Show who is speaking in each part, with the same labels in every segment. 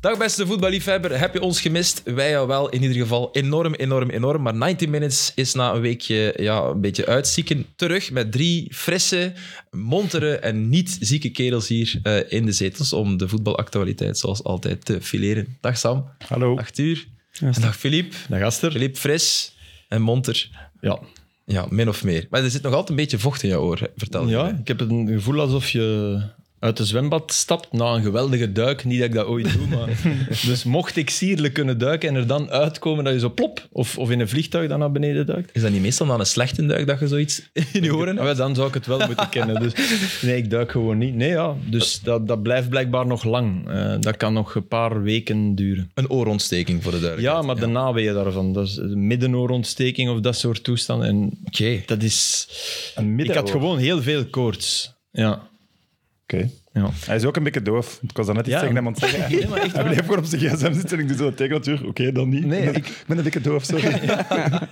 Speaker 1: Dag beste voetballiefhebber, heb je ons gemist? Wij jou wel, in ieder geval enorm, enorm, enorm. Maar 90 Minutes is na een weekje ja, een beetje uitzieken terug met drie frisse, montere en niet zieke kerels hier eh, in de zetels om de voetbalactualiteit zoals altijd te fileren. Dag Sam,
Speaker 2: Hallo.
Speaker 1: dag Tuur en dag Filip.
Speaker 2: Dag Aster.
Speaker 1: Filip, fris en monter.
Speaker 2: Ja.
Speaker 1: Ja, min of meer. Maar er zit nog altijd een beetje vocht in jouw oor, hè, vertel je
Speaker 2: ja,
Speaker 1: mij.
Speaker 2: ik heb het gevoel alsof je uit de zwembad stapt na een geweldige duik. Niet dat ik dat ooit doe, maar... dus mocht ik sierlijk kunnen duiken en er dan uitkomen dat je zo plop, of, of in een vliegtuig dan naar beneden duikt,
Speaker 1: Is dat niet meestal dan een slechte duik dat je zoiets in je oren
Speaker 2: Ah, wel, dan zou ik het wel moeten kennen. Dus, nee, ik duik gewoon niet. Nee, ja, dus dat, dat blijft blijkbaar nog lang. Eh, dat kan nog een paar weken duren.
Speaker 1: Een oorontsteking voor de duidelijkheid.
Speaker 2: Ja, maar de naweeën daarvan. Dat is een middenoorontsteking of dat soort toestanden. En
Speaker 1: Oké.
Speaker 2: dat is...
Speaker 3: Een
Speaker 2: Ik had
Speaker 3: middenoor.
Speaker 2: gewoon heel veel koorts. Ja.
Speaker 3: Oké.
Speaker 2: ja.
Speaker 3: Hij is ook een beetje doof. Ik was daarnet iets
Speaker 2: Ja.
Speaker 3: tegen hem aan het zeggen.
Speaker 2: Nee, maar echt
Speaker 3: Hij
Speaker 2: waar.
Speaker 3: bleef gewoon op zijn gsm zitten en ik doe zo dat tekennatuur. Oké, dan niet.
Speaker 2: Nee,
Speaker 3: ik, ben, ik ben een dikke doof, sorry.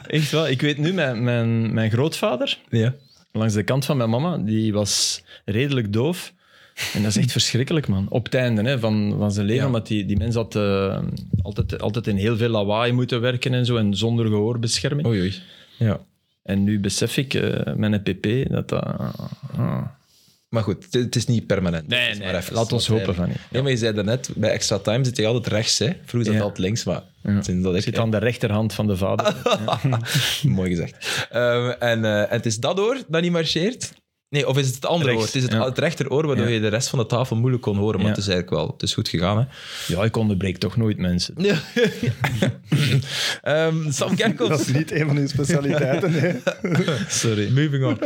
Speaker 2: Echt wel. Ik weet nu, mijn, mijn, mijn grootvader,
Speaker 1: Ja.
Speaker 2: langs de kant van mijn mama, die was redelijk doof. En dat is echt verschrikkelijk, man. Op het einde hè, van, van zijn leven.
Speaker 1: Ja.
Speaker 2: Want die, die mens had eh, altijd, altijd in heel veel lawaai moeten werken en zo. En zonder gehoorbescherming.
Speaker 1: Oei, oei. Ja.
Speaker 2: En nu besef ik eh, met een pp dat dat... ah.
Speaker 1: Maar goed, het- het is niet permanent.
Speaker 2: Nee,
Speaker 1: Het is
Speaker 2: nee,
Speaker 1: maar even.
Speaker 2: laat ons hopen van niet.
Speaker 1: Ja, maar je zei daarnet, bij extra time zit je altijd rechts. Hè? Vroeger zat je
Speaker 2: Ja.
Speaker 1: altijd links, maar sinds dat ik...
Speaker 2: Zit aan de rechterhand van de vader.
Speaker 1: Mooi gezegd. Ehm, en, eh, en het is dat oor dat niet marcheert? Nee, of is het het andere
Speaker 2: Rechts,
Speaker 1: oor? Het is het,
Speaker 2: ja.
Speaker 1: het rechteroor waardoor
Speaker 2: Ja.
Speaker 1: je de rest van de tafel moeilijk kon horen, maar
Speaker 2: Ja.
Speaker 1: het is eigenlijk wel het is goed gegaan. Hè?
Speaker 2: Ja, ik onderbreek toch nooit mensen.
Speaker 1: Ja. Ehm, Sam
Speaker 3: Dat
Speaker 1: Kerkhoff.
Speaker 3: is niet een van uw specialiteiten. Nee.
Speaker 1: Sorry. Moving on.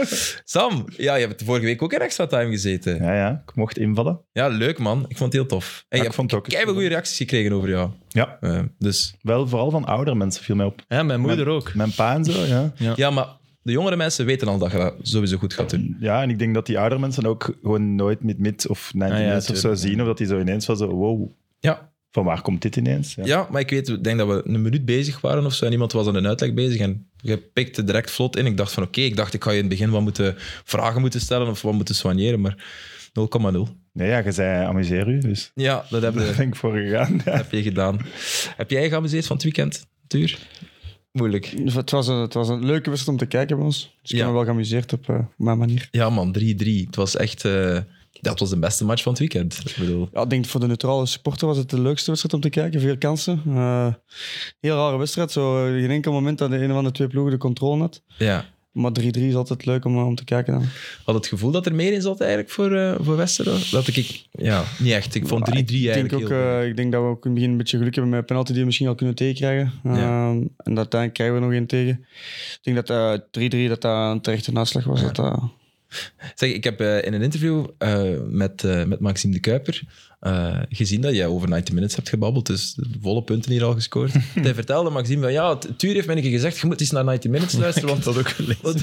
Speaker 1: Sam, ja, je hebt vorige week ook in extra time gezeten. Ja,
Speaker 3: Ja, ja. Ik mocht invallen.
Speaker 1: leuk man. Ik vond het heel tof. En
Speaker 3: Ja,
Speaker 1: je
Speaker 3: ik
Speaker 1: hebt
Speaker 3: vond het ook.
Speaker 1: keihard goede reacties gekregen over jou.
Speaker 3: Ja.
Speaker 1: Eh, dus
Speaker 3: Wel vooral van oudere mensen viel mij op.
Speaker 2: Ja, mijn moeder
Speaker 3: Mijn-
Speaker 2: ook.
Speaker 3: Mijn pa en zo, ja.
Speaker 1: Ja, maar de jongere mensen weten al dat je dat sowieso goed gaat doen.
Speaker 3: Ja, en ik denk dat die oudere mensen ook gewoon nooit met mid of 90
Speaker 2: Ah, ja,
Speaker 3: minutes of zo
Speaker 2: tuurlijk, ja.
Speaker 3: zien. Of dat die zo ineens van zo, wow,
Speaker 1: Ja.
Speaker 3: van waar komt dit ineens? Ja.
Speaker 1: ja, maar ik weet, ik denk dat we een minuut bezig waren of zo en iemand was aan een uitleg bezig en je pikte direct vlot in. Ik dacht van oké, ik dacht ik ga je in het begin wat moeten vragen moeten stellen of wat moeten soigneren, maar 0,0.
Speaker 3: Nee, ja, je zei amuseer u, dus
Speaker 1: Ja, dat heb,
Speaker 3: daar
Speaker 1: je-
Speaker 3: ben ik voor gegaan. Ja.
Speaker 1: heb je gedaan. Heb jij geamuseerd van het weekend, Tuur? Moeilijk.
Speaker 4: Dus Het was, een, het was een leuke wedstrijd om te kijken bij ons. Dus
Speaker 1: Ja.
Speaker 4: ik heb me wel geamuseerd op eh, mijn manier.
Speaker 1: Ja man, 3-3. Het was echt... eh, dat was de beste match van het weekend. Ik bedoel,
Speaker 4: Ja, ik denk voor de neutrale supporter was het de leukste wedstrijd om te kijken. Veel kansen. Eh, heel rare wedstrijd. Zo, eh, geen enkel moment dat de ene van de twee ploegen de controle had.
Speaker 1: ja.
Speaker 4: Maar 3-3 is altijd leuk om, eh, om te kijken. Dan.
Speaker 1: Had het gevoel dat er meer in zat eigenlijk voor, eh, voor Westerlo? Dat ik- ik... Ja, niet echt. Ik vond 3-3
Speaker 4: ik,
Speaker 1: eigenlijk
Speaker 4: denk ook,
Speaker 1: heel goed.
Speaker 4: eh, ik denk dat we ook in het begin een beetje geluk hebben met penalty die we misschien al kunnen tegenkrijgen.
Speaker 1: Ja.
Speaker 4: Ehm, en dat uiteindelijk krijgen we nog één tegen. Ik denk dat eh, 3-3 dat dat een terechte naslag was. Dat, eh, dat-
Speaker 1: Zeg, ik heb eh, in een interview eh, met, eh, met Maxime de Kuiper eh, gezien dat jij over 90 minutes hebt gebabbeld. Dus volle punten hier al gescoord. Hij vertelde Maxime van ja, het- Tuur heeft mij een keer gezegd: je moet eens naar 90 minutes luisteren. Want dat ook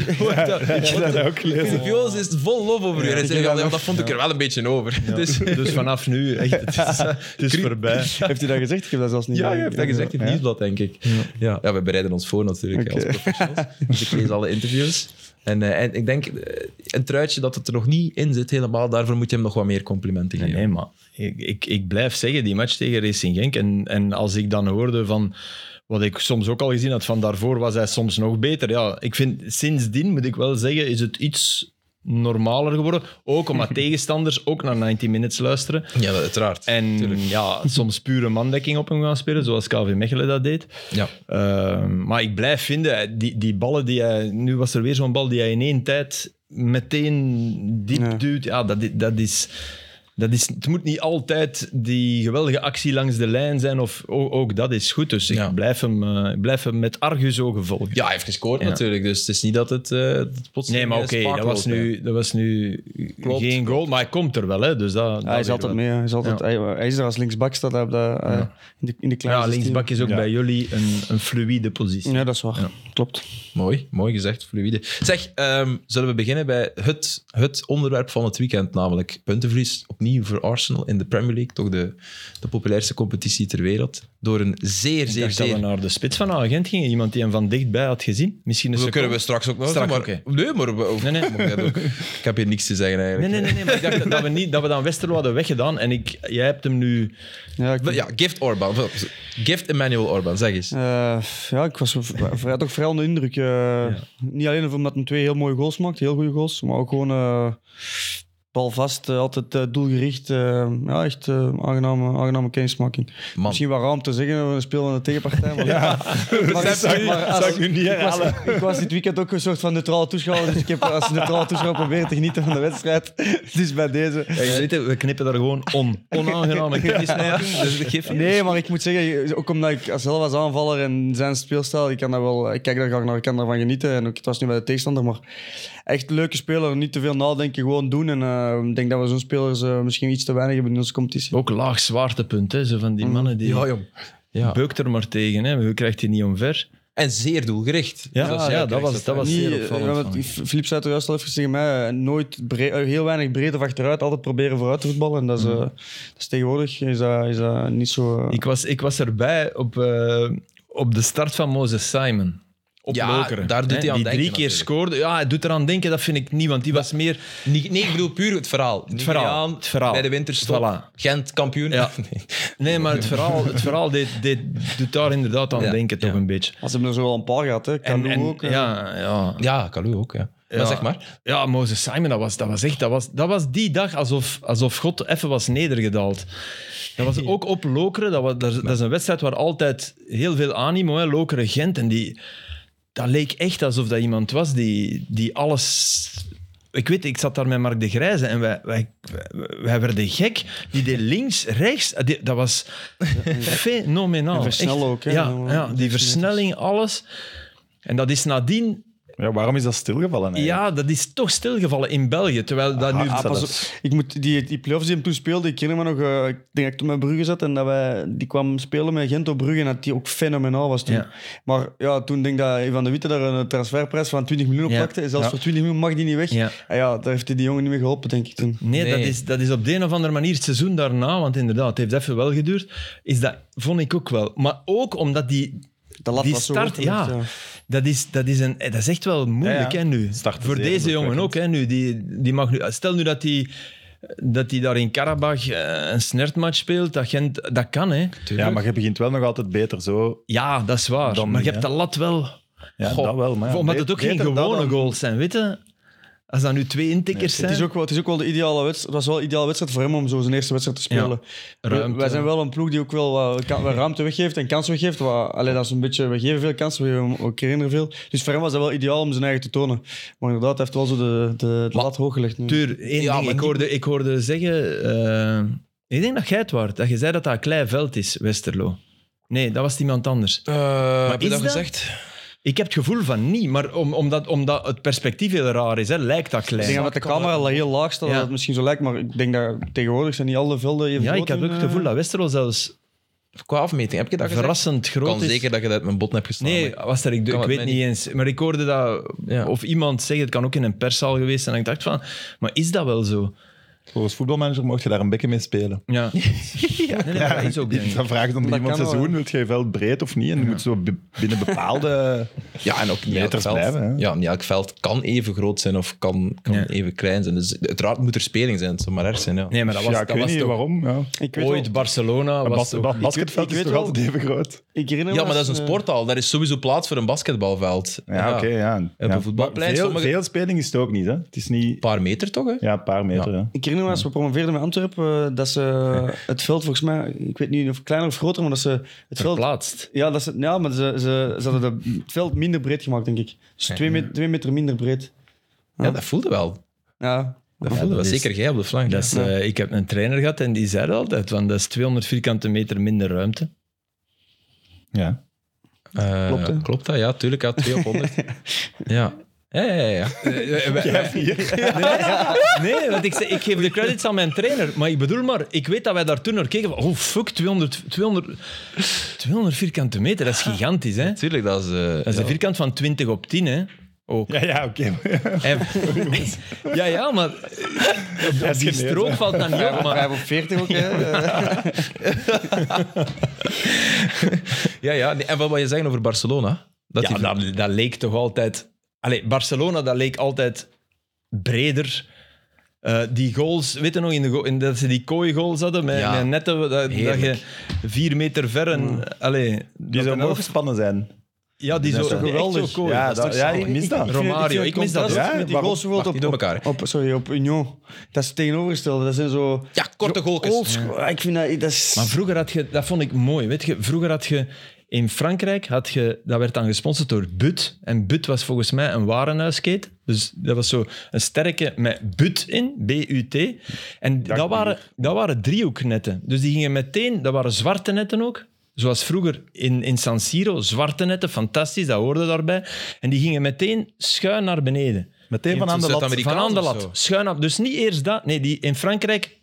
Speaker 3: Ik heb dat ook gelezen.
Speaker 1: Interviews is het vol lof over u. En hij
Speaker 4: ik
Speaker 1: zei:
Speaker 4: heb
Speaker 1: ja,
Speaker 4: dat
Speaker 1: ja,
Speaker 4: nog-
Speaker 1: dat vond ik er wel een beetje over. Dus,
Speaker 2: Dus vanaf nu, echt, het is, het is voorbij.
Speaker 4: Heeft hij dat gezegd? Ik heb dat zelfs niet
Speaker 1: ja, je hebt
Speaker 4: gezien.
Speaker 1: dat gezegd in het
Speaker 3: Ja.
Speaker 1: nieuwsblad, denk ik. Ja. Ja, we bereiden ons voor natuurlijk hè,
Speaker 4: Oké.
Speaker 1: als professionals. Dus ik lees alle interviews. En, eh, en ik denk, eh, een truitje dat het er nog niet in zit helemaal, daarvoor moet je hem nog wat meer complimenten
Speaker 2: Nee,
Speaker 1: geven.
Speaker 2: nee, maar ik, ik, ik blijf zeggen, die match tegen Racing Genk. En, en als ik dan hoorde van wat ik soms ook al gezien had, van daarvoor was hij soms nog beter. Ja, ik vind sindsdien, moet ik wel zeggen, is het iets normaler geworden. Ook omdat tegenstanders ook naar 90 minutes luisteren.
Speaker 1: Ja, dat- uiteraard.
Speaker 2: En ja, soms pure mandekking op hem gaan spelen, zoals KV Mechelen dat deed.
Speaker 1: Ja.
Speaker 2: Ehm, maar ik blijf vinden, die, die ballen die hij... Nu was er weer zo'n bal die hij in één tijd meteen diep
Speaker 4: Ja.
Speaker 2: duwt. Ja, dat, i- dat is... Dat is, het moet niet altijd die geweldige actie langs de lijn zijn. Of, o- ook, dat is goed. Dus
Speaker 1: Ja.
Speaker 2: ik blijf hem, eh, ik blijf hem met argusogen volgen.
Speaker 1: Ja, hij heeft gescoord
Speaker 2: Ja.
Speaker 1: natuurlijk, dus het is niet dat het, eh, dat het plots...
Speaker 2: nee, maar
Speaker 1: eh,
Speaker 2: oké,
Speaker 1: spaak
Speaker 2: dat was
Speaker 1: loopt, hè.
Speaker 2: nu, dat was nu
Speaker 1: Klopt.
Speaker 2: geen goal. Maar hij komt er wel. Hè, dus dat, dat
Speaker 4: Hij is
Speaker 2: weer
Speaker 4: altijd
Speaker 2: wel.
Speaker 4: mee. Hij is, altijd, hij, hij is er als linksbak staat hij op de, eh, in, de, in de kleine
Speaker 2: Ja,
Speaker 4: 16.
Speaker 2: linksbak is ook
Speaker 3: Ja.
Speaker 2: bij jullie een, een fluïde positie.
Speaker 4: Ja, dat is waar. Klopt.
Speaker 1: Mooi, mooi gezegd, fluïde. Zeg, ehm, zullen we beginnen bij het, het onderwerp van het weekend, namelijk puntenverlies. Opnieuw niet voor Arsenal in de Premier League, toch de, de populairste competitie ter wereld, door een zeer,
Speaker 2: Ik
Speaker 1: zeer,
Speaker 2: dacht dat we
Speaker 1: zeer...
Speaker 2: naar de spits van Agent gingen. Iemand die hem van dichtbij had gezien. Misschien een
Speaker 1: Dat
Speaker 2: seconde.
Speaker 1: kunnen Dus we straks ook nog
Speaker 2: Dus Straks,
Speaker 1: doen, maar, Nee,
Speaker 2: oké.
Speaker 1: maar... we-
Speaker 2: Nee, nee.
Speaker 1: maar dat ook. Ik heb hier niks te zeggen
Speaker 2: Nee,
Speaker 1: eigenlijk.
Speaker 2: nee, nee, nee, maar ik dacht dat we, niet, dat we dan Westerlo hadden weggedaan. En ik, jij hebt hem nu...
Speaker 4: Ja, ik,
Speaker 1: Ja, gift Orban. Gift Emmanuel Orban, zeg eens.
Speaker 4: Eh, ja, ik was v- vrij, toch vrij onder de indruk. eh, Niet alleen omdat hij twee heel mooie goals maakt, heel goede goals, maar ook gewoon eh balvast, eh, altijd eh, doelgericht. eh, ja, echt eh, aangename, aangename kennismaking.
Speaker 1: Man.
Speaker 4: Misschien wat raam te zeggen, we spelen een tegenpartij. Maar, maar, maar als- ik was, ik was dit weekend ook een soort van neutrale toeschouwer, dus ik heb als neutrale toeschouwer proberen te genieten van de wedstrijd. Dus bij deze...
Speaker 2: Ja, je weet het, we knippen daar gewoon on. Onaangename kennismaking. Dus dat geeft niet.
Speaker 4: Nee, maar ik moet zeggen, ook omdat ik zelf als aanvaller en zijn speelstijl, ik, kan daar wel, ik kijk daar graag naar, ik kan daarvan genieten. En ook, het was nu bij de tegenstander, maar echt leuke speler, niet te veel nadenken, gewoon doen. En eh, ik denk dat we zo'n spelers eh, misschien iets te weinig hebben in onze competitie.
Speaker 2: Ook laag zwaartepunt, hè. Zo van die mannen die...
Speaker 1: Mm. Ja, jong. Ja.
Speaker 2: Beukt er maar tegen, hè. We krijgt hij niet omver.
Speaker 1: En zeer doelgericht.
Speaker 2: Ja,
Speaker 1: Dus als
Speaker 2: ja,
Speaker 1: jij
Speaker 2: dat
Speaker 1: krijgt
Speaker 2: was- dat was-
Speaker 4: Niet,
Speaker 2: zeer
Speaker 4: eh,
Speaker 2: opvallend
Speaker 4: want
Speaker 2: van
Speaker 4: F- Philippe zei het er juist al even tegen mij, eh, nooit bre- eh, heel weinig breed of achteruit, altijd proberen vooruit te voetballen. En dat is, eh, dat is tegenwoordig is dat, is dat niet zo... eh,
Speaker 2: Mhm. Ik was, ik was erbij op, eh, op de start van Moses Simon. Op
Speaker 1: Ja,
Speaker 2: Lokeren.
Speaker 1: daar doet
Speaker 2: Hè,
Speaker 1: hij aan
Speaker 2: Die
Speaker 1: denken
Speaker 2: drie keer
Speaker 1: natuurlijk.
Speaker 2: scoorde. Ja, hij doet eraan denken, dat vind ik niet. Want die was meer...
Speaker 1: Niet, nee, ik bedoel puur het verhaal. Het
Speaker 2: verhaal,
Speaker 1: Aan,
Speaker 2: het verhaal.
Speaker 1: Bij de winterstop.
Speaker 2: Voilà.
Speaker 1: Gent kampioen.
Speaker 2: Ja.
Speaker 1: Nee.
Speaker 2: Nee, maar het verhaal, het verhaal deed, deed, doet daar inderdaad aan
Speaker 1: Ja,
Speaker 2: denken, toch
Speaker 1: ja.
Speaker 2: een beetje.
Speaker 4: Als ze hebben er zo wel een paar gehad, hè. Kan ook. eh.
Speaker 2: ja, ja.
Speaker 1: Ja, Calou ook. Ja.
Speaker 2: Ja.
Speaker 1: Maar zeg maar.
Speaker 2: ja, Moses Simon, dat was, dat was echt... Dat was, dat was die dag alsof, alsof God even was nedergedaald. Dat was ook op Lokeren. Dat, was, dat, is- dat is een wedstrijd waar altijd heel veel animo, hè, Lokeren-Gent. En die, dat leek echt alsof dat iemand was die, die alles... Ik weet, ik zat daar met Mark de Grijze en wij, wij, wij werden gek. Die deed links, rechts. Ah, die- dat was fenomenaal.
Speaker 4: En versnellen
Speaker 2: Echt.
Speaker 4: ook, hè.
Speaker 2: Ja, ja, die versnelling, alles. En dat is nadien
Speaker 3: Ja, waarom is dat stilgevallen eigenlijk?
Speaker 2: ja, dat is toch stilgevallen in België, terwijl dat nu...
Speaker 3: Ah,
Speaker 4: pas
Speaker 3: zelfs.
Speaker 4: op. Ik moet, die, die playoffs die hem toen speelde, ik herinner me nog, eh, ik denk dat ik toen met Brugge zat en dat wij, die kwam spelen met Gent op Brugge en dat die ook fenomenaal was toen.
Speaker 2: Ja.
Speaker 4: Maar ja, toen denk ik dat Ivan de Witte daar een eh, transferprijs van 20 miljoen op
Speaker 2: Ja.
Speaker 4: pakte. En zelfs
Speaker 2: Ja.
Speaker 4: voor 20 miljoen mag die niet weg.
Speaker 2: Ja.
Speaker 4: En ja, daar heeft hij die jongen niet meer geholpen, denk ik toen.
Speaker 2: Nee,
Speaker 1: Nee.
Speaker 2: Dat, is, dat is op de een of andere manier het seizoen daarna, want inderdaad, het heeft even wel geduurd, is dat, vond ik ook wel. Maar ook omdat die...
Speaker 4: De lat
Speaker 2: die
Speaker 4: was zo
Speaker 2: start,
Speaker 4: hoog
Speaker 2: ja,
Speaker 4: gelegd,
Speaker 2: Dat is, dat, is een, eh, dat is echt wel moeilijk,
Speaker 3: Ja,
Speaker 2: hè,
Speaker 3: ja.
Speaker 2: nu.
Speaker 3: Start is
Speaker 2: Voor
Speaker 3: zeer
Speaker 2: deze jongen
Speaker 3: indrukwekkend.
Speaker 2: ook, hè, nu. Die, die mag nu. Stel nu dat hij dat die daar in Karabach eh, een snertmatch speelt, dat, Gent, dat kan, hè.
Speaker 3: Ja, maar je begint wel nog altijd beter zo.
Speaker 2: Ja, dat is waar.
Speaker 3: Dan
Speaker 2: maar je
Speaker 3: niet,
Speaker 2: hebt
Speaker 3: hè.
Speaker 2: de lat wel
Speaker 3: Ja,
Speaker 1: Goh,
Speaker 3: dat wel. Maar ja,
Speaker 2: omdat
Speaker 3: be-
Speaker 2: het ook geen
Speaker 3: beter dat
Speaker 2: gewone
Speaker 3: dan-
Speaker 2: goals zijn, weet je? Als dat nu twee intikkers
Speaker 4: Het
Speaker 2: zijn...
Speaker 4: is, ook wel, het is ook wel de ideale wedstrijd. Het was wel een ideale wedstrijd voor hem om zo zijn eerste wedstrijd te spelen. We-
Speaker 2: ruimte.
Speaker 4: Wij zijn wel een ploeg die ook wel wat, ka- wat ruimte weggeeft en kansen weggeeft. Wat, allee, dat is een beetje, we geven veel kansen, we geven hem ook herinneren veel. Dus voor hem was dat wel ideaal om zijn eigen te tonen. Maar inderdaad, hij heeft wel zo de, de, de lat hoog gelegd. nu.
Speaker 2: Tuur,
Speaker 1: Ja,
Speaker 2: één
Speaker 1: maar
Speaker 2: ding. Ik
Speaker 1: niet-
Speaker 2: hoorde, ik hoorde zeggen... eh, ik denk dat jij het waard, dat je zei dat dat een klein veld is, Westerlo. Nee, dat was iemand anders.
Speaker 1: Eh, heb je
Speaker 2: is
Speaker 1: dat
Speaker 2: dat-
Speaker 1: gezegd?
Speaker 2: Ik heb het gevoel van niet, maar om, omdat, omdat het perspectief heel raar is, hè, lijkt dat
Speaker 4: Ik denk
Speaker 2: klein.
Speaker 4: dat de camera al heel laag staat,
Speaker 2: Ja.
Speaker 4: dat het misschien zo lijkt, maar ik denk dat tegenwoordig zijn niet alle velden even
Speaker 2: Ja,
Speaker 4: groot
Speaker 2: ik heb
Speaker 4: in,
Speaker 2: ook het
Speaker 4: eh.
Speaker 2: gevoel dat Westerlo zelfs
Speaker 1: Qua afmeting, heb je dat gezegd?
Speaker 2: verrassend
Speaker 1: Ik
Speaker 2: groot
Speaker 1: kan
Speaker 2: is.
Speaker 1: zeker dat je dat uit mijn bot hebt gestaan.
Speaker 2: Nee,
Speaker 1: Ah, maar-
Speaker 2: was er, ik,
Speaker 1: Kan
Speaker 2: ik
Speaker 1: het
Speaker 2: weet
Speaker 1: mij
Speaker 2: niet eens. Maar ik hoorde dat,
Speaker 1: Ja.
Speaker 2: of iemand zeggen, het kan ook in een perszaal geweest zijn. En ik dacht van, maar is dat wel zo?
Speaker 3: Volgens voetbalmanager mocht je daar een beetje mee spelen.
Speaker 2: Ja, Nee, nee, dat is ook denk ik.
Speaker 3: Dan vraagt dan iemand
Speaker 4: kan wel,
Speaker 3: seizoen, wil jij veld breed of niet? En je moet zo be- binnen bepaalde ja, en ook
Speaker 1: Niet elk
Speaker 3: meters
Speaker 1: veld-
Speaker 3: blijven. Hè.
Speaker 1: Ja, niet elk veld kan even groot zijn of kan, kan
Speaker 2: Ja.
Speaker 1: even klein zijn. Dus uiteraard moet er speling zijn, het zou maar erg zijn. Ja.
Speaker 2: Nee, maar dat was,
Speaker 3: ja, ik
Speaker 2: dat
Speaker 3: weet
Speaker 2: was
Speaker 3: niet
Speaker 2: toch
Speaker 3: waarom. Ja.
Speaker 4: Ik weet
Speaker 2: ooit
Speaker 4: wel-
Speaker 2: Barcelona.
Speaker 3: Een
Speaker 2: Was
Speaker 3: bas-
Speaker 2: toch-
Speaker 3: ba- basketveld
Speaker 4: ik
Speaker 3: is
Speaker 4: weet
Speaker 3: toch
Speaker 4: wel-
Speaker 3: altijd even groot?
Speaker 4: ik herinner me
Speaker 1: ja, maar dat is een
Speaker 4: eh,
Speaker 1: sporthal. Daar is sowieso plaats voor een basketbalveld.
Speaker 3: Ja, oké. ja.
Speaker 1: Op
Speaker 3: ja.
Speaker 1: een voetbalplein,
Speaker 3: Maar Veel,
Speaker 1: sommige-
Speaker 3: veel speling is het ook niet. Hè. Het is
Speaker 1: Een
Speaker 3: niet...
Speaker 1: paar meter toch? Hè?
Speaker 3: Ja, een paar meter. Ja.
Speaker 4: Ik herinner me als we promoveerden met Antwerpen, eh, dat ze het veld volgens mij, ik weet niet of kleiner of groter, maar dat ze het veld
Speaker 2: verplaatst.
Speaker 4: Ja, dat is, ja maar ze, ze, ze hadden de- het veld minder breed gemaakt, denk ik. Dus twee, met- twee meter minder breed.
Speaker 1: Ja, dat voelde wel.
Speaker 4: Ja.
Speaker 1: Dat voelde wel.
Speaker 2: dat is-
Speaker 1: Zeker jij op de flank.
Speaker 2: Dat is,
Speaker 1: ja.
Speaker 2: eh, ik heb een trainer gehad en die zei dat altijd, want dat is 200 vierkante meter minder ruimte.
Speaker 3: Ja.
Speaker 1: Eh,
Speaker 4: klopt, hè?
Speaker 1: klopt dat? Ja, tuurlijk. Ja, 2 op 100. ja. Ja, ja, ja, ja.
Speaker 2: Eh, Nee, want ik, zei- ik geef de credits aan mijn trainer, maar ik bedoel maar, ik weet dat wij daar toen naar keken van, oh fuck, 200, 200, 200 vierkante meter, dat is gigantisch hè.
Speaker 1: Tuurlijk, dat is... eh,
Speaker 2: Dat is
Speaker 1: ja.
Speaker 2: een vierkant van 20 op 10 hè.
Speaker 1: ook.
Speaker 3: Ja, ja, oké.
Speaker 5: Hij-
Speaker 2: Ja, ja, maar
Speaker 3: Ja,
Speaker 2: die stroop valt dan niet op. Maar
Speaker 4: 5 op 40 ook, hè. Eh,
Speaker 1: Ja, ja. Nee, en wat wil je zeggen over Barcelona? Dat
Speaker 2: ja,
Speaker 1: die-
Speaker 2: dat, dat leek toch altijd... Allee, Barcelona, dat leek altijd breder. Eh, die goals, weet je nog, in de go- in, dat ze die kooi goals hadden met,
Speaker 1: Ja.
Speaker 2: met netten, dat, dat je
Speaker 1: Heerlijk. Mm.
Speaker 2: vier meter ver en... Allee,
Speaker 3: Die
Speaker 2: dat
Speaker 3: zou
Speaker 2: en
Speaker 3: mooi
Speaker 2: ook-
Speaker 3: gespannen zijn.
Speaker 2: Ja, die
Speaker 3: Dat
Speaker 2: zo,
Speaker 3: is toch
Speaker 2: die echt
Speaker 3: geweldig?
Speaker 2: zo kooi.
Speaker 3: Ja,
Speaker 2: Dat is
Speaker 3: dat-
Speaker 2: toch
Speaker 3: ja,
Speaker 2: zalig.
Speaker 3: ik mis dat.
Speaker 4: vind-
Speaker 2: Romario,
Speaker 4: vind
Speaker 2: ik mis dat
Speaker 4: contrast
Speaker 3: ook.
Speaker 4: Met die
Speaker 3: Ja,
Speaker 4: goals
Speaker 1: wacht,
Speaker 4: bijvoorbeeld
Speaker 1: niet door
Speaker 4: op,
Speaker 1: elkaar.
Speaker 4: op, sorry, op Union. Dat is het tegenovergestelde. Dat zijn zo...
Speaker 1: Ja, korte goaltjes.
Speaker 4: Old school. Ik vind dat... dat is,
Speaker 2: Maar vroeger had je, dat vond ik mooi, weet je, vroeger had je in Frankrijk, had je, dat werd dan gesponsord door But. En But was volgens mij een warenhuisketen. Dus dat was zo een sterke met But in, B-U-T. En dat waren, dat waren driehoeknetten. Dus die gingen meteen, dat waren zwarte netten ook. Zoals vroeger in, in San Siro, zwarte netten, fantastisch, dat hoorde daarbij. En die gingen meteen schuin naar beneden.
Speaker 3: Meteen van aan de lat.
Speaker 1: Zuid-Amerika-
Speaker 2: Van aan de
Speaker 1: Amerikaans
Speaker 2: lat,
Speaker 1: of
Speaker 2: schuin op. Dus niet eerst dat. Nee, die in Frankrijk...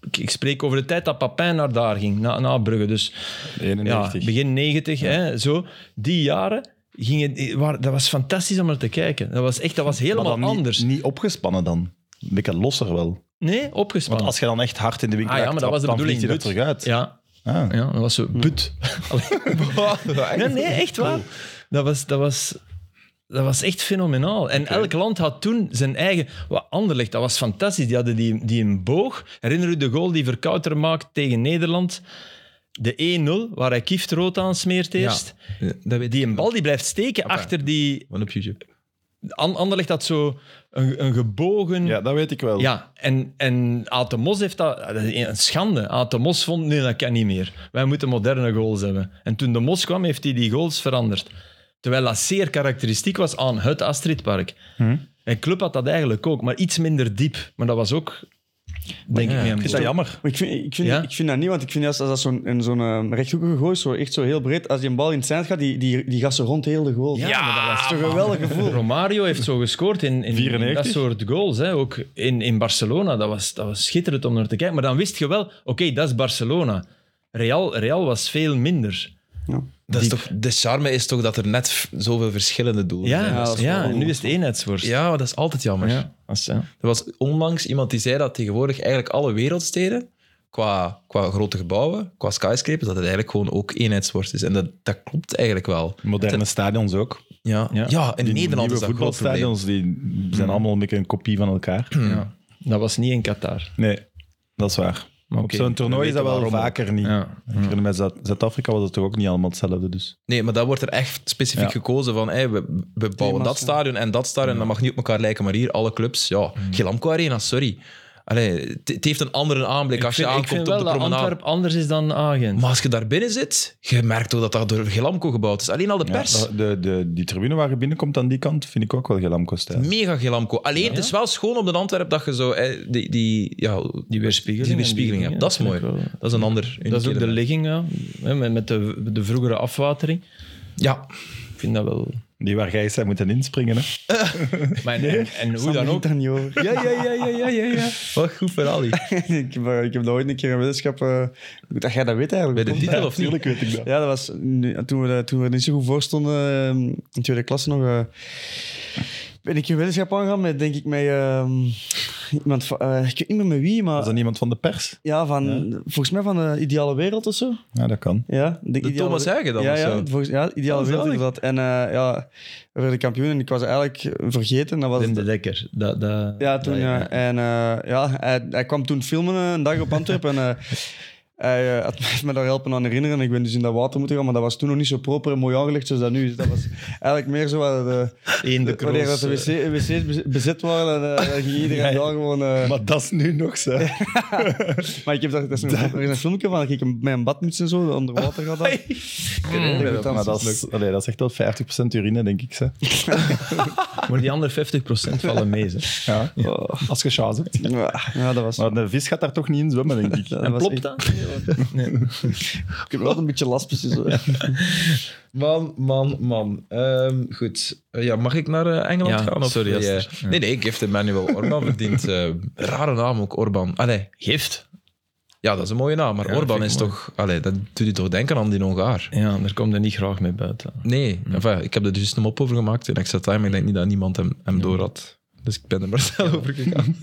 Speaker 2: Ik, ik spreek over de tijd dat Papin naar daar ging, na, na Brugge. Dus ja,
Speaker 3: 91.
Speaker 2: begin 90, hè, zo. Die jaren gingen... die waren- dat was fantastisch om naar te kijken. Dat was echt... Dat was
Speaker 3: Maar
Speaker 2: helemaal
Speaker 3: dan niet-
Speaker 2: anders.
Speaker 3: Niet, opgespannen dan. Een beetje losser wel.
Speaker 2: Nee,
Speaker 3: Want
Speaker 2: opgespannen.
Speaker 3: als je dan echt hard in de winkel
Speaker 2: ah ja, maar
Speaker 3: raakt,
Speaker 2: dat was de
Speaker 3: dan
Speaker 2: bedoeling. but.
Speaker 3: vliegt je er terug uit.
Speaker 2: Ja.
Speaker 3: Ah.
Speaker 2: Ja, dat was zo, but. Nee, nee, echt waar. Dat was, dat was, dat was echt fenomenaal. En elk land had toen zijn eigen... Wat Anderlecht, dat was fantastisch. Die hadden die, die een boog. Herinner u de goal die Verkouter maakt tegen Nederland? De 1-0, waar hij kieft rood aan smeert eerst.
Speaker 1: Ja, dat weet
Speaker 2: Die een bal die blijft steken achter die...
Speaker 1: Van op YouTube.
Speaker 2: An- Anderlecht had zo een, een gebogen...
Speaker 3: Ja, dat weet ik wel.
Speaker 2: Ja, en, en Atemos heeft dat... dat is Een schande. Atemos vond, nee, dat kan niet meer. Wij moeten moderne goals hebben. En toen de Mos kwam, heeft hij die goals veranderd. Terwijl dat zeer karakteristiek was aan het Astridpark. En Club had dat eigenlijk ook, maar iets minder diep. Maar dat was ook, denk
Speaker 1: Ja,
Speaker 2: ik, mee aan
Speaker 3: Is
Speaker 2: bod.
Speaker 3: dat jammer?
Speaker 4: Maar ik vind, ik, vind,
Speaker 2: Ja?
Speaker 4: ik vind dat niet, want ik vind juist als dat zo'n, in zo'n ehm, rechthoekige gooi, zo, echt zo heel breed, als die een bal in het zand gaat, die, die, die gaat zo rond heel de goal.
Speaker 2: Ja, maar dat was
Speaker 4: toch een geweldig gevoel.
Speaker 2: Romario heeft zo gescoord in, in, in
Speaker 3: 94.
Speaker 2: dat soort goals. Hè. Ook in, in Barcelona, dat was, dat was schitterend om naar te kijken. Maar dan wist je wel, oké, dat is Barcelona. Real, Real was veel minder.
Speaker 1: Dat is toch, de charme is toch dat er net f- zoveel verschillende doelen
Speaker 2: Ja,
Speaker 1: zijn.
Speaker 2: ja,
Speaker 4: dat is wel-
Speaker 2: en nu is het eenheidsworst.
Speaker 1: Ja, maar dat is altijd jammer.
Speaker 2: Ja, dat is- ja.
Speaker 1: Er was onlangs iemand die zei dat tegenwoordig eigenlijk alle wereldsteden, qua, qua grote gebouwen, qua skyscrapers, dat het eigenlijk gewoon ook eenheidsworst is. En dat, dat klopt eigenlijk wel.
Speaker 3: Moderne stadions ook.
Speaker 1: Ja, ja.
Speaker 2: Ja.
Speaker 1: in Nederland
Speaker 3: nieuwe
Speaker 1: is dat een groot probleem.
Speaker 3: voetbalstadions die zijn allemaal een beetje een kopie van elkaar.
Speaker 2: Hmm. Ja. Dat was niet in Qatar.
Speaker 3: Nee, dat is waar.
Speaker 2: Maar
Speaker 3: Op
Speaker 2: oké,
Speaker 3: zo'n
Speaker 2: we
Speaker 3: toernooi is dat
Speaker 2: weten
Speaker 3: wel
Speaker 2: waarom.
Speaker 3: vaker niet.
Speaker 2: Ja.
Speaker 3: Ik herinner me, Zuid- Zuid-Afrika was het toch ook niet allemaal hetzelfde. Dus.
Speaker 1: Nee, maar dat wordt er echt specifiek
Speaker 3: Ja.
Speaker 1: gekozen van, hey, we, we bouwen dat
Speaker 4: massa.
Speaker 1: stadion en dat stadion, dat mag niet op elkaar lijken, maar hier, alle clubs, ja.
Speaker 2: Mm.
Speaker 1: Gelamco Arena, sorry. Allee, het- het heeft een andere aanblik als
Speaker 2: Ik
Speaker 1: je
Speaker 2: vind, ik
Speaker 1: aankomt
Speaker 2: vind
Speaker 1: op
Speaker 2: wel
Speaker 1: de
Speaker 2: dat
Speaker 1: promenade.
Speaker 2: Antwerp anders is dan Agen.
Speaker 1: Maar als je daar binnen zit, je merkt toch dat dat door Gelamco gebouwd is. Alleen al de
Speaker 3: Ja,
Speaker 1: pers.
Speaker 3: de, de, die tribune waar je binnenkomt aan die kant vind ik ook wel Gelamco-stijl.
Speaker 1: Mega Gelamco. Alleen, het is wel schoon op de Antwerp dat je zo... eh, Die, die, ja,
Speaker 2: Die weerspiegeling.
Speaker 1: Die weerspiegeling,
Speaker 2: en die
Speaker 1: ja. Dat is
Speaker 2: dingen,
Speaker 1: mooi.
Speaker 2: vind ik wel.
Speaker 1: Dat is een ander...
Speaker 2: Dat is ook
Speaker 1: uniek
Speaker 2: de
Speaker 1: element.
Speaker 2: ligging, ja. Hè, met, met de, de vroegere afwatering.
Speaker 1: Ja.
Speaker 2: Ik vind dat wel...
Speaker 3: Die waar jij zou moeten inspringen. Hè?
Speaker 2: Maar en, en- en hoe dan
Speaker 4: Sam begint
Speaker 2: ook.
Speaker 4: daar niet over.
Speaker 2: Ja, ja, ja, ja, ja, ja. ja.
Speaker 1: Wat goed verhaal hier.
Speaker 4: ik, heb, eh, ik heb dat ooit een keer een wetenschap... eh, goed dat jij dat weet
Speaker 1: Bij
Speaker 4: eigenlijk.
Speaker 1: de titel of niet?
Speaker 3: Tuurlijk weet ik dat.
Speaker 4: Ja, dat was nu- toen we, toen we er niet zo goed voor stonden eh, in tweede klasse nog. eh, ben ik een wetenschap aangegaan met, denk ik, met eh, iemand van... eh, ik weet niet meer met wie,
Speaker 3: Was
Speaker 4: maar...
Speaker 3: dat niemand van de pers?
Speaker 4: Ja, van, volgens mij van de ideale wereld of zo.
Speaker 3: Ja, dat kan.
Speaker 4: Ja, de ideale-
Speaker 1: Thomas Huygen dan
Speaker 4: ja,
Speaker 1: of
Speaker 4: ja,
Speaker 1: zo?
Speaker 4: volgens- ja, ideale
Speaker 3: Oh,
Speaker 4: wereld
Speaker 3: zalig.
Speaker 4: inderdaad. En eh, ja, we werden kampioen en ik was eigenlijk vergeten. Dat was
Speaker 2: Wim de Dekker. Dat, dat,
Speaker 4: ja, toen,
Speaker 2: dat-
Speaker 4: ja. En eh, ja, hij, hij kwam toen filmen eh, een dag op Antwerpen. en eh, hij eh, had mij- me daar helpen aan herinneren. Ik ben dus in dat water moeten gaan, maar dat was toen nog niet zo proper en mooi aangelegd zoals dat nu is. Dat was eigenlijk meer zo wat, eh,
Speaker 2: Eén de
Speaker 4: wanneer
Speaker 2: kroos,
Speaker 4: dat de
Speaker 2: eh,
Speaker 4: wc, wc's bez- bezet waren. En, eh, dan ging iedereen daar gewoon... eh,
Speaker 3: Maar dat is nu nog zo.
Speaker 4: maar ik heb daar, dat is een, er is een filmpje van dat ik hem met een badmuts en zo onder water ga dan.
Speaker 3: maar dat is, allee, dat is echt wel 50% urine, denk ik. Ze.
Speaker 2: Maar die andere 50% vallen mee, zeg.
Speaker 3: Ja. Als je chance hebt.
Speaker 4: Ja, dat was...
Speaker 3: Maar de vis gaat daar toch niet in zwemmen, denk ik.
Speaker 4: dat was
Speaker 2: Klopt
Speaker 4: echt-
Speaker 2: dat?
Speaker 4: Ik heb wel een beetje last precies. eh. Zo.
Speaker 1: Man, man, man. Ehm, goed. Eh, ja, mag ik naar eh, Engeland
Speaker 2: Ja,
Speaker 1: gaan? Of
Speaker 2: sorry,
Speaker 1: wil jij-
Speaker 2: Aster. Ja.
Speaker 1: Nee, nee, ik geef de Manuel Orban verdient. eh, rare naam ook, Orban. Allee,
Speaker 2: Gift.
Speaker 1: Ja, dat is een mooie naam, maar
Speaker 2: Ja,
Speaker 1: Orban
Speaker 2: vind
Speaker 1: is
Speaker 2: ik mooi.
Speaker 1: toch... Allee, dat doet je toch denken aan die Hongaar?
Speaker 2: Ja, daar komt er niet graag mee buiten.
Speaker 1: Nee, enfin, ik heb er dus een mop over gemaakt in extra time. Ik denk niet dat niemand hem, hem door had. Dus ik ben er maar snel over gegaan.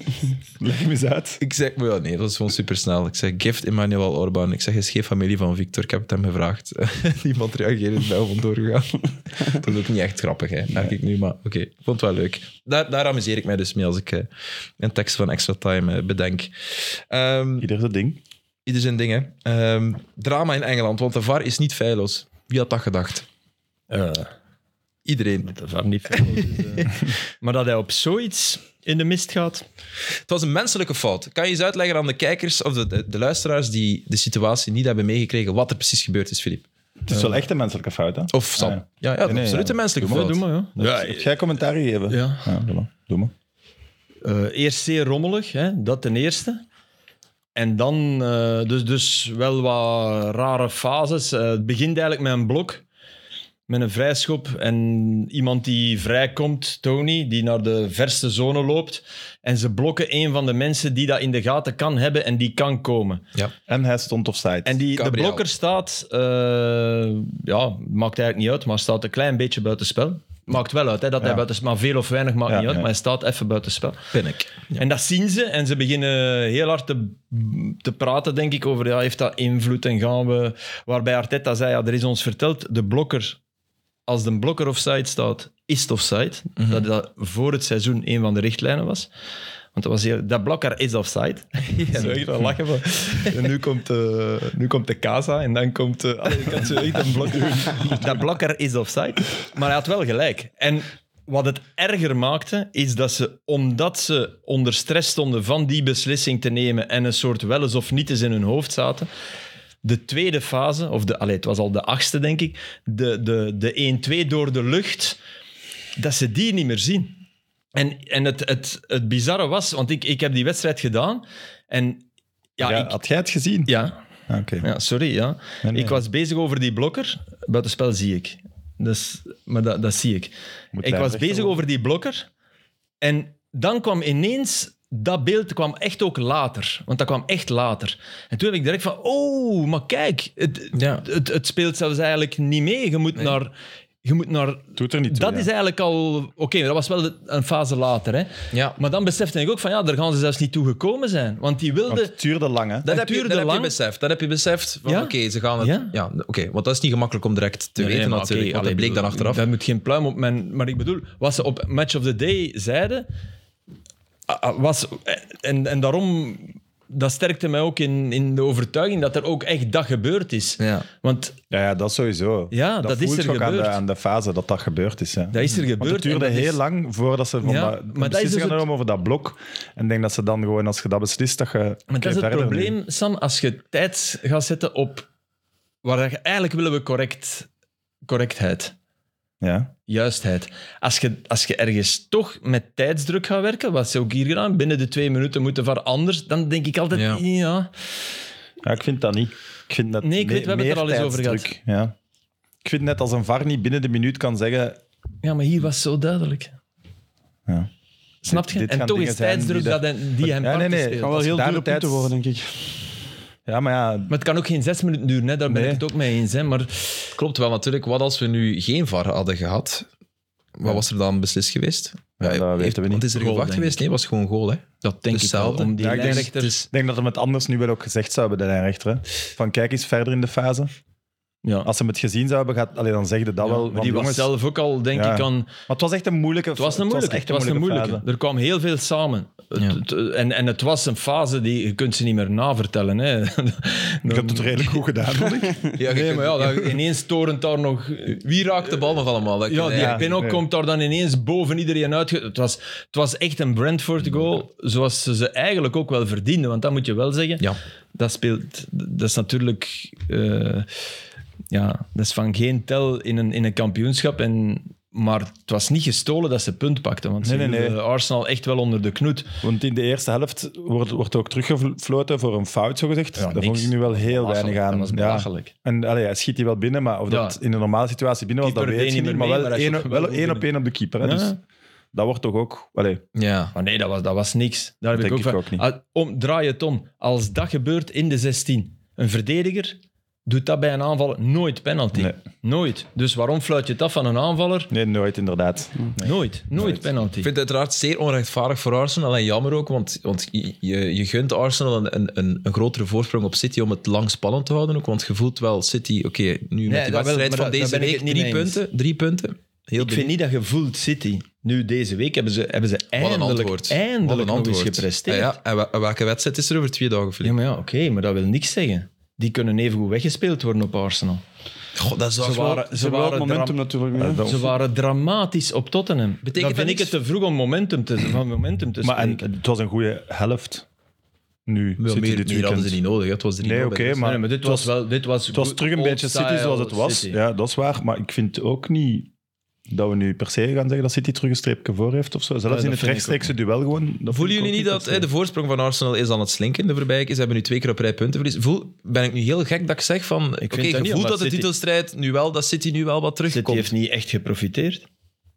Speaker 3: Leg hem eens uit.
Speaker 1: ik zeg, maar ja, nee, dat is gewoon supersnel. Ik zeg, gift Emmanuel Orban. Ik zeg, is geen familie van Victor. Ik heb het hem gevraagd. niemand reageerde, ik ben gewoon doorgegaan. dat is ook niet echt grappig, hè, merk ik nu. Maar oké, ik vond het wel leuk. Daar, daar amuseer ik mij dus mee als ik eh, een tekst van extra time eh, bedenk. Ehm,
Speaker 3: Ieder dat ding.
Speaker 1: Ieder zijn ding, hè. Ehm, drama in Engeland, want de VAR is niet feilloos. Wie had dat gedacht?
Speaker 2: Eh,
Speaker 1: Iedereen.
Speaker 2: dat is niet veel. dus, eh. maar dat hij op zoiets in de mist gaat.
Speaker 1: Het was een menselijke fout. Kan je eens uitleggen aan de kijkers of de, de, de luisteraars die de situatie niet hebben meegekregen wat er precies gebeurd is, Filip?
Speaker 3: Het is wel echt een menselijke fout, hè?
Speaker 1: Of Sam?
Speaker 3: Ah,
Speaker 1: ja,
Speaker 3: ja.
Speaker 1: ja,
Speaker 3: Nee, nee,
Speaker 1: absoluut
Speaker 3: ja.
Speaker 1: een menselijke
Speaker 2: Ja,
Speaker 1: fout.
Speaker 2: doe maar, ja.
Speaker 3: Ja, Jij commentaar geven.
Speaker 2: eh, Ja.
Speaker 3: doe maar. Doe maar.
Speaker 2: Eh, eerst zeer rommelig, hè? dat ten eerste. En dan eh, dus, dus wel wat rare fases. Eh, het begint eigenlijk met een blok, met een vrijschop. En iemand die vrijkomt, Tony, die naar de verste zone loopt. En ze blokken een van de mensen die dat in de gaten kan hebben en die kan komen.
Speaker 3: En hij stond offside.
Speaker 2: En die, de
Speaker 1: Gabriel.
Speaker 2: blokker staat, eh, ja, maakt eigenlijk niet uit, maar staat een klein beetje buitenspel. Maakt wel uit hè, dat hij
Speaker 3: Ja.
Speaker 2: buitenspel, maar veel of weinig maakt
Speaker 3: Ja,
Speaker 2: niet uit,
Speaker 3: ja.
Speaker 2: maar hij staat even buitenspel.
Speaker 1: Ben ik. Ja.
Speaker 2: En dat zien ze en ze beginnen heel hard te, te praten, denk ik, over ja, heeft dat invloed en gaan we... Waarbij Arteta zei, ja, er is ons verteld, de blokker, als de blokker offside staat, is het offside. Dat dat voor het seizoen een van de richtlijnen was. Want dat was heel, dat blokker is offside. Ja. Zo echt wel lachen van, en nu komt, eh, nu komt de Casa en dan komt... eh, allee, ik had zo echt een blokker. dat blokker is offside. Maar hij had wel gelijk. En wat het erger maakte, is dat ze, omdat ze onder stress stonden van die beslissing te nemen en een soort wel eens of niet eens in hun hoofd zaten, de tweede fase, of de, allee, het was al de achtste denk ik, de, de, de 1-2 door de lucht, dat ze die niet meer zien. En, en het, het, het bizarre was, want ik, ik heb die wedstrijd gedaan en ja,
Speaker 3: Ja,
Speaker 2: ik,
Speaker 3: Had jij het gezien?
Speaker 2: ja,
Speaker 3: Ah, Oké.
Speaker 2: ja sorry, ja.
Speaker 3: Nee, nee.
Speaker 2: ik was bezig over die blokker, buitenspel zie ik. Dus, maar dat, dat zie ik.
Speaker 3: Moet
Speaker 2: Ik
Speaker 3: hij
Speaker 2: was
Speaker 3: rechter
Speaker 2: bezig
Speaker 3: worden.
Speaker 2: over die blokker. En dan kwam ineens... Dat beeld kwam echt ook later. Want dat kwam echt later. En toen heb ik direct van... Oh, maar kijk. Het,
Speaker 1: Ja.
Speaker 2: het, het speelt zelfs eigenlijk niet mee. Je moet naar... Je moet naar
Speaker 3: Doet er niet toe,
Speaker 2: dat
Speaker 3: ja.
Speaker 2: is eigenlijk al... Oké, dat was wel de- een fase later. Hè.
Speaker 1: Ja.
Speaker 2: Maar dan besefte ik ook van... Ja, daar gaan ze zelfs niet toe gekomen zijn. Want die wilden...
Speaker 3: Want het duurde lang, hè?
Speaker 1: Dat,
Speaker 2: Het
Speaker 1: heb je,
Speaker 2: duurde
Speaker 1: dat heb je
Speaker 2: lang.
Speaker 1: beseft. Dat heb je beseft. van,
Speaker 2: Ja.
Speaker 1: Oké, ze gaan het... Ja.
Speaker 2: Ja.
Speaker 1: oké, want dat is niet gemakkelijk om direct te
Speaker 2: Nee,
Speaker 1: weten
Speaker 2: maar
Speaker 1: natuurlijk.
Speaker 2: oké,
Speaker 1: want dat
Speaker 2: allee,
Speaker 1: bleek dan
Speaker 2: bedoel,
Speaker 1: achteraf.
Speaker 2: Daar moet geen pluim op mijn... Maar ik bedoel, wat ze op Match of the Day zeiden... ah, ah, Was, en, en daarom... Dat sterkte mij ook in, in de overtuiging dat er ook echt dat gebeurd is.
Speaker 1: Ja.
Speaker 2: Want
Speaker 3: Ja, ja, dat sowieso.
Speaker 2: Ja, dat is
Speaker 3: voelt
Speaker 2: er
Speaker 3: je ook aan de,
Speaker 2: gebeurd.
Speaker 3: aan de fase dat dat gebeurd is. Hè.
Speaker 2: dat is er gebeurd.
Speaker 3: Want het duurde
Speaker 2: en dat
Speaker 3: heel
Speaker 2: is-
Speaker 3: lang voordat ze van
Speaker 2: Ja,
Speaker 3: dat,
Speaker 2: maar
Speaker 3: de
Speaker 2: dat is
Speaker 3: beslissing
Speaker 2: dus
Speaker 3: gaan
Speaker 2: het-
Speaker 3: nemen over dat blok. En ik denk dat ze dan gewoon, als je dat beslist, dat je
Speaker 2: Maar
Speaker 3: oké,
Speaker 2: dat is het
Speaker 3: verder nu.
Speaker 2: probleem, Sam, als je tijd gaat zetten op... Waar je- eigenlijk willen we correct, correctheid.
Speaker 3: Ja.
Speaker 2: Juistheid. Als je, als je ergens toch met tijdsdruk gaat werken, wat ze ook hier gedaan, binnen de twee minuten moeten van anders, dan denk ik altijd,
Speaker 1: Ja.
Speaker 2: ja
Speaker 3: ja, ik vind dat niet. Ik vind dat
Speaker 2: Nee, ik weet, we hebben het er
Speaker 3: meer
Speaker 2: al eens over
Speaker 3: tijdsdruk, Ja. Ik vind net als een VAR niet binnen de minuut kan zeggen...
Speaker 2: Ja, maar hier was zo duidelijk.
Speaker 3: Ja.
Speaker 2: Snap je?
Speaker 3: Dit- dit
Speaker 2: en
Speaker 3: gaan
Speaker 2: toch is
Speaker 3: dingen zijn
Speaker 2: tijdsdruk
Speaker 3: die
Speaker 2: dat
Speaker 3: dat-
Speaker 2: hij- die hem dus
Speaker 3: Ja, nee,
Speaker 2: parten
Speaker 3: nee.
Speaker 2: speelt.
Speaker 4: kan wel
Speaker 3: Als
Speaker 4: heel
Speaker 3: daar
Speaker 4: duur op
Speaker 3: de tijd-
Speaker 4: punten worden, denk ik.
Speaker 3: Ja, maar ja,
Speaker 2: Maar het kan ook geen zes minuten duren, hè? daar ben
Speaker 3: Nee.
Speaker 2: ik het ook mee eens. Hè? Maar
Speaker 1: Klopt wel natuurlijk. Wat als we nu geen VAR hadden gehad? Wat was er dan beslist geweest?
Speaker 3: Ja, dat weten we niet.
Speaker 1: Want is er
Speaker 2: Goal,
Speaker 1: gewacht
Speaker 2: denk
Speaker 1: geweest? Nee, was gewoon goal, hè?
Speaker 2: dat denk ik
Speaker 1: Hetzelfde.
Speaker 2: wel. Om die
Speaker 3: Ja, ik denk-
Speaker 2: lijnrechter-
Speaker 3: ik denk dat hem het anders nu wel ook gezegd zou hebben, de lijnrechter. hè. Van kijk eens verder in de fase.
Speaker 2: Ja.
Speaker 3: Als ze hem het gezien zouden hebben, gaat, allee, dan zeg je dat
Speaker 2: Ja,
Speaker 3: wel.
Speaker 2: maar
Speaker 3: van,
Speaker 2: die
Speaker 3: jongens,
Speaker 2: was zelf ook al, denk
Speaker 3: Ja.
Speaker 2: ik, aan...
Speaker 3: Maar het was echt een moeilijke
Speaker 2: Het was een moeilijke. Het was een moeilijke. Er kwam heel veel samen. Het-
Speaker 1: Ja.
Speaker 2: het- en, en het was een fase die je kunt ze niet meer navertellen. Hè.
Speaker 3: Ik heb het redelijk goed gedaan, vond ik.
Speaker 1: Ja, je
Speaker 2: nee,
Speaker 1: kunt-
Speaker 2: maar ja, dat- ineens torent daar nog...
Speaker 1: Wie raakt de bal nog allemaal? Dat
Speaker 2: Ja,
Speaker 1: kan-
Speaker 2: die
Speaker 1: ja.
Speaker 2: Pinnock
Speaker 3: nee.
Speaker 2: komt daar dan ineens boven iedereen uit. Het was, het was echt een Brentford goal, zoals ze ze eigenlijk ook wel verdienden. Want dat moet je wel zeggen.
Speaker 1: Ja.
Speaker 2: Dat speelt... Dat is natuurlijk... eh, ja, dat is van geen tel in een, in een kampioenschap. En, maar het was niet gestolen dat ze punt pakten. Want ze
Speaker 3: Nee, nee,
Speaker 2: hielden Arsenal echt wel onder de knoet.
Speaker 3: Want in de eerste helft wordt, wordt ook teruggefloten voor een fout, zogezegd.
Speaker 2: Ja,
Speaker 3: Daar
Speaker 2: niks.
Speaker 3: vond ik nu wel heel
Speaker 2: Belachelijk.
Speaker 3: weinig aan.
Speaker 2: Dat was
Speaker 3: Ja.
Speaker 2: belachelijk.
Speaker 3: En allee, hij schiet die wel binnen, maar of
Speaker 2: Ja.
Speaker 3: dat in een normale situatie binnen was, dat
Speaker 2: Keeper
Speaker 3: weet
Speaker 2: deed
Speaker 3: je
Speaker 2: niet
Speaker 3: niet.
Speaker 2: meer
Speaker 3: Maar
Speaker 2: mee,
Speaker 3: wel
Speaker 2: maar hij
Speaker 3: één
Speaker 2: schoot wel
Speaker 3: wel
Speaker 2: goed
Speaker 3: één op
Speaker 2: binnen.
Speaker 3: één op de keeper. Hè,
Speaker 2: Ja.
Speaker 3: dus dat wordt toch ook... Allee,
Speaker 1: Ja.
Speaker 2: Maar nee, dat was, dat was niks. Daar heb
Speaker 3: Denk
Speaker 2: ik ook
Speaker 3: ik
Speaker 2: van.
Speaker 3: ook niet.
Speaker 2: Ah, Om, draai het om. Als dat gebeurt in de 16, een verdediger doet dat bij een aanvaller nooit penalty.
Speaker 3: Nee.
Speaker 2: Nooit. Dus waarom fluit je het af van een aanvaller?
Speaker 3: nee, nooit inderdaad.
Speaker 2: Nooit. Nooit, penalty.
Speaker 1: Ik vind het uiteraard zeer onrechtvaardig voor Arsenal en jammer ook, want, want je- je, je gunt Arsenal een, een, een, een grotere voorsprong op City om het lang spannend te houden ook, want je voelt wel City, oké, nu met
Speaker 2: dat
Speaker 1: die
Speaker 2: wel,
Speaker 1: wedstrijd
Speaker 2: maar
Speaker 1: van
Speaker 2: dat- daar
Speaker 1: deze
Speaker 2: ben ik
Speaker 1: week,
Speaker 2: het niet
Speaker 1: drie
Speaker 2: mee eens.
Speaker 1: punten, drie punten. Heel
Speaker 2: Ik vind niet dat je voelt City. Nu, deze week hebben ze, hebben ze
Speaker 1: Wat een
Speaker 2: eindelijk,
Speaker 1: antwoord.
Speaker 2: eindelijk
Speaker 1: Wat een
Speaker 2: nog eens
Speaker 1: antwoord.
Speaker 2: gepresteerd.
Speaker 1: Ah ja, en wel- en welke wedstrijd is er over twee dagen,
Speaker 2: Ja,
Speaker 1: Filip?
Speaker 2: maar ja, oké, maar dat wil niks zeggen. Die kunnen evengoed weggespeeld worden op Arsenal.
Speaker 1: Goh, dat zou
Speaker 2: Ze
Speaker 1: wel-
Speaker 2: waren, ze
Speaker 4: hebben wel
Speaker 2: waren,
Speaker 4: het momentum
Speaker 2: dram- Eh,
Speaker 4: natuurlijk.
Speaker 3: Ja,
Speaker 4: hè.
Speaker 3: dat-
Speaker 2: ze waren dramatisch op Tottenham.
Speaker 1: Betekent
Speaker 2: Dan
Speaker 1: dat
Speaker 2: vind ik het
Speaker 1: niks?
Speaker 2: te vroeg om momentum te, van momentum te
Speaker 3: maar en,
Speaker 2: spreken.
Speaker 3: het was een goede helft. Nu,
Speaker 1: Wel
Speaker 3: City
Speaker 1: meer,
Speaker 3: dit
Speaker 1: meer
Speaker 3: weekend.
Speaker 1: hadden ze niet nodig. hè. Het was er niet
Speaker 3: Nee,
Speaker 1: nodig.
Speaker 3: oké, maar-
Speaker 2: Nee, nee, maar dit
Speaker 3: het
Speaker 2: was
Speaker 3: was-
Speaker 2: wel... Dit was
Speaker 3: Het was terug een
Speaker 2: old
Speaker 3: beetje City
Speaker 2: style
Speaker 3: zoals het was.
Speaker 2: City.
Speaker 3: Ja, dat is waar. Maar ik vind ook niet dat we nu per se gaan zeggen dat City terug een streepje voor heeft of zo. Zelfs
Speaker 2: dat
Speaker 3: in het
Speaker 2: vind ik
Speaker 3: rechtstreekse duel gewoon. dat vind
Speaker 1: Voelen
Speaker 3: ik
Speaker 1: jullie
Speaker 3: ook
Speaker 1: niet dat
Speaker 3: per se.
Speaker 1: hè, de voorsprong van Arsenal is aan het slinken de voorbije keer? Ze hebben nu twee keer op rij punten verliezen. Voel, ben ik nu heel gek dat ik zeg van... Oké,
Speaker 2: dat
Speaker 1: je
Speaker 2: niet,
Speaker 1: voelt
Speaker 2: omdat
Speaker 1: dat de
Speaker 2: City-
Speaker 1: titelstrijd nu wel, dat City nu wel wat
Speaker 2: City
Speaker 1: terugkomt.
Speaker 2: heeft niet echt geprofiteerd.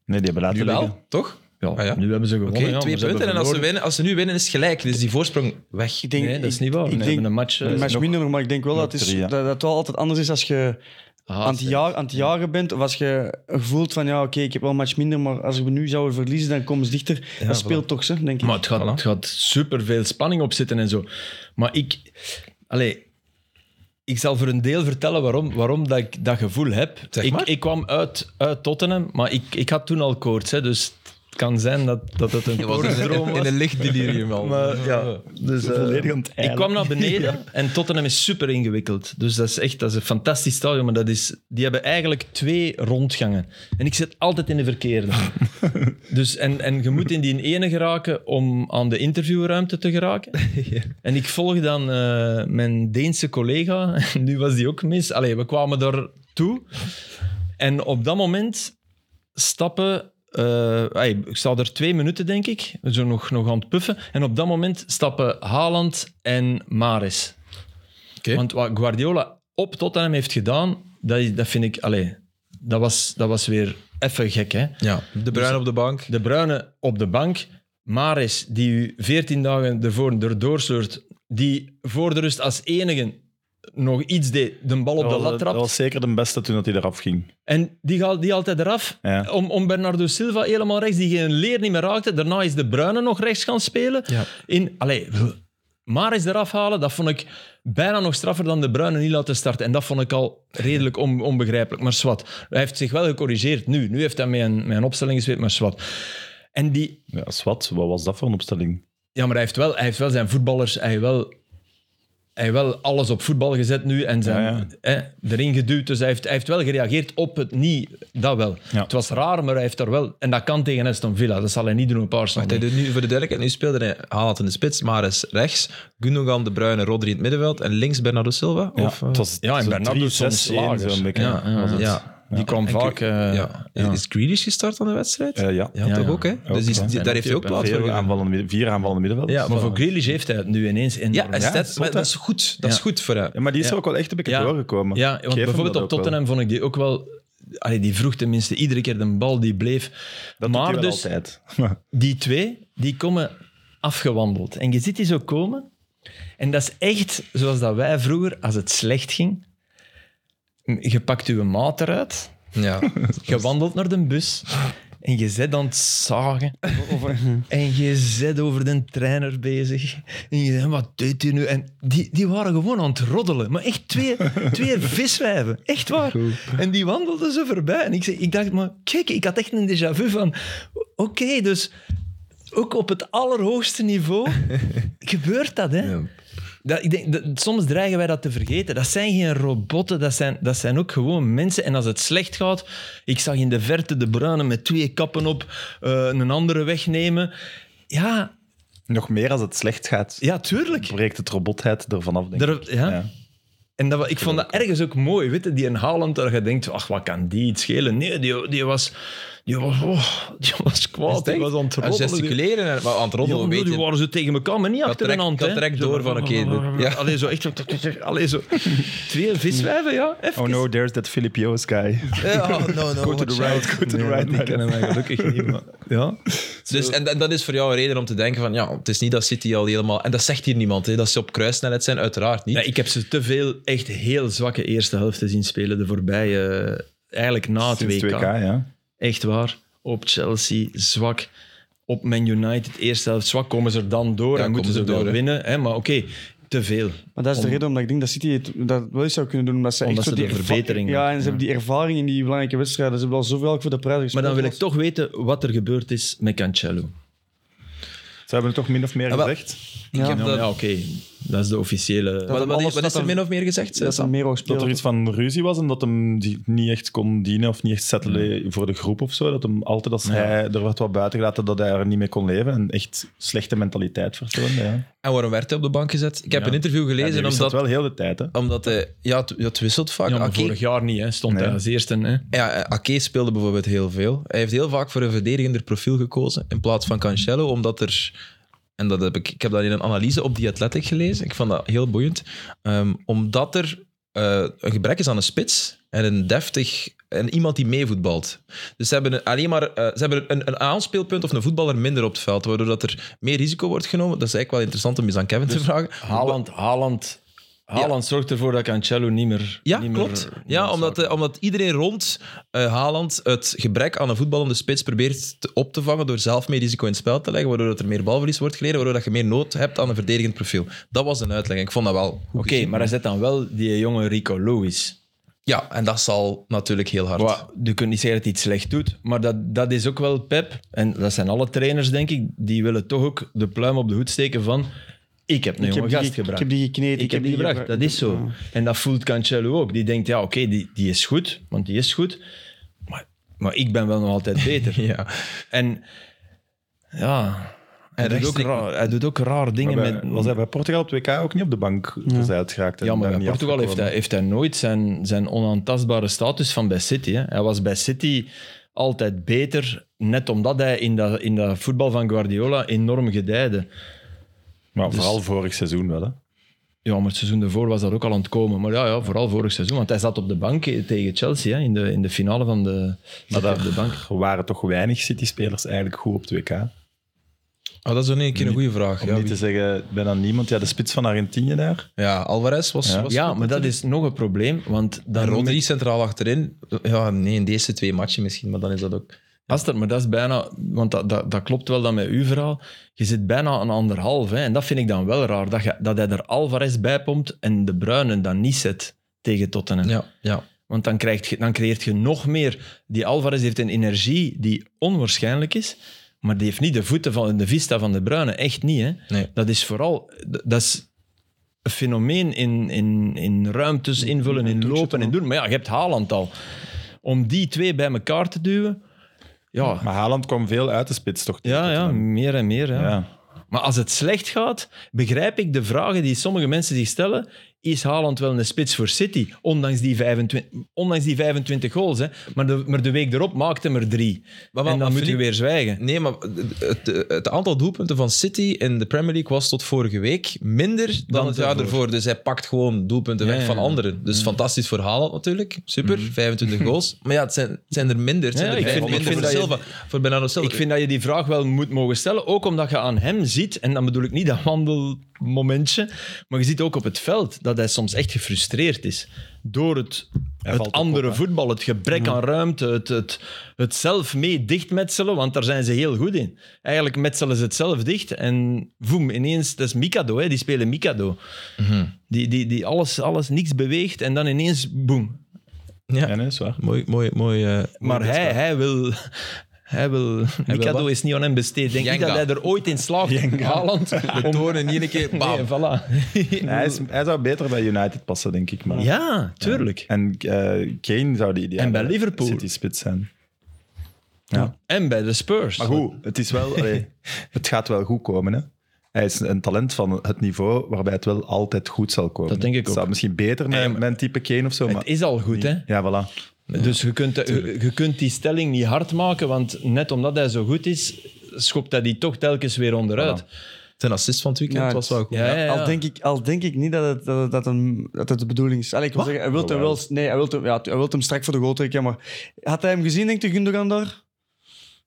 Speaker 3: Nee, die hebben laten
Speaker 1: Nu
Speaker 3: liggen.
Speaker 1: wel, toch?
Speaker 2: Ja,
Speaker 1: Ah ja.
Speaker 2: Nu hebben ze
Speaker 1: Oké,
Speaker 2: gewonnen. ja, maar
Speaker 1: twee
Speaker 2: ze hebben
Speaker 1: punten. En als ze,
Speaker 2: verloren.
Speaker 1: winnen, als ze nu winnen, is het gelijk. Dus die voorsprong weg.
Speaker 4: Ik denk,
Speaker 2: Nee, dat is
Speaker 4: ik-
Speaker 2: niet waar.
Speaker 4: Ik
Speaker 2: We
Speaker 4: denk,
Speaker 2: hebben een match... eh,
Speaker 4: een match
Speaker 2: nog-
Speaker 4: minder, nog, maar ik denk wel dat het, is,
Speaker 3: drie, ja.
Speaker 4: dat, dat het wel altijd anders is als je
Speaker 2: Ah,
Speaker 4: aan het, jaar, aan het jagen bent. Of als je voelt van, ja, oké, ik heb wel een match minder, maar als we nu zouden verliezen, dan komen ze dichter. dat speelt toch, ze, denk ik.
Speaker 2: Maar het gaat,
Speaker 1: Voilà.
Speaker 2: het gaat superveel spanning op zitten en zo. Maar ik... Allee, ik zal voor een deel vertellen waarom, waarom dat ik dat gevoel heb.
Speaker 1: Zeg
Speaker 2: ik,
Speaker 1: maar.
Speaker 2: ik kwam uit, uit Tottenham, maar ik, ik had toen al koorts. Hè, dus het kan zijn dat, dat het een koortsdroom was.
Speaker 1: in een licht delirium al.
Speaker 2: Maar ja, dus, eh,
Speaker 3: Volledig aan het
Speaker 2: ik
Speaker 3: eilen.
Speaker 2: kwam naar beneden en Tottenham is super ingewikkeld. Dus dat is echt dat is een fantastisch stadion. Maar dat is, die hebben eigenlijk twee rondgangen. En ik zit altijd in de verkeerde. dus, en, en je moet in die ene geraken om aan de interviewruimte te geraken. En ik volg dan eh, mijn Deense collega. nu was die ook mis. Allee, we kwamen daar toe. En op dat moment stappen. eh, ai, ik sta er twee minuten, denk ik. Zo nog, nog aan het puffen. En op dat moment stappen Haaland en Maris.
Speaker 1: Oké.
Speaker 2: Want wat Guardiola op Tottenham heeft gedaan, dat, is- dat vind ik. Allee, dat, was, dat was weer even gek. Hè?
Speaker 1: Ja,
Speaker 2: Dus-
Speaker 1: de bruin op de bank.
Speaker 2: De Bruine op de bank. Maris, die u 14 dagen ervoor erdoor sleurt. Die voor de rust als enige nog iets deed. De bal op
Speaker 3: Dat
Speaker 2: de
Speaker 3: was-
Speaker 2: lat
Speaker 3: Dat
Speaker 2: trapt.
Speaker 3: was zeker de beste toen dat hij eraf ging.
Speaker 2: En die gaat die altijd eraf.
Speaker 3: Ja.
Speaker 2: Om, om Bernardo Silva helemaal rechts, die geen leer niet meer raakte. Daarna is De Bruyne nog rechts gaan spelen.
Speaker 1: Ja.
Speaker 2: In, allee, Maris eraf halen, dat vond ik bijna nog straffer dan De Bruyne niet laten starten. En dat vond ik al redelijk on- onbegrijpelijk. Maar zwart, hij heeft zich wel gecorrigeerd nu. Nu heeft hij mijn, mijn opstelling gespeeld, maar zwart. En die,
Speaker 3: Ja, Swat, wat was dat voor een opstelling?
Speaker 2: ja, maar hij heeft wel, hij heeft wel zijn voetballers, hij heeft wel, hij heeft wel alles op voetbal gezet nu en zijn,
Speaker 3: Ja, ja.
Speaker 2: Hè, erin geduwd. Dus hij heeft, hij heeft wel gereageerd op het niet, dat wel.
Speaker 3: Ja.
Speaker 2: Het was raar, maar hij heeft daar wel, en dat kan tegen Aston Villa, dat zal hij niet doen op Arsenal.
Speaker 1: Wacht, hij doet nu voor de duidelijkheid. Nu speelde hij Haaland in de spits, Maris rechts, Gundogan, De Bruyne, Rodri in het middenveld en links Bernardo Silva.
Speaker 3: Ja,
Speaker 1: of, eh,
Speaker 3: het was,
Speaker 2: ja, en
Speaker 3: zo'n
Speaker 2: Bernardo
Speaker 3: 3-6-1
Speaker 2: soms lager.
Speaker 3: zo'n beetje,
Speaker 2: Ja, ja,
Speaker 3: was het.
Speaker 1: ja.
Speaker 2: Die kwam
Speaker 1: En
Speaker 2: vaak... eh,
Speaker 1: ja.
Speaker 2: ja.
Speaker 1: Is Grealish gestart aan de wedstrijd?
Speaker 3: Eh, ja.
Speaker 1: ja,
Speaker 2: Ja,
Speaker 1: toch
Speaker 2: ja.
Speaker 1: ook, hè?
Speaker 3: Ook,
Speaker 1: dus die,
Speaker 3: ja.
Speaker 1: die-
Speaker 2: En
Speaker 1: daar heeft hij ook
Speaker 2: natuurlijk,
Speaker 1: plaats voor
Speaker 3: Vier
Speaker 1: gedaan.
Speaker 3: aanvallende, midden- vier aanvallende middenvelders.
Speaker 1: Ja,
Speaker 2: Maar voor Grealish heeft hij het nu ineens enorm.
Speaker 1: Ja, en
Speaker 3: Ja,
Speaker 1: Stet-
Speaker 3: zot,
Speaker 1: maar
Speaker 3: hè?
Speaker 1: dat is goed. Dat is
Speaker 2: Ja.
Speaker 1: goed voor hem.
Speaker 3: Ja, maar die is
Speaker 2: Ja.
Speaker 3: er ook wel echt een beetje
Speaker 2: Ja.
Speaker 3: doorgekomen.
Speaker 2: Ja, want
Speaker 3: Geef hem
Speaker 2: bijvoorbeeld op
Speaker 3: dat ook wel.
Speaker 2: Tottenham vond ik die ook wel... Allee, die vroeg tenminste iedere keer de bal, die bleef.
Speaker 3: Dat doet
Speaker 2: maar
Speaker 3: hij wel
Speaker 2: dus,
Speaker 3: altijd.
Speaker 2: die twee, die komen afgewandeld. En je ziet die zo komen. En dat is echt zoals dat wij vroeger, als het slecht ging... Je pakt je maat eruit,
Speaker 1: Ja.
Speaker 2: je wandelt naar de bus... En je zet aan het zagen.
Speaker 4: Of- of-
Speaker 2: En je zet over de trainer bezig. En je zegt, wat deed hij nu? En die, die waren gewoon aan het roddelen. Maar echt twee, twee viswijven. Echt waar. En die wandelden ze voorbij. En ik, zei- ik dacht, maar kijk, ik had echt een déjà vu van... Oké, dus ook op het allerhoogste niveau gebeurt dat, hè?
Speaker 1: Ja.
Speaker 2: Dat, ik denk, dat, soms dreigen wij dat te vergeten. Dat zijn geen robotten, dat zijn, dat zijn ook gewoon mensen. En als het slecht gaat, ik zag in de verte de bruine met twee kappen op eh, een andere wegnemen. Ja,
Speaker 3: Nog meer als het slecht gaat,
Speaker 2: ja tuurlijk.
Speaker 3: breekt het robotheid ervan af, denk ik.
Speaker 2: Er- ja.
Speaker 3: Ja.
Speaker 2: En dat, wa- ik vond dat ergens ook mooi. Weet je, die in Haaland, dat je denkt, ach, wat kan die iets schelen? Nee, die, die was... Die was, oh, die was kwaad, die
Speaker 1: denk-
Speaker 2: was aan het
Speaker 1: En
Speaker 2: roddelen. Die-
Speaker 1: gesticuleren en maar aan het roddelen,
Speaker 2: Ja,
Speaker 1: weet
Speaker 2: die
Speaker 1: je.
Speaker 2: waren ze tegen elkaar, maar niet
Speaker 1: Dat
Speaker 2: achter
Speaker 1: trekt-
Speaker 2: een hand.
Speaker 1: dat
Speaker 2: hè.
Speaker 1: trekt
Speaker 2: Zo
Speaker 1: door
Speaker 2: van,
Speaker 1: van, oké, dit- ja.
Speaker 2: Allee, zo echt. Allee, zo. Twee viswijven, ja. Even.
Speaker 3: Oh no, there's that Filipio guy.
Speaker 1: Eh, oh, no, no,
Speaker 3: Go to
Speaker 1: watch
Speaker 3: the
Speaker 1: out.
Speaker 3: right, go to the
Speaker 2: Nee,
Speaker 3: right.
Speaker 2: die kennen mij gelukkig niet, maar... Ja.
Speaker 1: Dus, en, en dat is voor jou een reden om te denken van, ja, het is niet dat City al helemaal... En dat zegt hier niemand, hè, dat ze op kruissnelheid zijn, uiteraard niet.
Speaker 2: Nee, ik heb ze te veel echt heel zwakke eerste helften zien spelen de voorbije... eh, Eigenlijk na het
Speaker 3: Sinds
Speaker 2: WK.
Speaker 3: 2K, ja.
Speaker 2: Echt waar. Op Chelsea, zwak. Op Man United, eerste helft zwak. Komen ze er dan door
Speaker 1: Ja,
Speaker 2: en moeten ze
Speaker 1: komen ze
Speaker 2: wel
Speaker 1: door, hè.
Speaker 2: winnen. Hè? Maar oké, te veel.
Speaker 4: Maar dat is de
Speaker 2: Om-
Speaker 4: reden omdat ik denk dat City het dat wel eens zou kunnen doen. Omdat ze
Speaker 2: Omdat
Speaker 4: echt zo
Speaker 2: ze
Speaker 4: die
Speaker 2: de
Speaker 4: erva-
Speaker 2: verbetering
Speaker 4: Ja, en ze
Speaker 2: hebben.
Speaker 4: hebben die ervaring in die belangrijke wedstrijden. Ze hebben al zoveel voor de prijs
Speaker 2: Maar
Speaker 4: gespeeld.
Speaker 2: dan wil ik
Speaker 4: als-
Speaker 2: toch weten wat er gebeurd is met Cancelo.
Speaker 3: Ze hebben het toch min of meer
Speaker 1: Ah, wel.
Speaker 3: gezegd?
Speaker 4: Ja,
Speaker 1: heb
Speaker 2: Ja,
Speaker 4: dat,
Speaker 1: dat-
Speaker 2: maar ja, oké. Dat is de officiële...
Speaker 1: Wat, wat,
Speaker 4: alles
Speaker 1: is- wat is
Speaker 4: dat
Speaker 1: er
Speaker 4: er-
Speaker 1: min of meer gezegd?
Speaker 4: dat ze
Speaker 1: Sam?
Speaker 4: meer ook spelen.
Speaker 3: Dat er iets van ruzie was en dat hem die niet echt kon dienen of niet echt settelen
Speaker 2: Mm.
Speaker 3: voor de groep of zo. Dat hem altijd als hij er werd wat buiten gelaten, dat hij er niet mee kon leven. En echt slechte mentaliteit vertoonde. Ja.
Speaker 1: En waarom werd hij op de bank gezet? Ik heb
Speaker 2: Ja.
Speaker 1: een interview
Speaker 3: Ja, die
Speaker 1: gelezen
Speaker 3: wist dat
Speaker 1: omdat,
Speaker 3: wel heel de tijd. Hè.
Speaker 1: omdat hij... Ja, het, ja, het wisselt vaak.
Speaker 2: Ja, maar
Speaker 1: Ake-
Speaker 2: vorig jaar niet, hè. stond
Speaker 3: Nee.
Speaker 2: hij als eerste. Hè.
Speaker 1: Ja, eh, Ake speelde bijvoorbeeld heel veel. Hij heeft heel vaak voor een verdedigender profiel gekozen in plaats van Cancelo, omdat er... En dat heb ik, ik heb dat in een analyse op The Athletic gelezen. Ik vond dat heel boeiend. Ehm, omdat er eh, een gebrek is aan een spits en een deftig... En iemand die meevoetbalt. Dus ze hebben een- alleen maar eh, ze hebben een, een aanspeelpunt of een voetballer minder op het veld, waardoor dat er meer risico wordt genomen. Dat is eigenlijk wel interessant om eens aan Kevin te vragen.
Speaker 2: Haaland, Haaland, Haaland zorgt ervoor dat Cancelo niet meer...
Speaker 1: Ja,
Speaker 2: niet meer-
Speaker 1: klopt.
Speaker 2: niet meer
Speaker 1: Ja, omdat, eh, omdat iedereen rond eh, Haaland het gebrek aan een voetballende spits probeert te- op te vangen door zelf meer risico in het spel te leggen, waardoor dat er meer balverlies wordt geleden, waardoor dat je meer nood hebt aan een verdedigend profiel. Dat was een uitleg. Ik vond dat wel goed.
Speaker 2: Oké,
Speaker 1: gezien.
Speaker 2: maar hij zet dan wel die jonge Rico Lewis.
Speaker 1: Ja, en dat zal natuurlijk heel hard.
Speaker 2: Wa- je kunt niet zeggen dat hij het slecht doet, maar dat, dat is ook wel Pep. En dat zijn alle trainers, denk ik, die willen toch ook de pluim op de hoed steken van ik heb een
Speaker 4: Ik
Speaker 2: jonge
Speaker 4: heb, die,
Speaker 2: gast
Speaker 4: ge- ik
Speaker 2: gebracht.
Speaker 4: heb die gekneed.
Speaker 2: Ik, heb die gebracht, dat is zo. En dat voelt Cancelo ook. Die denkt, ja, oké, die, die is goed, want die is goed. Maar, maar ik ben wel nog altijd beter.
Speaker 1: Ja.
Speaker 2: En ja, hij, doet ook
Speaker 1: rechtstreeks-
Speaker 2: raar, hij doet ook raar dingen
Speaker 3: Maar bij-
Speaker 2: met...
Speaker 3: was hij bij Portugal op 2K ook niet op de bank verzeild geraakt? en
Speaker 2: Ja, maar
Speaker 3: daar
Speaker 2: bij
Speaker 3: niet
Speaker 2: Portugal heeft hij,
Speaker 3: afgekomen?
Speaker 2: heeft hij nooit zijn, zijn onaantastbare status van bij City. Hè. Hij was bij City altijd beter, net omdat hij in dat, in dat voetbal van Guardiola enorm gedijde.
Speaker 3: Maar
Speaker 2: Dus-
Speaker 3: vooral vorig seizoen wel. Hè.
Speaker 2: Ja, maar het seizoen daarvoor was dat ook al aan het komen. Maar ja, ja vooral vorig seizoen. Want hij zat op de bank eh, tegen Chelsea hè, in, de, in de finale van de...
Speaker 3: Maar
Speaker 2: zat hij op de bank.
Speaker 3: daar waren toch weinig City-spelers eigenlijk goed op 2K.
Speaker 1: Oh, dat is dan een keer een goede vraag.
Speaker 3: Om
Speaker 1: Ja,
Speaker 3: niet te
Speaker 1: wie-
Speaker 3: zeggen, bijna niemand. Ja, de spits van Argentinië daar.
Speaker 1: ja, Alvarez was.
Speaker 3: Ja.
Speaker 1: was
Speaker 2: Ja,
Speaker 1: goed.
Speaker 2: maar dat is nog een probleem. Want dan
Speaker 1: En Rodri centraal achterin. Ja, nee, in deze twee matchen misschien, maar dan is dat ook.
Speaker 2: Als dat, maar dat is bijna, want dat, dat, dat klopt wel dan met uw verhaal. Je zit bijna een anderhalf. Hè, en dat vind ik dan wel raar. Dat, je, dat hij er Alvarez bij pompt en de Bruinen dan niet zet tegen Tottenham.
Speaker 1: Ja, ja.
Speaker 2: Want dan, krijgt je, dan creëert je nog meer. Die Alvarez heeft een energie die onwaarschijnlijk is. Maar die heeft niet de voeten van de vista van de Bruinen. Echt niet. Hè.
Speaker 1: Nee.
Speaker 2: Dat is vooral. d- Dat is een fenomeen in, in, in ruimtes invullen, in lopen en doen. Maar ja, je hebt Haaland al. Om die twee bij elkaar te duwen. Ja,
Speaker 3: Maar Haaland kwam veel uit de spits, toch?
Speaker 2: ja, ja, meer en meer. Ja.
Speaker 3: ja.
Speaker 2: Maar als het slecht gaat, begrijp ik de vragen die sommige mensen zich stellen. Is Haaland wel een spits voor City? Ondanks die 25, ondanks die 25 goals. Hè. Maar, de, maar de week erop maakte hem er drie.
Speaker 1: Maar wat-
Speaker 2: en dan
Speaker 1: maar
Speaker 2: moet je
Speaker 1: Philippe-
Speaker 2: weer zwijgen.
Speaker 1: Nee, maar het, het, het aantal doelpunten van City in de Premier League was tot vorige week minder dan,
Speaker 2: Dan
Speaker 1: het jaar
Speaker 2: daarvoor.
Speaker 1: ervoor. Dus hij pakt gewoon doelpunten
Speaker 2: Ja,
Speaker 1: weg
Speaker 2: ja,
Speaker 1: van
Speaker 2: ja. Mm. Mm-hmm.
Speaker 1: anderen. Dus fantastisch voor Haaland natuurlijk. Super, 25 goals. Maar ja, het zijn, het zijn er minder. Het zijn
Speaker 2: Ja,
Speaker 1: er
Speaker 2: ik vind-
Speaker 1: minder
Speaker 2: ik vind
Speaker 1: voor,
Speaker 2: dat
Speaker 1: Silva, voor Bernardo Silva.
Speaker 2: Ik vind dat je die vraag wel moet mogen stellen. Ook omdat je aan hem ziet, en dan bedoel ik niet dat wandelmomentje, maar je ziet ook op het veld dat hij soms echt gefrustreerd is. Door het,
Speaker 3: valt
Speaker 2: het
Speaker 3: ook
Speaker 2: andere
Speaker 3: op, hè.
Speaker 2: voetbal, het gebrek aan ruimte, het, het, het zelf mee dichtmetselen, want daar zijn ze heel goed in. Eigenlijk metselen ze het zelf dicht en voem, ineens, dat is Mikado, hè, die spelen Mikado.
Speaker 3: Mhm.
Speaker 2: Die, die, die alles, alles, niks beweegt en dan ineens, boem.
Speaker 1: ja.
Speaker 3: ja, nee, is waar.
Speaker 1: Mooi, mooi, mooi. eh,
Speaker 2: Maar
Speaker 1: mooi
Speaker 2: hij, hij wil... Hij wil... Mikado
Speaker 1: wat?
Speaker 2: is niet aan hem besteed. Denk ik
Speaker 1: Jenga.
Speaker 2: dat hij er ooit in slaagt. Haaland.
Speaker 1: De toren hier een keer. bam.
Speaker 2: Nee, voilà.
Speaker 3: Hij, is, hij zou beter bij United passen, denk ik. Maar.
Speaker 2: Ja, tuurlijk.
Speaker 3: En eh, Kane zou de ideale
Speaker 2: En bij Liverpool.
Speaker 3: City-spits zijn.
Speaker 2: En bij de Spurs.
Speaker 3: Maar goed, het, is wel, allee, het gaat wel goed komen. Hè? Hij is een talent van het niveau waarbij het wel altijd goed zal komen.
Speaker 2: Dat denk ik
Speaker 3: Het zou
Speaker 2: ook.
Speaker 3: misschien beter met,
Speaker 2: Nee, maar-
Speaker 3: met een type Kane of zo, maar...
Speaker 2: Het is al goed, hè.
Speaker 3: Ja, voilà.
Speaker 2: Dus je kunt, je, je kunt die stelling niet hard maken, want net omdat hij zo goed is, schopt hij die toch telkens weer onderuit.
Speaker 1: Zijn assist van het weekend
Speaker 4: Ja,
Speaker 1: was wel goed.
Speaker 2: Ja, ja, ja.
Speaker 4: Al, denk ik, al denk ik niet dat het, dat het, dat hem- dat het de bedoeling is. Allee, ik wil zeggen, hij wil hem wel... Nee, hij wil hem, ja, hij wil hem strak voor de goal trekken, maar... Had hij hem gezien, denkt de Gundogan daar?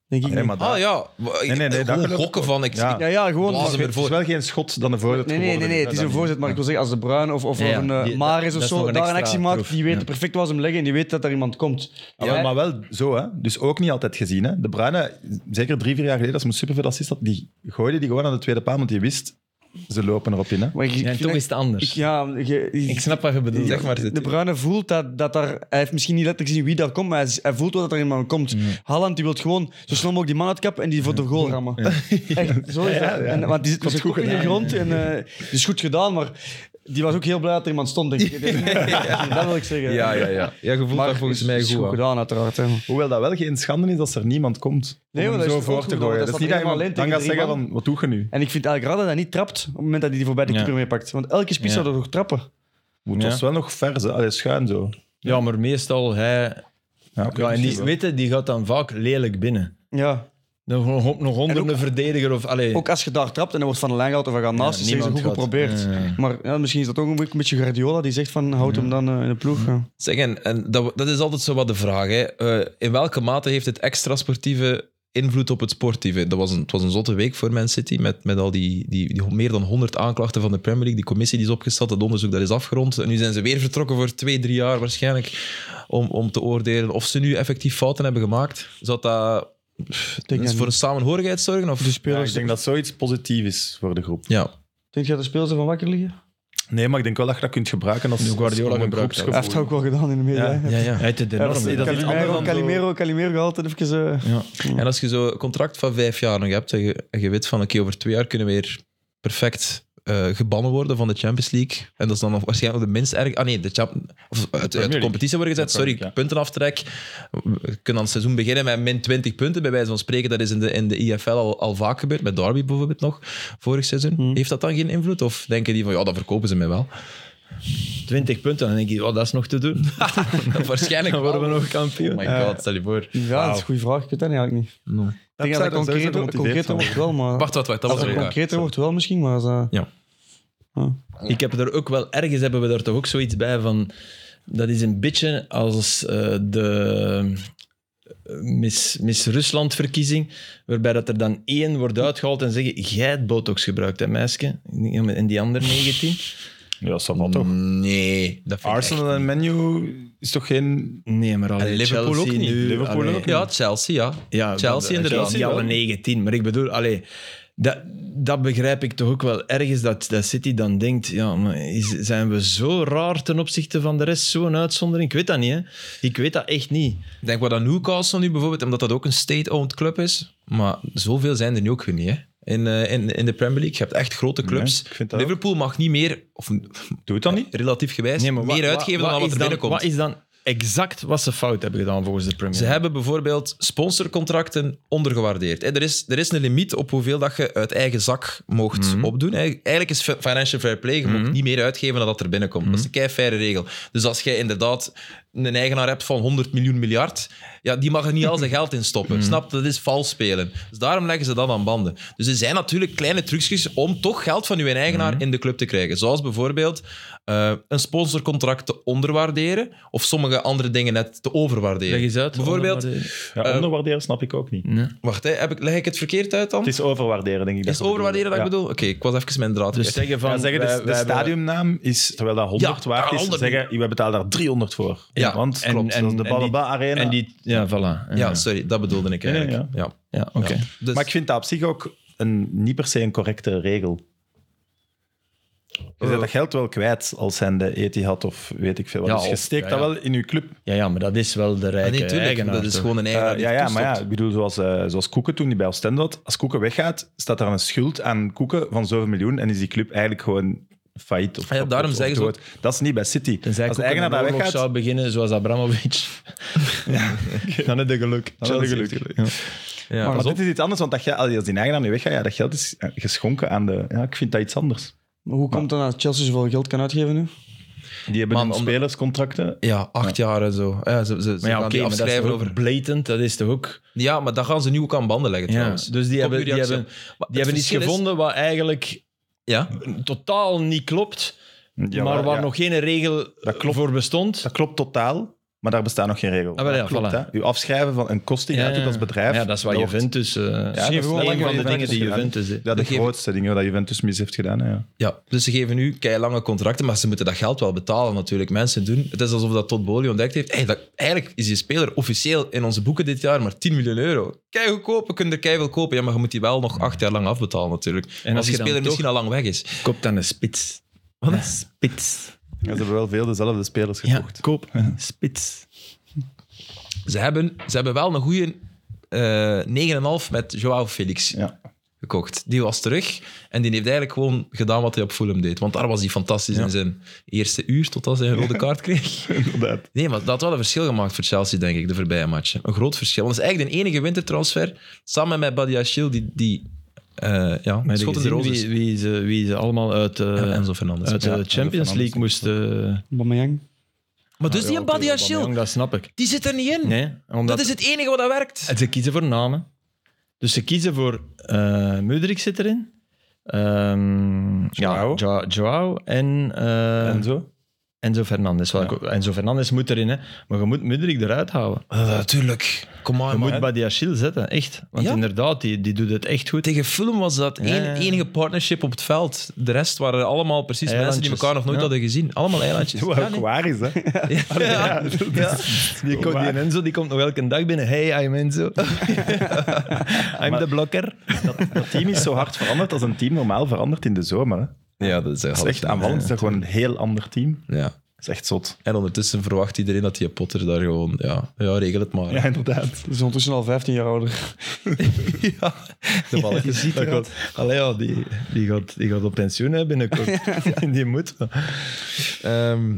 Speaker 4: Denk ik
Speaker 3: Nee,
Speaker 4: niet.
Speaker 3: maar
Speaker 1: Ah
Speaker 3: daar-
Speaker 1: ja, nee,
Speaker 3: nee, nee, daar
Speaker 1: gewoon
Speaker 3: kunnen we-
Speaker 1: gokken van. Ik,
Speaker 3: Ja.
Speaker 1: ik-
Speaker 4: Ja, ja, gewoon...
Speaker 1: Blazen
Speaker 3: Het is wel geen schot dan de voorzet
Speaker 4: Nee, nee, nee,
Speaker 3: geworden.
Speaker 4: nee, het is
Speaker 3: Ja,
Speaker 4: een
Speaker 3: dan-
Speaker 4: voorzet, maar ik wil zeggen, als De Bruin of, of,
Speaker 2: Ja, ja,
Speaker 4: of een eh,
Speaker 2: die-
Speaker 4: Maris
Speaker 2: dat
Speaker 4: of
Speaker 2: is
Speaker 4: zo
Speaker 2: nog een
Speaker 4: daar een
Speaker 2: extra
Speaker 4: actie maakt,
Speaker 2: proef,
Speaker 4: die weet
Speaker 2: ja.
Speaker 4: perfect waar ze hem leggen en die weet dat er iemand komt.
Speaker 3: Ja,
Speaker 4: Wij-
Speaker 3: wel, Ah, maar wel zo, hè. Dus ook niet altijd gezien, hè. De Bruyne, zeker drie, vier jaar geleden, als hij superveel assist had, die gooide die gewoon aan de tweede paal, want die wist, ze lopen erop in, hè.
Speaker 4: maar ik- ik
Speaker 2: Ja, en
Speaker 4: vind
Speaker 2: toch
Speaker 4: dat-
Speaker 2: is het anders.
Speaker 4: ik- ja, je-
Speaker 2: Ik snap wat je bedoelt.
Speaker 1: Zeg maar,
Speaker 4: De Bruyne voelt dat, dat daar... Hij heeft misschien niet letterlijk gezien wie daar komt, maar hij, hij voelt wel dat er iemand komt. Haaland die wil gewoon zo snel mogelijk die man uitkappen en die voor de goal rammen. Echt, zo is dat. En, want die zit met zijn kop in de grond en eh die is goed gedaan, maar die was ook heel blij dat er iemand stond, denk ik. Dat wil ik zeggen.
Speaker 1: ja, ja, ja. Ja, gevoel
Speaker 4: Maar
Speaker 1: daar volgens
Speaker 4: is-
Speaker 1: mij
Speaker 4: is
Speaker 1: goed. aan.
Speaker 4: gedaan, uiteraard. Hè.
Speaker 3: Hoewel dat wel geen schande is als er niemand komt.
Speaker 4: Nee,
Speaker 3: om
Speaker 4: maar
Speaker 3: hem
Speaker 4: dat
Speaker 3: zo
Speaker 4: is
Speaker 3: voor
Speaker 4: ook
Speaker 3: te
Speaker 4: goed,
Speaker 3: gooien.
Speaker 4: dat
Speaker 3: Dat is niet
Speaker 4: staat
Speaker 3: dat
Speaker 4: helemaal
Speaker 3: iemand
Speaker 4: alleen
Speaker 3: dan gaat
Speaker 4: tegen
Speaker 3: zeggen
Speaker 4: drie
Speaker 3: van, wat doe je nu?
Speaker 4: En ik vind eigenlijk raar dat hij niet trapt op het moment dat hij die voorbij de
Speaker 2: Ja.
Speaker 4: keeper meepakt. Want elke spits
Speaker 2: Ja.
Speaker 4: zou er toch trappen.
Speaker 3: Het
Speaker 2: Ja.
Speaker 3: was wel nog vers, hè. Allee, schuin zo.
Speaker 2: Ja, maar meestal hij...
Speaker 3: Ja,
Speaker 2: Ja, en die, weet je, die gaat dan vaak lelijk binnen.
Speaker 4: Ja.
Speaker 2: Nog, nog, nog onder
Speaker 4: En ook-
Speaker 2: een verdediger of... Allee,
Speaker 4: Ook als je daar trapt en er wordt van de lijn gehaald of hij gaat naast,
Speaker 2: Ja,
Speaker 4: is het goed
Speaker 2: niemand gaat-
Speaker 4: geprobeerd.
Speaker 2: Ja, ja.
Speaker 4: Maar ja, misschien is dat ook een beetje Guardiola die zegt van houd hem dan eh, in de ploeg. ja.
Speaker 1: Zeg, en, en dat, dat is altijd zo wat de vraag. Hè. Eh, in welke mate heeft het extra sportieve invloed op het sportieve? Dat was een, het was een zotte week voor Man City met, met al die, die, die meer dan 100 aanklachten van de Premier League. Die commissie die is opgesteld, dat onderzoek dat is afgerond. En nu zijn ze weer vertrokken voor twee, drie jaar waarschijnlijk om, om te oordelen of ze nu effectief fouten hebben gemaakt. Zou dat pff,
Speaker 4: denk
Speaker 1: eens
Speaker 4: dat Dus-
Speaker 1: voor een samenhorigheid zorgen? Of?
Speaker 4: De
Speaker 3: Ja,
Speaker 4: spelers,
Speaker 3: ik denk dat zoiets positief is voor de groep.
Speaker 1: Ja.
Speaker 4: denk je dat de spelers ervan wakker liggen?
Speaker 3: Nee, maar ik denk wel dat je dat kunt gebruiken als
Speaker 2: Nu Guardiola
Speaker 3: als- om een
Speaker 2: gebruikt
Speaker 4: Hij heeft het
Speaker 3: groepsgevoel.
Speaker 4: ook wel gedaan in de media.
Speaker 3: Ja.
Speaker 4: hè.
Speaker 1: Ja, ja.
Speaker 2: Hij heeft het
Speaker 4: Ja, dat is-
Speaker 2: enorm.
Speaker 4: dat
Speaker 3: dat
Speaker 4: is
Speaker 3: is iets
Speaker 4: Calimero,
Speaker 3: anders dan
Speaker 4: Calimero, Calimero gaat altijd even... eh,
Speaker 1: En als je zo'n contract van vijf jaar nog hebt en je, en je weet van oké, over twee jaar kunnen we weer perfect eh, gebannen worden van de Champions League. En dat is dan nog waarschijnlijk de minst erg. Ah nee, de, champ, of, uit, uit de
Speaker 3: League.
Speaker 1: competitie worden gezet.
Speaker 3: De
Speaker 1: Sorry,
Speaker 3: Premier
Speaker 1: puntenaftrek. We kunnen aan het seizoen beginnen met min 20 punten, bij wijze van spreken. Dat is in de, in de IFL al, al vaak gebeurd, met Derby bijvoorbeeld nog, vorig seizoen.
Speaker 2: Mm.
Speaker 1: Heeft dat dan geen invloed? Of denken die van ja, dat verkopen ze mij wel?
Speaker 2: 20 punten. Dan denk ik, oh, dat is nog te doen.
Speaker 1: waarschijnlijk
Speaker 2: Dan worden we
Speaker 1: wel.
Speaker 2: nog
Speaker 1: Oh
Speaker 2: kampioen.
Speaker 1: my god, stel je voor.
Speaker 4: Ja, dat is een goede vraag. Ik weet dat niet, eigenlijk niet.
Speaker 3: Dat
Speaker 4: Ik denk dat
Speaker 3: zou-
Speaker 4: dat
Speaker 3: dat zou ze
Speaker 4: concreter,
Speaker 3: gemotiveerd
Speaker 4: concreter
Speaker 3: zijn.
Speaker 4: wordt wel, maar...
Speaker 1: Wacht, wacht, wacht. Dat was
Speaker 4: dat
Speaker 1: er
Speaker 4: het
Speaker 1: ook uit.
Speaker 4: concreter wordt wel misschien, maar... als, eh,
Speaker 1: Ja.
Speaker 2: Ik heb er ook wel ergens hebben we daar toch ook zoiets bij van. Dat is een beetje als eh, de eh, Miss, Miss Rusland-verkiezing, waarbij dat er dan één wordt uitgehaald en zeggen: Jij hebt botox gebruikt, hè, meisje? Ja, maar- En die andere 19?
Speaker 3: Ja, dat wat toch.
Speaker 1: Nee, dat vind ik echt
Speaker 3: Arsenal en Menu is toch geen...
Speaker 2: Nee, maar alleen
Speaker 1: En Liverpool
Speaker 2: Chelsea
Speaker 1: ook niet.
Speaker 2: Nu,
Speaker 3: Liverpool
Speaker 2: allee,
Speaker 3: ook
Speaker 1: Ja, Chelsea, ja.
Speaker 2: Ja,
Speaker 1: Chelsea
Speaker 2: dat-
Speaker 1: inderdaad.
Speaker 2: Chelsea alle
Speaker 3: wel.
Speaker 2: 19. Maar ik bedoel, allee, dat, dat begrijp ik toch ook wel ergens, dat, dat City dan denkt, ja, maar is, zijn we zo raar ten opzichte van de rest, zo'n uitzondering? Ik weet dat niet, hè. Ik weet dat echt niet.
Speaker 1: Ik Denk wat aan Newcastle nu bijvoorbeeld, omdat dat ook een state-owned club is. Maar zoveel zijn er nu ook weer niet, hè. In, eh, in, in de Premier League. Je hebt echt grote clubs.
Speaker 3: Nee, ik vind dat
Speaker 1: Liverpool mag niet meer, of
Speaker 3: Doet dat niet?
Speaker 1: relatief gewijs,
Speaker 2: Nee, maar wat-
Speaker 1: meer
Speaker 2: wat-
Speaker 1: uitgeven
Speaker 2: wat
Speaker 1: dan wat
Speaker 2: is
Speaker 1: er binnenkomt.
Speaker 2: Wat is dan exact wat ze fout hebben gedaan volgens de Premier
Speaker 1: Ze hebben bijvoorbeeld sponsorcontracten ondergewaardeerd. Hè, Er is, er is een limiet op hoeveel dat je uit eigen zak mocht opdoen. hè. Eigenlijk is fi- financial fair play, je mocht niet meer uitgeven dan dat er binnenkomt. Dat is een keifaire regel. Dus als jij inderdaad een eigenaar hebt van 100 miljoen miljard, ja, die mag er niet al zijn geld in stoppen. Snap? Dat is vals spelen. Dus daarom leggen ze dat aan banden. Dus er zijn natuurlijk kleine trucjes om toch geld van uw eigenaar in de club te krijgen. Zoals bijvoorbeeld eh, een sponsorcontract te onderwaarderen of sommige andere dingen net te overwaarderen.
Speaker 2: Leg eens uit.
Speaker 1: Bijvoorbeeld,
Speaker 3: Ja,
Speaker 2: Eh,
Speaker 3: onderwaarderen snap ik ook niet.
Speaker 1: Wacht, hè, heb ik, leg ik het verkeerd uit dan?
Speaker 3: Het
Speaker 1: Het
Speaker 3: is overwaarderen, denk ik.
Speaker 1: is, overwaarderen dat ik bedoel? Oké, ik was even mijn draad
Speaker 2: Dus
Speaker 1: kwijt.
Speaker 2: zeggen van...
Speaker 3: Ja, zeggen,
Speaker 2: wij-
Speaker 3: de, de
Speaker 2: wij hebben-
Speaker 3: stadiumnaam is, terwijl dat 100
Speaker 1: Ja,
Speaker 3: waard is,
Speaker 1: 100.
Speaker 3: zeggen, we betalen daar 300 voor.
Speaker 1: Ja,
Speaker 3: Want
Speaker 2: en-
Speaker 3: klopt,
Speaker 2: en-
Speaker 3: dat is de
Speaker 2: en die-
Speaker 3: Balaba Arena.
Speaker 2: En die... Ja, voilà.
Speaker 1: Ja, sorry, dat bedoelde ik
Speaker 3: Nee, nee,
Speaker 1: eigenlijk. ja.
Speaker 2: ja oké.
Speaker 1: Dus,
Speaker 3: Maar ik vind dat op zich ook een, niet per se een correcte regel. Je zet dat geld wel kwijt als zijn de Etihad of weet ik veel wat.
Speaker 2: Ja,
Speaker 3: dus je
Speaker 2: of-
Speaker 3: steekt
Speaker 2: ja,
Speaker 3: dat
Speaker 2: ja.
Speaker 3: wel in je club.
Speaker 2: Ja, ja, maar dat is wel de
Speaker 1: Ah,
Speaker 2: rijke
Speaker 1: nee, tuurlijk,
Speaker 2: eigenaar,
Speaker 1: dat is
Speaker 2: toch?
Speaker 1: gewoon een
Speaker 3: Eh,
Speaker 1: eigenaar. die
Speaker 3: ja, ja,
Speaker 1: het
Speaker 3: maar ja,
Speaker 1: toestaat.
Speaker 3: ik bedoel, zoals, eh, zoals Koeken toen die bij Oostend had. Als Koeken weggaat, staat daar een schuld aan Koeken van zoveel miljoen en is die club eigenlijk gewoon failliet. Of,
Speaker 1: Ah ja,
Speaker 3: of-
Speaker 1: daarom
Speaker 3: of-
Speaker 1: zeggen
Speaker 3: of
Speaker 1: ze
Speaker 3: dood. Dat is niet bij City.
Speaker 2: Tenzij
Speaker 3: als de
Speaker 2: Koeken
Speaker 3: eigenaar
Speaker 2: een
Speaker 3: daar
Speaker 2: oorlog
Speaker 3: weggaat,
Speaker 2: zou beginnen zoals Abramovic. Dan heb je geluk.
Speaker 3: dan is het
Speaker 2: Chelsea.
Speaker 3: geluk.
Speaker 1: Ja,
Speaker 3: Maar
Speaker 1: pas op.
Speaker 3: dit is iets anders, want dat geld- als die eigenaar nu weggaat, ja, dat geld is eh, geschonken aan de... Ja, ik vind dat iets anders.
Speaker 4: Maar hoe komt het dan dat Chelsea zoveel geld kan uitgeven nu?
Speaker 3: Die hebben
Speaker 1: Man,
Speaker 3: dan
Speaker 1: om-
Speaker 3: spelerscontracten.
Speaker 1: Ja, acht jaar en zo. Ja, ze, ze, ze
Speaker 2: Maar ja,
Speaker 1: gaan
Speaker 2: oké,
Speaker 1: die
Speaker 2: maar dat is
Speaker 1: afschrijven
Speaker 2: toch
Speaker 1: over...
Speaker 2: ook blatant, dat is toch ook...
Speaker 1: Ja, maar daar gaan ze nu ook aan banden leggen
Speaker 2: Ja,
Speaker 1: trouwens.
Speaker 2: dus die hebben- die
Speaker 1: Kopieerreactie.
Speaker 2: hebben-
Speaker 1: Maar het
Speaker 2: Die hebben iets
Speaker 1: verschil is-
Speaker 2: gevonden wat eigenlijk
Speaker 1: Ja,
Speaker 2: totaal niet klopt,
Speaker 3: Ja,
Speaker 2: maar waar
Speaker 3: ja.
Speaker 2: nog geen regel
Speaker 3: Dat klopt.
Speaker 2: voor bestond.
Speaker 3: Dat klopt totaal, maar daar bestaan nog geen regels.
Speaker 2: Ah, wel, ja,
Speaker 3: Dat klopt,
Speaker 2: voilà.
Speaker 3: hè. Uw afschrijven van een kost die je
Speaker 2: Ja,
Speaker 3: uitdoet
Speaker 2: ja.
Speaker 3: als bedrijf.
Speaker 2: Ja, dat is wat
Speaker 3: wordt-
Speaker 2: Juventus... eh
Speaker 3: Ja, dat is
Speaker 4: gewoon
Speaker 2: een
Speaker 3: lang
Speaker 2: van de
Speaker 3: wat
Speaker 2: dingen die
Speaker 3: gedaan.
Speaker 2: Juventus... deed.
Speaker 3: Ja, de
Speaker 1: We geven-
Speaker 3: grootste dingen dat Juventus mis heeft gedaan. hè, Ja.
Speaker 1: ja, dus ze geven nu lange contracten, maar ze moeten dat geld wel betalen natuurlijk. Mensen doen... Het is alsof dat Todd Bowley ontdekt heeft. Hey, dat, eigenlijk is die speler officieel in onze boeken dit jaar maar 10 miljoen euro. Kei goedkoop, we kunnen er kei veel kopen. Ja, maar je moet die wel nog acht jaar lang afbetalen natuurlijk. En als,
Speaker 2: als je
Speaker 1: die
Speaker 2: dan
Speaker 1: speler
Speaker 2: toch-
Speaker 1: misschien al lang weg is.
Speaker 2: Koop dan een spits.
Speaker 1: Wat?
Speaker 2: Een spits.
Speaker 3: Ja, ze hebben wel veel dezelfde spelers
Speaker 2: Ja,
Speaker 3: gekocht.
Speaker 2: koop een spits.
Speaker 1: Ze hebben, ze hebben wel een goede eh 9,5 met Joao Felix
Speaker 3: Ja.
Speaker 1: gekocht. Die was terug en die heeft eigenlijk gewoon gedaan wat hij op Fulham deed. Want daar was hij fantastisch in zijn eerste uur, totdat hij een rode kaart kreeg.
Speaker 3: inderdaad.
Speaker 1: Nee, maar dat had wel een verschil gemaakt voor Chelsea, denk ik, de voorbije matchen. Een groot verschil. Want dat is eigenlijk de enige wintertransfer, samen met Badiachil, die, die eh ja,
Speaker 2: Maar
Speaker 1: schot in de
Speaker 2: gezien
Speaker 1: roos is.
Speaker 2: wie, wie, ze, wie ze allemaal uit, eh,
Speaker 1: En Enzo Fernandes.
Speaker 2: uit eh, de
Speaker 3: Ja, Enzo
Speaker 2: Champions
Speaker 3: Fernandes
Speaker 2: League moesten...
Speaker 4: Aubameyang.
Speaker 1: maar dus die
Speaker 2: Ja,
Speaker 1: en
Speaker 2: oké,
Speaker 1: Badiachil,
Speaker 2: Aubameyang, Dat snap ik.
Speaker 1: die zit er niet in.
Speaker 2: Nee, omdat
Speaker 1: Dat is het enige wat dat werkt.
Speaker 2: En Ze kiezen voor namen. Dus ze kiezen voor eh Mudrik zit erin. Ehm
Speaker 3: Joao.
Speaker 2: Ja, Jo- Joao en, eh
Speaker 3: En zo.
Speaker 2: Enzo Fernandes. Wel,
Speaker 3: Ja.
Speaker 2: ik- Enzo Fernandes moet erin, hè. maar je moet Mudrik eruit houden.
Speaker 1: Natuurlijk. Kom
Speaker 2: Eh, Je
Speaker 1: maar,
Speaker 2: moet Badiachil zetten, echt. Want
Speaker 1: Ja?
Speaker 2: inderdaad, die, die doet het echt goed.
Speaker 1: Tegen Fulham was dat
Speaker 2: Ja,
Speaker 1: één,
Speaker 2: ja, ja.
Speaker 1: enige partnership op het veld. De rest waren allemaal precies mensen die
Speaker 2: Eilandjes.
Speaker 1: elkaar nog nooit
Speaker 2: Ja.
Speaker 1: hadden gezien. Allemaal eilandjes.
Speaker 3: Wat
Speaker 1: Ja,
Speaker 3: ook
Speaker 1: nee.
Speaker 3: waar is, hè?
Speaker 1: Ja.
Speaker 2: Die, komt- die Enzo die komt nog elke dag binnen. Hey, I'm Enzo. I'm de blokker.
Speaker 3: Dat team is zo hard veranderd als een team normaal verandert in de zomer. Hè. Dat
Speaker 1: Ja, dat is echt
Speaker 3: is echt aanvallend. Is dat gewoon een heel ander team?
Speaker 1: Ja.
Speaker 3: Dat is echt zot.
Speaker 1: En ondertussen verwacht iedereen dat die Potter daar gewoon... Ja, ja regel het maar.
Speaker 3: Ja, inderdaad.
Speaker 4: Die is ondertussen al 15 jaar ouder.
Speaker 1: De ballen.
Speaker 2: Je ziet dat gaat, Allee, ja, die, die, gaat, die gaat op pensioen hè, binnenkort. Die moet. wel.
Speaker 1: Ehm,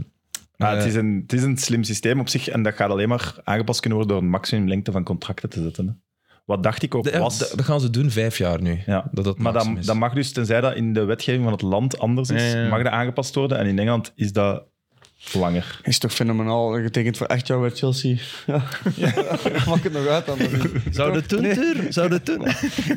Speaker 3: Maar het, is een, het is een slim systeem op zich en dat gaat alleen maar aangepast kunnen worden door een maximum lengte van contracten te zetten. hè. Wat dacht ik ook
Speaker 1: de- ja,
Speaker 3: was...
Speaker 1: dat- dat gaan ze doen vijf jaar nu.
Speaker 3: Ja.
Speaker 1: Dat dat
Speaker 3: maar
Speaker 1: maximum
Speaker 3: dat,
Speaker 1: is.
Speaker 3: dat mag dus, tenzij dat in de wetgeving van het land anders is,
Speaker 2: Ja, ja, ja.
Speaker 3: mag dat aangepast worden. En in Engeland is dat langer.
Speaker 4: Is toch fenomenaal. Getekend voor echt jaar bij Chelsea. Ja. Maak het nog uit dan.
Speaker 2: Zou dat doen, Tuur? Zou dat doen?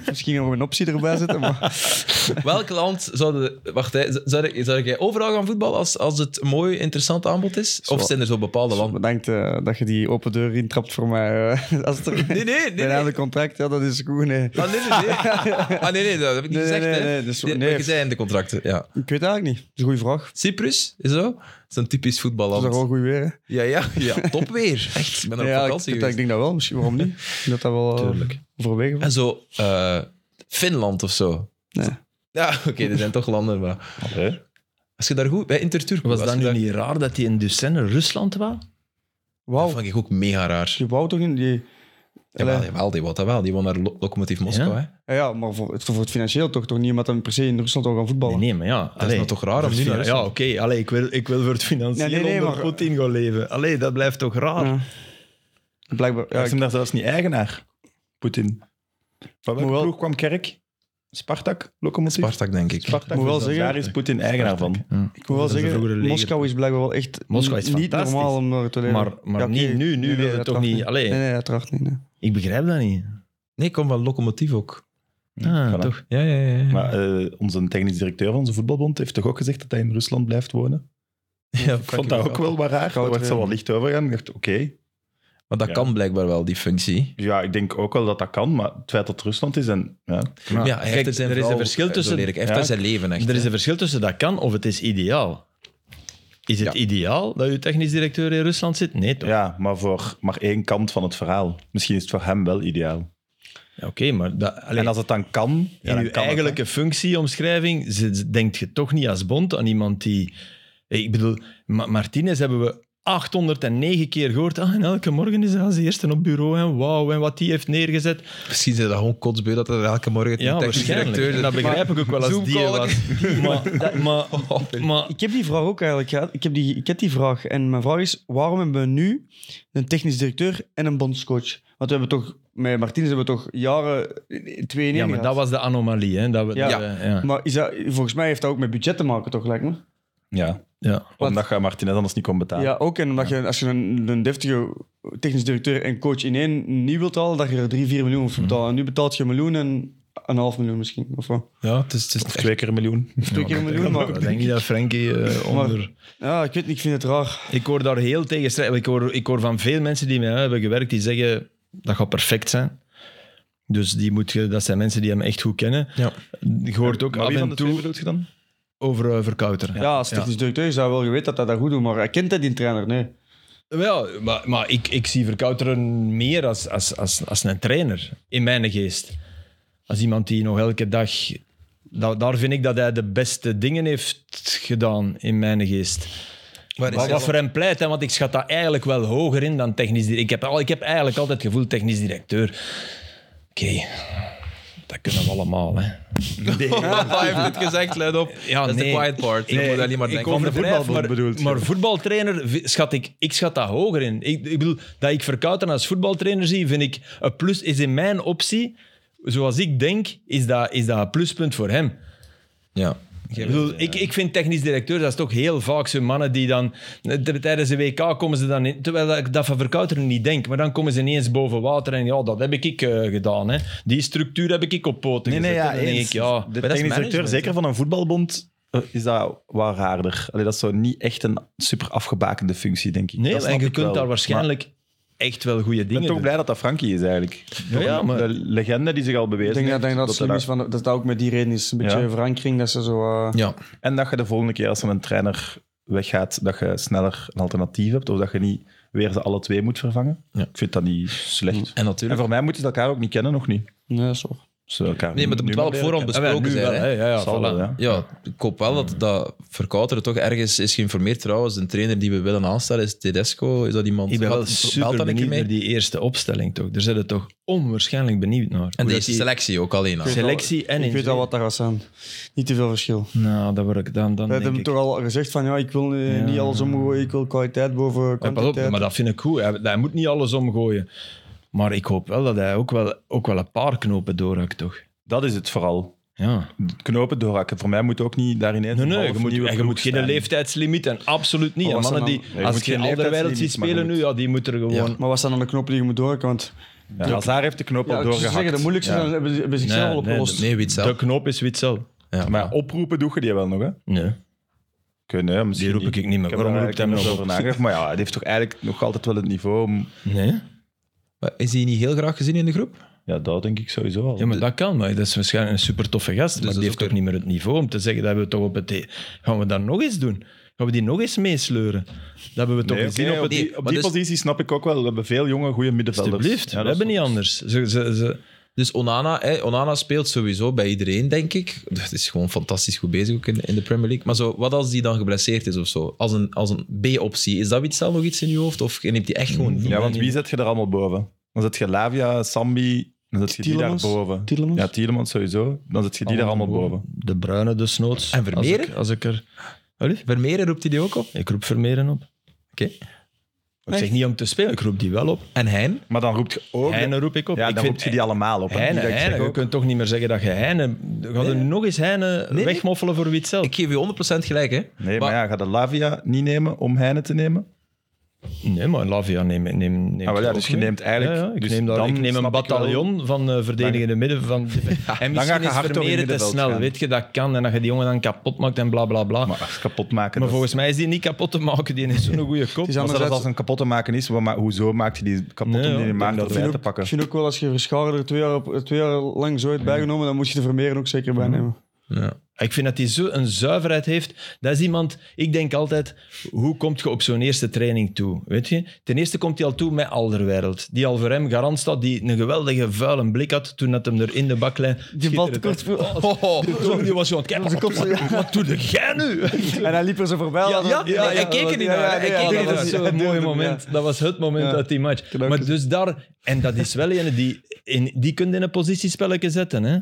Speaker 4: Misschien nog een optie erbij zitten. Maar...
Speaker 1: Welk land zouden... Wacht, hè, z- zou, zou jij overal gaan voetballen als, als het een mooi, interessant aanbod is? Of zijn er zo bepaalde landen?
Speaker 4: Bedankt eh, dat je die open deur intrapt voor mij. eh, als het er...
Speaker 1: Nee, nee, nee.
Speaker 4: Bijna
Speaker 1: nee.
Speaker 4: de contract, ja, dat is goed. Nee.
Speaker 1: Ah, nee, nee, nee. Ah, nee, nee, dat heb ik niet
Speaker 4: Nee,
Speaker 1: gezegd.
Speaker 4: nee,
Speaker 1: hè.
Speaker 4: nee, dus-
Speaker 1: Dit-
Speaker 4: nee.
Speaker 1: wat je zei in de contracten, ja.
Speaker 4: Ik weet eigenlijk niet. Dat is een goede vraag.
Speaker 1: Cyprus, is zo? Dat is een typisch
Speaker 4: Dat is
Speaker 1: voetballand.
Speaker 4: daar wel goed weer. hè?
Speaker 1: Ja, ja, ja, top weer. Echt, ik ben er
Speaker 4: ja,
Speaker 1: op
Speaker 4: ik,
Speaker 1: vakantie
Speaker 4: vind dat- ik
Speaker 1: geweest.
Speaker 4: denk dat wel. Misschien waarom niet? Ik denk Dat dat wel eh,
Speaker 1: Tuurlijk.
Speaker 4: overwegen
Speaker 1: En zo, eh, Finland of zo.
Speaker 4: Nee.
Speaker 1: Ja, oké, er zijn toch landen, maar...
Speaker 3: Allee.
Speaker 1: Als je daar goed... Bij Interturk
Speaker 2: Was
Speaker 1: als
Speaker 2: dat
Speaker 1: je
Speaker 2: nu
Speaker 1: daar-
Speaker 2: niet raar dat hij in Ducenne Rusland was?
Speaker 1: Dat
Speaker 4: Wauw,
Speaker 1: vond ik ook mega raar.
Speaker 4: je wou toch in die...
Speaker 1: Jawel, jawel, die wat dat wel. Die won naar Lo- Lokomotief Moskou,
Speaker 2: Ja.
Speaker 1: hè.
Speaker 4: Ja, ja, maar voor, het- voor het financieel toch, toch niet omdat hij per se in Rusland wil gaan voetballen.
Speaker 2: Nee, nee, maar ja.
Speaker 1: Dat is nou toch raar om nu naar
Speaker 2: Ja,
Speaker 1: Rusland...
Speaker 2: oké. Allee, ik, wil, ik wil voor het financieel
Speaker 4: Nee, nee, nee,
Speaker 2: onder
Speaker 4: maar- Mm.
Speaker 2: Poetin gaan leven. Allee, dat blijft toch raar?
Speaker 4: Ja. Blijkbaar.
Speaker 3: Hij
Speaker 4: Ja,
Speaker 3: is hem daar zelfs niet eigenaar, Poetin. Van welke
Speaker 4: Moet wel-
Speaker 3: ploeg kwam Kerk? Spartak? Lokomotief?
Speaker 1: Spartak, denk ik.
Speaker 3: Spartak.
Speaker 4: Moet wel
Speaker 3: Dus
Speaker 4: zeggen-
Speaker 3: Daar is Poetin eigenaar van.
Speaker 4: Ik wil wel
Speaker 2: Dat is een vroegere
Speaker 4: zeggen,
Speaker 2: leger.
Speaker 4: Moskou is blijkbaar wel echt
Speaker 2: Moskou is
Speaker 4: niet
Speaker 2: fantastisch.
Speaker 4: normaal om er te leven.
Speaker 2: Maar, maar
Speaker 4: Ja, oké.
Speaker 2: niet nu. Nu
Speaker 4: Nee,
Speaker 2: wil
Speaker 4: nee,
Speaker 2: het
Speaker 4: dat
Speaker 2: toch
Speaker 4: mag
Speaker 2: niet...
Speaker 4: niet.
Speaker 2: Allee,
Speaker 4: Nee, nee, uiteraard niet. nee.
Speaker 2: ik begrijp dat niet.
Speaker 1: Nee, ik kom van Lokomotief ook.
Speaker 4: Mm.
Speaker 2: Ah,
Speaker 3: voilà.
Speaker 2: toch.
Speaker 1: Ja, ja, ja. ja.
Speaker 3: Maar eh, onze technisch directeur van onze voetbalbond heeft toch ook gezegd dat hij in Rusland blijft wonen?
Speaker 1: Ja,
Speaker 3: Ik vond dat ook wel wat raar. Daar
Speaker 4: Koud
Speaker 3: werd zo
Speaker 4: weer.
Speaker 3: wel licht over gaan. Ik dacht, oké.
Speaker 1: Maar dat
Speaker 3: Ja.
Speaker 1: kan blijkbaar wel, die functie.
Speaker 3: Ja, ik denk ook wel dat dat kan, maar het feit dat het Rusland is en... Ja,
Speaker 2: Maar
Speaker 1: Ja, hij heeft
Speaker 2: kijk,
Speaker 1: er, zijn
Speaker 2: er is een
Speaker 1: vooral-
Speaker 2: verschil
Speaker 1: zo
Speaker 2: tussen...
Speaker 1: leer ik, hij heeft
Speaker 3: ja.
Speaker 1: er zijn leven echt.
Speaker 2: Er is een verschil tussen dat kan of het is ideaal. Is het
Speaker 1: Ja.
Speaker 2: ideaal dat je technisch directeur in Rusland zit? Nee, toch?
Speaker 3: ja, maar voor maar één kant van het verhaal. Misschien is het voor hem wel ideaal.
Speaker 2: Ja, Oké, maar dat, allee,
Speaker 3: En als het dan kan, ja,
Speaker 2: in
Speaker 3: dan
Speaker 2: uw
Speaker 3: kan het,
Speaker 2: eigenlijke functieomschrijving ze- denkt je toch niet als bond aan iemand die... Eh, Ik bedoel, Ma- Martinez hebben we 809 keer gehoord. Ah, en elke morgen is hij als eerste op bureau. En wauw, en wat die heeft neergezet.
Speaker 1: Misschien zijn dat gewoon kotsbeu dat er elke morgen
Speaker 2: Ja, waarschijnlijk. En dat begrijp ik ook wel als die
Speaker 1: Zoomcall.
Speaker 2: was. Maar, dat- maar, maar
Speaker 4: Ik heb die vraag ook eigenlijk gehad. Ik heb, die, ik heb die vraag. En mijn vraag is, waarom hebben we nu een technisch directeur en een bondscoach? Want we hebben toch, met Martinez hebben we toch jaren eh, twee in
Speaker 2: ja,
Speaker 4: één
Speaker 2: maar
Speaker 4: gehad.
Speaker 2: dat was de anomalie. Hè, dat we,
Speaker 4: Ja.
Speaker 2: dat we- ja.
Speaker 4: Maar is dat, volgens mij heeft dat ook met budget te maken, toch, lijkt me?
Speaker 3: hè. Ja,
Speaker 2: Ja.
Speaker 3: omdat je Martinez anders niet kon betalen.
Speaker 4: Ja, ook. En omdat je, als je een, een deftige technisch directeur en coach in één niet wilt halen, dat je er 3, 4 miljoen voor moet betalen. En nu betaalt je een miljoen en een half miljoen misschien. Of wat?
Speaker 1: Ja, het is, het is echt-
Speaker 3: Twee keer een miljoen.
Speaker 4: Of twee keer een miljoen.
Speaker 2: Maar ik
Speaker 4: Maar,
Speaker 2: denk niet dat Frankie eh, onder...
Speaker 4: ja, ik weet niet, ik vind het raar.
Speaker 2: Ik hoor daar heel tegenstrijdig. Ik hoor, ik hoor van veel mensen die met hem hebben gewerkt, die zeggen dat gaat perfect zijn. Dus die moet je, dat zijn mensen die hem echt goed kennen.
Speaker 1: Ja.
Speaker 2: Je hoort ook
Speaker 3: Maar
Speaker 2: af
Speaker 3: wie van de
Speaker 2: en
Speaker 3: twee
Speaker 2: toe
Speaker 3: bedoelt je dan?
Speaker 2: over eh, Verkouter.
Speaker 4: Ja, als technisch directeur zou wel geweten dat hij dat goed doet, maar hij kent dat die trainer, nee.
Speaker 2: Wel, maar, maar ik, ik zie Verkouteren meer als, als, als, als een trainer, in mijn geest. Als iemand die nog elke dag... da- daar vind ik dat hij de beste dingen heeft gedaan, in mijn geest.
Speaker 1: Waar is
Speaker 2: Wat,
Speaker 1: hij
Speaker 2: wat voor hem pleit, hè, want ik schat dat eigenlijk wel hoger in dan technisch directeur. Ik heb, al, ik heb eigenlijk altijd het gevoel technisch directeur. Oké, dat kunnen we allemaal. Hè.
Speaker 1: Hij heeft dit gezegd, let op.
Speaker 2: Ja,
Speaker 1: dat is
Speaker 2: nee.
Speaker 1: de quiet part. Je
Speaker 2: Nee,
Speaker 1: moet alleen maar
Speaker 2: ik
Speaker 1: denken.
Speaker 2: overdrijf,
Speaker 3: Van de voetbalbond
Speaker 2: maar,
Speaker 3: bedoelt je?
Speaker 2: Maar voetbaltrainer vi- schat ik, ik schat dat hoger in. Ik, ik bedoel, dat ik Verkouteren als voetbaltrainer zie, vind ik een plus is in mijn optie. Zoals ik denk, is dat, is dat een pluspunt voor hem.
Speaker 1: Ja.
Speaker 2: Ik, bedoel, ik,
Speaker 3: eh,
Speaker 2: ik vind technisch directeur, dat is toch heel vaak zo'n mannen die dan... Tijdens de WK komen ze dan in... Terwijl ik dat van Verkouteren niet denk, maar dan komen ze ineens boven water en ja, dat heb ik eh, gedaan. Hè. Die structuur heb ik op poten
Speaker 3: Nee, nee,
Speaker 2: gezet.
Speaker 3: ja,
Speaker 2: En dan denk
Speaker 3: eens.
Speaker 2: ik, ja...
Speaker 3: De
Speaker 2: maar dat is
Speaker 3: technisch directeur,
Speaker 2: management,
Speaker 3: zeker van een voetbalbond, eh, is dat wel raarder. Allee, dat is zo niet echt een super afgebakende functie, denk ik.
Speaker 2: hè. Nee,
Speaker 3: Dat
Speaker 2: en
Speaker 3: snap
Speaker 2: je
Speaker 3: ik
Speaker 2: kunt
Speaker 3: wel.
Speaker 2: daar waarschijnlijk echt wel goede
Speaker 3: Maar
Speaker 2: dingen
Speaker 3: ik ben toch
Speaker 2: doen.
Speaker 3: blij dat dat Frankie is, eigenlijk.
Speaker 2: Ja, ja, maar-
Speaker 3: De legende die zich al
Speaker 4: Ik
Speaker 3: bewezen
Speaker 4: denk dat,
Speaker 3: heeft,
Speaker 4: denk dat,
Speaker 3: dat
Speaker 4: slim
Speaker 3: hij
Speaker 4: is, van, dat dat ook met die reden is. Een beetje
Speaker 3: Ja.
Speaker 4: verankering, dat ze zo... eh,
Speaker 1: Ja.
Speaker 3: En dat je de volgende keer als er een trainer weggaat, dat je sneller een alternatief hebt. Of dat je niet weer ze alle twee moet vervangen.
Speaker 1: Ja.
Speaker 3: Ik vind dat niet slecht.
Speaker 2: Mm.
Speaker 1: En
Speaker 3: En
Speaker 1: natuurlijk...
Speaker 3: voor mij moeten ze elkaar ook niet kennen, nog niet.
Speaker 4: Nee, dat is toch.
Speaker 3: Ze elkaar
Speaker 1: Nee, maar dat
Speaker 3: nu
Speaker 1: moet wel
Speaker 3: maar
Speaker 1: op
Speaker 3: leren
Speaker 1: voorhand
Speaker 2: Ah, wel,
Speaker 1: besproken
Speaker 2: nu
Speaker 1: zijn.
Speaker 2: wel,
Speaker 1: hè.
Speaker 2: hè. Ja, ja,
Speaker 3: kennen. Zal
Speaker 2: voilà.
Speaker 3: wel, ja.
Speaker 1: Ja, ik hoop wel dat, dat Verkouteren toch ergens is geïnformeerd. Trouwens, de trainer die we willen aanstellen is Tedesco. Is dat iemand?
Speaker 2: Ik ben wel
Speaker 1: Gaat- belt
Speaker 2: super
Speaker 1: dat een keer
Speaker 2: benieuwd
Speaker 1: mee?
Speaker 2: naar die eerste opstelling toch. Daar zijn we toch onwaarschijnlijk benieuwd naar.
Speaker 1: En
Speaker 2: Hoe
Speaker 1: de
Speaker 2: dat
Speaker 1: eerste
Speaker 2: die
Speaker 1: selectie ook alleen al.
Speaker 2: selectie en
Speaker 4: ik weet al wat daar gaat zijn. Niet te veel verschil.
Speaker 2: Nou, dat word ik dan, dan
Speaker 4: We hebben
Speaker 2: denk
Speaker 4: hem
Speaker 2: ik...
Speaker 4: toch al gezegd van ja, ik wil eh,
Speaker 2: Ja.
Speaker 4: niet alles omgooien, ik wil kwaliteit boven
Speaker 2: Ja, pas op,
Speaker 4: kwantiteit.
Speaker 2: maar dat vind ik goed. Hij, hij moet niet alles omgooien. Maar ik hoop wel dat hij ook wel, ook wel een paar knopen doorhakt, toch?
Speaker 3: Dat is het vooral.
Speaker 2: Ja.
Speaker 3: Knopen doorhakken. Voor mij moet ook niet daarin ineens
Speaker 2: Nee,
Speaker 3: een
Speaker 2: nee,
Speaker 3: half
Speaker 2: je moet,
Speaker 3: nieuwe Oh,
Speaker 2: en je
Speaker 3: ploeg
Speaker 2: moet geen
Speaker 3: staan.
Speaker 2: leeftijdslimiet en absoluut niet.
Speaker 4: Maar
Speaker 2: En
Speaker 4: was
Speaker 2: mannen
Speaker 4: dat
Speaker 2: die,
Speaker 4: nou-
Speaker 3: Nee, je
Speaker 2: als
Speaker 3: moet
Speaker 2: die
Speaker 3: geen
Speaker 2: Alderweireld ziet
Speaker 3: leeftijdslimiet, maar je
Speaker 2: spelen nu, ja, die moeten er gewoon...
Speaker 4: Maar wat zijn dan de knoppen die je moet doorhakken? Want
Speaker 3: Ja, Hazard heeft de knoop al
Speaker 4: ja, ik zou
Speaker 3: doorgehakt.
Speaker 4: zeggen, de moeilijkste
Speaker 3: Ja.
Speaker 4: zijn, hebben ze hebben ze zichzelf al opgelost.
Speaker 2: de-
Speaker 1: Nee, Witzel.
Speaker 2: De knop is Witzel.
Speaker 1: Ja.
Speaker 3: Maar oproepen doe je die wel nog, hè?
Speaker 2: Nee.
Speaker 3: Kun je, misschien
Speaker 2: Die roep ik nou niet meer.
Speaker 3: heb
Speaker 2: Waarom
Speaker 3: daar
Speaker 2: roept
Speaker 3: eigenlijk
Speaker 2: hij me
Speaker 3: niet
Speaker 2: nog
Speaker 3: over nagedacht. Maar ja, die heeft toch eigenlijk nog altijd wel het niveau om...
Speaker 2: Nee?
Speaker 1: Maar Is hij niet heel graag gezien in de groep?
Speaker 3: Ja, dat denk ik sowieso al.
Speaker 2: Ja, maar dat kan. Maar dat is waarschijnlijk een super toffe gast.
Speaker 3: Dus
Speaker 2: maar
Speaker 1: dat
Speaker 2: die
Speaker 1: is
Speaker 2: heeft
Speaker 1: ook
Speaker 2: toch niet meer het niveau om te zeggen dat we toch op het... e- Gaan we dat nog eens doen? Gaan we die nog eens meesleuren? Dat hebben we toch
Speaker 3: Nee,
Speaker 2: gezien
Speaker 3: oké,
Speaker 2: op
Speaker 3: op
Speaker 2: het...
Speaker 3: die,
Speaker 1: nee,
Speaker 3: op
Speaker 1: maar
Speaker 3: die
Speaker 1: dus-
Speaker 3: positie snap ik ook wel. We hebben veel jonge, goede middenvelders.
Speaker 2: Alsjeblieft,
Speaker 3: Ja, dat
Speaker 2: we
Speaker 3: is
Speaker 2: hebben niet
Speaker 3: toch-
Speaker 2: anders. Ze, ze, ze,
Speaker 1: Dus Onana, hè, Onana speelt sowieso bij iedereen, denk ik. Dat is gewoon fantastisch goed bezig ook in, in de Premier League. Maar zo, wat als die dan geblesseerd is of zo? Als een, als een B-optie. Is dat Witzel nog iets in je hoofd? Of neemt hij echt
Speaker 2: Mm,
Speaker 1: gewoon...
Speaker 3: Ja, want wie zet je er allemaal boven? Dan zet je Lavia, Sambi, dan zet je die daar
Speaker 4: Tielemans?
Speaker 3: boven.
Speaker 4: Tielemans?
Speaker 3: Ja, Tielemans sowieso. Dan zet je die daar allemaal boven.
Speaker 2: De bruine desnoods.
Speaker 1: En Vermeeren?
Speaker 2: Als ik, als ik er... Allee,
Speaker 1: Vermeeren roept hij die ook op?
Speaker 2: Ik roep Vermeeren op.
Speaker 1: Oké.
Speaker 2: Ik zeg niet om te spelen, ik roep die wel op.
Speaker 1: En Hein?
Speaker 3: Maar dan roept je ook...
Speaker 2: Heine roep ik op.
Speaker 3: ja,
Speaker 2: ik
Speaker 3: dan roep je die allemaal op. hè.
Speaker 2: Heine,
Speaker 3: Die dat ik zeg
Speaker 2: Heine. Je
Speaker 3: ook.
Speaker 2: kunt toch niet meer zeggen dat je Heine... Ga je nog eens Heine
Speaker 1: nee.
Speaker 2: wegmoffelen voor Witzel?
Speaker 1: Ik geef je 100% gelijk, hè?
Speaker 3: Nee, maar, ja, ga de Lavia niet nemen om Heine te nemen?
Speaker 2: Nee, maar Lavia neem, neem, neemt
Speaker 3: Ah, wel, ja,
Speaker 2: het
Speaker 3: dus
Speaker 2: ook
Speaker 3: je
Speaker 2: mee.
Speaker 3: neemt eigenlijk-
Speaker 2: Ja, ja, ik,
Speaker 3: dus
Speaker 2: neem daar-
Speaker 3: dan
Speaker 2: ik neem een
Speaker 3: snap ik wel-
Speaker 2: bataljon van eh, verdedigende midden... Van, en
Speaker 3: ga
Speaker 2: misschien
Speaker 3: je
Speaker 2: is
Speaker 3: hard door in
Speaker 2: Vermeeren te
Speaker 3: middenveld
Speaker 2: snel,
Speaker 3: gaan.
Speaker 2: weet je, dat kan. En dat je die jongen dan kapot maakt en bla, bla, bla.
Speaker 3: Maar
Speaker 2: Maar,
Speaker 3: als kapot maken... dat is-
Speaker 2: volgens mij is die niet kapot te maken. Die is zo'n goede kop.
Speaker 4: Het is
Speaker 3: Als dat
Speaker 4: anderzijds-
Speaker 3: als een kapot te maken is, wa- maar hoezo maakt je die kapot
Speaker 2: Nee,
Speaker 3: om
Speaker 2: ja,
Speaker 3: die
Speaker 2: ik
Speaker 3: in maart
Speaker 2: denk dat
Speaker 3: erbij
Speaker 4: ook-
Speaker 3: te pakken?
Speaker 4: Ik vind ook wel, als je Verschouwer er twee jaar, op, twee jaar lang zo hebt bijgenomen, dan moet je de Vermeeren ook zeker bijnemen.
Speaker 1: Ja.
Speaker 2: Ik vind dat hij zo een zuiverheid heeft. Dat is iemand, ik denk altijd, hoe komt je op zo'n eerste training toe? Weet je? Ten eerste komt hij al toe met Alderwereld, die al voor hem garant staat, die een geweldige vuile blik had toen dat hem er in de baklijn...
Speaker 4: Die bal te kort viel.
Speaker 2: Die, zo- oh, die was zo aan het kijken,
Speaker 4: Onze kop zo-
Speaker 2: wat, wat doe jij nu?
Speaker 4: En hij liep er zo voorbij.
Speaker 2: Ja,
Speaker 4: dan-
Speaker 2: ja, ja, hij keek er niet naar, hij
Speaker 4: nee,
Speaker 2: keek er niet
Speaker 4: dat
Speaker 2: naar.
Speaker 4: was
Speaker 2: Dat was
Speaker 4: zo'n
Speaker 2: een mooi moment. Dat was het moment
Speaker 4: Ja.
Speaker 2: uit die match.
Speaker 4: Klopt.
Speaker 2: Maar dus daar... En dat is wel een die... In, die kun je in een positiespelletje zetten, hè.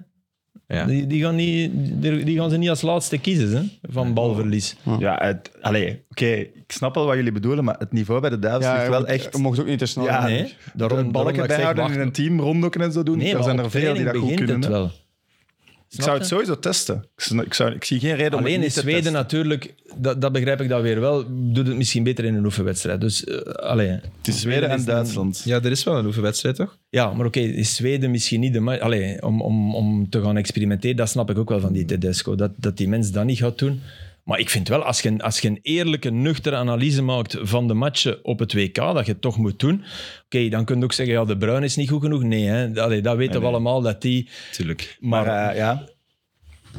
Speaker 1: Ja.
Speaker 2: Die, die, gaan niet, die die gaan ze niet als laatste kiezen, hè, van balverlies.
Speaker 3: Ja, het, allee, oké, ik snap wel wat jullie bedoelen, maar het niveau bij de Duitsers
Speaker 4: Ja,
Speaker 3: ligt
Speaker 4: je
Speaker 3: wel
Speaker 4: moet-
Speaker 3: echt...
Speaker 4: je mocht ook niet te snel.
Speaker 3: Ja,
Speaker 4: gaan.
Speaker 2: Nee, dus daarom
Speaker 3: Een balken
Speaker 2: daarom dat ik zeg,
Speaker 3: bijhouden
Speaker 2: wacht.
Speaker 3: en een team ronddokken en zo doen.
Speaker 2: Nee,
Speaker 3: er
Speaker 2: maar
Speaker 3: zijn
Speaker 2: op
Speaker 3: er veel die
Speaker 2: training
Speaker 3: dat goed
Speaker 2: begint
Speaker 3: kunnen.
Speaker 2: het
Speaker 3: hè.
Speaker 2: wel.
Speaker 3: Ik zou het sowieso testen. Ik, zou- ik zou, ik zie geen reden om
Speaker 2: Alleen
Speaker 3: het
Speaker 2: in
Speaker 3: niet te
Speaker 2: Zweden
Speaker 3: testen.
Speaker 2: natuurlijk, dat, dat begrijp ik dan weer wel, doet het misschien beter in een oefenwedstrijd. Dus, eh, allee,
Speaker 3: Het is Zweden en
Speaker 2: is-
Speaker 3: Duitsland.
Speaker 1: Ja, er is wel een oefenwedstrijd, toch?
Speaker 2: Ja, maar oké, is Zweden misschien niet de ma- Allee, om, om, om te gaan experimenteren, dat snap ik ook wel van die Tedesco. Dat, dat die mens dat niet gaat doen. Maar ik vind wel, als je, een- als je een eerlijke, nuchtere analyse maakt van de matchen op het WK, dat je het toch moet doen. Oké, dan kun je ook zeggen, ja, de Bruin is niet goed genoeg. Nee, hè. Allee, dat weten we allemaal, dat die...
Speaker 1: Tuurlijk.
Speaker 2: Maar,
Speaker 3: Maar eh, ja,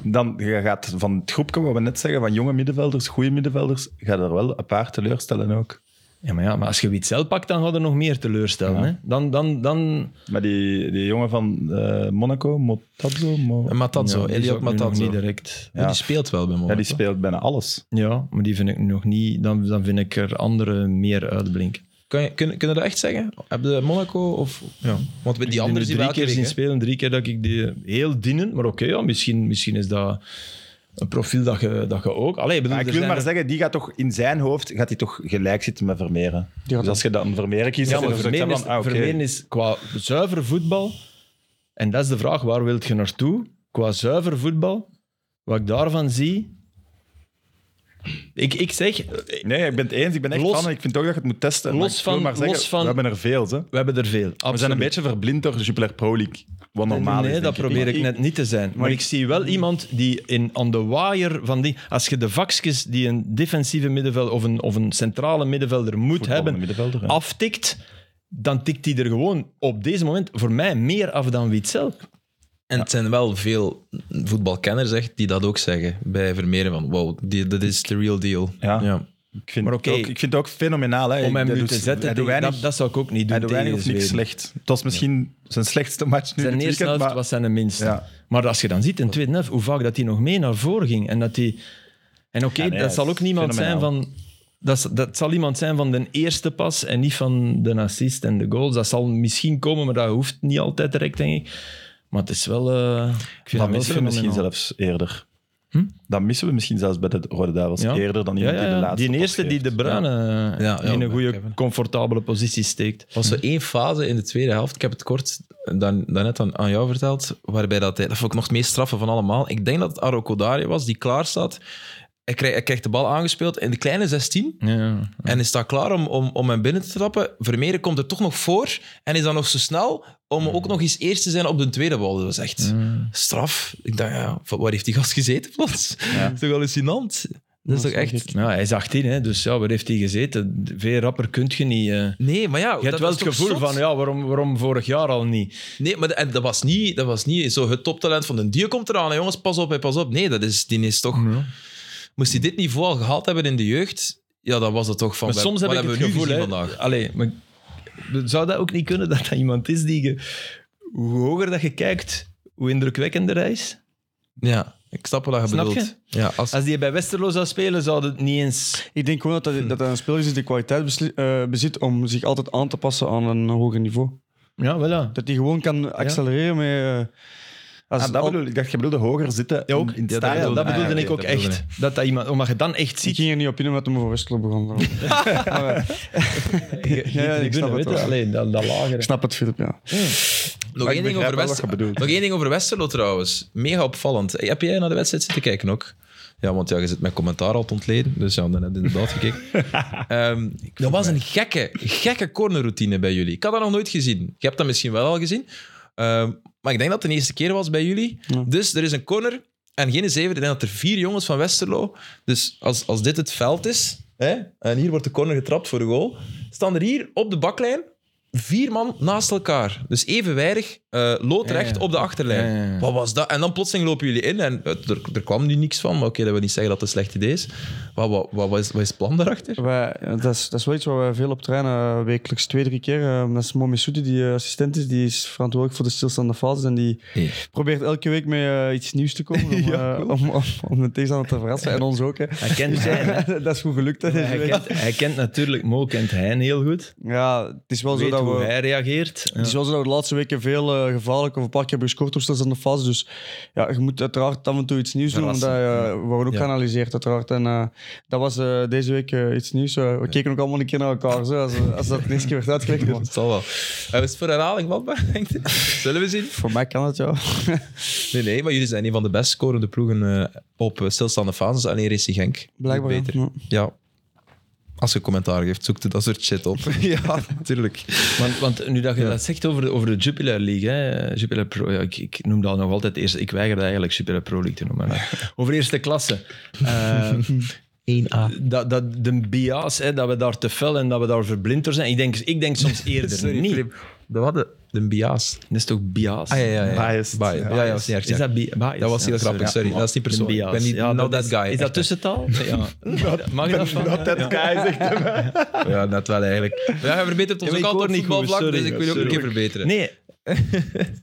Speaker 3: dan je gaat van het groepje wat we net zeggen, van jonge middenvelders, goede middenvelders, gaat er wel een paar teleurstellen ook.
Speaker 2: ja, maar, ja, maar als je Witzel pakt, dan gaat er nog meer teleurstellen. Hè. Dan, dan, dan,
Speaker 3: Maar die, die jongen van eh, Monaco, Motabzo, Mo-
Speaker 1: En Matanzo,
Speaker 2: Ja, die is
Speaker 1: Elliot
Speaker 2: ook nu nog
Speaker 1: Matanzo.
Speaker 2: niet direct.
Speaker 1: Maar Die speelt wel bij
Speaker 3: ja,
Speaker 1: Monaco.
Speaker 3: die speelt bijna alles.
Speaker 2: Ja, maar die vind ik nog niet... Dan, dan vind ik er andere meer uitblinken.
Speaker 1: Kan je, kun, kunnen we dat echt zeggen? Hebben de Monaco of... Ja. Want die
Speaker 2: Ik ben
Speaker 1: anderen
Speaker 2: er
Speaker 1: zien we
Speaker 2: drie
Speaker 1: elke
Speaker 2: keer
Speaker 1: week,
Speaker 2: zien
Speaker 1: hè.
Speaker 2: spelen, drie keer dat ik die heel dienen. Maar oké, ja, misschien, misschien is dat een profiel dat je, dat je ook. Allee, ik bedoel,
Speaker 3: Maar
Speaker 2: er
Speaker 3: ik wil
Speaker 2: zijn
Speaker 3: maar
Speaker 2: er-
Speaker 3: zeggen, die gaat toch in zijn hoofd gaat hij toch gelijk zitten met Vermeeren.
Speaker 4: gaat
Speaker 3: Dus als je dan Vermeeren kiest,
Speaker 2: Ja,
Speaker 3: dan
Speaker 2: maar
Speaker 3: zegt hij
Speaker 2: Vermeeren is,
Speaker 3: van, ah, oké.
Speaker 2: Vermeeren is qua zuiver voetbal. En dat is de vraag, waar wilt je naartoe? Qua zuiver voetbal, wat ik daarvan zie. Ik, ik zeg,
Speaker 3: Nee, ik ben het eens. Ik ben echt
Speaker 2: Los-
Speaker 3: van. Ik vind ook dat je het moet testen. Maar
Speaker 2: Los
Speaker 3: ik wil
Speaker 2: van-
Speaker 3: maar zeggen,
Speaker 2: los van-
Speaker 3: we hebben er veel. Hè.
Speaker 2: we hebben er veel.
Speaker 3: We zijn een beetje verblind door de Jupiler Pro League. Wat normaal
Speaker 2: nee,
Speaker 3: is,
Speaker 2: dat
Speaker 3: denk
Speaker 2: probeer ik, net niet te zijn. Maar, ik, zie wel iemand die in, aan de waaier van die... Als je de vakjes die een defensieve middenvelder of een, of een centrale middenvelder moet
Speaker 3: Voetballende
Speaker 2: hebben,
Speaker 3: middenvelder, hè.
Speaker 2: aftikt, dan tikt hij er gewoon op deze moment voor mij meer af dan Witzel.
Speaker 1: En het zijn wel veel voetbalkenners echt, die dat ook zeggen bij Vermeeren. Van, wow, die- dat is de real deal.
Speaker 3: Ja.
Speaker 1: ja.
Speaker 3: Ik vind,
Speaker 2: Maar
Speaker 3: maar
Speaker 2: oké.
Speaker 3: ook, ik vind het ook fenomenaal. Hè.
Speaker 2: Om hem
Speaker 3: Hij
Speaker 2: nu
Speaker 3: doet-
Speaker 2: te zetten,
Speaker 3: Hij
Speaker 2: tegen-
Speaker 3: doet weinig,
Speaker 2: dat, dat zou ik ook niet doen
Speaker 3: hij doet
Speaker 2: tegen
Speaker 3: weinig of niks
Speaker 2: Zweden.
Speaker 3: slecht. Het was misschien zijn slechtste match nu
Speaker 2: Zijn
Speaker 3: dit
Speaker 2: eerste
Speaker 3: weekend,
Speaker 2: helft
Speaker 3: maar
Speaker 2: was zijn de minste.
Speaker 3: Ja.
Speaker 2: Maar als je dan ziet in tweede helft, hoe vaak dat hij nog mee naar voren ging. En dat hij... En oké,
Speaker 3: Ja, nee,
Speaker 2: dat
Speaker 3: dat
Speaker 2: zal
Speaker 3: is
Speaker 2: ook niemand zijn
Speaker 3: fenomenaal.
Speaker 2: van... Dat, is- dat zal iemand zijn van de eerste pas en niet van de assist en de goals. Dat zal misschien komen, maar dat hoeft niet altijd direct, denk ik. Maar het is wel... eh, ik vind
Speaker 3: dat
Speaker 2: dat wel
Speaker 3: missen we misschien
Speaker 2: fenomenaal. Hm?
Speaker 3: zelfs eerder. Dat missen we misschien zelfs bij de Rode Duivels
Speaker 2: Ja.
Speaker 3: eerder dan iemand
Speaker 2: Ja, ja,
Speaker 3: die de
Speaker 2: ja.
Speaker 3: laatste
Speaker 2: Die
Speaker 3: pas
Speaker 2: eerste die
Speaker 3: geeft.
Speaker 2: de bruine
Speaker 1: Ja,
Speaker 2: eh,
Speaker 1: ja,
Speaker 2: in een
Speaker 1: maar
Speaker 2: goede,
Speaker 1: Kevin.
Speaker 2: comfortabele positie steekt.
Speaker 1: Er was zo één fase in de tweede helft, ik heb het kort dan, daarnet aan, aan jou verteld, waarbij dat, hij- dat vond ik nog het meest straffe van allemaal. Ik denk dat het Aro Kodari was, die klaar staat. Hij krijgt, hij krijgt de bal aangespeeld in de kleine 16
Speaker 2: Ja, ja.
Speaker 1: en is daar klaar om, om, om hem binnen te trappen. Vermeeren komt er toch nog voor en is dan nog zo snel om ook nog eens eerst te zijn op de tweede bal. Dat was echt straf. Ik dacht, ja, van waar heeft die gast gezeten plots? Dat is toch hallucinant? Dat is toch echt...
Speaker 2: Nou, hij is 18, hè, dus ja, waar heeft hij gezeten? Veel rapper kunt je niet... eh,
Speaker 1: Nee, maar ja...
Speaker 2: Je hebt wel het gevoel van, ja, waarom, waarom vorig jaar al niet?
Speaker 1: Nee, maar de- en dat, was niet, dat was niet zo het toptalent van een dier komt eraan. Hè, jongens, pas op, hè, pas op. Nee, dat is, die is
Speaker 2: Mm.
Speaker 1: toch... Moest hij dit niveau al gehaald hebben in de jeugd, ja, dan was dat toch van...
Speaker 2: Maar
Speaker 1: we-
Speaker 2: soms heb
Speaker 1: wat
Speaker 2: ik het
Speaker 1: hebben we nu
Speaker 2: gevoel, hè,
Speaker 1: gezien vandaag.
Speaker 2: Allee, maar zou dat ook niet kunnen dat dat iemand is die je... Hoe hoger dat je kijkt, hoe indrukwekkender hij is?
Speaker 1: Ja, ik snap wat je
Speaker 2: Snap
Speaker 1: bedoelt. Ja, als,
Speaker 2: Als die bij Westerlo zou spelen, zou het niet eens...
Speaker 4: Ik denk gewoon dat hij, dat hij een speler is die de kwaliteit besli- eh, bezit om zich altijd aan te passen aan een hoger niveau.
Speaker 2: Ja, voilà.
Speaker 4: Dat hij gewoon kan accelereren met... eh, als
Speaker 3: Ah, dat
Speaker 4: al-
Speaker 3: bedoel ik. Ik dacht, je bedoelde hoger zitten
Speaker 2: Ja, ook.
Speaker 3: in het
Speaker 1: Ja, dat
Speaker 2: Ah, ja,
Speaker 3: stadion.
Speaker 2: dat
Speaker 1: bedoelde-
Speaker 2: bedoelde
Speaker 1: ah, ja,
Speaker 2: ik
Speaker 1: oké,
Speaker 2: ook
Speaker 1: dat bedoelde
Speaker 2: echt. Dat dat iemand, omdat je dan echt
Speaker 4: Ik
Speaker 2: ziet...
Speaker 4: ging er niet op in omdat hij over Westerlo begon. daarom. eh,
Speaker 2: je- je
Speaker 4: ja, ik
Speaker 2: tribune,
Speaker 4: snap het
Speaker 2: weet je,
Speaker 4: wel.
Speaker 2: allee, dat, dat lager.
Speaker 4: ik snap het, Filip, ja.
Speaker 1: nog,
Speaker 3: ik
Speaker 1: één ding
Speaker 3: begrijp
Speaker 1: over
Speaker 3: wel wat
Speaker 1: Wester-
Speaker 3: je bedoelt.
Speaker 1: nog één ding over Westerlo trouwens. Mega opvallend. Hey, Heb jij naar de wedstrijd zitten kijken ook? Ja, want ja, je zit mijn commentaar al te ontleden. Dus ja, dan heb je inderdaad gekeken. Ehm, dat was een gekke, gekke cornerroutine bij jullie. Ik had dat nog nooit gezien. Je hebt dat misschien wel al gezien. Ehm, maar ik denk dat het de eerste keer was bij jullie. Dus er is een corner en geen zeven. Ik denk dat er vier jongens van Westerlo... Dus als, als dit het veld is, hè, en hier wordt de corner getrapt voor de goal, staan er hier op de baklijn vier man naast elkaar. Dus evenwijdig, eh loodrecht
Speaker 2: Ja, ja.
Speaker 1: op de achterlijn.
Speaker 2: Ja, ja, ja.
Speaker 1: Wat was dat? En dan plotseling lopen jullie in en het- er, er kwam nu niks van. Maar oké, dat wil niet zeggen dat het een slecht idee is. Wat, wat, wat, wat is, wat is het plan daarachter?
Speaker 4: Wij, eh, dat, is, dat is wel iets waar we veel op trainen, eh, wekelijks twee, drie keer. Eh, dat is Momi Soeti, die eh, assistent is, die is verantwoordelijk voor de stilstaande fases. En die
Speaker 1: Nee.
Speaker 4: probeert elke week met eh, iets nieuws te komen om, eh, om, om, om de tegenstander te verrassen. En ons ook. Hè.
Speaker 2: Hij kent Hein, hè.
Speaker 4: dat is goed gelukt. Hè, deze
Speaker 2: Hij
Speaker 4: week.
Speaker 2: kent, hij kent natuurlijk... Mo kent Hein heel goed.
Speaker 4: Ja, het is wel
Speaker 2: Weet
Speaker 4: zo dat dat
Speaker 2: hoe
Speaker 4: we-
Speaker 2: hij reageert. Ja.
Speaker 4: Het is wel zo dat we de laatste weken veel eh, gevaarlijk of een paar keer hebben gescoord op stilstaande fase. Dus ja, je moet uiteraard af en toe iets nieuws doen. Omdat,
Speaker 2: Verrassen.
Speaker 4: eh, we worden ook
Speaker 2: Ja.
Speaker 4: geanalyseerd, uiteraard. En eh, dat was eh, deze week eh, iets nieuws. Eh, we keken ook allemaal een keer naar elkaar, zo, als, eh, als dat de eerste keer werd uitgelegd. maar
Speaker 1: Het zal wel. Eh, is het voor herhaling vatbaar, denk je? Zullen we zien?
Speaker 4: voor mij kan het, ja.
Speaker 1: Nee, nee, maar jullie zijn een van de best scorende ploegen eh, op eh, stilstaande fases. Alleen Racing Genk.
Speaker 4: Blijkbaar. ja.
Speaker 1: Doet Beter.
Speaker 4: Ja.
Speaker 1: Ja. Als je commentaar geeft, zoek je dat soort shit op. ja, tuurlijk.
Speaker 2: Want, want nu dat je dat zegt over de, over de Jupiler League, hè, Jupiler Pro, ja, ik, ik noem dat nog altijd eerste. Ik weiger dat eigenlijk Jupiler Pro League te noemen. maar over eerste klasse. Eh,
Speaker 1: 1A.
Speaker 2: dat, dat, de bias, hè, dat we daar te fel en dat we daar verblind door zijn. Ik denk, ik denk soms eerder niet.
Speaker 1: Dat hadden de Biaas.
Speaker 2: Dat is toch bias?
Speaker 1: Ah, ja, ja. ja.
Speaker 3: Biased.
Speaker 1: Biased. Ja, ja, dat was niet erg.
Speaker 2: Is dat bi- bias?
Speaker 1: Dat was heel
Speaker 2: Ja,
Speaker 1: grappig, sorry. Dat is niet
Speaker 2: De
Speaker 1: persoonlijk.
Speaker 2: bias.
Speaker 1: Ik ben niet-
Speaker 2: Ja,
Speaker 1: not
Speaker 2: is-
Speaker 1: that guy.
Speaker 2: Is dat tussentaal? Ja. Mag je dat van?
Speaker 3: Dat guy zegt hem.
Speaker 1: Ja, net wel eigenlijk. Maar ja, je verbetert ons
Speaker 2: Ja, maar
Speaker 1: ook altijd
Speaker 2: ik hoor
Speaker 1: op
Speaker 2: niet goed,
Speaker 1: voetbalvlak,
Speaker 2: sorry.
Speaker 1: dus ik wil je ook een
Speaker 2: Sorry.
Speaker 1: keer verbeteren.
Speaker 2: Nee.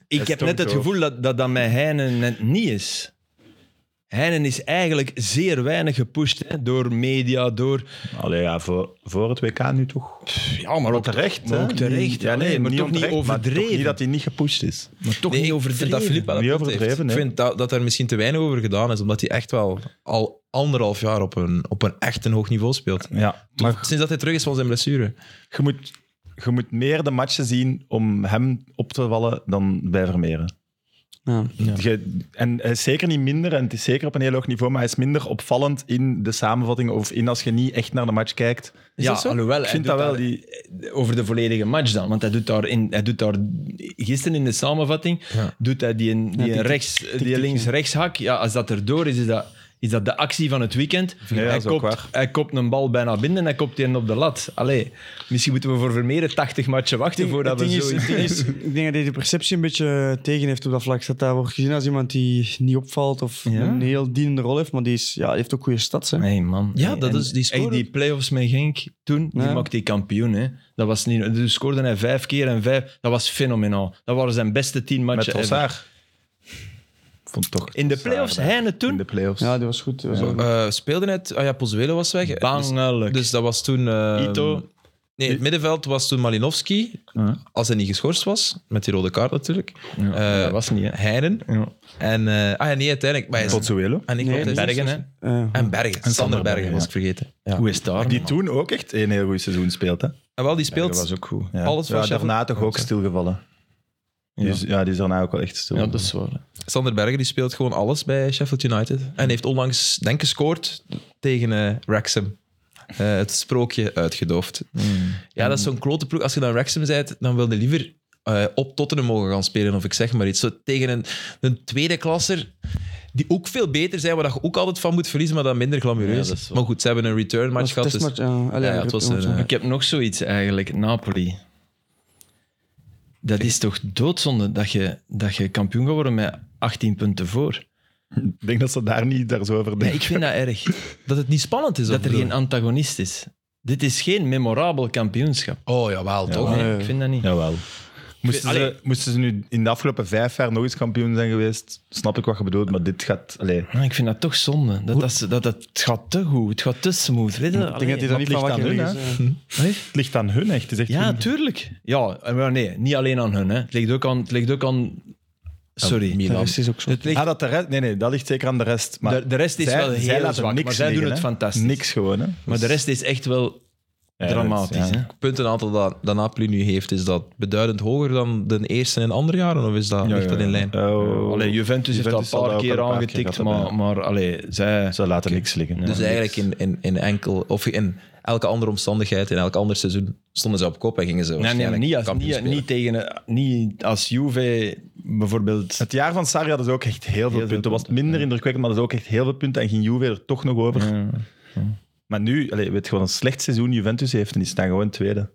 Speaker 2: ik heb net het
Speaker 3: toch
Speaker 2: gevoel dat dat, dat met Heinen net niet is. Heinen is eigenlijk zeer weinig gepusht hè, door media, door...
Speaker 3: Allee, ja, voor, voor het WK nu toch.
Speaker 2: Ja, maar ook
Speaker 3: Terecht,
Speaker 2: Maar
Speaker 3: hè?
Speaker 2: ook terecht. Ja, nee, maar toch niet
Speaker 3: onterecht, maar toch
Speaker 2: overdreven.
Speaker 3: niet dat hij niet gepusht is.
Speaker 2: Maar toch
Speaker 1: Nee,
Speaker 2: niet
Speaker 1: ik vind
Speaker 2: overdreven.
Speaker 1: dat Filip wel een
Speaker 3: Niet
Speaker 1: punt
Speaker 3: overdreven,
Speaker 1: heeft.
Speaker 3: nee.
Speaker 1: Ik vind dat, dat er misschien te weinig over gedaan is, omdat hij echt wel al anderhalf jaar op een, op een echt een hoog niveau speelt.
Speaker 3: Ja, maar
Speaker 1: Sinds dat hij terug is van zijn blessure.
Speaker 3: je moet, je moet meer de matchen zien om hem op te vallen dan bij Vermeeren.
Speaker 4: Ja.
Speaker 3: Je- en hij is zeker niet minder, en het is zeker op een heel hoog niveau, maar hij is minder opvallend in de samenvatting of in als je niet echt naar de match kijkt.
Speaker 1: Is
Speaker 2: ja,
Speaker 1: dat zo?
Speaker 2: Ah, alhoewel,
Speaker 3: Ik
Speaker 2: hij
Speaker 3: vind
Speaker 2: doet
Speaker 3: dat wel,
Speaker 2: daar- eh,
Speaker 3: die,
Speaker 2: over de volledige match dan. Want hij doet daar, in, hij doet daar gisteren in de samenvatting,
Speaker 1: Ja.
Speaker 2: doet hij die, die,
Speaker 4: tik, tik,
Speaker 2: rechts, die links-rechts hak. Ja, als dat erdoor is, is dat, is dat de actie van het weekend.
Speaker 3: Ja,
Speaker 2: hij,
Speaker 3: dat is ook
Speaker 2: kopt,
Speaker 3: waar.
Speaker 2: hij kopt een bal bijna binnen en hij kopt die op de lat. Allee, misschien moeten we voor Vermeeren 80 matchen wachten voordat we
Speaker 4: Het ding is-
Speaker 2: zoiets...
Speaker 4: het ding is, ik denk dat hij de perceptie een beetje eh, tegen heeft op dat vlak. Dat hij wordt gezien als iemand die niet opvalt of
Speaker 2: Ja?
Speaker 4: een heel dienende rol heeft. Maar die, is, ja, die heeft ook goede stads. Hè.
Speaker 2: Nee, man.
Speaker 1: Ja,
Speaker 2: Nee,
Speaker 1: dat
Speaker 2: en
Speaker 1: is- die
Speaker 2: echt
Speaker 1: scoorde-
Speaker 2: die play-offs met Genk toen,
Speaker 4: Ja.
Speaker 2: die maakte hij kampioen. Hè. Dat was niet... Dus scoorde hij vijf keer en vijf... Dat was fenomenaal. Dat waren zijn beste tien
Speaker 3: met
Speaker 2: matchen ever.
Speaker 3: Trossard. Vond toch
Speaker 2: In de
Speaker 3: Trossard,
Speaker 2: play-offs,
Speaker 3: hè.
Speaker 2: Heine toen...
Speaker 3: In de play-offs.
Speaker 4: Ja, die was goed. Die was ook-
Speaker 1: Eh, speelde net... Ah ja, Pozuelo was weg. Dus,
Speaker 2: Bangelijk.
Speaker 1: dus dat was toen... eh,
Speaker 2: Ito.
Speaker 1: Nee, het middenveld was toen Malinowski,
Speaker 2: Ja.
Speaker 1: als hij niet geschorst was, met die rode kaart natuurlijk.
Speaker 2: Ja,
Speaker 1: Eh,
Speaker 2: dat was niet, hè.
Speaker 1: Heinen. En... eh, ah ja, nee, uiteindelijk. Maar hij is-
Speaker 3: Pozzuelo.
Speaker 1: en ik
Speaker 4: Nee,
Speaker 1: vond hij-
Speaker 2: Bergen, hè.
Speaker 4: eh,
Speaker 1: En Bergen. Sander Bergen, was ik vergeten. Ja.
Speaker 2: Hoe is daar?
Speaker 3: Die toen ook echt een heel goed seizoen speelt. Hè?
Speaker 1: En wel, die speelt...
Speaker 2: Dat was ook goed.
Speaker 3: Ja.
Speaker 1: Alles van
Speaker 3: ja,
Speaker 1: Sheffield.
Speaker 3: daarna toch ook stilgevallen. Ja. Dus, ja, die is daarna ook wel echt stil.
Speaker 2: Ja, dat is waar.
Speaker 1: Sander Berger die speelt gewoon alles bij Sheffield United. En heeft onlangs, denk ik, gescoord tegen eh Wrexham. Eh, het sprookje uitgedoofd. Ja, dat is zo'n klote ploeg. Als je dan Wrexham bent, dan wil je liever eh, op Tottenham mogen gaan spelen, of ik zeg maar iets. Zo tegen een, een tweede klasser, die ook veel beter zijn, waar je ook altijd van moet verliezen, maar dan minder glamoureus.
Speaker 2: Ja, dat is waar.
Speaker 1: maar goed, ze hebben een return match
Speaker 4: dat
Speaker 1: gehad.
Speaker 4: was
Speaker 1: Dus,
Speaker 4: testmatch, ja. Allee,
Speaker 1: Ja, ja, het was een,
Speaker 4: ja.
Speaker 1: eh,
Speaker 2: Dus Ik heb nog zoiets eigenlijk. Napoli. Dat is toch doodzonde dat je, dat je kampioen gaat worden met 18 punten voor.
Speaker 3: Ik denk dat ze daar niet daar zo over
Speaker 2: Nee,
Speaker 3: denken.
Speaker 2: ik vind dat erg.
Speaker 1: dat het niet spannend is.
Speaker 2: Dat
Speaker 1: of
Speaker 2: er
Speaker 1: bedoel-
Speaker 2: geen antagonist is. Dit is geen memorabel kampioenschap.
Speaker 1: Oh, jawel, toch?
Speaker 2: Nee,
Speaker 4: Ah, ja, ja.
Speaker 2: ik vind dat niet.
Speaker 3: Jawel. Moesten
Speaker 2: Allee.
Speaker 3: ze, moesten ze nu in de afgelopen vijf jaar nog eens kampioen zijn geweest, snap ik wat je bedoelt, maar dit gaat... Allee,
Speaker 2: Maar ik vind dat toch zonde. Dat, dat, ze- dat, dat, het gaat te goed. Het gaat te smooth. Weet je?
Speaker 4: Ik denk dat
Speaker 2: Allee,
Speaker 4: hij daar
Speaker 3: wat
Speaker 4: niet van
Speaker 3: ligt
Speaker 4: wakker
Speaker 3: aan
Speaker 4: is.
Speaker 3: hun,
Speaker 4: eh.
Speaker 3: het ligt aan hun echt. Het is echt
Speaker 2: Ja,
Speaker 3: hun-
Speaker 2: tuurlijk. Ja, eh, maar nee, niet alleen aan hun. Hè. Het, ligt ook aan, het ligt ook aan... Sorry.
Speaker 4: De rest is ook zo.
Speaker 2: Het ligt
Speaker 3: Ah, dat de rest, nee, nee, dat ligt zeker aan de rest. Maar
Speaker 2: de, de rest is
Speaker 3: zij-
Speaker 2: wel
Speaker 3: zij
Speaker 2: heel
Speaker 3: laten
Speaker 2: zwak,
Speaker 3: niks
Speaker 2: maar zij doen
Speaker 3: liggen,
Speaker 2: het
Speaker 3: hè.
Speaker 2: fantastisch.
Speaker 3: Niks gewoon, hè.
Speaker 2: Maar de rest is echt wel
Speaker 3: Ja,
Speaker 2: dramatisch.
Speaker 3: dat is- ja.
Speaker 2: hè?
Speaker 1: puntenaantal dat, dat Napoli nu heeft, is dat beduidend hoger dan de eerste en andere jaren? Of is dat, ligt dat in lijn?
Speaker 3: Oh,
Speaker 2: Allee, Juventus, heeft dat
Speaker 3: Juventus
Speaker 2: een
Speaker 3: zal
Speaker 2: paar
Speaker 3: dat ook
Speaker 2: keer
Speaker 3: een paar keer
Speaker 2: aangetikt,
Speaker 3: gehad
Speaker 2: maar,
Speaker 3: hebben,
Speaker 2: maar allee, zij...
Speaker 3: Ze laten niks liggen.
Speaker 1: dus eigenlijk in, in, in enkel, of in elke andere omstandigheid, in elk ander seizoen, stonden ze op kop en gingen ze
Speaker 2: Nee, nee,
Speaker 1: waarschijnlijk
Speaker 2: maar niet als,
Speaker 1: kampioen
Speaker 2: niet,
Speaker 1: spelen.
Speaker 2: niet tegen, niet als Juve bijvoorbeeld...
Speaker 3: Het jaar van Sarri hadden ze ook echt heel veel
Speaker 2: veel
Speaker 3: punten. Het was
Speaker 2: punten,
Speaker 3: minder indrukwekkend, maar dat is ook echt heel veel punten. En ging Juve er toch nog over.
Speaker 2: Ja.
Speaker 3: Maar nu, allee, weet je gewoon een slecht seizoen Juventus heeft en die staan gewoon tweede.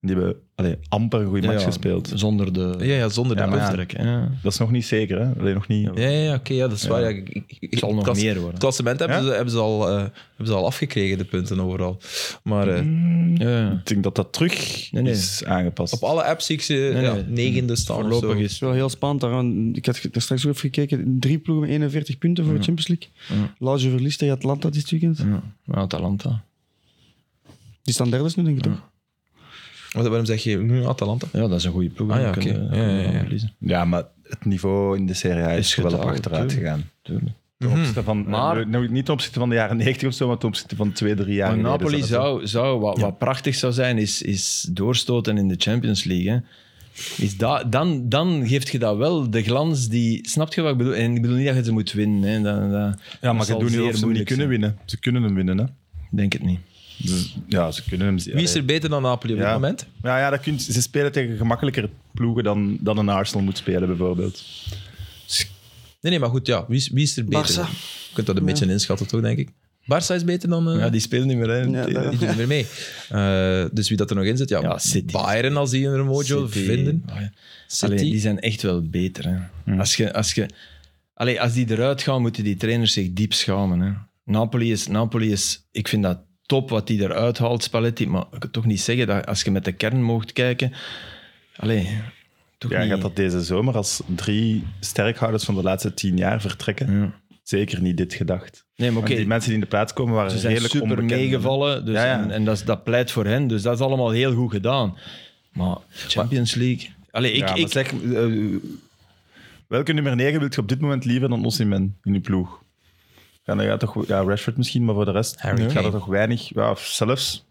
Speaker 3: Die hebben allee, amper een goede
Speaker 2: Ja,
Speaker 3: match
Speaker 2: ja,
Speaker 3: gespeeld.
Speaker 2: Zonder de...
Speaker 1: Ja, ja, zonder
Speaker 3: Ja,
Speaker 1: de
Speaker 3: maar
Speaker 1: punten.
Speaker 2: Druk, ja.
Speaker 3: Dat is nog niet zeker, hè? Allee, nog niet.
Speaker 1: Ja, ja, ja, oké, ja, dat is waar. Ja, ik- ik- ik-
Speaker 2: Het zal nog
Speaker 1: klasse-
Speaker 2: meer worden.
Speaker 1: Het klassement hebben, ze, hebben, ze al, eh, hebben ze al afgekregen, de punten overal. Maar eh,
Speaker 2: Mm. Ja.
Speaker 3: Ik denk dat dat terug
Speaker 2: Nee, nee.
Speaker 3: is aangepast.
Speaker 1: op alle apps zie ik ze ja,
Speaker 2: nee.
Speaker 1: negende staan. of
Speaker 2: Voorlopig
Speaker 1: zo.
Speaker 4: Het
Speaker 2: is...
Speaker 4: is wel heel spannend. daar, want Ik had ge- daar straks ook even gekeken. Drie ploegen met 41 punten voor de Champions League. Lazio verliest tegen Atlanta dit weekend.
Speaker 2: Ja, Atalanta.
Speaker 4: Die staan derde nu, denk ik toch?
Speaker 1: Wat- Waarom zeg je nu Atalanta?
Speaker 2: Ja, dat is een goede ploeg.
Speaker 1: Ah, ja,
Speaker 2: Dan kunnen-
Speaker 1: oké.
Speaker 2: kunnen we
Speaker 1: Ja, ja,
Speaker 2: dan
Speaker 1: ja.
Speaker 2: verliezen.
Speaker 3: Ja, maar het niveau in de Serie A is,
Speaker 2: Is
Speaker 3: wel op
Speaker 2: gedaald,
Speaker 3: achteruit
Speaker 2: tuurlijk.
Speaker 3: gegaan.
Speaker 2: Tuurlijk.
Speaker 3: Ten opzichte van,
Speaker 2: Mhm. Maar-
Speaker 3: eh, nou, niet ten opzichte van de jaren 90 of zo, maar ten opzichte van twee, drie jaar
Speaker 2: Maar
Speaker 3: geleden
Speaker 2: Napoli
Speaker 3: zat het wel.
Speaker 2: zou, zou wat, wat prachtig zou zijn, is, is doorstoten in de Champions League. Hè. Is dat, dan, dan geeft je dat wel de glans die... Snap je wat ik bedoel? En ik bedoel niet dat je ze moet winnen. Hè. Dat, dat,
Speaker 3: Ja,
Speaker 2: dat
Speaker 3: maar je
Speaker 2: zal
Speaker 3: doet niet
Speaker 2: zeer
Speaker 3: of ze hem niet
Speaker 2: moeilijk
Speaker 3: kunnen
Speaker 2: zijn.
Speaker 3: winnen. Ze kunnen hem winnen, hè.
Speaker 2: Denk het niet.
Speaker 3: Dus, ja, ze kunnen hem...
Speaker 1: Wie is er beter dan Napoli op
Speaker 3: Ja.
Speaker 1: dit moment?
Speaker 3: Ja, ja dat kunt, ze spelen tegen gemakkelijker ploegen dan, dan een Arsenal moet spelen, bijvoorbeeld.
Speaker 1: Nee, nee, maar goed, ja. Wie is, wie is er beter?
Speaker 4: Barca.
Speaker 1: Je kunt dat een beetje inschatten, toch, denk ik? Barça is beter dan... eh,
Speaker 2: Ja, die speelt niet meer. Hè.
Speaker 4: Ja, dat-
Speaker 1: Die doen er meer mee. Eh, dus wie dat er nog in zit, ja,
Speaker 2: Ja, City.
Speaker 1: Bayern als die een mojo
Speaker 2: City.
Speaker 1: vinden.
Speaker 2: Ah, ja.
Speaker 1: City.
Speaker 2: Allee, die zijn echt wel beter. Hè. Als, je, als, je, allee, als die eruit gaan, moeten die trainers zich diep schamen. Hè. Napoli, is, Napoli is... Ik vind dat top wat die eruit haalt, Spalletti. Maar ik kan toch niet zeggen dat als je met de kern mocht kijken... Allee, toch
Speaker 3: Ja,
Speaker 2: niet...
Speaker 3: gaat dat deze zomer als drie sterkhouders van de laatste tien jaar vertrekken?
Speaker 2: Ja.
Speaker 3: Zeker niet dit gedacht.
Speaker 2: Nee, maar
Speaker 3: Want
Speaker 2: oké,
Speaker 3: die mensen die in de plaats komen waren
Speaker 2: ze zijn
Speaker 3: redelijk
Speaker 2: super
Speaker 3: onbekend.
Speaker 2: meegevallen. Dus
Speaker 3: Ja, ja.
Speaker 2: En, en dat, is- dat pleit voor hen. Dus dat is allemaal heel goed gedaan. Maar Champions League... Allee, ik,
Speaker 3: Ja, maar
Speaker 2: ik,
Speaker 3: zeg, eh, welke nummer 9 wilt je op dit moment liever dan Osimhen in je ploeg? Ja, dan gaat toch, ja, Rashford misschien, maar voor de rest
Speaker 1: Harry
Speaker 3: gaat
Speaker 1: Kane.
Speaker 3: er toch weinig. Ja, zelfs.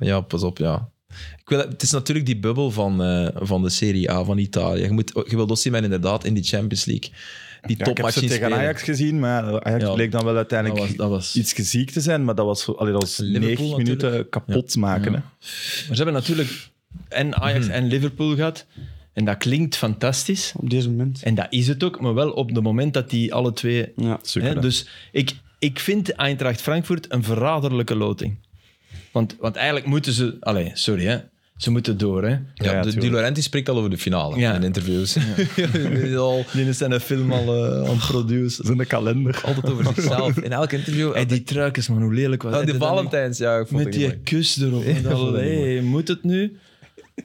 Speaker 1: Ja, pas op, ja. Ik wil, het is natuurlijk die bubbel van, eh, van de Serie A van Italië. Je, moet, je wil Osimhen inderdaad in die Champions League. Die
Speaker 3: Ja, ik heb
Speaker 1: topmatch
Speaker 3: ze
Speaker 1: zien
Speaker 3: tegen
Speaker 1: spelen.
Speaker 3: Ajax gezien, maar Ajax
Speaker 2: Ja,
Speaker 3: bleek dan wel uiteindelijk
Speaker 2: dat was- dat was-
Speaker 3: iets ziek te zijn. Maar dat was, allee, dat was 90
Speaker 1: Liverpool
Speaker 3: minuten kapot maken. Hè.
Speaker 2: Maar ze hebben natuurlijk en Ajax
Speaker 3: Hmm.
Speaker 2: en Liverpool gehad. En dat klinkt fantastisch.
Speaker 4: Op deze moment.
Speaker 2: En dat is het ook, maar wel op het moment dat die alle twee...
Speaker 4: Ja.
Speaker 3: Super,
Speaker 2: hè,
Speaker 3: hè.
Speaker 2: dus ik, ik vind Eintracht Frankfurt een verraderlijke loting. Want, want eigenlijk moeten ze... Allee, sorry hè. Ze moeten door hè.
Speaker 1: Ja,
Speaker 3: Ja,
Speaker 1: de- Di
Speaker 3: tuurlijk.
Speaker 1: Laurenti spreekt al over de finale
Speaker 2: Ja.
Speaker 1: in interviews. Die is al
Speaker 2: Die zijn een film al eh, aan het produceren.
Speaker 3: in de kalender.
Speaker 1: altijd over zichzelf. In elk interview.
Speaker 2: Hey, die truikens, man, hoe lelijk was
Speaker 1: Oh,
Speaker 2: Heb
Speaker 1: die
Speaker 2: je dat niet-
Speaker 1: Valentijns, ja. Ik vond
Speaker 2: Met
Speaker 1: het
Speaker 2: die
Speaker 1: mooi.
Speaker 2: kus erop. En dan,
Speaker 1: vond ik
Speaker 2: hey, moet het nu?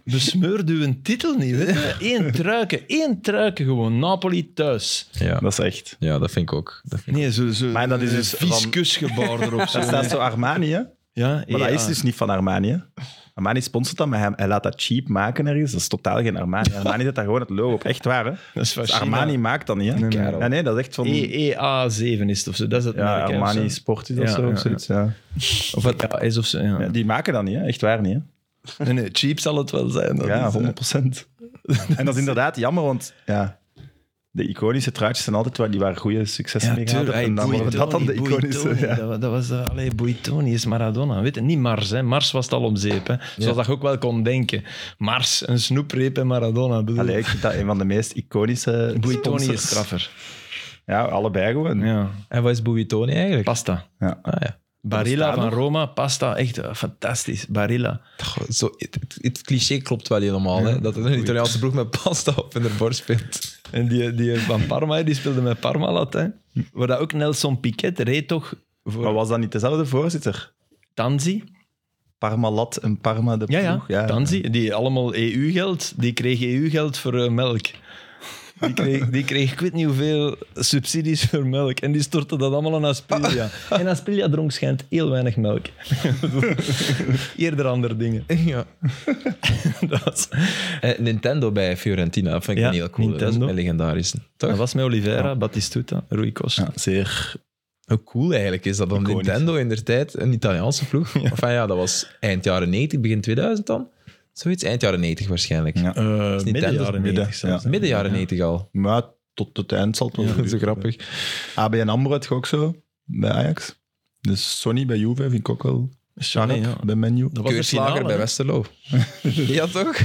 Speaker 2: Besmeur uw titel niet. Weet je? Eén truiken, één truiken gewoon. Napoli thuis.
Speaker 1: ja.
Speaker 3: Dat is echt.
Speaker 1: ja, dat vind ik ook. Dat vind ik
Speaker 2: Nee, zo, zo,
Speaker 3: Maar dat is
Speaker 2: een
Speaker 3: dus
Speaker 2: vies
Speaker 3: van-
Speaker 2: kusgebaar erop. Zo.
Speaker 3: Daar staat zo Armani, hè?
Speaker 2: Ja,
Speaker 3: Maar
Speaker 2: ja.
Speaker 3: dat is dus niet van Armani. hè. Armani sponsort dat, maar hij, hij laat dat cheap maken ergens. Dat is totaal geen Armani. Armani zet daar gewoon het logo op. Echt waar, hè?
Speaker 2: Dat is van
Speaker 3: Dus
Speaker 2: China.
Speaker 3: Armani maakt dat niet, hè?
Speaker 2: nee. Eh,
Speaker 3: Ja, nee, dat is echt van...
Speaker 2: E EEA7 is het of zo. Dat is het
Speaker 3: ja,
Speaker 2: merk, hè, of
Speaker 3: Armani
Speaker 2: zo.
Speaker 3: Sport is dat
Speaker 2: Ja,
Speaker 3: zo,
Speaker 2: ja,
Speaker 3: of zoiets. Ja.
Speaker 2: Of wat ja, is of zo. Ja.
Speaker 3: Ja, die maken dat niet, hè? Echt waar niet, hè?
Speaker 2: Nee, nee, cheap zal het wel zijn. dat
Speaker 3: Ja,
Speaker 2: is, eh,
Speaker 3: 100 En dat is inderdaad jammer, want ja, de iconische truitjes zijn altijd waar die waar goede successen
Speaker 2: Ja,
Speaker 3: mee gehad
Speaker 2: tuurlijk.
Speaker 3: hebben. En dan worden dat dan de iconische... Ja.
Speaker 2: Dat, dat was... eh, Allee, Boitoni is Maradona. Weet je, niet Mars, hè. Mars was het al om zeep, hè. Zoals dat je ook wel kon denken. Mars, een snoepreep en Maradona. Bedoel,
Speaker 3: Allee, ik vind dat een van de meest iconische
Speaker 2: Boitoni
Speaker 3: sponsors.
Speaker 2: is straffer.
Speaker 3: Ja, allebei gewoon. Ja.
Speaker 2: Ja.
Speaker 1: En wat is Buitoni eigenlijk?
Speaker 2: Pasta.
Speaker 1: Ah, ja.
Speaker 2: Barilla
Speaker 3: bestaat
Speaker 2: van
Speaker 3: nog?
Speaker 2: Roma, pasta. Echt eh, fantastisch. Barilla.
Speaker 1: Toch, zo, het, het- het cliché klopt wel helemaal. Hè? Dat er een Italiaanse broek met pasta op in de borst speelt.
Speaker 2: En die, die van Parma, die speelde met Parmalat. Hè. Waar dat ook Nelson Piquet reed toch voor
Speaker 3: Maar was dat niet dezelfde voorzitter?
Speaker 2: Tanzi.
Speaker 3: Parmalat en Parma de
Speaker 2: Ja, ja.
Speaker 3: ploeg.
Speaker 2: Tanzi, die allemaal EU-geld. Die kreeg EU-geld voor eh, melk. Die kreeg, die kreeg ik weet niet hoeveel subsidies voor melk. En die stortte dat allemaal aan Aspilia. En Aspilia dronk schijnt heel weinig melk. Eerder andere dingen.
Speaker 1: ja.
Speaker 2: Dat was,
Speaker 1: Eh, Nintendo bij Fiorentina, dat vind ik
Speaker 2: Ja,
Speaker 1: een heel cool. Dat
Speaker 2: Nintendo.
Speaker 1: is een legendarische. Toch?
Speaker 2: dat was met Oliveira, Battistuta, Rui Costa.
Speaker 3: Ja, zeer...
Speaker 1: Hoe cool eigenlijk is dat dan?
Speaker 3: Iconisch.
Speaker 1: Nintendo in der tijd, een Italiaanse ploeg. Enfin ja, dat was eind jaren 90, begin 2000 dan. Zoiets, eind jaren 90 waarschijnlijk.
Speaker 3: Ja.
Speaker 2: Eh,
Speaker 1: niet
Speaker 2: midden
Speaker 1: Tenders,
Speaker 2: jaren
Speaker 3: midden,
Speaker 2: 90 zelfs,
Speaker 3: ja.
Speaker 2: hè.
Speaker 1: Midden jaren 90 al.
Speaker 3: Maar tot het eind zal het wel
Speaker 1: Zo
Speaker 3: duren.
Speaker 1: grappig.
Speaker 3: ABN AMRO had je ook zo, bij Ajax. Dus Sony bij Juve vind ik ook wel sharp,
Speaker 2: Sonny, ja.
Speaker 3: bij Menu.
Speaker 2: Dat was de
Speaker 1: Keurslager
Speaker 2: finale,
Speaker 1: bij
Speaker 2: hè?
Speaker 1: Westerlo. ja, toch?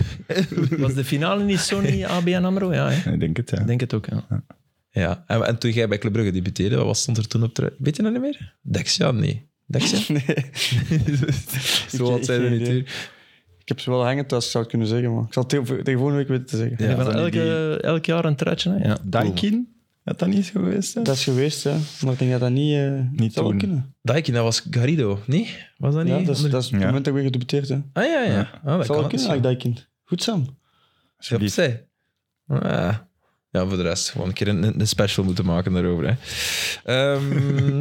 Speaker 2: Was de finale niet Sony ABN AMRO? Ja, hè?
Speaker 3: Ik denk het, ja.
Speaker 2: ik denk het ook. Ja.
Speaker 1: Ja, en, en toen jij bij Club Brugge debuteerde, wat stond er toen op de... Weet je dat niet meer? Dexia? Nee. Dexia?
Speaker 4: Nee.
Speaker 1: Zo had zij er
Speaker 4: geen
Speaker 1: niet
Speaker 4: idee.
Speaker 1: hier.
Speaker 4: Ik heb ze wel hangen thuis, zou ik kunnen zeggen, maar ik zal het tegen tegen volgende week weten te zeggen.
Speaker 2: Ja,
Speaker 3: van
Speaker 2: elke,
Speaker 3: die-
Speaker 2: elk jaar een truitje. Hè? Ja.
Speaker 3: Daikin, had dat niet zo geweest? hè?
Speaker 4: Dat is geweest, ja. Maar ik denk dat dat niet, eh
Speaker 3: Niet
Speaker 4: zou wel
Speaker 3: toen.
Speaker 4: kunnen.
Speaker 1: Daikin, dat was Garrido, niet? Was dat niet?
Speaker 4: Ja, dat is, dat is het
Speaker 3: Ja.
Speaker 4: moment dat ik weer gedebuteerd hè.
Speaker 1: Ah ja, ja. Ah, dat kan.
Speaker 4: Zou wel kunnen,
Speaker 1: dus.
Speaker 4: eigenlijk, dat kind. Goed, Sam.
Speaker 1: Ja,
Speaker 3: Alsjeblieft.
Speaker 1: opzij. Ah. Ja, voor de rest. Gewoon een keer een, een special moeten maken daarover. Hè. Ehm,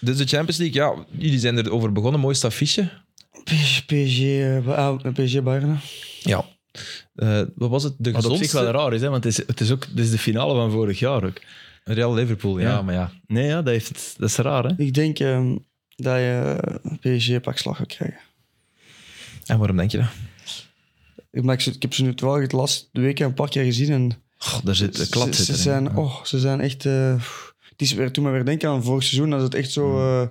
Speaker 1: dus de Champions League, ja, jullie zijn erover begonnen. Mooiste affiche.
Speaker 4: PSG, eh, Ba- ah, PSG Bayern. hè.
Speaker 1: Ja. Eh, wat was het? De
Speaker 2: Wat op zich
Speaker 1: gezondste...
Speaker 2: wel raar is, hè, want het is, het is ook het is de finale van vorig jaar ook.
Speaker 1: Real Liverpool, ja,
Speaker 2: Ja.
Speaker 1: maar ja.
Speaker 2: Nee, ja, dat, heeft, dat is raar. Hè?
Speaker 4: Ik denk ehm, dat je eh, PSG pakslag gaat krijgen.
Speaker 1: En waarom denk je dat?
Speaker 4: Ik, maar ik, ik heb ze nu wel het laatste weken een paar keer gezien. En
Speaker 1: Goh, daar zit een klap
Speaker 4: ze, ze
Speaker 1: zitten. in.
Speaker 4: zijn, oh, ze zijn echt... eh, pff. het is weer, toen we weer denken aan vorig seizoen, als het echt zo eh,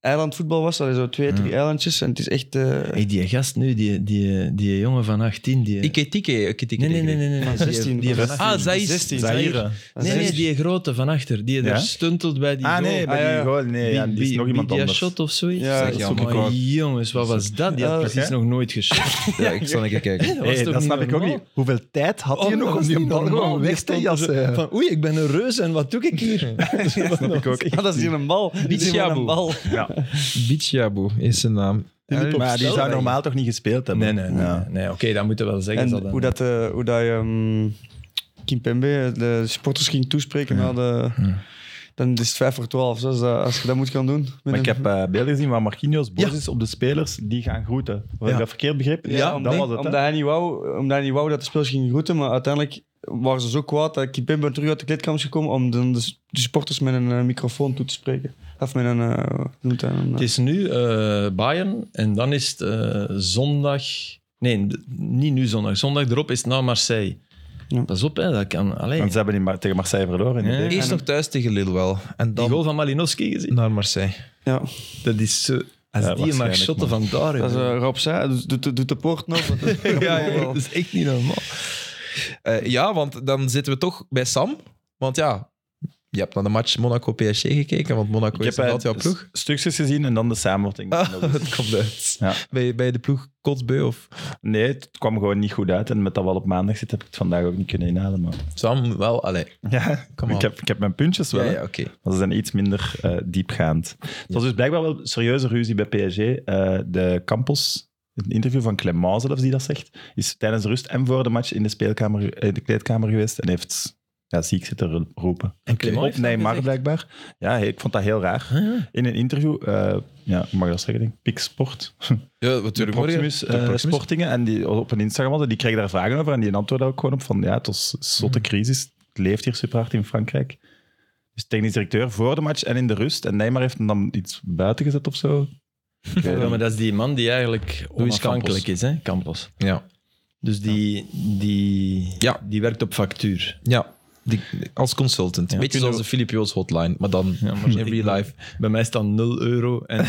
Speaker 4: eilandvoetbal was. Dat is zo twee, drie eilandjes. En het is echt... eh,
Speaker 2: Hey, die gast nu, die, die, die jongen van 18, die...
Speaker 1: Iketike, Iketike.
Speaker 2: nee, nee, nee, nee, nee,
Speaker 4: Van
Speaker 2: die-
Speaker 4: 16,
Speaker 2: Die,
Speaker 4: van
Speaker 2: van
Speaker 4: 16.
Speaker 1: Ah, zij is...
Speaker 4: 16.
Speaker 3: Zaire.
Speaker 2: Nee, nee, die grote van achter, die daar
Speaker 3: Ja?
Speaker 2: stuntelt bij die
Speaker 3: Ah,
Speaker 2: goal.
Speaker 3: nee, bij
Speaker 4: Ah, ja,
Speaker 3: die
Speaker 4: ja.
Speaker 3: goal. Nee, ja, die is nog iemand
Speaker 2: Bidia
Speaker 3: anders.
Speaker 2: shot of zoiets.
Speaker 4: Ja,
Speaker 2: Zeg,
Speaker 4: dat
Speaker 3: is
Speaker 2: ja,
Speaker 3: ook
Speaker 2: maar
Speaker 3: een kwaad.
Speaker 2: jongens, wat was dat? Die had
Speaker 4: Ja,
Speaker 2: precies
Speaker 3: hè?
Speaker 2: nog nooit geschot.
Speaker 1: Ja, ik zal een keer kijken.
Speaker 2: Dat, was
Speaker 3: Hey,
Speaker 2: toch
Speaker 3: dat
Speaker 2: niet
Speaker 3: snap ik ook
Speaker 2: normaal?
Speaker 3: niet. Hoeveel tijd had hij
Speaker 2: Oh,
Speaker 3: nog om die dus, eh, bal gewoon weg te jassen?
Speaker 2: Van, oei, ik ben een reus en wat doe ik hier?
Speaker 3: Dat snap ik ook.
Speaker 4: Ah, dat is hier een bal. Dat is hier maar
Speaker 1: Bichabu.
Speaker 4: een bal.
Speaker 3: Ja.
Speaker 1: Bichabu is zijn naam.
Speaker 3: Maar die zou normaal toch niet gespeeld hebben?
Speaker 2: Nee, nee, nee.
Speaker 3: Ja.
Speaker 2: nee Oké, dat moeten we wel zeggen. zal
Speaker 4: En
Speaker 2: dan-
Speaker 4: hoe dat, eh, hoe dat je ehm, Kim Pembe, eh, de supporters ging toespreken na de... Dan is het 5 voor 12, zo, als, dat- als je dat moet gaan doen. met
Speaker 3: Maar
Speaker 4: een-
Speaker 3: ik heb eh, beelden gezien waar Marquinhos boos
Speaker 2: Ja.
Speaker 3: is op de spelers die gaan groeten.
Speaker 2: Ja.
Speaker 3: Heb ik dat verkeerd begrepen?
Speaker 4: Ja, om-
Speaker 3: dat
Speaker 4: nee,
Speaker 3: was het. hè?
Speaker 4: Omdat hij, niet wou, omdat hij niet wou dat de spelers gingen groeten, maar uiteindelijk waren ze zo kwaad dat Kipembe terug uit de kleedkamer is gekomen om de, de, de supporters met een eh, microfoon toe te spreken. Of met een... eh, hoe noemt hij een,
Speaker 2: Het
Speaker 4: eh,
Speaker 2: is nu eh, Bayern en dan is het eh, zondag... Nee, d- niet nu zondag. Zondag erop is het naar Marseille.
Speaker 4: Ja.
Speaker 2: Pas op, hè, dat kan. Allee,
Speaker 3: Want ze hebben in Mar- tegen Marseille verloren. In
Speaker 2: Ja.
Speaker 3: de beker.
Speaker 1: Eerst nog thuis tegen Lille wel. En
Speaker 2: die goal
Speaker 1: dan
Speaker 2: van Malinowski gezien.
Speaker 1: naar Marseille.
Speaker 4: ja,
Speaker 2: Dat is zo... Als
Speaker 3: Ja,
Speaker 2: die mag
Speaker 3: waarschijnlijk,
Speaker 2: shotten van daar...
Speaker 4: dat is
Speaker 2: joh.
Speaker 4: eh, Rob zei, doet, doet- doet de poort nog. dat is-
Speaker 2: ja, ja, dat is echt niet normaal.
Speaker 1: Eh, ja, want dan zitten we toch bij Sam. Want ja, je hebt naar de match Monaco-PSG gekeken, want Monaco
Speaker 3: Ik
Speaker 1: is
Speaker 3: heb eh,
Speaker 1: inderdaad jouw ploeg.
Speaker 3: s- stukjes gezien en dan de samenvatting.
Speaker 1: Ah, het komt uit.
Speaker 3: Ja.
Speaker 1: Ben, je, ben je de ploeg kotsbeu of...
Speaker 3: Nee, het kwam gewoon niet goed uit. En met dat wel op maandag zit, heb ik het vandaag ook niet kunnen inhalen. Maar...
Speaker 1: Sam, wel, allee.
Speaker 3: Ja,
Speaker 1: Come on.
Speaker 3: ik heb, ik heb mijn puntjes wel.
Speaker 1: Ja,
Speaker 3: hè.
Speaker 1: ja, oké.
Speaker 3: Maar ze zijn iets minder eh, diepgaand. Het was dus blijkbaar wel serieuze ruzie bij PSG. Eh, de Campos, een interview van Clement zelfs die dat zegt, is tijdens rust en voor de match in de, speelkamer, eh, de kleedkamer geweest en heeft ja, ziek zitten roepen.
Speaker 2: En
Speaker 1: Clément
Speaker 3: Op Neymar blijkbaar. Ja, he- ik vond dat heel
Speaker 4: eh,
Speaker 3: raar.
Speaker 2: Ah,
Speaker 3: In een interview, eh, ja, ik mag dat zeggen, denk ik, Pik Sport.
Speaker 1: Ja, natuurlijk.
Speaker 3: Proximus, eh, Sportingen. En die op een Instagram hadden, die kreeg daar vragen over. En die antwoordde ook gewoon op van, ja, het was een zotte
Speaker 2: Mhm.
Speaker 3: crisis. Het leeft hier super hard in Frankrijk. Dus technisch directeur voor de match en in de rust. En Neymar heeft hem dan iets buiten gezet of zo. Ik weet
Speaker 2: Ja,
Speaker 3: het
Speaker 2: maar
Speaker 3: niet.
Speaker 2: dat is die man die eigenlijk
Speaker 1: Luis
Speaker 2: onafhankelijk is, hè? Campos.
Speaker 1: Ja.
Speaker 2: Dus die, die,
Speaker 1: Ja.
Speaker 2: die werkt op factuur.
Speaker 1: ja. Die, als consultant. Beetje
Speaker 2: Kunnen
Speaker 1: zoals de Filip Joos hotline, maar dan in real life.
Speaker 2: Bij mij staat 0 euro en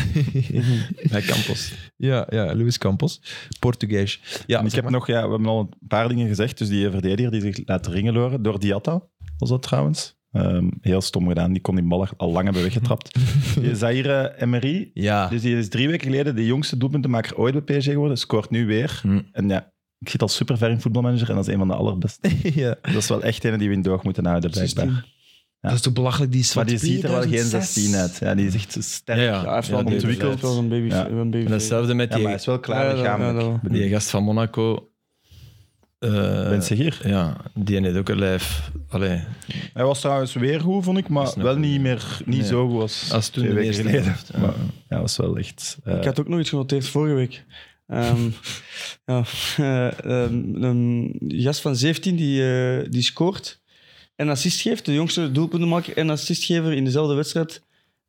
Speaker 2: bij Campos.
Speaker 1: Ja, ja, Luis Campos. Portugees. Ja,
Speaker 3: En ik heb nog, ja, we hebben al een paar dingen gezegd. Dus die verdediger die zich laat ringeloren door Diatta, was dat trouwens. Ehm, heel stom gedaan. Die kon die bal al lang hebben weggetrapt. Die Zaire Emery,
Speaker 1: Ja.
Speaker 3: Dus die is drie weken geleden de jongste doelpuntenmaker ooit bij PSG geworden. Scoort nu weer.
Speaker 2: Hm.
Speaker 3: En ja, ik zit al super ver in voetbalmanager en dat is een van de allerbeste.
Speaker 1: ja.
Speaker 3: dat is wel echt een die we in doog moeten houden, blijkbaar.
Speaker 4: 16.
Speaker 1: Dat is toch belachelijk, die
Speaker 3: Maar die ziet er wel geen 16 uit. Ja, die is echt sterk.
Speaker 2: Ja,
Speaker 3: Ja,
Speaker 2: ja.
Speaker 4: Ja, hij heeft
Speaker 2: Ja,
Speaker 4: wel
Speaker 2: die
Speaker 4: een baby- hij
Speaker 3: ontwikkeld.
Speaker 4: heeft wel een baby.
Speaker 3: Ja.
Speaker 4: een baby
Speaker 2: En datzelfde met die,
Speaker 3: maar hij is wel
Speaker 4: Ja,
Speaker 3: klaar
Speaker 4: ja,
Speaker 3: lichamelijk.
Speaker 4: ja, dat
Speaker 2: die gast van Monaco. Eh,
Speaker 3: Ben je hier?
Speaker 2: ja, die heeft ook een lijf. Allee,
Speaker 3: Hij was trouwens weer goed, vond ik, maar
Speaker 2: Dat is
Speaker 3: wel
Speaker 2: nog-
Speaker 3: niet meer niet
Speaker 2: Nee.
Speaker 3: zo goed als,
Speaker 2: als toen de
Speaker 3: twee weken
Speaker 2: eerste
Speaker 3: geleden.
Speaker 2: helft, ja.
Speaker 3: Maar, ja, was wel echt... eh,
Speaker 4: Ik had ook nog iets genoteerd vorige week. Ehm ja, eh, ehm, een gast van 17 die, eh, die scoort en assist geeft. De jongste doelpuntenmaker en assistgever in dezelfde wedstrijd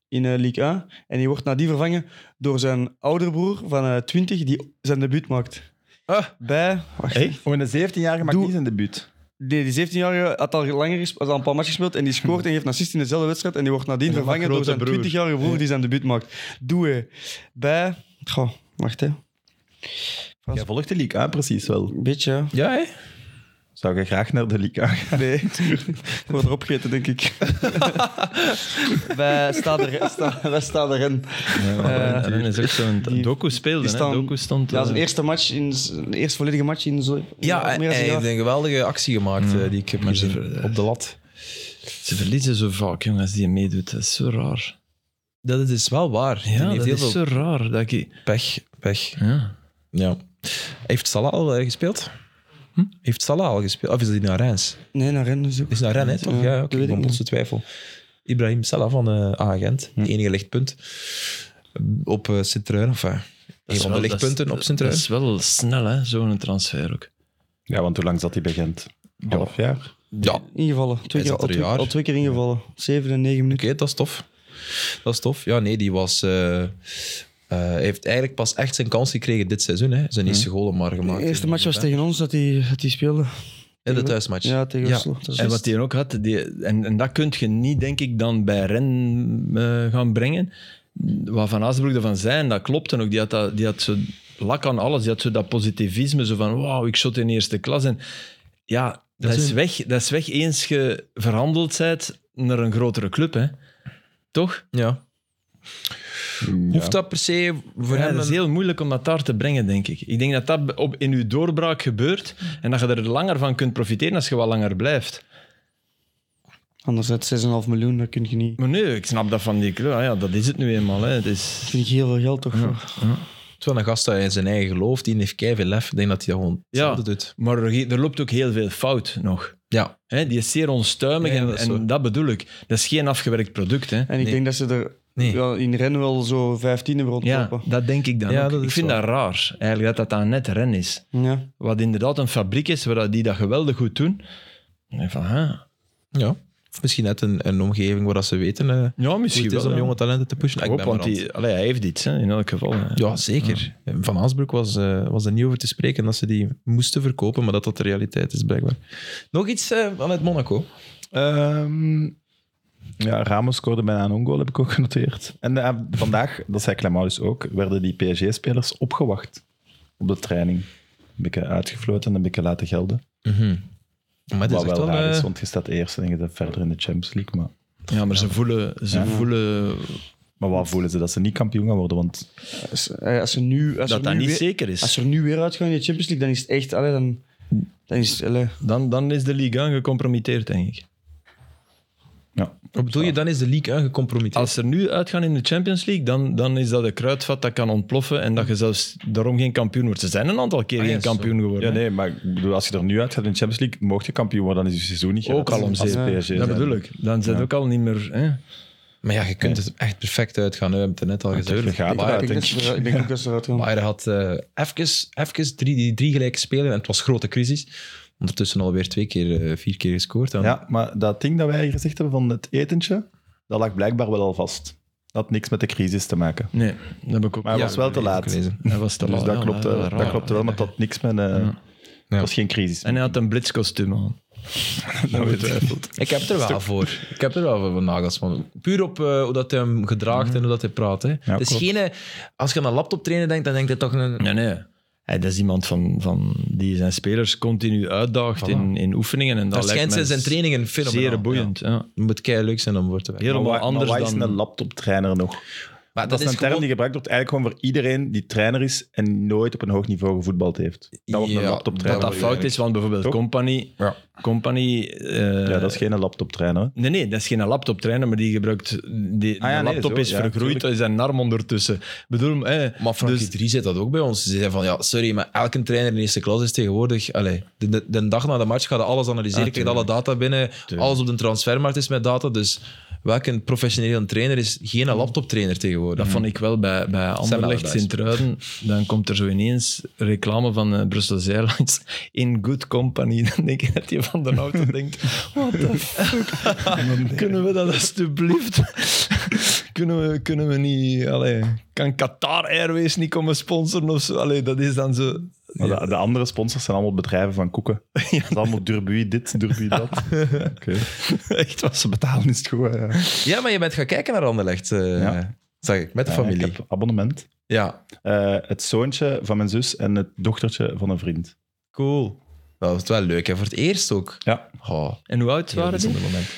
Speaker 4: in eh, Ligue 1. En die wordt nadien vervangen door zijn oudere broer van eh, 20 die zijn debuut maakt.
Speaker 1: Ah.
Speaker 4: Bij... Wacht,
Speaker 3: hey, oh, een 17-jarige maakt
Speaker 4: Doe-
Speaker 3: niet zijn debuut.
Speaker 4: die, die 17-jarige had al, langer gesp- had al een paar matches gespeeld en die scoort en geeft een assist in dezelfde wedstrijd. En die wordt nadien
Speaker 2: En dan
Speaker 4: vervangen door
Speaker 2: grote
Speaker 4: zijn
Speaker 2: broer.
Speaker 4: 20-jarige broer die zijn debuut maakt. Doe hè. Bij... Goh, wacht hè.
Speaker 3: Jij volgt de league aan, precies wel.
Speaker 4: Een beetje, ja.
Speaker 1: Ja, hè?
Speaker 3: Zou je graag naar de league aan gaan?
Speaker 4: Nee, ik word erop gegeten, denk ik. wij, staan er, sta, wij staan erin.
Speaker 2: ja, dat Eh, is ook zo'n
Speaker 4: die-
Speaker 2: docu speelde.
Speaker 4: die staan-
Speaker 2: hè? Doku stond,
Speaker 4: Ja, zijn
Speaker 2: eh,
Speaker 4: eerste match, in, zijn eerste volledige match in zo,
Speaker 1: Ja, eh,
Speaker 4: meer dan
Speaker 1: hij
Speaker 4: een jaar.
Speaker 1: heeft een geweldige actie gemaakt eh, die ik heb
Speaker 2: Maar ze
Speaker 1: gezien
Speaker 2: ver-
Speaker 1: op de lat.
Speaker 2: Ze verliezen zo vaak, jongens, als die meedoet. Dat is zo raar.
Speaker 1: Dat is wel waar. Die
Speaker 2: Ja,
Speaker 1: heeft
Speaker 2: dat
Speaker 1: heel
Speaker 2: is
Speaker 1: veel
Speaker 2: zo raar. Dat ik...
Speaker 1: pech. pech.
Speaker 2: ja.
Speaker 1: Ja. Heeft Salah al eh, gespeeld?
Speaker 2: Hm?
Speaker 1: Heeft Salah al gespeeld? Of is hij naar Reims?
Speaker 4: Nee, naar Rennes is ook.
Speaker 1: Is naar Rennes, toch?
Speaker 4: Ja,
Speaker 1: Ja,
Speaker 4: dat
Speaker 1: oké.
Speaker 4: weet ik
Speaker 1: Dan
Speaker 4: niet. Hm.
Speaker 1: botste twijfel. Ibrahim Salah van eh agent. Het enige lichtpunt. Op eh Sint-Truiden. Enfin, Een van de lichtpunten op zijn
Speaker 2: Dat is wel snel, hè, zo'n transfer ook.
Speaker 3: Ja, want hoe lang zat hij bij Gent? Een half jaar?
Speaker 1: Ja, oké,
Speaker 4: Ingevallen. Twee
Speaker 1: Hij
Speaker 4: keer,
Speaker 1: zat er
Speaker 4: al, twee,
Speaker 1: een jaar.
Speaker 4: al twee keer ingevallen. Zeven en negen minuten.
Speaker 1: dat is tof. Dat is tof. Ja, nee, die was... eh, eh, hij heeft eigenlijk pas echt zijn kans gekregen dit seizoen. Hè. Zijn eerste goal maar gemaakt.
Speaker 4: Hm. de eerste
Speaker 1: in-
Speaker 4: match was tegen ons dat hij, dat hij speelde.
Speaker 1: In de thuismatch.
Speaker 4: Ja, tegen
Speaker 1: Ja.
Speaker 4: Oslo. Dat is
Speaker 2: En
Speaker 4: juist.
Speaker 2: wat hij ook had, die, en, en dat kun je niet, denk ik, dan bij Ren eh, gaan brengen. Wat Van Azenbroek ervan zei, en dat klopt dan ook, die had, dat, die had zo lak aan alles. Die had zo dat positivisme, zo van, wauw, ik shot in eerste klas. En ja, dat,
Speaker 1: is
Speaker 2: is,
Speaker 1: een-
Speaker 2: weg, dat is weg eens je verhandeld bent naar een grotere club, hè. Toch?
Speaker 1: Ja. Hoeft dat per se voor
Speaker 2: Ja,
Speaker 1: hem...
Speaker 2: dat is
Speaker 1: een-
Speaker 2: heel moeilijk om dat daar te brengen, denk ik. Ik denk dat dat op, in uw doorbraak gebeurt en dat je er langer van kunt profiteren als je wat langer blijft.
Speaker 4: Anders uit 6,5 miljoen, dat kun je niet.
Speaker 2: Maar nee, ik snap dat van die club. Ah Ja, dat is het nu eenmaal. Hè. Het is...
Speaker 4: Dat vind ik heel veel geld toch voor.
Speaker 1: Het is wel een gast dat hij in zijn eigen gelooft. Die heeft keiveel lef. Ik denk dat hij dat gewoon
Speaker 2: Ja.
Speaker 1: hetzelfde doet.
Speaker 2: Maar er, er loopt ook heel veel fout nog.
Speaker 1: Ja.
Speaker 2: Hè, die is zeer onstuimig
Speaker 1: Ja, ja,
Speaker 2: en,
Speaker 1: dat
Speaker 2: dat
Speaker 1: is zo.
Speaker 2: en dat bedoel ik. Dat is geen afgewerkt product. Hè.
Speaker 4: En ik
Speaker 1: Nee.
Speaker 4: denk dat ze er
Speaker 1: Nee.
Speaker 4: wel in Ren wel zo 15 hebben
Speaker 2: Ja,
Speaker 4: rondlopen.
Speaker 2: dat denk ik dan
Speaker 1: Ja,
Speaker 2: ook.
Speaker 1: dat
Speaker 2: Ik
Speaker 1: is
Speaker 2: vind
Speaker 1: waar.
Speaker 2: dat raar, eigenlijk, dat dat dan net ren is.
Speaker 4: Ja. ja.
Speaker 2: Wat inderdaad een fabriek is, waar die dat geweldig goed doen. En van, hè.
Speaker 1: ja. Of misschien net een, een omgeving waar dat ze weten eh,
Speaker 2: Ja,
Speaker 1: hoe
Speaker 2: misschien
Speaker 1: het is
Speaker 2: wel.
Speaker 1: om
Speaker 2: ja.
Speaker 1: jonge talenten te pushen. Ah,
Speaker 2: Ik
Speaker 1: Ik
Speaker 2: hoop,
Speaker 1: ben
Speaker 2: want
Speaker 1: verrast.
Speaker 2: die, allee, hij heeft iets, hè, in elk geval. hè.
Speaker 1: Ja, zeker. Van Haasbroek was, eh, was er niet over te spreken dat ze die moesten verkopen, maar dat dat de realiteit is, blijkbaar. Nog iets eh, vanuit Monaco.
Speaker 3: Ehm, ja, Ramos scoorde bijna een ongoal, heb ik ook genoteerd. En eh, vandaag, dat zei Clement dus ook, werden die PSG-spelers opgewacht op de training. Een beetje uitgefloten en een beetje laten gelden.
Speaker 1: Maar het is
Speaker 3: Wat
Speaker 1: echt
Speaker 3: wel
Speaker 1: wel...
Speaker 3: raar is,
Speaker 1: eh,
Speaker 3: want je staat eerst en je gaat verder in de Champions League. Maar,
Speaker 2: ja maar ze voelen... Ze
Speaker 3: Ja.
Speaker 2: voelen
Speaker 3: maar wat voelen ze? Dat ze niet kampioen gaan worden, want
Speaker 4: Als, eh, als, ze nu, als,
Speaker 2: dat
Speaker 4: er
Speaker 2: dat
Speaker 4: nu
Speaker 2: niet
Speaker 4: weer,
Speaker 2: zeker is.
Speaker 4: als er nu weer uitgaan in de Champions League, dan is het echt... Allee, dan, dan is het,
Speaker 3: Ah,
Speaker 4: allee.
Speaker 2: Dan, dan is de Ligue 1 gecompromitteerd, denk ik.
Speaker 3: ja,
Speaker 1: wat bedoel je, dan is de league aangecompromitteerd.
Speaker 2: Als er nu uitgaan in de Champions League, dan, dan is dat een kruidvat dat kan ontploffen en dat je zelfs daarom geen kampioen wordt. Ze zijn een aantal keer
Speaker 1: Ah, ja,
Speaker 2: geen
Speaker 1: zo.
Speaker 2: kampioen geworden.
Speaker 3: Ja, nee, maar ik bedoel, als je er nu uit gaat in de Champions League, mocht je kampioen worden, dan is je seizoen niet
Speaker 2: hè. Ook
Speaker 3: gered
Speaker 2: al om
Speaker 3: als
Speaker 2: zeven.
Speaker 3: PSG
Speaker 2: dat
Speaker 3: zijn.
Speaker 2: bedoel ik. Dan zijn
Speaker 3: Ja.
Speaker 2: ook al niet meer... Hè?
Speaker 1: Maar ja, je kunt het echt perfect uitgaan. hè. We hebben het net al gezegd.
Speaker 3: Natuurlijk gaat
Speaker 4: ik,
Speaker 3: eruit,
Speaker 4: denk
Speaker 3: denk
Speaker 4: dat ze
Speaker 3: ik.
Speaker 4: eruit- ik denk ook dat ze eruit gaan.
Speaker 1: Bayern had eh even, even drie, die drie gelijke spelen en het was grote crisis. Ondertussen alweer twee keer, eh, vier keer gescoord. En
Speaker 3: Ja, maar dat ding dat wij gezegd hebben van het etentje, dat lag blijkbaar wel al vast. Dat had niks met de crisis te maken.
Speaker 2: Nee, dat heb ik ook
Speaker 3: Maar hij
Speaker 2: ja,
Speaker 3: was wel te
Speaker 1: dat heb ik
Speaker 3: laat. Dus
Speaker 1: gelezen.
Speaker 2: Hij was te laat.
Speaker 3: dat
Speaker 2: ja,
Speaker 3: klopte,
Speaker 2: maar raar.
Speaker 3: dat klopte wel, maar dat had niks met... eh
Speaker 1: Ja.
Speaker 3: Het was geen crisis.
Speaker 2: En hij had een blitskostuum aan.
Speaker 3: Nou, ongetwijfeld.
Speaker 1: Ik heb er wel voor. Ik heb er wel voor van Nagelsman. Puur op eh, hoe dat hij hem gedraagt
Speaker 2: Mhm.
Speaker 1: en hoe dat hij praat. Hè. het is
Speaker 3: klopt.
Speaker 1: geen, eh, als je aan een laptop trainen denkt, dan denkt hij toch een,
Speaker 2: Nee, nee. Hij, dat is iemand van, van, die zijn spelers continu uitdaagt in, in oefeningen. En dat
Speaker 1: Dat schijnt
Speaker 2: lijkt
Speaker 1: zijn,
Speaker 2: mij
Speaker 1: zijn trainingen fenomenaal.
Speaker 2: Zeer boeiend. Ja.
Speaker 1: Het moet kei leuk zijn om voor te werken.
Speaker 2: Helemaal
Speaker 3: Maar wa- maar
Speaker 2: anders
Speaker 3: waar is
Speaker 2: dan...
Speaker 3: een laptoptrainer nog?
Speaker 1: Maar
Speaker 3: Dat, is een term die gebruikt wordt eigenlijk gewoon voor iedereen die trainer is en nooit op een hoog niveau gevoetbald heeft. Dat wordt
Speaker 1: Ja,
Speaker 3: een
Speaker 2: dat
Speaker 3: laptoptrainer.
Speaker 2: dat fout is, want bijvoorbeeld
Speaker 3: Toch?
Speaker 2: Company...
Speaker 1: Ja.
Speaker 2: Company eh,
Speaker 3: Ja, dat is geen laptoptrainer. hè.
Speaker 2: Nee, nee, dat is geen laptop trainer, maar die gebruikt. Die,
Speaker 3: Ah ja,
Speaker 2: de
Speaker 3: nee,
Speaker 2: laptop
Speaker 3: zo,
Speaker 2: is
Speaker 3: ja,
Speaker 2: vergroeid,
Speaker 3: tuurlijk.
Speaker 2: is een arm ondertussen. Ik bedoel, eh,
Speaker 1: Maar Frankie
Speaker 2: Dus-
Speaker 1: 3 zit dat ook bij ons. Ze zei van, ja, sorry, maar elke trainer in eerste klas is tegenwoordig... Allee, de, de, de dag na de match gaat hij alles
Speaker 2: Ah,
Speaker 1: analyseren, krijgt alle data binnen. Alles op de transfermarkt is met data. Dus welke professionele trainer is geen laptoptrainer tegenwoordig?
Speaker 2: Mhm. dat vond ik wel bij, bij Anderlecht
Speaker 1: Allardyce.
Speaker 2: Sint-Truiden. Dan komt er zo ineens reclame van eh, Brussels Airlines in good company. Dan denk ik dat je van de auto denkt: what the fuck? kunnen we dat alsjeblieft? kunnen, we, kunnen we niet. Allee, kan Qatar Airways niet komen sponsoren of zo? Allee, dat is dan zo.
Speaker 3: Maar de, de andere sponsors zijn allemaal bedrijven van koeken. Het is allemaal Durbuy dit, Durbuy dat. Oké.
Speaker 2: Echt
Speaker 3: Als ze betalen is het goed. hè, ja.
Speaker 1: Ja, maar je bent gaan kijken naar Anderlecht, eh
Speaker 3: Ja.
Speaker 1: zag ik, met de
Speaker 3: Ja,
Speaker 1: familie.
Speaker 3: Ik heb abonnement.
Speaker 1: Ja,
Speaker 3: Eh, het zoontje van mijn zus en het dochtertje van een vriend.
Speaker 1: cool. Dat was wel leuk, hè? voor het eerst ook.
Speaker 3: Ja.
Speaker 1: Oh,
Speaker 2: En hoe oud
Speaker 1: heel
Speaker 2: waren die?
Speaker 1: bijzonder moment.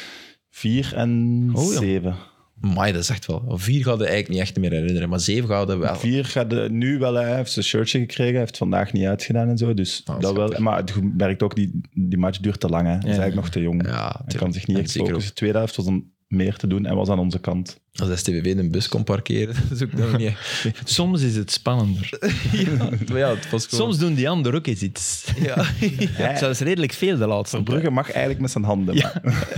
Speaker 3: Vier en
Speaker 2: Oh,
Speaker 1: Ah,
Speaker 2: ja.
Speaker 3: zeven.
Speaker 1: Maar dat is echt wel. Vier gaan we eigenlijk niet echt meer herinneren, maar zeven gaan we wel.
Speaker 3: Vier gaat de- nu wel, hè. hij heeft zijn shirtje gekregen, hij heeft vandaag niet uitgedaan en zo. Dus
Speaker 1: Ah,
Speaker 3: dat wel.
Speaker 1: schattig.
Speaker 3: Maar het ge- merkt ook, die, die match duurt te lang. Hè. Hij is eigenlijk nog te jong.
Speaker 1: Ja,
Speaker 3: hij kan zich niet
Speaker 1: En
Speaker 3: echt
Speaker 1: zeker ook.
Speaker 3: focussen. De tweede helft was een meer te doen en was aan onze kant.
Speaker 1: Als de STBV in een bus kon parkeren, dat is ook nog niet echt.
Speaker 2: Soms is het spannender.
Speaker 1: Ja, maar ja, het was gewoon...
Speaker 2: Soms doen die anderen ook eens iets.
Speaker 1: Ja.
Speaker 2: Ja. Zelfs redelijk veel de laatste
Speaker 3: Brugge mag eigenlijk met zijn handen. maar-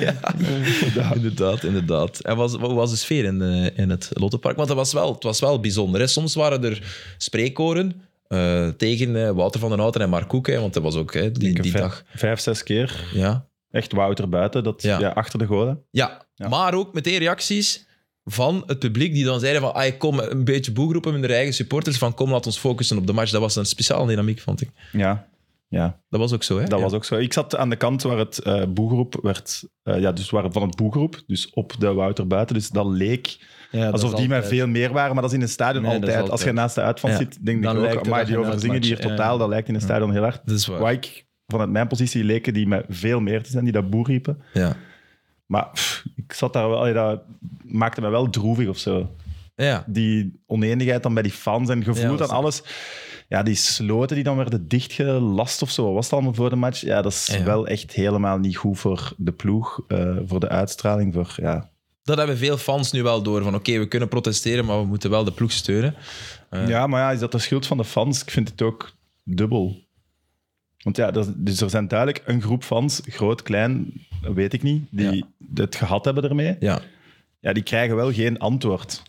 Speaker 1: Ja, inderdaad, inderdaad. En was, hoe was de sfeer in, eh, in het Lottepark? Want dat was wel, het was wel bijzonder. Hè. Soms waren er spreekkoren eh, tegen eh, Wouter van den Houten en Mark Koek, hè, want dat was ook hè,
Speaker 3: Ik
Speaker 1: die,
Speaker 3: denk
Speaker 1: die
Speaker 3: vijf-
Speaker 1: dag.
Speaker 3: Vijf, zes keer.
Speaker 1: Ja.
Speaker 3: Echt Wouter buiten, dat,
Speaker 1: Ja.
Speaker 3: ja. achter de goden.
Speaker 1: Ja.
Speaker 3: Ja.
Speaker 1: maar ook meteen reacties van het publiek die dan zeiden van "Ah, kom, een beetje boegroepen met de eigen supporters van kom, laat ons focussen op de match. Dat was een speciale dynamiek, vond ik.
Speaker 3: Ja. ja.
Speaker 1: Dat was ook zo, hè?
Speaker 3: Dat
Speaker 1: Ja.
Speaker 3: was ook zo. Ik zat aan de kant waar het eh boegroep werd, eh, ja, dus waar, van het boegroep, dus op de Wouter buiten. Dus dat leek alsof die mij veel meer waren, maar dat is in een stadion
Speaker 2: Nee, dat is
Speaker 3: altijd. Als je
Speaker 2: altijd.
Speaker 3: naast de uitvang
Speaker 1: Ja.
Speaker 3: zit, denk
Speaker 2: Dan
Speaker 3: ik
Speaker 2: lijkt
Speaker 3: ook,
Speaker 2: het
Speaker 3: maar
Speaker 2: dat
Speaker 3: die
Speaker 2: je een
Speaker 3: overzinging die hier
Speaker 2: uitmatch-
Speaker 3: totaal, dat lijkt in een stadion heel hard.
Speaker 1: Dat is waar.
Speaker 3: Waar ik, vanuit mijn positie leken die mij veel meer te zijn, die dat boer riepen.
Speaker 1: Ja.
Speaker 3: Maar pff, ik zat daar wel, allee, dat maakte me wel droevig of zo.
Speaker 1: Ja.
Speaker 3: Die oneenigheid dan bij die fans en
Speaker 1: Ja,
Speaker 3: gevoel
Speaker 1: dat
Speaker 3: aan
Speaker 1: is-
Speaker 3: alles. Ja, die sloten die dan werden dichtgelast of zo, wat was het allemaal voor de match? Ja, dat is
Speaker 1: Ja.
Speaker 3: wel echt helemaal niet goed voor de ploeg, eh, voor de uitstraling. Voor, ja.
Speaker 1: Dat hebben veel fans nu wel door. Van oké, we kunnen protesteren, maar we moeten wel de ploeg steunen.
Speaker 3: ja, maar ja, is dat de schuld van de fans? Ik vind het ook dubbel. Want ja, dat, is- dus er zijn duidelijk een groep fans, groot, klein, weet ik niet, die het gehad hebben ermee.
Speaker 1: Ja.
Speaker 3: Ja, die krijgen wel geen antwoord.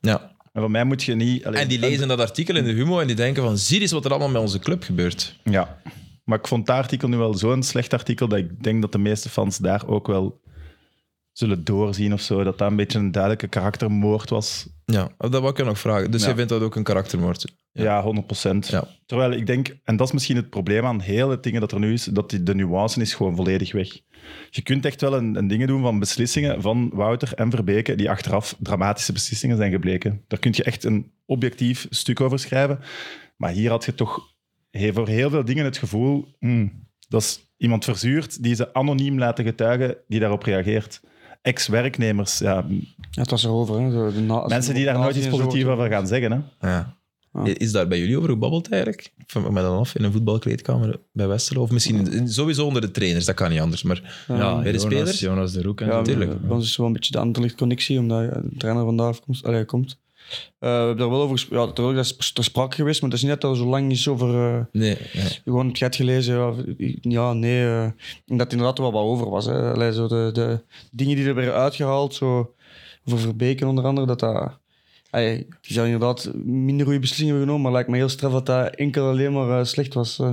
Speaker 1: ja.
Speaker 3: En voor mij moet je niet... alleen-
Speaker 1: En die lezen dat artikel in de Humo en die denken van zie eens wat er allemaal met onze club gebeurt.
Speaker 3: Ja, maar ik vond dat artikel nu wel zo'n slecht artikel dat ik denk dat de meeste fans daar ook wel zullen doorzien of zo. Dat dat een beetje een duidelijke karaktermoord was.
Speaker 1: Ja, dat wou ik je nog vragen. Dus
Speaker 3: Ja.
Speaker 1: je vindt dat ook een karaktermoord? Ja.
Speaker 3: Ja, 100%.
Speaker 1: Ja.
Speaker 3: Terwijl ik denk, en dat is misschien het probleem aan heel het dingen dat er nu is, dat die, de nuance is gewoon volledig weg. Je kunt echt wel een, een dingen doen van beslissingen van Wouter en Verbeke, die achteraf dramatische beslissingen zijn gebleken. Daar kun je echt een objectief stuk over schrijven. Maar hier had je toch he- voor heel veel dingen het gevoel hmm, dat is iemand verzuurd die ze anoniem laten getuigen die daarop reageert. Ex-werknemers, ja,
Speaker 4: Ja, het was erover. Hè. De- de na- als
Speaker 3: mensen
Speaker 4: je
Speaker 3: die daar nooit
Speaker 4: nazi
Speaker 3: iets
Speaker 4: en zo
Speaker 3: positiefs
Speaker 4: wordt-
Speaker 3: over gaan zeggen. Hè?
Speaker 1: Ja.
Speaker 4: Ah.
Speaker 1: Is daar bij jullie over gebabbeld eigenlijk? Van mij dan af in een voetbalkleedkamer bij Westerlo? Of misschien in- in- sowieso onder de trainers, dat kan niet anders. Maar
Speaker 4: Ja,
Speaker 1: bij de spelers?
Speaker 2: Jonas de Roek en
Speaker 4: Ja,
Speaker 2: zo.
Speaker 1: natuurlijk.
Speaker 4: Bij ons is wel een beetje de Anderlecht-connectie, omdat eh, de trainer vandaar afkomst, allee, komt. Eh, we hebben daar wel over gesproken. Ja, natuurlijk, dat is ter sprake geweest, maar het is niet dat er zo lang is over... eh,
Speaker 1: Nee, nee.
Speaker 4: gewoon het gat gelezen. Ja, ja nee. eh, dat het inderdaad wel wat over was. Hè. Allee, zo de, de dingen die er werden uitgehaald, zo, voor Verbeken onder andere, dat dat... Allee, die zijn inderdaad minder goede beslissingen genomen, maar lijkt me heel straf dat dat enkel alleen maar eh, slecht was. eh,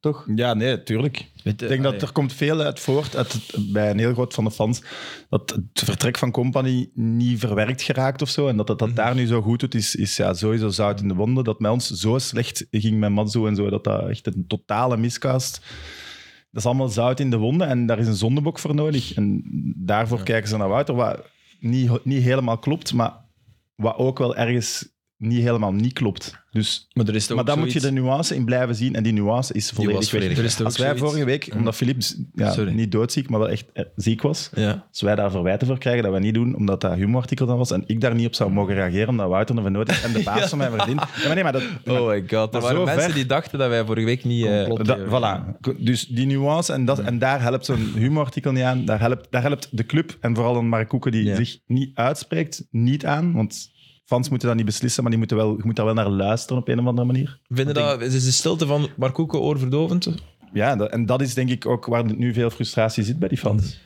Speaker 4: toch?
Speaker 3: Ja, nee, tuurlijk.
Speaker 2: Weet, eh,
Speaker 3: Ik denk dat
Speaker 2: allee.
Speaker 3: er komt veel uit voort, uit het- bij een heel groot van de fans, dat het vertrek van Company niet verwerkt geraakt of zo. En dat dat,
Speaker 2: Mhm.
Speaker 3: dat daar nu zo goed doet, is, is ja, sowieso zout in de wonden. Dat met ons zo slecht ging met Matzo en zo, dat dat echt een totale miscast. Dat is allemaal zout in de wonden en daar is een zondebok voor nodig. En daarvoor kijken ze naar Wouter, wat niet, niet helemaal klopt, maar wat ook wel ergens niet helemaal niet klopt. Dus
Speaker 2: Maar er is toch
Speaker 3: maar dan
Speaker 2: ook
Speaker 3: moet je de
Speaker 2: zoiets-
Speaker 3: nuance in blijven zien. En die nuance is volledig,
Speaker 1: was
Speaker 3: weg.
Speaker 1: volledig
Speaker 2: Er is toch
Speaker 3: Als
Speaker 2: ook
Speaker 3: wij
Speaker 2: zoiets-
Speaker 3: vorige week, omdat Filip ja,
Speaker 2: Sorry.
Speaker 3: niet doodziek, maar wel echt eh, ziek was,
Speaker 1: Ja.
Speaker 3: als wij daar verwijten voor krijgen, dat wij niet doen, omdat dat humorartikel dan was, en ik daar niet op zou mogen reageren, omdat Wouter er van nood is en de baas van mij verdient. Ja, maar nee, maar dat...
Speaker 1: Oh my god, er
Speaker 3: Maar
Speaker 1: waren
Speaker 3: zo
Speaker 1: mensen
Speaker 3: ver-
Speaker 1: die dachten dat wij vorige week niet... eh,
Speaker 3: dat, voilà. Dus die nuance, en, dat, en daar helpt zo'n humorartikel niet aan. Daar helpt, daar helpt de club, en vooral een Mark Koeken die
Speaker 1: Ja.
Speaker 3: zich niet uitspreekt, niet aan. Want fans moeten dat niet beslissen, maar die moeten wel, je moet daar wel naar luisteren op een of andere manier.
Speaker 1: vinden dat, is de stilte van Marcoeke oorverdovend?
Speaker 3: Ja, dat- en dat is denk ik ook waar nu veel frustratie zit bij die fans.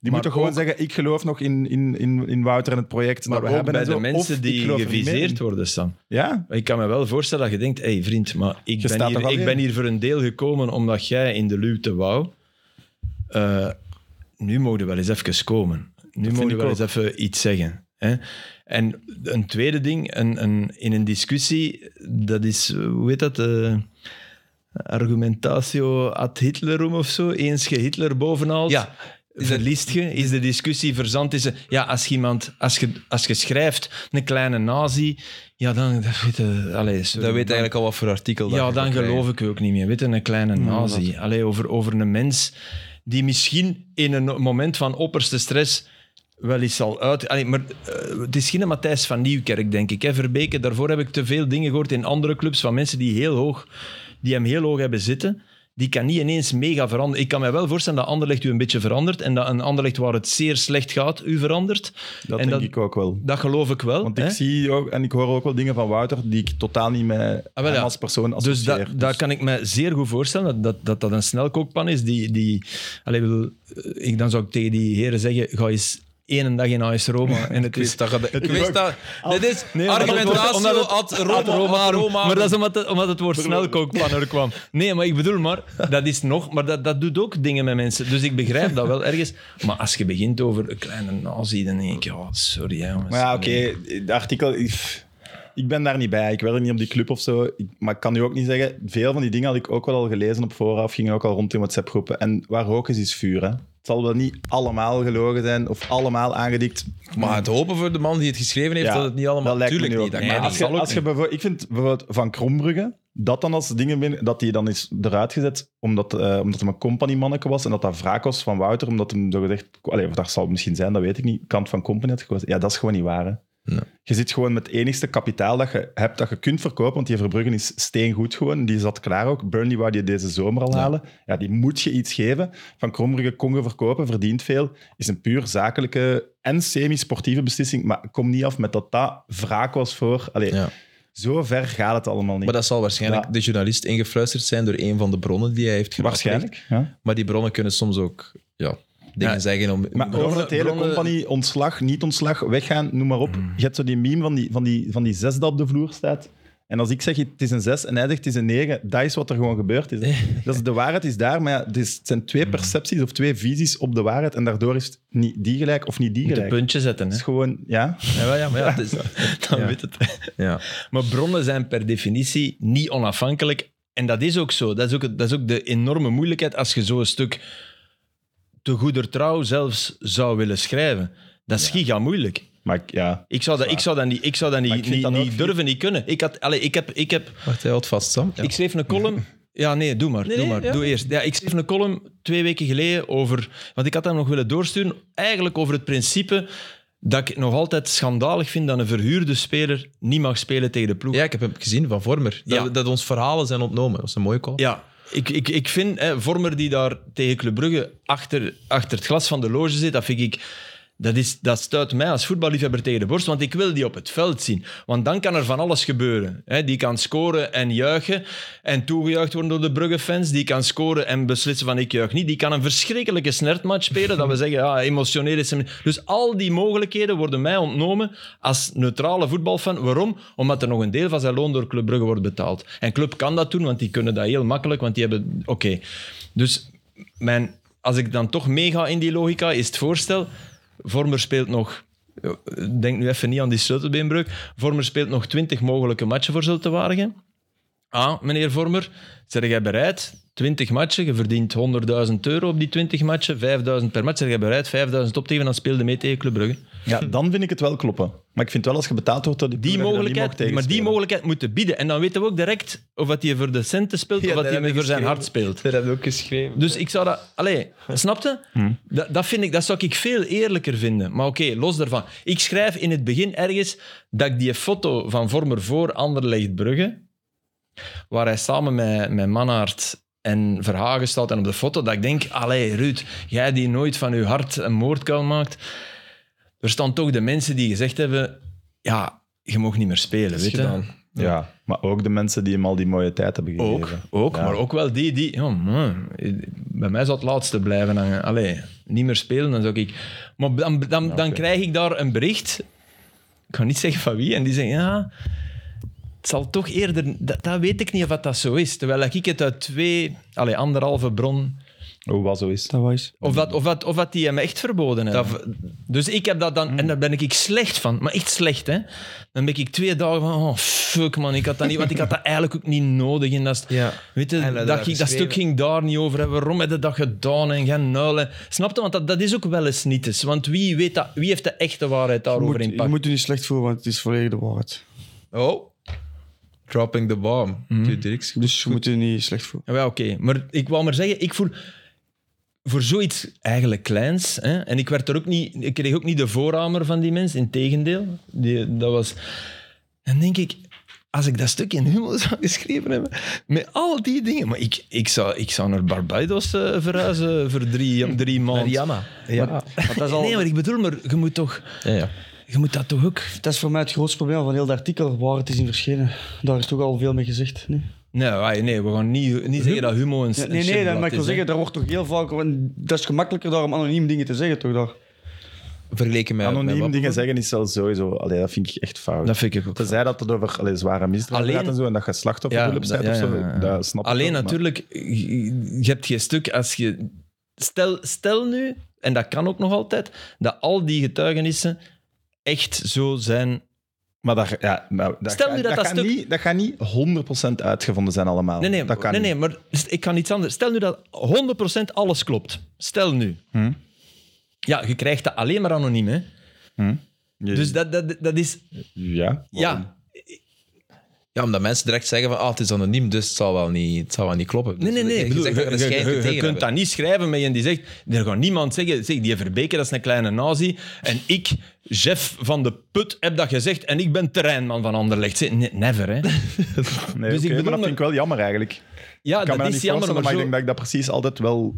Speaker 3: Die moeten gewoon zeggen, ik geloof nog in, in, in, in Wouter en het project
Speaker 2: Maar
Speaker 3: dat we
Speaker 2: ook
Speaker 3: hebben.
Speaker 2: bij
Speaker 3: en
Speaker 2: de
Speaker 3: zo, of
Speaker 2: mensen
Speaker 3: ik
Speaker 2: die
Speaker 3: geloof er niet meer
Speaker 2: geviseerd
Speaker 3: in.
Speaker 2: worden, Sam.
Speaker 3: Ja,
Speaker 2: Ik kan me wel voorstellen dat je denkt, hé hey, vriend, maar ik, ben
Speaker 3: staat
Speaker 2: hier,
Speaker 3: toch alleen?
Speaker 2: ik ben hier voor een deel gekomen omdat jij in de luwte wou. Eh, nu mogen we wel eens even komen. Nu mogen we
Speaker 3: ik
Speaker 2: wel eens even iets zeggen. Hè? En een tweede ding, een, een, in een discussie, dat is, eh, hoe heet dat, eh, argumentatio ad Hitlerum of zo. Eens je Hitler bovenhaalt,
Speaker 1: Ja.
Speaker 2: verliest je. Is de discussie verzand? Is, ja, als je, iemand, als, je, als je schrijft een kleine nazi, ja, dan dat weet, je- allee, sorry,
Speaker 1: Dat weet
Speaker 2: dan-
Speaker 1: eigenlijk al wat voor artikel dat
Speaker 2: ja,
Speaker 1: je
Speaker 2: dan
Speaker 1: gaat krijgen.
Speaker 2: geloof ik u ook niet meer. Weet je, een kleine
Speaker 3: Mm,
Speaker 2: nazi. Allee, over, over een mens die misschien in een moment van opperste stress wel eens zal uit... Allee, maar eh, het is geen Matthijs van Nieuwkerk, denk ik. Hè, Verbeke, daarvoor heb ik te veel dingen gehoord in andere clubs van mensen die, heel hoog, die hem heel hoog hebben zitten. die kan niet ineens mega veranderen. Ik kan mij wel voorstellen dat Anderlecht u een beetje verandert en dat een Anderlecht waar het zeer slecht gaat, u verandert.
Speaker 3: Dat
Speaker 2: en
Speaker 3: denk ik ook wel.
Speaker 2: Dat geloof ik wel.
Speaker 3: Want
Speaker 2: hè.
Speaker 3: ik zie ook, en ik hoor ook wel dingen van Wouter die ik totaal niet met
Speaker 2: Ah, wel,
Speaker 3: hem
Speaker 2: ja.
Speaker 3: als persoon associeer.
Speaker 2: Dus dat, daar kan ik me zeer goed voorstellen, dat dat, dat, dat een snelkookpan is. Die, die, allee, ik bedoel, eh, ik, dan zou ik tegen die heren zeggen, ga eens één dag in AS Roma. En het is,
Speaker 1: dat gaat- ik wist dat. Dit is
Speaker 2: Nee, omdat het wordt-
Speaker 1: argumentatie
Speaker 2: omdat het-
Speaker 1: ad Roma. ad Roma.
Speaker 2: Maar dat is omdat, het- omdat het woord snelkookpan er kwam. Nee, maar ik bedoel maar, dat is nog... Maar dat, dat doet ook dingen met mensen. Dus ik begrijp dat wel ergens. Maar als je begint over een kleine nazi, dan denk ik, oh, sorry hè, jongens.
Speaker 3: Maar ja, oké, het artikel... Ik, ik ben daar niet bij. Ik werk niet op die club of zo. Ik- maar ik kan nu ook niet zeggen... Veel van die dingen had ik ook wel al gelezen op vooraf. Gingen ook al rond in WhatsApp-groepen. En waar rook is, is vuur, hè. Het zal wel niet allemaal gelogen zijn of allemaal aangedikt.
Speaker 1: Maar het hopen voor de man die het geschreven heeft,
Speaker 3: Ja,
Speaker 1: dat het niet allemaal...
Speaker 3: dat lijkt me
Speaker 1: Tuurlijk
Speaker 3: nu ook
Speaker 1: niet. dat
Speaker 3: niet.
Speaker 1: kan
Speaker 3: Maar
Speaker 1: niet.
Speaker 3: als je, als je bijvoorbeeld, ik vind bijvoorbeeld Van Krombrugge, dat dan als dingen binnen, dat die dan is eruit gezet omdat, eh, omdat hem een company-manneke was en dat dat wraak was van Wouter, omdat hem zo gezegd, allee, of dat zal misschien zijn, dat weet ik niet, kant van company had gekozen. Ja, dat is gewoon niet waar. Hè.
Speaker 1: Nee.
Speaker 3: Je zit gewoon met het enigste kapitaal dat je hebt dat je kunt verkopen, want die Verbrugge is steengoed gewoon, die zat klaar ook. Burnley wou die deze zomer al halen. Ja, die moet je iets geven. Van Krombrugge kon je verkopen, verdient veel. Is een puur zakelijke en semi-sportieve beslissing, maar kom niet af met dat dat wraak was voor... Allee,
Speaker 1: Ja.
Speaker 3: zo ver gaat het allemaal niet.
Speaker 1: Maar dat zal waarschijnlijk
Speaker 3: Ja.
Speaker 1: de journalist ingefluisterd zijn door een van de bronnen die hij heeft geraadpleegd.
Speaker 3: Waarschijnlijk. Ja.
Speaker 1: Maar die bronnen kunnen soms ook ja, dingen
Speaker 2: Ja.
Speaker 1: zeggen om...
Speaker 3: Maar over het hele
Speaker 2: bronnen- Mm.
Speaker 3: compagnie, ontslag, niet ontslag, weggaan, noem maar op. Je hebt zo die meme van die, van die, van die zes dat op de vloer staat. En als ik zeg het is een zes en hij zegt het is een negen, dat is wat er gewoon gebeurd is. hè. Dat is, de waarheid is daar, maar ja, het, is- het zijn
Speaker 2: Mm.
Speaker 3: twee percepties of twee visies op de waarheid. En daardoor is het niet die gelijk of niet die
Speaker 2: Moet een
Speaker 3: gelijk. Het
Speaker 2: puntje zetten. Hè?
Speaker 3: is gewoon, ja.
Speaker 2: Ja, wel, ja, maar ja, het is- dan
Speaker 1: Ja.
Speaker 2: weet het.
Speaker 1: Ja.
Speaker 2: Maar bronnen zijn per definitie niet onafhankelijk. En dat is ook zo. Dat is ook, dat is ook de enorme moeilijkheid als je zo'n stuk te goeder trouw zelfs zou willen schrijven. Dat is giga moeilijk.
Speaker 3: Maar ik- ja.
Speaker 2: Ik zou dat, ik zou dat niet, ik zou dat niet,
Speaker 3: ik vind
Speaker 2: niet,
Speaker 3: dat ook
Speaker 2: niet
Speaker 3: niet-
Speaker 2: durven, niet kunnen. Ik, had, allez, ik, heb, ik, heb,
Speaker 1: Wacht, hij houdt vast, Sam. Ja.
Speaker 2: ik schreef een column. Ja, nee, doe maar. doe,
Speaker 1: nee,
Speaker 2: maar.
Speaker 1: ja.
Speaker 2: doe eerst. Ja, ik schreef een column twee weken geleden over. Want ik had dat nog willen doorsturen. Eigenlijk over het principe dat ik nog altijd schandalig vind dat een verhuurde speler niet mag spelen tegen de ploeg.
Speaker 1: Ja, ik heb hem gezien van Vormer. Dat,
Speaker 2: Ja.
Speaker 1: dat ons verhalen zijn ontnomen. Dat is een mooie call.
Speaker 2: Ja, ik, ik, ik vind hè, Vormer die daar tegen Club Brugge achter, achter het glas van de loge zit, dat vind ik. Dat, is, dat stuit mij als voetballiefhebber tegen de borst, want ik wil die op het veld zien. Want dan kan er van alles gebeuren. hè. die kan scoren en juichen en toegejuicht worden door de Brugge-fans. Die kan scoren en beslissen van ik juich niet. Die kan een verschrikkelijke snertmatch spelen, dat we zeggen, ja, emotioneel is hem niet. Dus al die mogelijkheden worden mij ontnomen als neutrale voetbalfan. Waarom? Omdat er nog een deel van zijn loon door Club Brugge wordt betaald. En Club kan dat doen, want die kunnen dat heel makkelijk, want die hebben... Oké. Dus mijn, als ik dan toch meega in die logica, is het voorstel... Vormer speelt nog... eh, Denk nu even niet aan die sleutelbeenbreuk. Vormer speelt nog 20 mogelijke matchen voor Zulte Waregem. Ah, meneer Vormer, zeg jij bereid? 20 matchen, je verdient 100.000 euro op die 20 matchen, 5.000 per match. Zeg jij bereid 5.000 op te geven, dan speelde mee tegen Club Brugge.
Speaker 3: ja, dan vind ik het wel kloppen. Maar ik vind wel als je betaald wordt, dat die,
Speaker 2: Die
Speaker 3: ploeg dat je dat niet
Speaker 2: mogelijkheid,
Speaker 3: mag
Speaker 2: maar die
Speaker 3: tegenspelen.
Speaker 2: mogelijkheid moeten bieden. En dan weten we ook direct of dat hij voor de centen speelt
Speaker 1: Ja,
Speaker 2: of dat
Speaker 1: dat heb
Speaker 2: hij
Speaker 1: ik
Speaker 2: voor zijn
Speaker 1: geschreven.
Speaker 2: hart speelt.
Speaker 1: Dat hebben we ook geschreven.
Speaker 2: Dus ik zou dat... Allee, snapte? Dat, dat, vind ik, dat zou ik veel eerlijker vinden. Maar oké, los daarvan. Ik schrijf in het begin ergens dat ik die foto van Vormer voor Anderlecht Brugge, waar hij samen met, met Mannaert en Verhagen staat en op de foto, dat ik denk, allee Ruud, jij die nooit van je hart een moordkuil maakt. Er staan toch de mensen die gezegd hebben, ja, je mag niet meer spelen, weet je.
Speaker 3: Ja, maar ook de mensen die hem al die mooie tijd hebben gegeven.
Speaker 2: Ook, ook
Speaker 3: Ja.
Speaker 2: maar ook wel die die... ja, man, bij mij zou het laatste blijven hangen. Allee, niet meer spelen, dan zou ik... Maar dan, dan, dan krijg ik daar een bericht. Ik ga niet zeggen van wie. En die zeggen, ja... Het zal toch eerder... Dat, dat weet ik niet of dat, dat zo is. Terwijl ik het uit twee... Allee, anderhalve bron...
Speaker 3: Hoe was zo is.
Speaker 4: Dat was.
Speaker 2: Of dat, of, dat, of dat die hem echt verboden hebben. dus ik heb dat dan... En daar ben ik slecht van. Maar echt slecht, hè. Dan ben ik twee dagen van... Oh, fuck, man. Ik had dat niet... Want ik had dat eigenlijk ook niet nodig. En dat is-
Speaker 1: Ja.
Speaker 2: Weet
Speaker 1: En
Speaker 2: je,
Speaker 1: dat
Speaker 2: dat, ging- dat
Speaker 1: geschreven.
Speaker 2: stuk ging daar niet over. En waarom heb je dat gedaan en gaan nuilen? Snap je? Want dat, dat is ook wel eens niet eens. Want wie, weet dat, wie heeft de echte waarheid
Speaker 4: Je
Speaker 2: daarover
Speaker 4: moet,
Speaker 2: in
Speaker 4: je
Speaker 2: pak?
Speaker 4: moet je niet slecht voelen, want het is volledig de waarheid.
Speaker 1: Oh. Dropping the bomb.
Speaker 2: Mhm.
Speaker 1: Dude, Dirks.
Speaker 4: Dus je moet je niet slecht voelen.
Speaker 2: Ja, wel, oké. Maar ik wou maar zeggen, ik voel... Voor zoiets eigenlijk kleins, hè, en ik, werd er ook niet, ik kreeg ook niet de voorramer van die mensen, integendeel. Die, dat was... Dan denk ik... als ik dat stuk in Hummel zou geschreven hebben, met al die dingen. Maar ik, ik, zou, ik zou naar Barbados eh, verhuizen voor
Speaker 4: Hm.
Speaker 2: drie, drie maanden.
Speaker 1: Mariana.
Speaker 2: Ja.
Speaker 4: Want dat, is al,
Speaker 2: Nee, maar ik bedoel, maar je moet toch...
Speaker 1: Ja, ja.
Speaker 2: Je moet dat toch ook...
Speaker 4: dat is voor mij het grootste probleem van heel dat artikel, waar het is in verschenen. Daar is toch al veel mee gezegd. Nee,
Speaker 2: Nee, wij- nee, we gaan niet, niet zeggen dat Humo een
Speaker 4: Ja, Hm. nee, nee, dat, maar ik wil zeggen, daar wordt toch heel vaak... want Dat is gemakkelijker daar om anoniem dingen te zeggen, toch? Daar.
Speaker 1: Vergeleken met... met
Speaker 3: Anoniem
Speaker 1: wat-
Speaker 3: dingen zeggen is zelfs sowieso... Allee, dat vind ik echt fout.
Speaker 2: Dat vind ik ook.
Speaker 3: Tenzij dat het over allee, zware misdrijven
Speaker 2: Alleen-
Speaker 3: gaat en zo, en dat je slachtoffer
Speaker 2: Ja,
Speaker 3: wil zijn
Speaker 2: dat-
Speaker 3: of
Speaker 2: ja,
Speaker 3: zo,
Speaker 2: ja, ja.
Speaker 3: dat snap ik
Speaker 2: Alleen
Speaker 3: wel, maar-
Speaker 2: natuurlijk, je, je hebt geen stuk als je... Stel, stel nu, en dat kan ook nog altijd, dat al die getuigenissen echt zo zijn.
Speaker 3: Maar dat, ja, maar dat,
Speaker 2: Stel
Speaker 3: gaat-
Speaker 2: nu dat dat
Speaker 3: gaat
Speaker 2: stuk-
Speaker 3: niet, dat gaat niet 100% uitgevonden zijn allemaal.
Speaker 2: Nee, nee,
Speaker 3: Ah, dat kan
Speaker 2: nee,
Speaker 3: niet.
Speaker 2: nee, maar st- ik kan iets anders. Stel nu dat 100% alles klopt. Stel nu.
Speaker 3: Hm.
Speaker 2: Ja, je krijgt dat alleen maar anoniem, hè.
Speaker 3: Hm? Je-
Speaker 2: Dus dat, dat, dat is...
Speaker 3: ja, waarom?
Speaker 2: Ja,
Speaker 1: Ja, omdat mensen direct zeggen van, ah, het is anoniem, dus het zal wel niet, het zal wel niet kloppen.
Speaker 2: Nee, nee,
Speaker 1: Dus
Speaker 2: nee.
Speaker 1: je
Speaker 2: Ik bedoel,
Speaker 1: zegt dat er een
Speaker 2: je- je-
Speaker 1: schijn
Speaker 2: je-
Speaker 1: te
Speaker 2: je
Speaker 1: tegen
Speaker 2: kunt
Speaker 1: hebben.
Speaker 2: dat niet schrijven met iemand die zegt... Er gaat niemand zeggen... Zeg, die Verbeker, dat is een kleine nazi. En ik, Jeff van de Put, heb dat gezegd. En ik ben terreinman van Anderlecht. Zeg, nee, never, hè.
Speaker 3: Nee,
Speaker 2: Dus ik
Speaker 3: oké, maar
Speaker 2: bedoel
Speaker 3: dat
Speaker 2: maar-
Speaker 3: vind ik wel jammer eigenlijk. Ik
Speaker 2: Ja,
Speaker 3: kan me
Speaker 2: dat
Speaker 3: dat
Speaker 2: is
Speaker 3: niet
Speaker 2: jammer,
Speaker 3: voorstellen, maar,
Speaker 2: maar zo...
Speaker 3: ik denk dat ik dat precies altijd wel...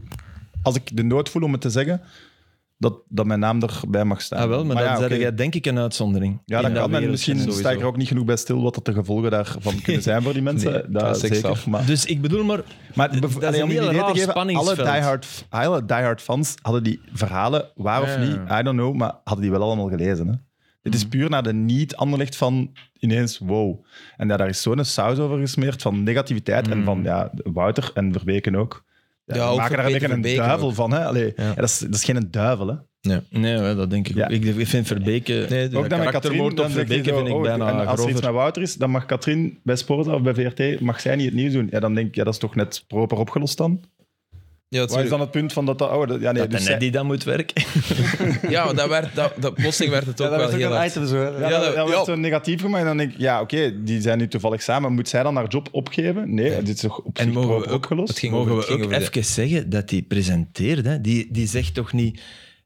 Speaker 3: Als ik de nood voel om het te zeggen, dat, dat mijn naam erbij mag staan.
Speaker 2: Ah, wel, maar,
Speaker 3: ja,
Speaker 2: dan
Speaker 3: oké.
Speaker 2: zeg jij denk ik een uitzondering.
Speaker 3: Ja,
Speaker 2: In
Speaker 3: dat kan. En
Speaker 2: wereldje
Speaker 3: misschien
Speaker 2: sowieso.
Speaker 3: sta ik er ook niet genoeg bij stil wat dat de gevolgen daarvan kunnen zijn voor die mensen.
Speaker 1: Nee,
Speaker 3: dat
Speaker 1: dat is
Speaker 3: zeker.
Speaker 1: straf.
Speaker 3: Maar,
Speaker 2: Dus ik bedoel maar...
Speaker 3: maar
Speaker 2: dat
Speaker 3: bev-
Speaker 2: is
Speaker 3: allee,
Speaker 2: een
Speaker 3: om je
Speaker 2: heel
Speaker 3: een idee
Speaker 2: raar
Speaker 3: te geven, alle
Speaker 2: spanningsveld.
Speaker 3: diehard, alle diehard fans hadden die verhalen, waar of
Speaker 2: Ja. Mhm.
Speaker 3: niet, I don't know, maar hadden die wel allemaal gelezen. Hè? Dit is puur naar de niet-anderlicht van ineens wow. En ja, daar is zo'n saus over gesmeerd van negativiteit en
Speaker 2: Mhm.
Speaker 3: van ja, Wouter en Verbeken ook. Ja,
Speaker 1: Ja,
Speaker 3: we
Speaker 1: ook
Speaker 3: maken daar een
Speaker 1: Verbeke,
Speaker 3: beetje een
Speaker 1: Verbeke
Speaker 3: duivel
Speaker 1: ook.
Speaker 3: van. Hè? Allee,
Speaker 1: Ja.
Speaker 3: ja, dat, is, dat is geen duivel. Hè?
Speaker 2: Dus Nee, hè, dat denk ik
Speaker 3: Ja.
Speaker 2: ook. Ik- Ik vind Verbeke...
Speaker 1: Nee,
Speaker 2: dat
Speaker 3: Ook dan met Katrien,
Speaker 2: karaktermoord op
Speaker 3: dan zeg je
Speaker 2: Verbeke
Speaker 3: zo,
Speaker 2: vind ik
Speaker 3: oh, en
Speaker 2: bijna
Speaker 3: als er iets
Speaker 2: grover.
Speaker 3: met Wouter is, dan mag Katrien bij Sporza of bij VRT, mag zij niet het nieuws doen. Ja, dan denk ik, ja, dat is toch net proper opgelost dan?
Speaker 1: Ja, dat
Speaker 3: Waar is dan het punt van dat... dat oh, dat- ja, nee,
Speaker 2: Dat
Speaker 3: dus
Speaker 2: en
Speaker 3: zij-
Speaker 2: die dan moet werken.
Speaker 1: Ja, maar dat werd, dat, dat, plotseling werd het ook
Speaker 4: dat
Speaker 1: wel
Speaker 4: is ook
Speaker 1: heel
Speaker 4: een
Speaker 1: hard.
Speaker 4: item zo. Hè.
Speaker 3: ja,
Speaker 1: ja,
Speaker 3: dat, dat
Speaker 1: ja.
Speaker 3: werd zo negatief gemaakt. En dan denk ik, ja, oké, die zijn nu toevallig samen. Moet zij dan haar job opgeven? Nee, dit is toch op zich
Speaker 2: En mogen
Speaker 3: proper
Speaker 2: we ook,
Speaker 3: opgelost?
Speaker 1: het ging
Speaker 2: mogen
Speaker 1: over-
Speaker 2: we
Speaker 1: ging
Speaker 2: ook
Speaker 1: over de-
Speaker 2: even zeggen dat die presenteert? Hè? Die, die zegt toch niet...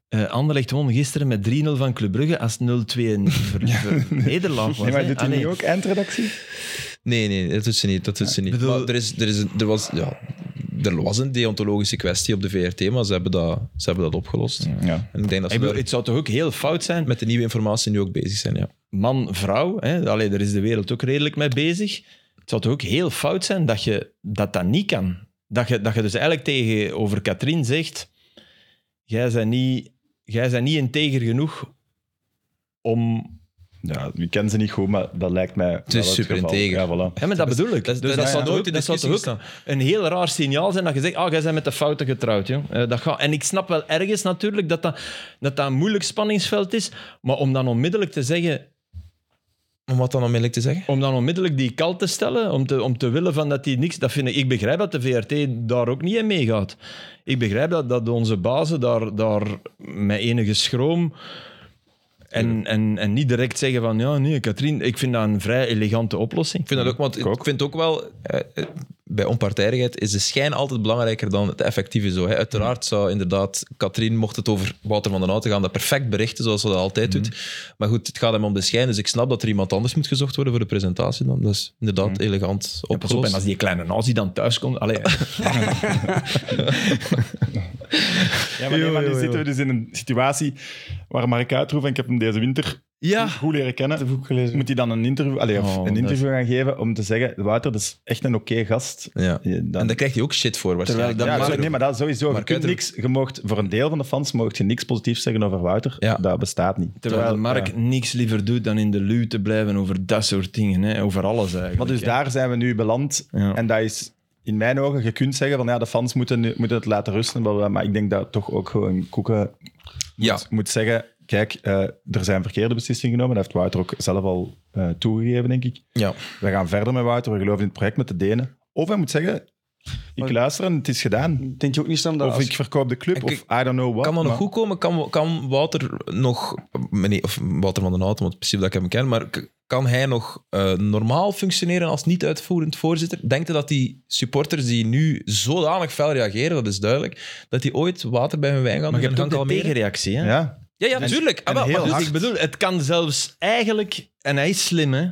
Speaker 2: eh Anderlecht won gisteren met 3-0 van Club Brugge als 0-2 een ver- ver- nederlaag was.
Speaker 3: Nee, maar
Speaker 2: hè? Ah,
Speaker 3: doet hij
Speaker 2: Allee.
Speaker 3: niet ook eindredactie?
Speaker 1: Nee, nee, dat doet ze niet. Dat doet ze niet.
Speaker 2: bedoel-
Speaker 1: Maar er, is, er, is, een- er, was, ja, er was een deontologische kwestie op de VRT, maar ze hebben dat, ze hebben dat opgelost.
Speaker 3: Ja.
Speaker 1: En ik denk dat
Speaker 2: Ik
Speaker 1: ze
Speaker 2: bedoel,
Speaker 1: daar
Speaker 2: het zou toch ook heel fout zijn met
Speaker 1: met de nieuwe informatie nu ook bezig zijn. Ja.
Speaker 2: man-vrouw? hè? Allee, daar is de wereld ook redelijk mee bezig. Het zou toch ook heel fout zijn dat je dat, dat niet kan? Dat je, dat je dus eigenlijk tegenover Katrien zegt... Jij bent niet, jij bent niet integer genoeg om...
Speaker 3: ja, ik ken ze niet goed, maar dat lijkt mij Het
Speaker 1: is super integer.
Speaker 3: Ja, voilà.
Speaker 2: Ja, maar dat bedoel ik.
Speaker 1: Dat is-
Speaker 2: dus
Speaker 1: dat
Speaker 2: dat
Speaker 1: is-
Speaker 2: zou
Speaker 1: ja,
Speaker 2: toch
Speaker 1: ja.
Speaker 2: ook,
Speaker 1: Ook de
Speaker 2: dat zou toch
Speaker 1: discussie
Speaker 2: ook een heel raar signaal zijn dat je zegt, ah, jij bent met de fouten getrouwd. Joh. Eh, dat gaat. En ik snap wel ergens natuurlijk dat dat, dat dat een moeilijk spanningsveld is, maar om dan onmiddellijk te zeggen,
Speaker 1: Om wat dan onmiddellijk te zeggen?
Speaker 2: om dan onmiddellijk die kal te stellen, om te, om te willen van dat die niks... Dat vind ik, ik begrijp dat de VRT daar ook niet in meegaat. Ik begrijp dat, dat onze bazen daar, daar met enige schroom... En, en, en niet direct zeggen van, ja, nee, Katrien, ik vind dat een vrij elegante oplossing.
Speaker 1: Ik vind dat ook, want ik vind ook wel, eh, eh, bij onpartijdigheid is de schijn altijd belangrijker dan het effectieve. Zo, hè. Uiteraard zou inderdaad Katrien, mocht het over Wouter van den Houten gaan, dat perfect berichten, zoals ze dat altijd doet.
Speaker 3: Mhm.
Speaker 1: Maar goed, het gaat hem om de schijn, dus ik snap dat er iemand anders moet gezocht worden voor de presentatie dan. Dat is inderdaad
Speaker 3: Mhm.
Speaker 1: elegant
Speaker 2: Ja, pas op, en
Speaker 1: opgelost.
Speaker 2: als die kleine nazi dan thuis komt... Allee,
Speaker 3: Ja, maar, nee, maar nu zitten we dus in een situatie waar Mark Uitroef, en ik heb hem deze winter
Speaker 2: ja.
Speaker 3: goed leren kennen,
Speaker 4: boek gelezen.
Speaker 3: moet hij dan een interview, allee,
Speaker 2: Oh,
Speaker 3: of een
Speaker 2: dat-
Speaker 3: interview gaan geven om te zeggen, Wouter, dat is echt een oké gast.
Speaker 1: ja.
Speaker 3: Ja, dan-
Speaker 1: En daar krijgt hij ook shit voor waarschijnlijk.
Speaker 2: dat
Speaker 3: ja,
Speaker 2: maakt-
Speaker 3: sorry, nee, maar dat sowieso.
Speaker 1: Maar
Speaker 3: je kunt
Speaker 1: Kuiter-
Speaker 3: niks, je moogt, voor een deel van de fans mocht je niks positiefs zeggen over Wouter.
Speaker 1: Ja.
Speaker 3: Dat bestaat niet.
Speaker 2: Terwijl de Mark
Speaker 3: ja.
Speaker 2: niks liever doet dan in de luw te blijven over dat soort dingen. Hè. Over alles eigenlijk.
Speaker 3: Maar dus
Speaker 2: hè.
Speaker 3: daar zijn we nu beland.
Speaker 2: Ja.
Speaker 3: En dat is in mijn ogen, je kunt zeggen van ja, de fans moeten, nu- moeten het laten rusten. bla, bla, bla. Maar ik denk dat toch ook gewoon Koeken
Speaker 1: Ja.
Speaker 3: moet, moet zeggen. Kijk, eh, er zijn verkeerde beslissingen genomen. Dat heeft Wouter ook zelf al eh, toegegeven, denk ik.
Speaker 1: Ja.
Speaker 3: We gaan verder met Wouter. We geloven in het project met de Denen. Of hij moet zeggen, ik
Speaker 4: Maar-
Speaker 3: luister en het is gedaan.
Speaker 4: Denk je ook niet, Sam, dat
Speaker 3: Of
Speaker 4: als-
Speaker 3: ik verkoop de club,
Speaker 1: Nou, En
Speaker 3: of I don't know what.
Speaker 1: Kan dat nog
Speaker 3: maar-
Speaker 1: goed komen? Kan, kan Wouter nog, meneer, of Wouter van den Houten, want in principe dat ik hem ken, maar k- kan hij nog eh, normaal functioneren als niet-uitvoerend voorzitter? Denkt hij dat die supporters die nu zodanig fel reageren, dat is duidelijk, dat die ooit water bij hun wijn gaan
Speaker 2: Maar je
Speaker 1: doen
Speaker 2: hebt
Speaker 1: en
Speaker 2: ook
Speaker 1: gaan
Speaker 2: de
Speaker 1: kalmeren?
Speaker 2: tegenreactie. Hè?
Speaker 3: Ja,
Speaker 1: Ja, ja, natuurlijk. Ah,
Speaker 3: en
Speaker 1: wel, maar dus
Speaker 3: heel
Speaker 2: Dus
Speaker 3: hard.
Speaker 2: ik bedoel, het kan zelfs eigenlijk... En hij is slim, hè.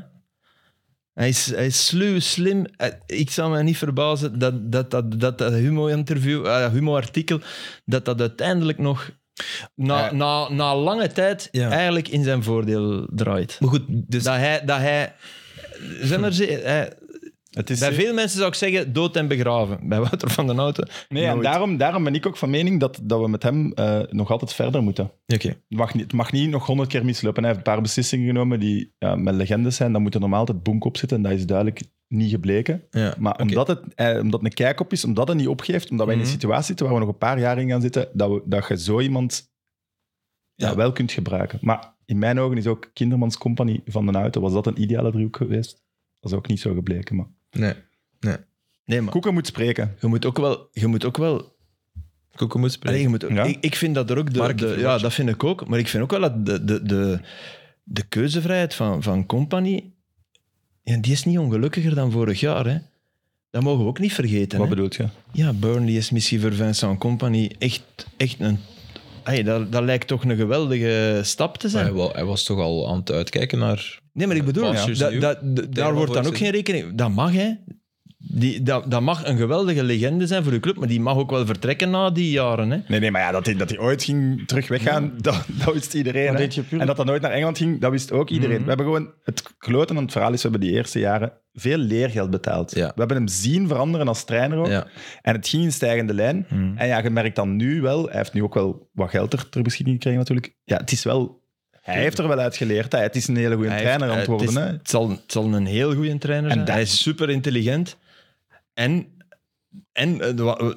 Speaker 2: Hij is, hij is sluw, slim. Hij- Ik zou me niet verbazen dat dat, dat, dat, dat humo-interview, eh, dat humo-artikel, dat dat uiteindelijk nog na,
Speaker 1: Ja.
Speaker 2: na, na lange tijd
Speaker 1: Eh. Ja.
Speaker 2: eigenlijk in zijn voordeel draait.
Speaker 1: Maar goed, dus
Speaker 2: Dat hij... Dat hij zijn er, ze- hij-
Speaker 3: Het is
Speaker 2: bij veel mensen zou ik zeggen dood en begraven. Bij Wouter van den Houten.
Speaker 3: nee, en
Speaker 2: nooit.
Speaker 3: daarom, daarom ben ik ook van mening dat, dat we met hem eh, nog altijd verder moeten.
Speaker 1: oké.
Speaker 3: Het mag, niet, het mag niet nog honderd keer mislopen. Hij heeft een paar beslissingen genomen die ja, met legendes zijn. Dan moet er normaal altijd boek op zitten. En dat is duidelijk niet gebleken.
Speaker 1: Ja,
Speaker 3: Maar
Speaker 1: oké.
Speaker 3: omdat, het, eh, omdat het een kijk op is, omdat het niet opgeeft, omdat wij in
Speaker 1: Mhm.
Speaker 3: een situatie zitten waar we nog een paar jaar in gaan zitten, dat, we, dat je zo iemand ja.
Speaker 1: Ja.
Speaker 3: wel kunt gebruiken. Maar in mijn ogen is ook Kindermans Company van de Auto, was dat een ideale driehoek geweest? Dat is ook niet zo gebleken. Maar...
Speaker 1: Nee.
Speaker 2: Nee, maar
Speaker 3: Koeken moet spreken.
Speaker 2: je moet ook wel... Je moet ook wel
Speaker 1: Koeken moet
Speaker 2: Allee,
Speaker 1: spelen.
Speaker 2: je moet ook-
Speaker 3: Ja.
Speaker 2: ik, ik vind dat er ook de,
Speaker 1: Market
Speaker 2: de- ja,
Speaker 1: watch.
Speaker 2: dat vind ik ook. Maar ik vind ook wel dat de, de, de, de keuzevrijheid van, van Company, ja, die is niet ongelukkiger dan vorig jaar. Hè. Dat mogen we ook niet vergeten.
Speaker 3: Wat
Speaker 2: hè.
Speaker 3: bedoelt je?
Speaker 2: Ja, Burnley is misschien voor Vincent Company echt, echt een. Ay, dat, dat lijkt toch een geweldige stap te
Speaker 1: Maar
Speaker 2: zijn.
Speaker 1: hij, wa- hij was toch al aan het uitkijken naar...
Speaker 2: Nee, maar ik bedoel,
Speaker 1: Pas is
Speaker 2: da-
Speaker 1: nieuw.
Speaker 2: da- da- daar wordt dan ook geen rekening... Dat mag, hè. Die, dat, dat mag een geweldige legende zijn voor de club, maar die mag ook wel vertrekken na die jaren, hè.
Speaker 3: Nee, nee, maar ja, dat hij, dat hij ooit ging terug weggaan, dat, dat wist iedereen.
Speaker 4: Dat
Speaker 3: hè.
Speaker 4: deed je puur-
Speaker 3: En dat dat nooit naar Engeland ging, dat wist ook iedereen.
Speaker 1: Mhm.
Speaker 3: We hebben gewoon, het kloten aan het verhaal is, we hebben die eerste jaren veel leergeld betaald.
Speaker 1: Ja.
Speaker 3: We hebben hem zien veranderen als trainer ook.
Speaker 1: Ja.
Speaker 3: En het ging in stijgende lijn.
Speaker 2: Mhm.
Speaker 3: En ja, je merkt dan nu wel, hij heeft nu ook wel wat geld er ter beschikking gekregen natuurlijk. Ja, het is wel, hij heeft er wel uit geleerd. Hè. Het is een hele goede
Speaker 2: Hij
Speaker 3: trainer aan
Speaker 2: heeft-
Speaker 3: het worden.
Speaker 2: Het, is-
Speaker 3: hè.
Speaker 2: het zal, het zal een heel goede trainer
Speaker 3: En
Speaker 2: zijn.
Speaker 3: dat-
Speaker 2: Hij is super intelligent. En, en eh, wa-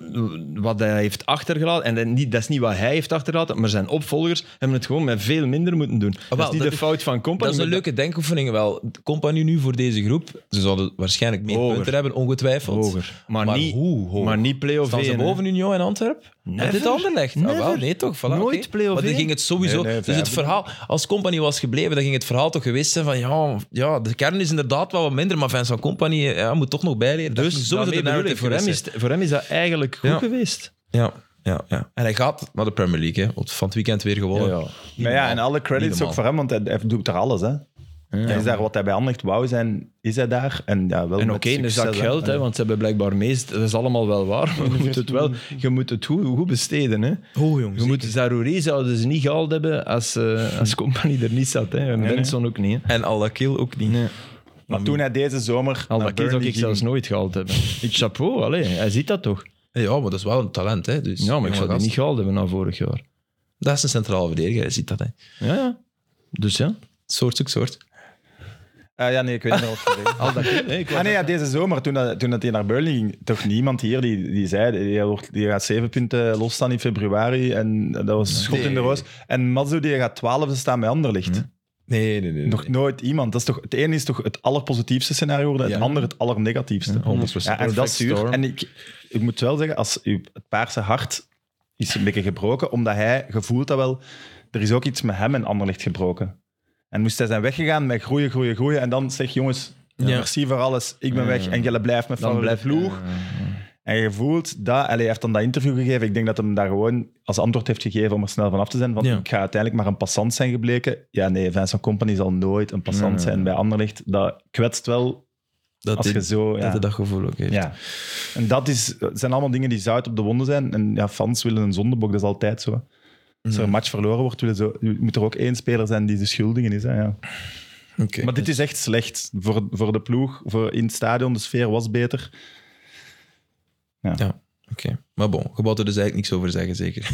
Speaker 2: wat hij heeft achtergelaten, en dat niet, dat is niet wat hij heeft achtergelaten, maar zijn opvolgers hebben het gewoon met veel minder moeten doen. dat is
Speaker 1: Ah, wel,
Speaker 2: niet
Speaker 1: dat
Speaker 2: de
Speaker 1: is-
Speaker 2: fout van Company.
Speaker 1: Dat is een
Speaker 2: maar
Speaker 1: leuke denkoefening wel. Compagnie nu voor deze groep, ze zouden waarschijnlijk meer
Speaker 2: Hoger.
Speaker 1: punten hebben, ongetwijfeld.
Speaker 2: hoger. Maar,
Speaker 1: Maar
Speaker 2: niet,
Speaker 1: hoe hoog?
Speaker 2: maar niet play-off
Speaker 1: Staan ze
Speaker 2: één, hè.
Speaker 1: boven Union en Antwerp?
Speaker 2: Never.
Speaker 1: Met dit Anderlecht? Ah, wel,
Speaker 2: Never.
Speaker 1: nee, toch? Voilà,
Speaker 2: Nooit
Speaker 1: oké.
Speaker 2: play-off
Speaker 1: Maar dan
Speaker 2: één.
Speaker 1: ging het sowieso...
Speaker 3: Nee, nee,
Speaker 1: dus het
Speaker 3: vijfde.
Speaker 1: verhaal... Als Company was gebleven, dan ging het verhaal toch geweest zijn van... Ja, ja de kern is inderdaad wel wat minder, maar Vincent Company eh, ja, moet toch nog bijleren. Dat
Speaker 2: Dus
Speaker 1: is sowieso de
Speaker 2: daarmee bedoel ik,
Speaker 1: narrative
Speaker 2: voor, hem is,
Speaker 1: geweest
Speaker 2: het- voor hem is dat eigenlijk goed
Speaker 1: Ja.
Speaker 2: geweest.
Speaker 1: zijn. Ja, ja, ja. En hij gaat naar de Premier League, hè. Want Van het weekend weer gewonnen.
Speaker 3: Maar ja, en alle credits
Speaker 1: normaal.
Speaker 3: ook voor hem, want hij, hij doet er alles. Hè. Hij is daar wat hij bij Anderlecht wou zijn, is hij daar. En, ja, wel
Speaker 2: En
Speaker 3: met
Speaker 2: oké, een
Speaker 3: succes,
Speaker 2: zak
Speaker 3: hè.
Speaker 2: geld, hè, want ze hebben blijkbaar meest. Dat is allemaal wel waar, maar je moet het, wel, je moet het goed, goed besteden. Hè.
Speaker 1: Oh, jongens.
Speaker 2: Je moet Zarouri zouden ze niet gehaald hebben als, eh als compagnie er niet zat. Hè. En Benson ook niet. Hè.
Speaker 1: En Al-Akil ook niet.
Speaker 3: Maar toen hij deze zomer
Speaker 2: Mm. Al
Speaker 3: naar
Speaker 2: dat kind zou
Speaker 3: Burnley
Speaker 2: ik
Speaker 3: ging,
Speaker 2: zelfs nooit gehaald hebben. Ik chapeau, allee, hij ziet dat toch?
Speaker 1: Ja, maar dat is wel een talent, hè. Dus,
Speaker 2: Ja, maar ik
Speaker 1: jonge
Speaker 2: zou die
Speaker 1: gast.
Speaker 2: niet gehaald hebben na vorig jaar.
Speaker 1: Dat is een centrale verdediger, je ziet dat, hè.
Speaker 2: Ja, ja. Dus ja.
Speaker 1: Soort zoekt soort.
Speaker 3: Ah, ja, nee, ik weet niet meer wat ik wil zeggen.
Speaker 2: Al dat kind, hè, ik
Speaker 3: Ah
Speaker 2: was-
Speaker 3: nee, ja, deze zomer, toen, dat, toen dat hij naar Burnley ging, toch niemand hier die, die zei, die, wordt- die gaat zeven punten losstaan in februari en dat was schot in de
Speaker 1: Nee.
Speaker 3: roos. En Mazou die gaat twaalfde staan bij Anderlicht.
Speaker 2: Mm.
Speaker 1: Nee, nee, nee.
Speaker 3: Nog nooit iemand. Dat is toch, het ene is toch het allerpositiefste scenario, en het
Speaker 1: Ja.
Speaker 3: andere het allernegatiefste. Ja,
Speaker 1: 100%.
Speaker 3: en dat
Speaker 2: Perfect
Speaker 3: is zuur.
Speaker 2: storm.
Speaker 3: En ik, ik moet wel zeggen, als uw- het paarse hart is een beetje gebroken, omdat hij gevoeld dat wel, er is ook iets met hem en Anderlicht gebroken. En moest hij zijn weggegaan met groeien, groeien, groeien. En dan zeg jongens,
Speaker 1: Ja.
Speaker 3: merci voor alles, ik ben
Speaker 2: Ja,
Speaker 3: weg
Speaker 2: ja.
Speaker 3: en jullie blijft met
Speaker 2: Dan
Speaker 3: van
Speaker 2: blijft
Speaker 3: blijft vloer. En je voelt dat, allee, hij heeft dan dat interview gegeven. Ik denk dat hem daar gewoon als antwoord heeft gegeven om er snel van af te zijn. Van,
Speaker 1: Ja.
Speaker 3: Ik ga uiteindelijk maar een passant zijn gebleken. Ja, nee, Vincent Company zal nooit een passant
Speaker 2: Nee.
Speaker 3: zijn bij Anderlicht. Dat kwetst wel
Speaker 1: dat
Speaker 3: als je
Speaker 1: dit-
Speaker 3: zo...
Speaker 1: dat
Speaker 3: Ja.
Speaker 1: hij dat gevoel ook heeft.
Speaker 3: ja. En dat is, zijn allemaal dingen die zout op de wonden zijn. En ja, fans willen een zondebok, dat is altijd zo. hè. Als er een match verloren wordt, willen ze, moet er ook één speler zijn die de schuldige is. Hè, ja.
Speaker 1: Oké.
Speaker 3: Maar dit is echt slecht voor, voor de ploeg. Voor in het stadion, de sfeer was beter.
Speaker 1: Oké, maar bon, je wou er dus eigenlijk niks over zeggen, zeker.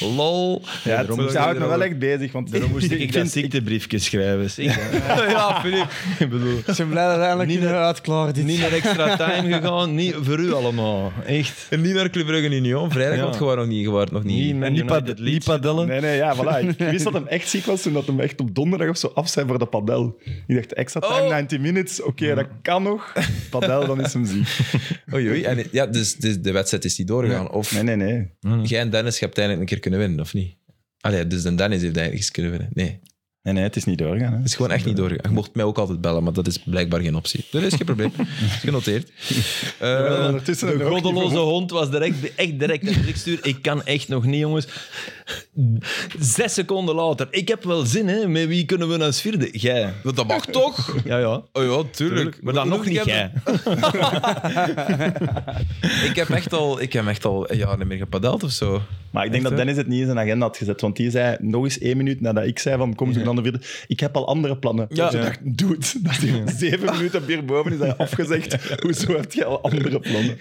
Speaker 1: Lol.
Speaker 3: Ja, het,
Speaker 1: daarom-
Speaker 3: het houdt me wel echt bezig, want
Speaker 2: Daarom moest ik,
Speaker 3: ik
Speaker 2: dat
Speaker 3: vind-
Speaker 2: ziektebriefje schrijven. zeg. ja, Filip. Ik bedoel,
Speaker 4: Ik ben blij dat we eindelijk
Speaker 2: Niet
Speaker 4: kunnen uitklaren dit.
Speaker 2: niet naar extra time gegaan, niet voor u allemaal. Echt.
Speaker 1: En niet naar Club Brugge Union, vrijdag,
Speaker 2: Ja.
Speaker 1: want je was nog niet. Je was nog niet.
Speaker 2: Niet Man United lead. padellen.
Speaker 3: Nee, nee, ja, voilà. Ik wist dat hem echt ziek was toen dat hem echt op donderdag of zo af zei voor de padel. Ik dacht, extra time,
Speaker 1: Oh.
Speaker 3: 90 minutes, oké, dat kan nog. Padel, dan is hem ziek.
Speaker 1: Oei, oei. En, ja, dus, dus de wedstrijd is niet doorgegaan. Of
Speaker 3: Nee, nee, nee.
Speaker 1: jij en Dennis, je hebt eindelijk een keer kunnen winnen, of niet? Allee, dus dan Dennis heeft eigenlijk eens kunnen winnen. Nee, het
Speaker 3: Nee, nee, het is niet doorgaan. Hè.
Speaker 1: is gewoon echt niet doorgegaan. Je mocht mij ook altijd bellen, maar dat is blijkbaar geen optie. Dat is geen probleem. Genoteerd. Eh,
Speaker 3: Wel, ondertussen
Speaker 2: De
Speaker 3: hebben we ook niet
Speaker 2: goddeloze hond was direct, echt direct. Dus ik stuur, ik kan echt nog niet, jongens. Zes seconden later. Ik heb wel zin, hè? Met wie kunnen we nou naar als vierde? Jij.
Speaker 1: Dat mag toch?
Speaker 2: Ja, ja.
Speaker 1: Oh ja, tuurlijk.
Speaker 2: Maar dan nog
Speaker 1: Ik
Speaker 2: niet
Speaker 1: heb-
Speaker 2: jij.
Speaker 1: Ik heb echt al, ik heb echt al een jaar niet meer gepadeld of zo.
Speaker 3: Maar ik
Speaker 1: Echt,
Speaker 3: denk dat
Speaker 1: hè?
Speaker 3: Dennis het niet in zijn agenda had gezet. Want die zei nog eens één minuut nadat ik zei van kom zo dan de vierde. Ik heb al andere plannen.
Speaker 1: Ja.
Speaker 3: Dus ik dacht, doe het. Dat hij zeven minuten op hierboven is hij afgezegd. Hoezo heb je al andere plannen?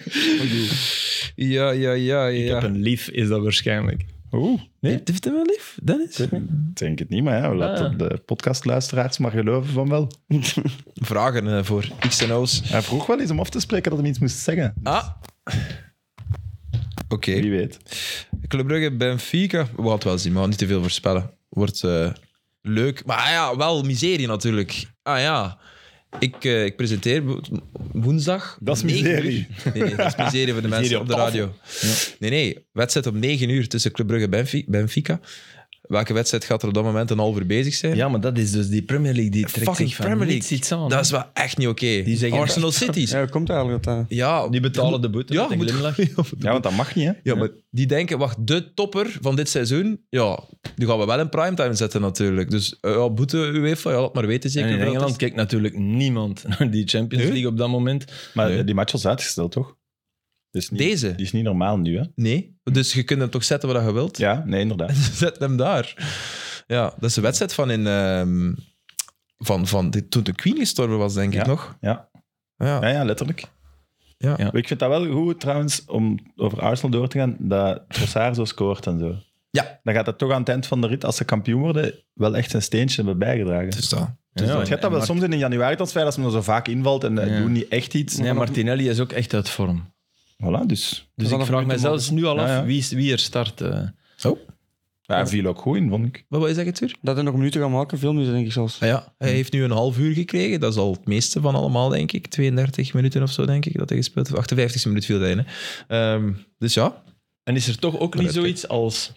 Speaker 1: Ja, ja, ja, ja.
Speaker 2: Ik heb een lief, is dat waarschijnlijk.
Speaker 3: Oeh,
Speaker 2: Nee?
Speaker 1: Heeft hij wel lief, Dennis?
Speaker 3: ik denk het niet, maar ja, laat
Speaker 2: Ah.
Speaker 3: de podcastluisteraars maar geloven van wel.
Speaker 1: Vragen eh, voor X en O's.
Speaker 3: Hij vroeg wel eens om af te spreken dat hij iets moest zeggen.
Speaker 1: Ah. Oké.
Speaker 3: Wie weet.
Speaker 1: Club Brugge, Benfica. We gaan het wel zien, maar niet te veel voorspellen. Wordt eh, leuk. Maar ah ja, wel miserie natuurlijk. Ah ja. Ik, eh, ik presenteer wo- woensdag.
Speaker 3: Dat is
Speaker 1: om negen
Speaker 3: miserie.
Speaker 1: uur. Nee, nee, dat is miserie voor de mensen
Speaker 2: Miserie
Speaker 1: op,
Speaker 2: op
Speaker 1: de radio. Nee, nee. Wedstrijd om 9 uur tussen Club Brugge en Benfi- Benfica. Welke wedstrijd gaat er op dat moment een half uur bezig zijn?
Speaker 2: Ja, maar dat is dus die Premier League. Die trekt
Speaker 1: Fucking
Speaker 2: zich van
Speaker 1: Premier
Speaker 2: niets
Speaker 1: League.
Speaker 2: iets aan.
Speaker 1: Dat is wel echt niet oké.
Speaker 2: Die zeggen-
Speaker 1: Arsenal Cities.
Speaker 4: Ja, hoe komt dat eigenlijk dat? eh, dat-
Speaker 1: Ja,
Speaker 2: Die betalen de boete
Speaker 1: Ja,
Speaker 2: met een
Speaker 1: moet-
Speaker 2: glimlach.
Speaker 3: Ja, want dat mag niet, hè?
Speaker 1: Ja, maar die denken, wacht, de topper van dit seizoen, ja, die gaan we wel in primetime zetten natuurlijk. Dus eh, ja, boete UEFA, ja, laat maar weten zeker.
Speaker 2: En in
Speaker 1: hoeveel het
Speaker 2: Engeland
Speaker 1: is.
Speaker 2: kijkt natuurlijk niemand naar die Champions
Speaker 1: Nee?
Speaker 2: League op dat moment.
Speaker 3: Maar
Speaker 1: Nee.
Speaker 3: die match was uitgesteld, toch? Dus niet,
Speaker 1: Deze?
Speaker 3: Die is niet normaal nu, hè?
Speaker 1: Nee, dus je kunt hem toch zetten waar je wilt.
Speaker 3: Ja, nee, inderdaad.
Speaker 1: Zet hem daar. Ja, dat is een wedstrijd van in... ehm, van, van dit- toen de Queen gestorven was, denk ik nog.
Speaker 3: Ja,
Speaker 1: Ja.
Speaker 3: ja, ja letterlijk.
Speaker 1: Ja.
Speaker 2: Ja.
Speaker 3: Maar Ik vind dat wel goed, trouwens, om over Arsenal door te gaan, dat Trossard zo scoort en zo.
Speaker 1: Ja.
Speaker 3: Dan gaat dat toch aan het eind van de rit, als ze kampioen worden, wel echt zijn steentje hebben bijgedragen.
Speaker 1: Dus dat.
Speaker 3: Dus je hebt dat wel soms in een januari-transfer, als men er zo vaak invalt en eh,
Speaker 2: Ja.
Speaker 3: doen niet echt iets.
Speaker 2: Nee, Martinelli is ook echt uit vorm.
Speaker 3: Voilà, dus.
Speaker 2: Dus ik
Speaker 4: Dat is
Speaker 2: vraag
Speaker 4: een
Speaker 2: mij
Speaker 4: moeite
Speaker 2: zelfs nu al af
Speaker 3: Ja, ja.
Speaker 2: Wie, is- wie er start. eh.
Speaker 3: Ja, hij viel ook goed in, vond ik.
Speaker 1: Wat wil je zeggen, Tuur?
Speaker 4: Dat hij nog minuten gaat maken, veel minuten denk ik zelfs.
Speaker 1: Ah ja, hij heeft nu een half uur gekregen. Dat is al het meeste van allemaal, denk ik. 32 minuten of zo, denk ik, dat hij gespeeld heeft. 58 minuut viel hij in, hè. Ehm, dus ja,
Speaker 2: En is er toch ook niet
Speaker 1: Vooruit,
Speaker 2: zoiets als...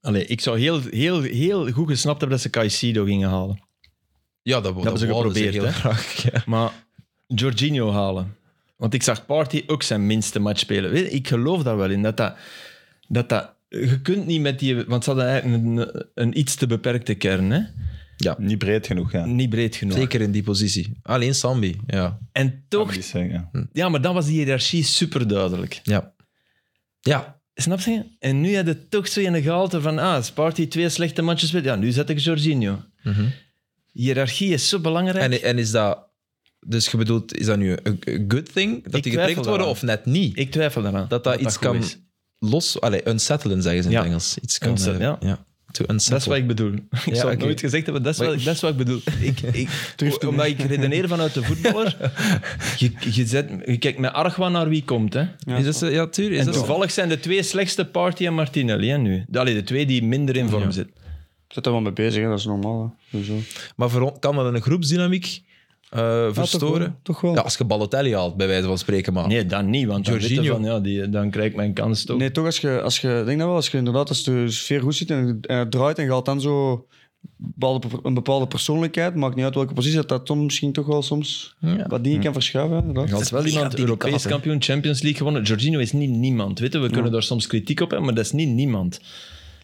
Speaker 2: Allee, ik zou heel, heel, heel goed gesnapt hebben dat ze Caicedo gingen halen.
Speaker 1: Ja, Oh, dat, dat,
Speaker 2: hebben ze
Speaker 1: wouden
Speaker 2: geprobeerd,
Speaker 1: heel
Speaker 2: hè?
Speaker 1: graag. Ja.
Speaker 2: Maar Jorginho halen. Want ik zag Party ook zijn minste match spelen. Weet je, ik geloof daar wel in. Dat dat, dat dat... Je kunt niet met die... Want ze hadden eigenlijk een, een iets te beperkte kern, hè?
Speaker 3: Niet breed genoeg, ja.
Speaker 2: Niet breed genoeg.
Speaker 1: Zeker in die positie. Alleen Sambi. Ja.
Speaker 2: En
Speaker 3: Dat
Speaker 2: toch...
Speaker 3: is, eh, ja.
Speaker 2: Ja, maar dan was die hiërarchie superduidelijk.
Speaker 1: Ja. ja.
Speaker 2: Snap je? En nu had het toch zo in de gehalte van, ah, Sparty twee slechte matches speelt. Ja, nu zet ik Jorginho.
Speaker 1: Mhm.
Speaker 2: Hiërarchie is zo belangrijk.
Speaker 1: En, en is dat... Dus je bedoelt, is dat nu een een good thing? Dat
Speaker 2: Ik
Speaker 1: die
Speaker 2: twijfel
Speaker 1: geprikt worden
Speaker 2: daaraan.
Speaker 1: of net niet?
Speaker 2: ik twijfel daaraan.
Speaker 1: dat dat, iets
Speaker 2: goed
Speaker 1: kan
Speaker 2: is.
Speaker 1: los... Allee, unsettelen zeggen ze in
Speaker 2: Ja.
Speaker 1: het Engels. Iets kan...
Speaker 2: Unset-
Speaker 1: eh,
Speaker 2: ja.
Speaker 1: To
Speaker 2: Dat is
Speaker 1: unsettle.
Speaker 2: wat ik bedoel. Ik zou het
Speaker 1: oké.
Speaker 2: nooit gezegd hebben, dat is,
Speaker 1: Maar-
Speaker 2: wat, dat is wat ik bedoel. Ik, ik, omdat ik redeneer vanuit de voetballer. Je, je, zet, je kijkt met argwaan naar wie komt. Hè.
Speaker 4: Ja.
Speaker 1: Is dat zo? Ja, tuur. Is
Speaker 2: En
Speaker 1: dat zo?
Speaker 2: toevallig zijn de twee slechtste Party en Martinelli hè, nu. Allee, de twee die minder in vorm
Speaker 1: Ja.
Speaker 2: zitten.
Speaker 4: Ik zit er wel mee bezig, hè. dat is normaal. hè. Sowieso.
Speaker 1: Maar voor, kan dat een groepsdynamiek eh, verstoren?
Speaker 4: Toch wel.
Speaker 1: Ja, als je Balotelli haalt, bij wijze van spreken, maar...
Speaker 2: Nee, dan niet, want dan, weet je
Speaker 1: Jorginho.
Speaker 2: van, ja, die, dan krijg ik mijn kans toch.
Speaker 4: Nee, toch als je, als je, ik denk dat wel, als je inderdaad als de sfeer goed zit en het- en het draait en je haalt dan zo bepaalde, een bepaalde persoonlijkheid, maakt niet uit welke positie, dat dat dan misschien toch wel soms
Speaker 1: Ja.
Speaker 4: wat dingen kan verschuiven. hè, inderdaad.
Speaker 2: Er is wel
Speaker 1: mega
Speaker 2: iemand
Speaker 1: delicaat,
Speaker 2: Europees
Speaker 1: hè.
Speaker 2: kampioen, Champions League gewonnen. Jorginho is niet niemand. Weet je, we kunnen daar soms kritiek op hebben, maar dat is niet niemand.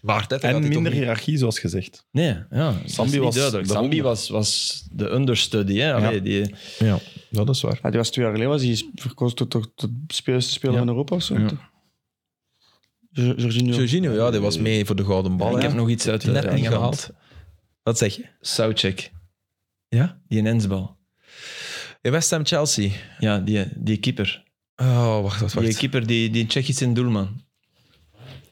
Speaker 1: Maar Arteta gaat
Speaker 3: En
Speaker 1: die toch
Speaker 3: minder
Speaker 1: niet-
Speaker 3: hiërarchie, zoals gezegd.
Speaker 2: Nee, ja.
Speaker 3: Sambi
Speaker 2: was
Speaker 3: was
Speaker 2: duidelijk.
Speaker 3: de
Speaker 2: Sambi
Speaker 3: honderd.
Speaker 2: was, was de understudy. Hè? Allee, die,
Speaker 1: Ja, dat is waar.
Speaker 4: Ja, Ah, die was twee jaar geleden, was hij verkozen tot tot de beste speler
Speaker 2: Ja.
Speaker 4: van Europa of zo.
Speaker 2: Ja.
Speaker 4: toch? Jo- Jorginho.
Speaker 1: Jorginho, ja, die was mee voor de gouden bal.
Speaker 2: ik
Speaker 1: hè.
Speaker 2: heb nog iets uit
Speaker 1: Oh, Net
Speaker 2: eh,
Speaker 1: niet
Speaker 2: Engeland.
Speaker 1: gehaald. Wat zeg je?
Speaker 2: Soucek,
Speaker 1: Ja?
Speaker 2: die Nensbal.
Speaker 1: In West Ham Chelsea.
Speaker 2: Ja, die, die keeper.
Speaker 1: Oh, wacht, wacht,
Speaker 2: Die
Speaker 1: wacht.
Speaker 2: keeper, die, die Tsjechische doelman.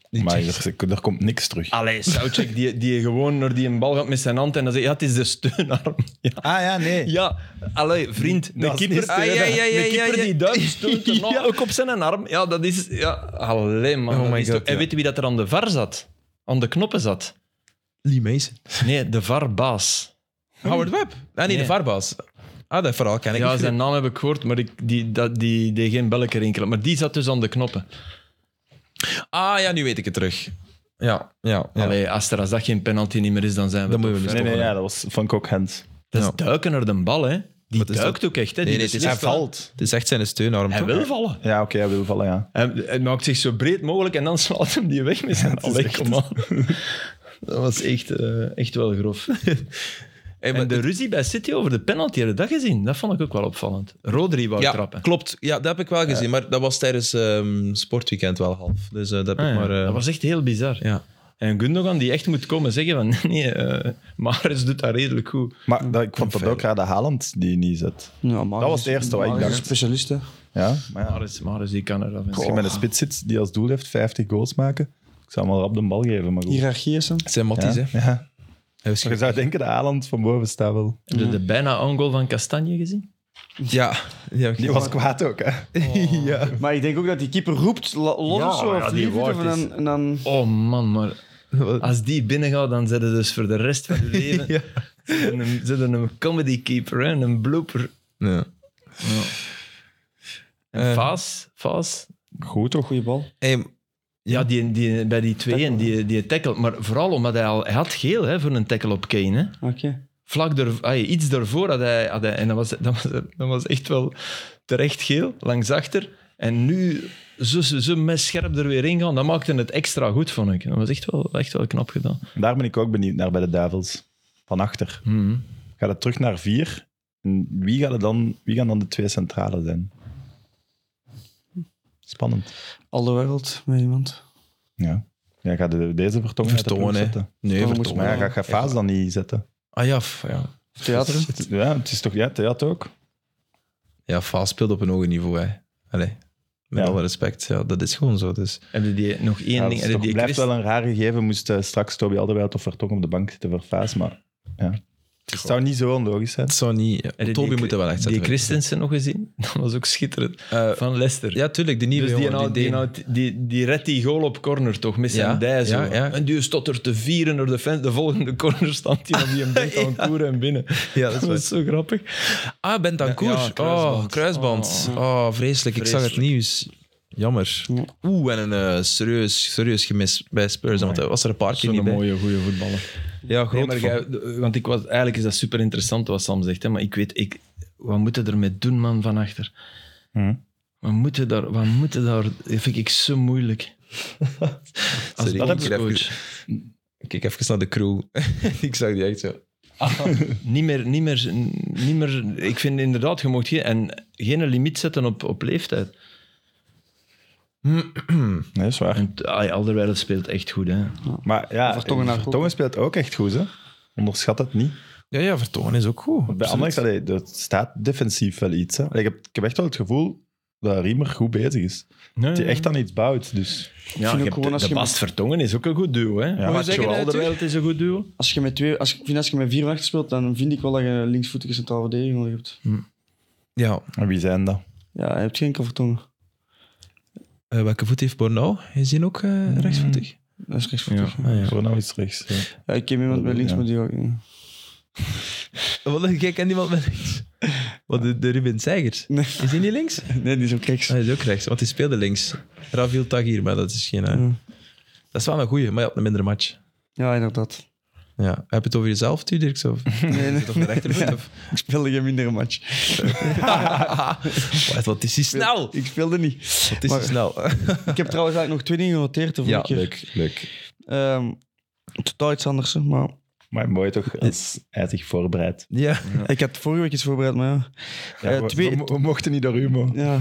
Speaker 1: Die
Speaker 3: Maar
Speaker 1: Tsjech-
Speaker 3: er, er komt niks terug.
Speaker 2: Allee, Soucek, die, die gewoon naar die een bal gaat met zijn hand en dan zegt ja, het is de steunarm. Ja,
Speaker 3: Ah ja, nee.
Speaker 2: ja. allee, vriend, de
Speaker 3: Dat is
Speaker 2: keeper,
Speaker 3: niet
Speaker 1: Ah, ja, ja, ja,
Speaker 2: de
Speaker 1: ja,
Speaker 2: keeper
Speaker 1: ja.
Speaker 2: die duim stoot en nou ook op zijn arm. Ja, dat is... Ja, allee, man.
Speaker 1: Oh
Speaker 2: dat
Speaker 1: my
Speaker 2: is
Speaker 1: God,
Speaker 2: toch- En
Speaker 1: ja.
Speaker 2: weet je wie dat er aan de VAR zat? Aan de knoppen zat?
Speaker 1: Lee Mason.
Speaker 2: Nee, de VAR-baas.
Speaker 1: Howard Webb. Ah, nee, de
Speaker 2: Nee.
Speaker 1: Varbaas. Ah, dat verhaal ken ik
Speaker 2: Ja,
Speaker 1: niet.
Speaker 2: zijn naam heb ik gehoord, maar ik, die, dat, die deed geen belletje rinkelen. Maar die zat dus aan de knoppen.
Speaker 1: Ah, ja, nu weet ik het terug. Ja, ja. ja.
Speaker 2: Allee, als er als dat geen penalty niet meer is, dan zijn we...
Speaker 1: Dat
Speaker 3: Dus
Speaker 2: dus toch
Speaker 1: moeten we
Speaker 2: ver.
Speaker 1: niet
Speaker 3: Nee, nee, ja, dat was, vond ik ook Hens.
Speaker 2: Dat is
Speaker 1: Ja.
Speaker 2: duiken naar de bal, hè. Die
Speaker 1: Wat is
Speaker 2: duikt ook echt. Hè?
Speaker 1: Nee,
Speaker 2: Die
Speaker 1: nee, het is-
Speaker 2: beslist
Speaker 1: hij
Speaker 2: wel.
Speaker 1: valt. Het is echt zijn steunarm.
Speaker 2: Hij
Speaker 1: toch?
Speaker 2: wil vallen.
Speaker 3: Ja, oké, hij wil vallen, ja.
Speaker 2: Hij, hij Ehm, maakt zich zo breed mogelijk en dan slaat hem die weg met zijn allee,
Speaker 3: echt-
Speaker 2: kom aan. Dat was echt, eh, echt wel grof.
Speaker 1: Hey, maar
Speaker 2: En de ruzie bij City over de penalty hebben we dat gezien. Dat vond ik ook wel opvallend. Rodri wou
Speaker 1: ja,
Speaker 2: trappen.
Speaker 1: klopt. Ja, dat heb ik wel gezien. Maar dat was tijdens ehm, sportweekend wel half. Dus eh, dat heb
Speaker 2: Ah,
Speaker 1: ik
Speaker 2: ja.
Speaker 1: maar... eh,
Speaker 2: dat was echt heel bizar.
Speaker 1: ja.
Speaker 2: En Gundogan die echt moet komen zeggen van nee, eh Maris doet dat redelijk goed.
Speaker 3: Maar dat, ik vond dat ook raar dat Haaland die niet zet.
Speaker 4: Ja, maar
Speaker 3: Dat was het eerste wat ik dacht.
Speaker 4: Specialisten.
Speaker 3: Ja, maar ja.
Speaker 2: Maris, Maris die kan er af en
Speaker 3: Als
Speaker 2: toe.
Speaker 3: je met een spits zit die als doel heeft 50 goals maken, ik zou hem wel op de bal geven. Maar goed.
Speaker 4: Hierarchie is hem.
Speaker 1: Het zijn matties,
Speaker 3: ja,
Speaker 1: hè.
Speaker 3: ja.
Speaker 1: Hij
Speaker 3: Maar je
Speaker 1: was-
Speaker 3: zou denken dat Haaland van boven staat wel.
Speaker 2: Heb je de bijna on-goal van Castanje gezien?
Speaker 1: Ja. ja.
Speaker 3: Die was kwaad ook, hè.
Speaker 1: ja.
Speaker 4: Maar ik denk ook dat die keeper roept, la- los
Speaker 2: Ja,
Speaker 4: of zo,
Speaker 2: ja,
Speaker 4: of
Speaker 2: die
Speaker 4: lief het,
Speaker 2: woord
Speaker 4: of
Speaker 2: is-
Speaker 4: dan, en dan...
Speaker 2: Oh man, maar als die binnengaat, dan zit het dus voor de rest van je leven.
Speaker 1: Ja.
Speaker 2: Zit een, zit een comedy keeper en een blooper.
Speaker 1: Ja.
Speaker 2: En
Speaker 3: Eh.
Speaker 2: Faas, Faas,
Speaker 4: Goed toch? Goeie bal.
Speaker 1: Hey,
Speaker 2: ja, die, die, bij die twee en die, die tackle. Maar vooral omdat hij al hij had geel hè, voor een tackle op Kane. Hè.
Speaker 4: Oké.
Speaker 2: vlak daar, ay, iets daarvoor had hij, had hij en dat was, dat, was, dat was echt wel terecht geel, langs achter. En nu zo, zo, zo mes scherp er weer in gaan, dat maakte het extra goed, vond ik. Dat was echt wel, echt wel knap gedaan.
Speaker 3: Daar ben ik ook benieuwd naar bij de Duivels. Van achter.
Speaker 2: Mhm.
Speaker 3: Gaat het terug naar vier? En wie, gaat het dan, wie gaan dan de twee centralen zijn? Spannend.
Speaker 4: Al de wereld met iemand.
Speaker 3: Ja. Ja, gaat de, deze vertongen uit de ploeg
Speaker 1: Vertongen, hè.
Speaker 3: zetten.
Speaker 1: nee,
Speaker 4: moet
Speaker 1: Vertongen.
Speaker 3: Maar ja, gaat je Faas dan niet zetten?
Speaker 1: Ah ja, f- ja.
Speaker 4: Theater.
Speaker 3: Het- Ja, het is toch... Ja, Theat ook.
Speaker 1: Ja, Faas speelt op een hoger niveau, hè. Allee. Met
Speaker 3: Ja.
Speaker 1: alle respect. Ja, dat is gewoon zo. Dus.
Speaker 2: Hebben die nog één
Speaker 3: Ja, dat
Speaker 2: ding?
Speaker 3: is
Speaker 2: Hebben
Speaker 3: toch-
Speaker 2: die
Speaker 3: blijft
Speaker 2: Christ,
Speaker 3: wel een raar gegeven. Moest eh, straks Toby Alderweireld of Vertongen op de bank zitten voor Faas, maar... Ja. Het zou niet zo onlogisch zijn.
Speaker 1: Het zou niet...
Speaker 2: hebben die-
Speaker 1: Toby moet dat wel echt
Speaker 2: Die
Speaker 1: zetten.
Speaker 2: Christensen nog gezien? Dat was ook schitterend.
Speaker 1: Eh,
Speaker 2: Van Leicester.
Speaker 1: ja, tuurlijk. De nieuwe
Speaker 2: Dus die,
Speaker 1: jongen,
Speaker 2: nou,
Speaker 1: die
Speaker 2: die,
Speaker 1: Deen.
Speaker 2: nou, die, die redt die goal op corner toch, met zijn
Speaker 1: Ja,
Speaker 2: dij zo.
Speaker 1: ja, ja.
Speaker 2: En die stottert te vieren door de fans. De volgende corner staat hij op die hem denkt aan koeren en binnen.
Speaker 1: Ja,
Speaker 2: Dat was zo grappig.
Speaker 1: Ah, Bentancur.
Speaker 2: Ja, ja, kruisband.
Speaker 1: Oh, kruisband. Oh, vreselijk. Ik zag het nieuws. Jammer. Oeh, en een eh, serieus, serieus gemis bij Spurs. Want hij was er een paar keer
Speaker 2: Zo'n
Speaker 1: niet bij.
Speaker 2: mooie, goede voetballer.
Speaker 1: Ja,
Speaker 2: Nee,
Speaker 1: groot
Speaker 2: maar
Speaker 1: fan.
Speaker 2: jij- want ik was, eigenlijk is dat super interessant wat Sam zegt. Hè, maar ik weet, ik, wat moeten ermee doen, man, van achter?
Speaker 3: Hm.
Speaker 2: Wat moeten daar, wat moeten daar, dat vind ik zo moeilijk. Als
Speaker 1: Sorry, ik heb
Speaker 2: bondscoach.
Speaker 1: Ik Kijk even naar de crew. ik zag die echt zo.
Speaker 2: Niet meer, niet meer, niet meer, ik vind inderdaad, je mag geen, en geen limiet zetten op, op leeftijd.
Speaker 3: Nee, dat is waar.
Speaker 2: En t- ah, ja, Alderweireld speelt echt goed, hè.
Speaker 3: Maar ja,
Speaker 4: Vertongen naar
Speaker 3: Vertongen speelt ook echt goed, hè? Onderschat het niet.
Speaker 1: Ja, ja, Vertongen is ook goed.
Speaker 3: Bij Anderlecht, allee, dat staat defensief wel iets. Hè? Allee, Ik, heb, ik heb echt wel het gevoel dat Riemer goed bezig is. Dat hij echt aan iets bouwt. Dus.
Speaker 2: Ja,
Speaker 4: ook
Speaker 2: je hebt
Speaker 4: gewoon
Speaker 2: de,
Speaker 4: als
Speaker 2: de
Speaker 4: je
Speaker 2: Bast
Speaker 4: met-
Speaker 2: Vertongen is ook een goed duo, hè.
Speaker 3: Moet je
Speaker 2: Macho
Speaker 1: zeggen, hè,
Speaker 2: Alderweireld is een goed duo.
Speaker 4: Als je met twee, als, ik vind als je met vier wachten speelt, dan vind ik wel dat je een linksvoetige centrale verdediger nodig hebt.
Speaker 1: Ja.
Speaker 3: En wie zijn dat?
Speaker 4: Ja, je hebt geen Vertongen.
Speaker 1: Eh, welke voet heeft Bornau? Is die ook eh, rechtsvoetig?
Speaker 4: Dat is rechtsvoetig. Ah, Ja.
Speaker 3: Voor nou iets rechts. ja.
Speaker 4: ik ken iemand met links,
Speaker 3: Ja.
Speaker 4: maar die ook niet.
Speaker 1: Wat een gek en iemand met links. Wat de, de Ruben Seigers.
Speaker 4: Nee.
Speaker 1: Is die niet links?
Speaker 4: Nee, die is ook rechts.
Speaker 1: Hij is ook rechts, want hij speelde links. Ravil Tagir, maar dat is geen. eh,
Speaker 4: Ja.
Speaker 1: Dat is wel een goeie, maar je had een mindere match.
Speaker 4: Ja, inderdaad.
Speaker 1: Ja. Heb je het over jezelf, tu, Dirk? Of
Speaker 4: Nee, nee,
Speaker 1: toch de rechtervoet? Of...
Speaker 4: Ik speelde geen mindere match.
Speaker 1: Wat, wat is die snel? Wat
Speaker 4: Ik speelde niet.
Speaker 1: is die
Speaker 4: Maar-
Speaker 1: snel?
Speaker 4: Ik heb trouwens eigenlijk nog twee dingen genoteerd de vorige
Speaker 1: Ja,
Speaker 4: keer.
Speaker 3: Leuk, leuk.
Speaker 4: Ehm, totaal iets anders, hè, maar...
Speaker 3: Maar mooi toch als hij zich voorbereidt.
Speaker 1: ja.
Speaker 4: Ik had vorige week iets voorbereid, maar ja. Eh,
Speaker 3: we,
Speaker 4: twee-
Speaker 3: we mo- we mochten niet door Humo.
Speaker 4: ja.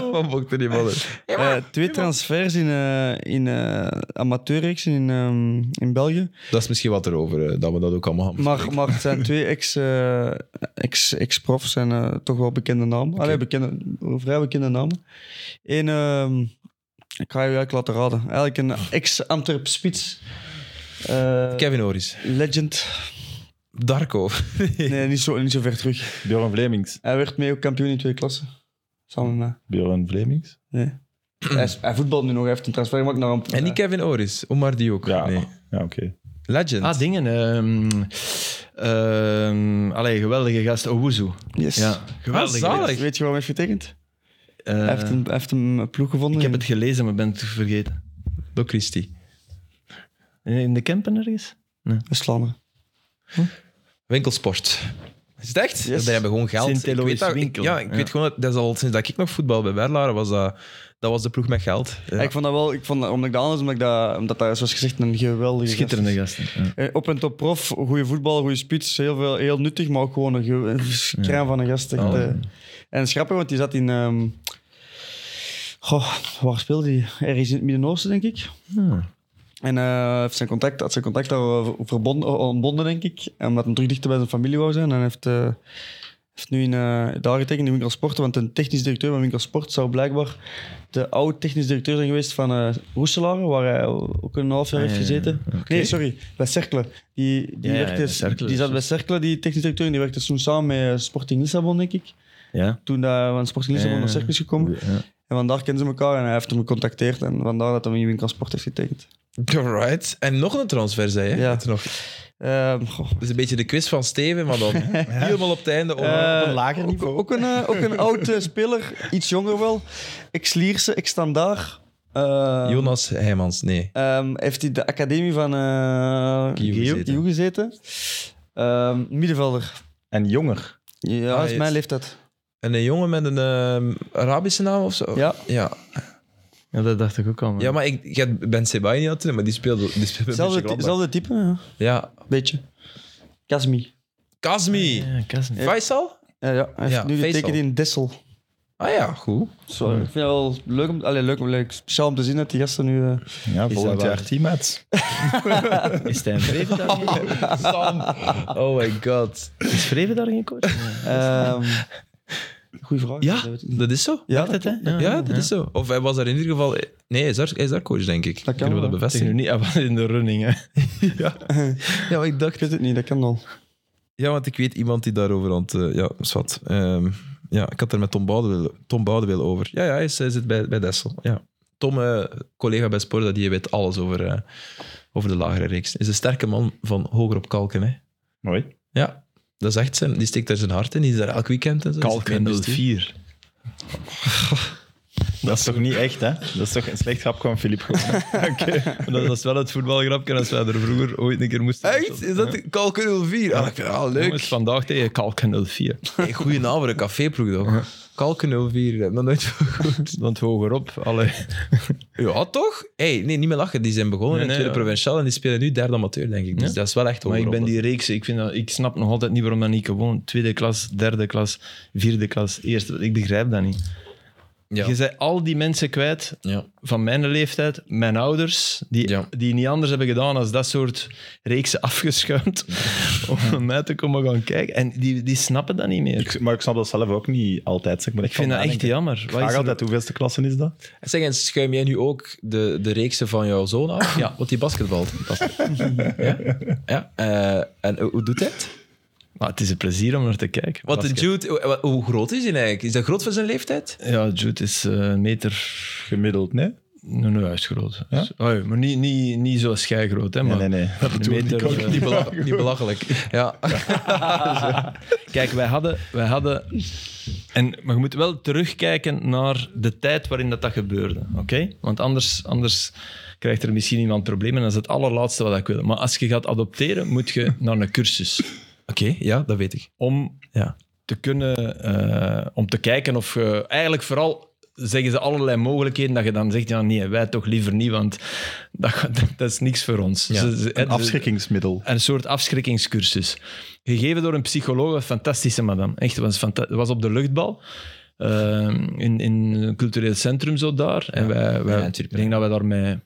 Speaker 1: Wat mocht er niet van uit?
Speaker 4: Eh, twee transfers in, eh in eh, amateurreeks in, ehm, in België.
Speaker 1: Dat is misschien wat erover, eh, dat we dat ook allemaal gaan
Speaker 4: Maar, maar het zijn twee ex, eh, ex, ex-profs en eh, toch wel bekende namen. Allee, bekende, vrij bekende namen. Eén, ehm, ik ga je eigenlijk laten raden. Eigenlijk een ex-Antwerp spits. Eh,
Speaker 1: Kevin Oris.
Speaker 4: legend.
Speaker 1: Darko.
Speaker 4: Nee, niet zo, niet zo ver terug.
Speaker 3: Bjorn Vlemings.
Speaker 4: Hij werd mee ook kampioen in tweede klasse. Samen met mij.
Speaker 3: Bjorn Vlemings?
Speaker 4: Nee. hij, is- hij voetbalt nu nog. Hij heeft een transfer gemaakt naar een...
Speaker 1: En niet Kevin Oris, Omar die ook.
Speaker 3: Ja,
Speaker 1: Nee.
Speaker 3: ja oké.
Speaker 1: Legend.
Speaker 2: Ah, dingen. ehm ehm, allee, geweldige gast, Owuzu.
Speaker 4: Yes.
Speaker 2: Ja, geweldige
Speaker 1: Ah, zalig.
Speaker 2: gast.
Speaker 4: Weet je waarom hij heeft getekend?
Speaker 2: Eh,
Speaker 4: hij, heeft een, hij heeft een eh, ploeg gevonden.
Speaker 2: ik heb
Speaker 4: in-
Speaker 2: het gelezen, maar ben het vergeten.
Speaker 1: Door Christie.
Speaker 2: In de Kempen ergens?
Speaker 4: in Vlaanderen.
Speaker 1: Winkelsport. Is het echt?
Speaker 4: Yes.
Speaker 1: Die hebben gewoon geld.
Speaker 2: Sint-Eloïs
Speaker 1: Ik weet dat- ik-
Speaker 2: Winkel.
Speaker 1: ja, ik
Speaker 2: Ja.
Speaker 1: weet gewoon, dat- dat is al sinds dat ik nog voetbal bij Berlaren was, dat, dat was de ploeg met geld. Ja.
Speaker 4: Ik vond dat wel, ik vond dat, omdat ik dat anders, omdat, ik dat, omdat dat, zoals gezegd, een geweldige gast
Speaker 2: Schitterende
Speaker 4: is.
Speaker 2: gasten. ja.
Speaker 4: Eh, Op en top prof, goede voetbal, goede spits, heel, veel, heel nuttig, maar ook gewoon een, ge- een kraan van een gast. echt,
Speaker 1: Oh.
Speaker 4: eh. En schrappig, want die zat in. ehm, goh, waar speelde hij? Ergens in het Midden-Oosten, denk ik. En eh, heeft zijn contact, had zijn contact daar eh, verbonden, ontbonden, denk ik. Omdat hij terug dichter bij zijn familie wou zijn. En hij heeft, eh, heeft nu in, eh, daar getekend in Winkel Sport. Want een technisch directeur van Winkel Sport zou blijkbaar de oude technisch directeur zijn geweest van eh Roeselaren. Waar hij ook een half jaar
Speaker 2: Ah,
Speaker 4: heeft gezeten. Nee, sorry. Bij Cercle. Die, die,
Speaker 2: Ja, ja,
Speaker 4: werkte,
Speaker 2: bij Cercle,
Speaker 4: die zat bij
Speaker 2: juist.
Speaker 4: Cercle, die technisch directeur. En die werkte toen samen met eh, Sporting Lissabon, denk ik.
Speaker 2: Ja.
Speaker 4: Toen dat, eh, van Sporting Lissabon
Speaker 2: Ja,
Speaker 4: naar
Speaker 2: ja,
Speaker 4: Cercle is gekomen.
Speaker 2: Ja.
Speaker 4: En vandaar kennen ze elkaar. En hij heeft hem gecontacteerd. En vandaar dat hij in Winkel Sport heeft getekend.
Speaker 1: Alright. Eh, En nog een transfer, zei je?
Speaker 4: Ja.
Speaker 1: Had je Nog.
Speaker 4: Ehm, goh.
Speaker 1: Dat is een beetje de quiz van Steven, maar dan helemaal op het einde. om-
Speaker 4: Eh,
Speaker 3: op een lager niveau.
Speaker 4: Ook, ook een, eh, ook een oud eh, speler, iets jonger wel. Ex-Lierse, ex-standaard. Eh,
Speaker 1: Jonas Heijmans, nee.
Speaker 4: ehm, heeft hij de academie van eh
Speaker 1: Kiew gezeten.
Speaker 4: Kiew gezeten. Ehm, middenvelder.
Speaker 3: En jonger.
Speaker 4: Ja,
Speaker 1: Ah,
Speaker 4: is
Speaker 1: yes.
Speaker 4: mijn leeftijd.
Speaker 1: En een jongen met een ehm, Arabische naam of zo?
Speaker 4: Ja.
Speaker 1: Ja,
Speaker 2: ja, dat dacht ik ook al. man.
Speaker 1: ja maar ik jij Ben Sebaini niet natuurlijk, maar die speelde, die speelde bij
Speaker 4: Zelfde,
Speaker 1: Mönchengladbach.
Speaker 4: zelfde type, ja.
Speaker 1: Ja.
Speaker 4: beetje. Kazmi.
Speaker 1: Kazmi.
Speaker 2: Ja, Kasm.
Speaker 1: Faisal?
Speaker 4: Ja, ja. Hij heeft
Speaker 1: Ja,
Speaker 4: nu getekend
Speaker 1: Faisal.
Speaker 4: in Dessel.
Speaker 1: Ah ja, goed.
Speaker 4: Sorry. Ik vind het wel leuk om, allee, leuk om leuk. Speciaal om te zien dat die gasten nu. eh,
Speaker 3: Ja, volgend
Speaker 2: dat waar?
Speaker 3: jaar teammates.
Speaker 2: Is Stijn Vreven daar geen-
Speaker 1: Sam. Oh my god.
Speaker 2: Is Vreven daar geen coach?
Speaker 4: ehm goeie vraag.
Speaker 1: Ja,
Speaker 4: dat weet ik niet.
Speaker 1: dat is zo.
Speaker 4: ja,
Speaker 2: Dacht het, hè?
Speaker 1: Ja, dat is zo. Of hij was daar in ieder geval... Nee, hij is daar, hij is daar coach, denk ik.
Speaker 4: kan
Speaker 1: Kunnen we dat
Speaker 4: wel.
Speaker 2: Zeg nu
Speaker 1: bevestigen?
Speaker 2: niet, hij was in de running. Hè.
Speaker 1: Ja, maar ik dacht...
Speaker 4: Ik weet het niet, dat kan wel.
Speaker 1: Ja, want ik weet iemand die daarover aan het... eh, ja, zwart. Ehm, ja, ik had er met Tom Boudewil, Tom Boudewil over. Ja, ja hij, is- hij zit bij, bij Dessel. Ja. Tom, eh, collega bij Sporza, die weet alles over, eh, over de lagere reeks. is een sterke man van hoger op kalken. Hè.
Speaker 3: Mooi.
Speaker 1: Ja, dat is echt zijn... Die steekt daar zijn hart in. Die is daar elk weekend en zo. Zit mee in
Speaker 2: Kalken
Speaker 1: de studio.
Speaker 2: 04.
Speaker 3: Dat is toch niet echt, hè? Dat is toch een slecht grap van Filip Goor.
Speaker 2: Dat was wel het voetbalgrapje als wij er vroeger ooit een keer moesten.
Speaker 1: Echt? Is dat de- Kalken 04? Ah, ik vind dat wel leuk.
Speaker 2: Jongens, vandaag tegen Kalken 04.
Speaker 1: Hey, goeie naam voor een caféploeg, toch? Kalken 04, ik heb nog nooit van gehoord.
Speaker 2: Want hogerop, allee.
Speaker 1: Ja, toch? Hey, nee, niet meer lachen. Die zijn begonnen
Speaker 2: Nee,
Speaker 1: in de
Speaker 2: nee,
Speaker 1: tweede
Speaker 2: ja.
Speaker 1: provinciaal en die spelen nu derde amateur, denk ik. Dus
Speaker 2: Ja.
Speaker 1: dat is wel echt
Speaker 2: Maar ik
Speaker 1: hogerop.
Speaker 2: ben die reeks, ik, vind dat, ik snap nog altijd niet waarom dat niet gewoon tweede klas, derde klas, vierde klas, eerste. Ik begrijp dat niet.
Speaker 1: Ja.
Speaker 2: Je zei al die mensen kwijt
Speaker 1: Ja.
Speaker 2: van mijn leeftijd, mijn ouders, die,
Speaker 1: Ja.
Speaker 2: die niet anders hebben gedaan als dat soort reeksen afgeschuimd om naar mij te komen gaan kijken. En die, die snappen dat niet meer. Ik
Speaker 3: Ik- Maar ik snap dat zelf ook niet altijd. zeg, maar
Speaker 2: vind dat echt jammer.
Speaker 3: Ik
Speaker 2: Wat is
Speaker 3: vraag
Speaker 2: er-
Speaker 3: altijd, hoeveelste klasse is dat?
Speaker 1: Zeg eens, schuim jij nu ook de, de reeksen van jouw zoon af? Ja. Want die basketbalt. ja? ja? Eh, en hoe- hoe doet hij het?
Speaker 2: Maar het is een plezier om naar te kijken.
Speaker 1: Want de
Speaker 2: Basket.
Speaker 1: Jude, hoe- hoe groot is hij eigenlijk? Is dat groot voor zijn leeftijd?
Speaker 2: Ja, Jude is eh, een meter...
Speaker 3: Gemiddeld, nee?
Speaker 2: Nee, nee, hij is groot.
Speaker 3: Ja?
Speaker 2: Dus- Oei, maar niet, niet, niet zo schijgroot, hè.
Speaker 3: Nee,
Speaker 2: Maar
Speaker 3: nee, nee. Dat
Speaker 2: een
Speaker 3: bedoel ik
Speaker 2: meter,
Speaker 3: ook
Speaker 2: eh,
Speaker 3: niet.
Speaker 1: Niet, bela- niet belachelijk. Ja.
Speaker 2: Kijk, wij hadden... Wij hadden en, maar je moet wel terugkijken naar de tijd waarin dat, dat gebeurde, oké? Want anders, anders krijgt er misschien iemand problemen. En dat is het allerlaatste wat ik wil. Maar als je gaat adopteren, moet je naar een cursus.
Speaker 1: Oké, ja, dat weet ik.
Speaker 2: Om
Speaker 1: Ja.
Speaker 2: te kunnen... eh, om te kijken of je... Eigenlijk vooral zeggen ze allerlei mogelijkheden dat je dan zegt, ja nee, wij toch liever niet, want dat, dat is niks voor ons.
Speaker 1: Ja,
Speaker 2: Ze- ze- hè,
Speaker 3: Een
Speaker 2: ze-
Speaker 3: afschrikkingsmiddel.
Speaker 2: een soort afschrikkingscursus. Gegeven door een psycholoog, een fantastische madame. Echt, was, fanta- was op de luchtbal. eh, in, in een cultureel centrum zo daar. En wij, wij,
Speaker 1: Ja, natuurlijk,
Speaker 2: ik
Speaker 1: ja.
Speaker 2: denk dat wij daar met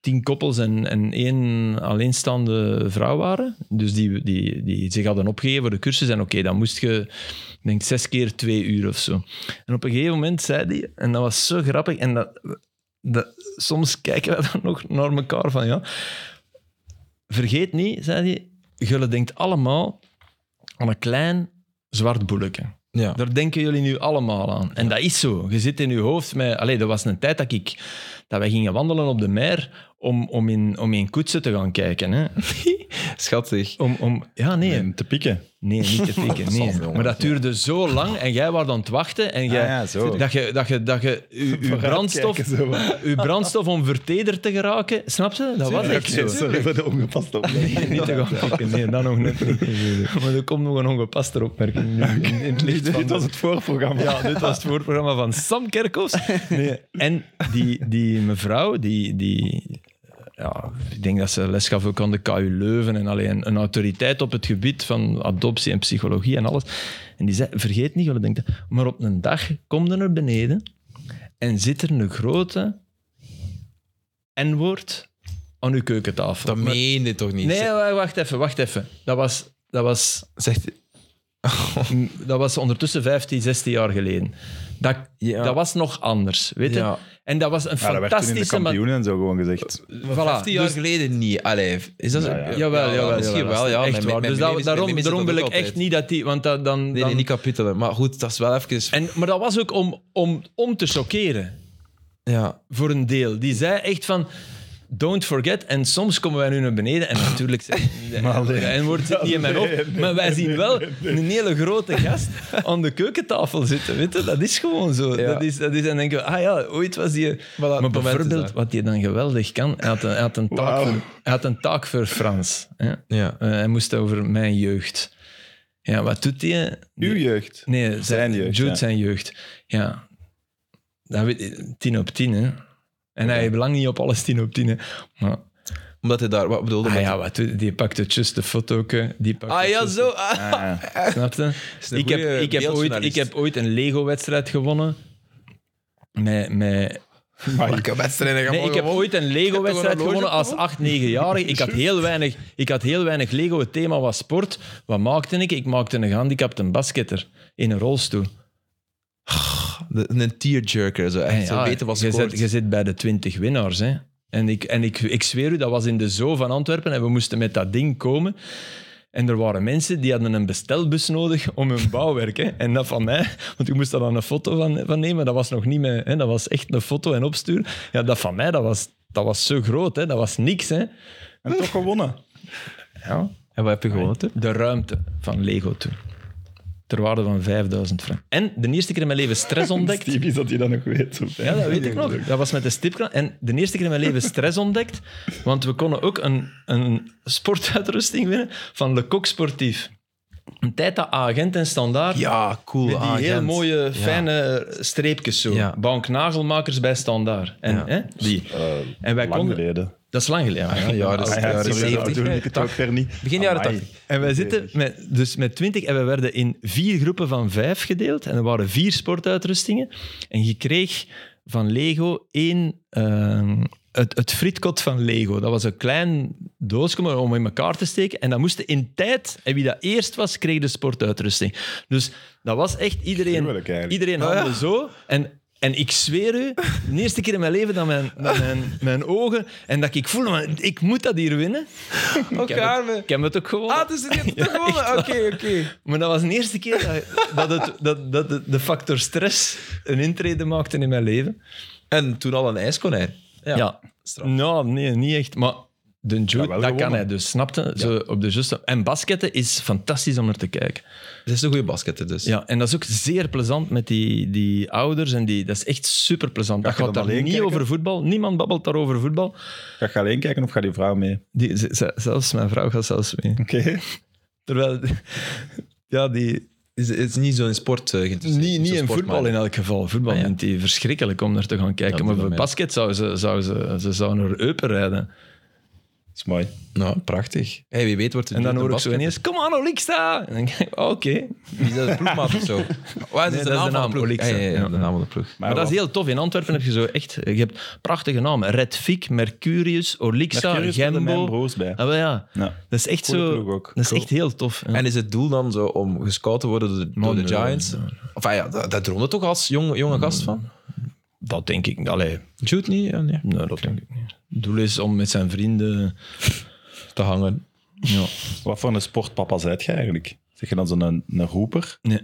Speaker 2: tien koppels en, en één alleenstaande vrouw waren. Dus die, die, die zich hadden opgegeven voor de cursus. En oké, dan moest je, ik denk zes keer twee uur of zo. En op een gegeven moment zei die, en dat was zo grappig, en dat, dat, soms kijken we dan nog naar elkaar van, ja... Vergeet niet, zei hij, jullie denkt allemaal aan een klein zwart bolletje.
Speaker 1: Ja.
Speaker 2: Daar denken jullie nu allemaal aan. En dat is zo. Je zit in je hoofd met... Allee, dat was een tijd dat, ik, dat wij gingen wandelen op de mer om, om, in, om in koetsen te gaan kijken. Hè.
Speaker 1: Schattig.
Speaker 2: Om, om, ja, nee.
Speaker 3: En te pikken.
Speaker 2: Nee, niet te fikken. Nee.
Speaker 1: jongen.
Speaker 2: Maar dat duurde zo lang en jij was aan het wachten en jij,
Speaker 3: Ah, ja, zo.
Speaker 2: dat je, dat je, dat je uw- uw brandstof, uw brandstof om vertederd te geraken, snap je? Dat was echt zo.
Speaker 3: Sorry voor de ongepast op.
Speaker 2: Niet te gaan fikken, nee, dan nog net niet. Maar er komt nog een ongepaste opmerking nu in, in het licht van
Speaker 3: Dit was het voorprogramma.
Speaker 2: ja, dit was het voorprogramma van Sam Kerkhoffs. En die, die mevrouw, die, die, ja, ik denk dat ze les gaf ook aan de KU Leuven en alleen een, een autoriteit op het gebied van adoptie en psychologie en alles. En die zei, vergeet niet wat ik denk, maar op een dag komt er naar beneden en zit er een grote N-woord aan uw keukentafel.
Speaker 1: Dat
Speaker 2: Maar-
Speaker 1: meen je toch niet?
Speaker 2: Nee, wa- wacht even, wacht even. Dat was, dat was,
Speaker 1: Zegt,
Speaker 2: Mm, dat was ondertussen 15, 16 jaar geleden. Dat,
Speaker 1: Ja.
Speaker 2: dat was nog anders, weet je?
Speaker 1: Ja.
Speaker 2: En dat was een
Speaker 3: Ja, dat werd toen in de
Speaker 2: fantastische... ma-
Speaker 3: kampioenen en zo gewoon gezegd.
Speaker 2: Voilà.
Speaker 1: 15 jaar geleden niet. Allee, is dat zo?
Speaker 3: Nou ja.
Speaker 2: Jawel, jawel.
Speaker 1: Misschien
Speaker 2: jawel, dat
Speaker 1: wel,
Speaker 2: is
Speaker 1: ja.
Speaker 2: Echt
Speaker 1: Mijn-
Speaker 2: waar.
Speaker 1: mijn
Speaker 2: dus daar-
Speaker 1: mening is-
Speaker 2: daarom,
Speaker 1: mijn mening is
Speaker 2: daarom
Speaker 1: dat
Speaker 2: wil ik
Speaker 1: ook
Speaker 2: echt
Speaker 1: altijd.
Speaker 2: niet dat die... Want dat, dan,
Speaker 1: Nee,
Speaker 2: dan-
Speaker 1: nee, niet kapitelen. Maar goed, dat is wel even...
Speaker 2: en, maar dat was ook om, om, om te choqueren,
Speaker 1: ja.
Speaker 2: voor een deel. Die zei echt van... Don't forget. En soms komen wij nu naar beneden en natuurlijk... en wordt zit niet in mijn op. Maar wij zien wel een hele grote gast aan de keukentafel zitten. Weet je? Dat is gewoon zo.
Speaker 1: Ja.
Speaker 2: Dat is, dat is, en dan denken we, ah ja, ooit was die...
Speaker 1: het
Speaker 2: maar
Speaker 1: moment is
Speaker 2: bijvoorbeeld,
Speaker 1: daar.
Speaker 2: wat hij dan geweldig kan... Hij had een, hij had een, taak,
Speaker 3: Wauw.
Speaker 2: voor, hij had een taak voor Frans. Hè?
Speaker 1: Ja.
Speaker 2: Eh, hij moest over mijn jeugd. Ja, wat doet hij?
Speaker 3: Uw jeugd.
Speaker 2: Nee, zijn,
Speaker 3: Zijn jeugd,
Speaker 2: Jude
Speaker 3: ja.
Speaker 2: zijn jeugd. Ja. Dat weet, tien op tien, hè. En hij belangt niet op alles tien op tien, hè. Maar,
Speaker 1: Omdat hij daar... Wat bedoelde
Speaker 2: ah
Speaker 1: hij?
Speaker 2: ja, wat, doe- die pakte just de foto. Die pakte
Speaker 1: Ah ja,
Speaker 2: just-
Speaker 1: zo. ah.
Speaker 3: Ah, ja.
Speaker 2: Snap je?
Speaker 1: is een
Speaker 2: Ik heb,
Speaker 1: goeie
Speaker 2: ik, heb ooit, ik
Speaker 1: beeldjournalist.
Speaker 2: heb ooit een Lego-wedstrijd gewonnen. Met, met,
Speaker 1: Maar ik heb wedstrijden gaan
Speaker 2: nee, ik heb
Speaker 1: mogen
Speaker 2: ooit een
Speaker 1: Heb
Speaker 2: Lego-wedstrijd
Speaker 1: je nog een
Speaker 2: gewonnen als
Speaker 1: horloge
Speaker 2: 8, 9-jarige. Ik had heel weinig, ik had heel weinig Lego. Het thema was sport. Wat maakte ik? Ik maakte een gehandicapte basketter in een rolstoel.
Speaker 1: De- Een tearjerker, zo. Echt,
Speaker 2: Ja,
Speaker 1: zo weten wat
Speaker 2: je
Speaker 1: scoort.
Speaker 2: zit, je zit bij de 20 winnaars. Hè? En, ik, en ik, ik zweer u, dat was in de zoo van Antwerpen en we moesten met dat ding komen. En er waren mensen die hadden een bestelbus nodig om hun bouwwerk. Hè? En dat van mij, want ik moest daar dan een foto van, van nemen. Dat was nog niet meer, hè? dat was echt een foto en opsturen. Ja, dat van mij, dat was, dat was zo groot, hè? dat was niks. Hè?
Speaker 3: En toch gewonnen.
Speaker 2: Ja.
Speaker 1: En wat heb je gewonnen toen?
Speaker 2: De ruimte van Lego toen. Ter waarde van 5000 frank. En de eerste keer in mijn leven stress ontdekt.
Speaker 3: Steve is dat hij dat nog weet. of-
Speaker 2: Ja, dat weet ik nog. Dat was met de stipkraan. En de eerste keer in mijn leven stress ontdekt, want we konden ook een, een sportuitrusting winnen van Le Coq Sportief. Een tijd dat agent en standaard.
Speaker 1: Ja, cool.
Speaker 2: met die
Speaker 1: ah,
Speaker 2: heel
Speaker 1: Gent.
Speaker 2: mooie,
Speaker 1: Ja.
Speaker 2: fijne streepjes zo.
Speaker 1: Ja.
Speaker 2: Banknagelmakers bij standaard. En,
Speaker 1: Ja.
Speaker 2: hè, die. en wij
Speaker 3: Lang
Speaker 2: konden...
Speaker 3: geleden.
Speaker 2: Dat is lang geleden.
Speaker 1: Ja, ja, dat is-
Speaker 3: Ah,
Speaker 1: ja, dat
Speaker 3: sorry,
Speaker 1: is
Speaker 3: dat
Speaker 1: 70.
Speaker 3: doe ik het ook ver niet.
Speaker 1: Begin jaren
Speaker 3: Amai.
Speaker 1: 80.
Speaker 2: En wij zitten met, dus met twintig en we werden in vier groepen van vijf gedeeld. En er waren vier sportuitrustingen. En je kreeg van Lego één... ehm, het, het frietkot van Lego. Dat was een klein doosje maar om in elkaar te steken. En dat moest in tijd... En wie dat eerst was, kreeg de sportuitrusting. Dus dat was echt iedereen...
Speaker 3: Gruwelijk eigenlijk. Oh,
Speaker 2: Iedereen handelde zo. En, en ik zweer u, de eerste keer in mijn leven dat mijn, dat mijn, mijn ogen... En dat ik voelde, man, ik moet dat hier winnen. Ik heb het-
Speaker 1: Elkaar.
Speaker 2: Ik heb het ook gewonnen.
Speaker 1: Ah, dus dit is toch gewonnen? Oké, oké.
Speaker 2: Maar dat was de eerste keer dat, dat, het, dat, dat de, de factor stress een intrede maakte in mijn leven.
Speaker 1: En toen al een ijskonijn. Ja. straf.
Speaker 2: Nou, nee, niet echt. Maar de Jude,
Speaker 3: wel
Speaker 2: dat kan
Speaker 3: gewonnen.
Speaker 2: hij dus, snapte? Zo op de juiste. En basketten is fantastisch om naar te kijken.
Speaker 1: Het is een goede basketter dus.
Speaker 2: Ja, en dat is ook zeer plezant met die, die ouders. En die, dat is echt super plezant. Dat
Speaker 3: je
Speaker 2: gaat
Speaker 3: dan
Speaker 2: daar
Speaker 3: alleen
Speaker 2: niet
Speaker 3: kijken?
Speaker 2: over voetbal. Niemand babbelt daar over voetbal.
Speaker 3: Ga je alleen kijken of gaat die vrouw mee?
Speaker 2: Die, z- z- zelfs mijn vrouw gaat zelfs mee.
Speaker 3: Oké.
Speaker 2: Terwijl, ja, die,
Speaker 1: Is, is niet zo in sport eh, geïnteresseerd.
Speaker 2: Niet,
Speaker 1: zo
Speaker 2: niet in
Speaker 1: sportman.
Speaker 2: voetbal in elk geval. Voetbal
Speaker 1: Ah, ja.
Speaker 2: vindt hij verschrikkelijk om naar te gaan kijken.
Speaker 1: Ja,
Speaker 2: maar
Speaker 1: doe
Speaker 2: voor
Speaker 1: dat
Speaker 2: basket zou ze, zou ze, ze zou naar Eupen rijden.
Speaker 3: Dat is mooi.
Speaker 1: Nou, prachtig. Hey, wie weet wordt het
Speaker 2: En dan
Speaker 1: nu
Speaker 2: hoor
Speaker 1: de
Speaker 2: ik zo
Speaker 1: basket.
Speaker 2: ineens, kom aan Oliksta! En dan denk ik, "Ah, oké.
Speaker 1: Is dat de ploegmaat of zo? Waar is
Speaker 2: Nee,
Speaker 1: het de naam van de ploeg?
Speaker 2: Oliks,
Speaker 1: Ah, ja, ja,
Speaker 2: ja.
Speaker 1: de naam van de ploeg.
Speaker 2: Maar dat is heel tof. In Antwerpen heb je zo echt... Je hebt prachtige namen. Red Fik, Mercurius, Oliksta,
Speaker 3: Mercurius speelde mijn
Speaker 2: Gembo.
Speaker 3: broers bij.
Speaker 2: Ah, wel ja.
Speaker 3: Ja.
Speaker 2: Dat is echt
Speaker 3: Goeie
Speaker 2: zo...
Speaker 3: ploeg ook.
Speaker 2: Dat is
Speaker 3: Cool.
Speaker 2: echt heel tof. Ja.
Speaker 1: En is het doel dan zo om gescout te worden door de, door de
Speaker 2: Oh, nee,
Speaker 1: Giants?
Speaker 2: nee, Mm,
Speaker 1: Enfin ja, daar daar droomde toch als jonge, jonge gast van?
Speaker 2: dat denk ik... Allee,
Speaker 1: Jude niet? Ja, nee.
Speaker 2: nee, dat denk ik niet. Het doel is om met zijn vrienden...
Speaker 1: Te hangen.
Speaker 2: Ja.
Speaker 3: Wat voor een sportpapa zijt jij eigenlijk? Zeg je dan zo'n een, een roeper?
Speaker 2: Nee.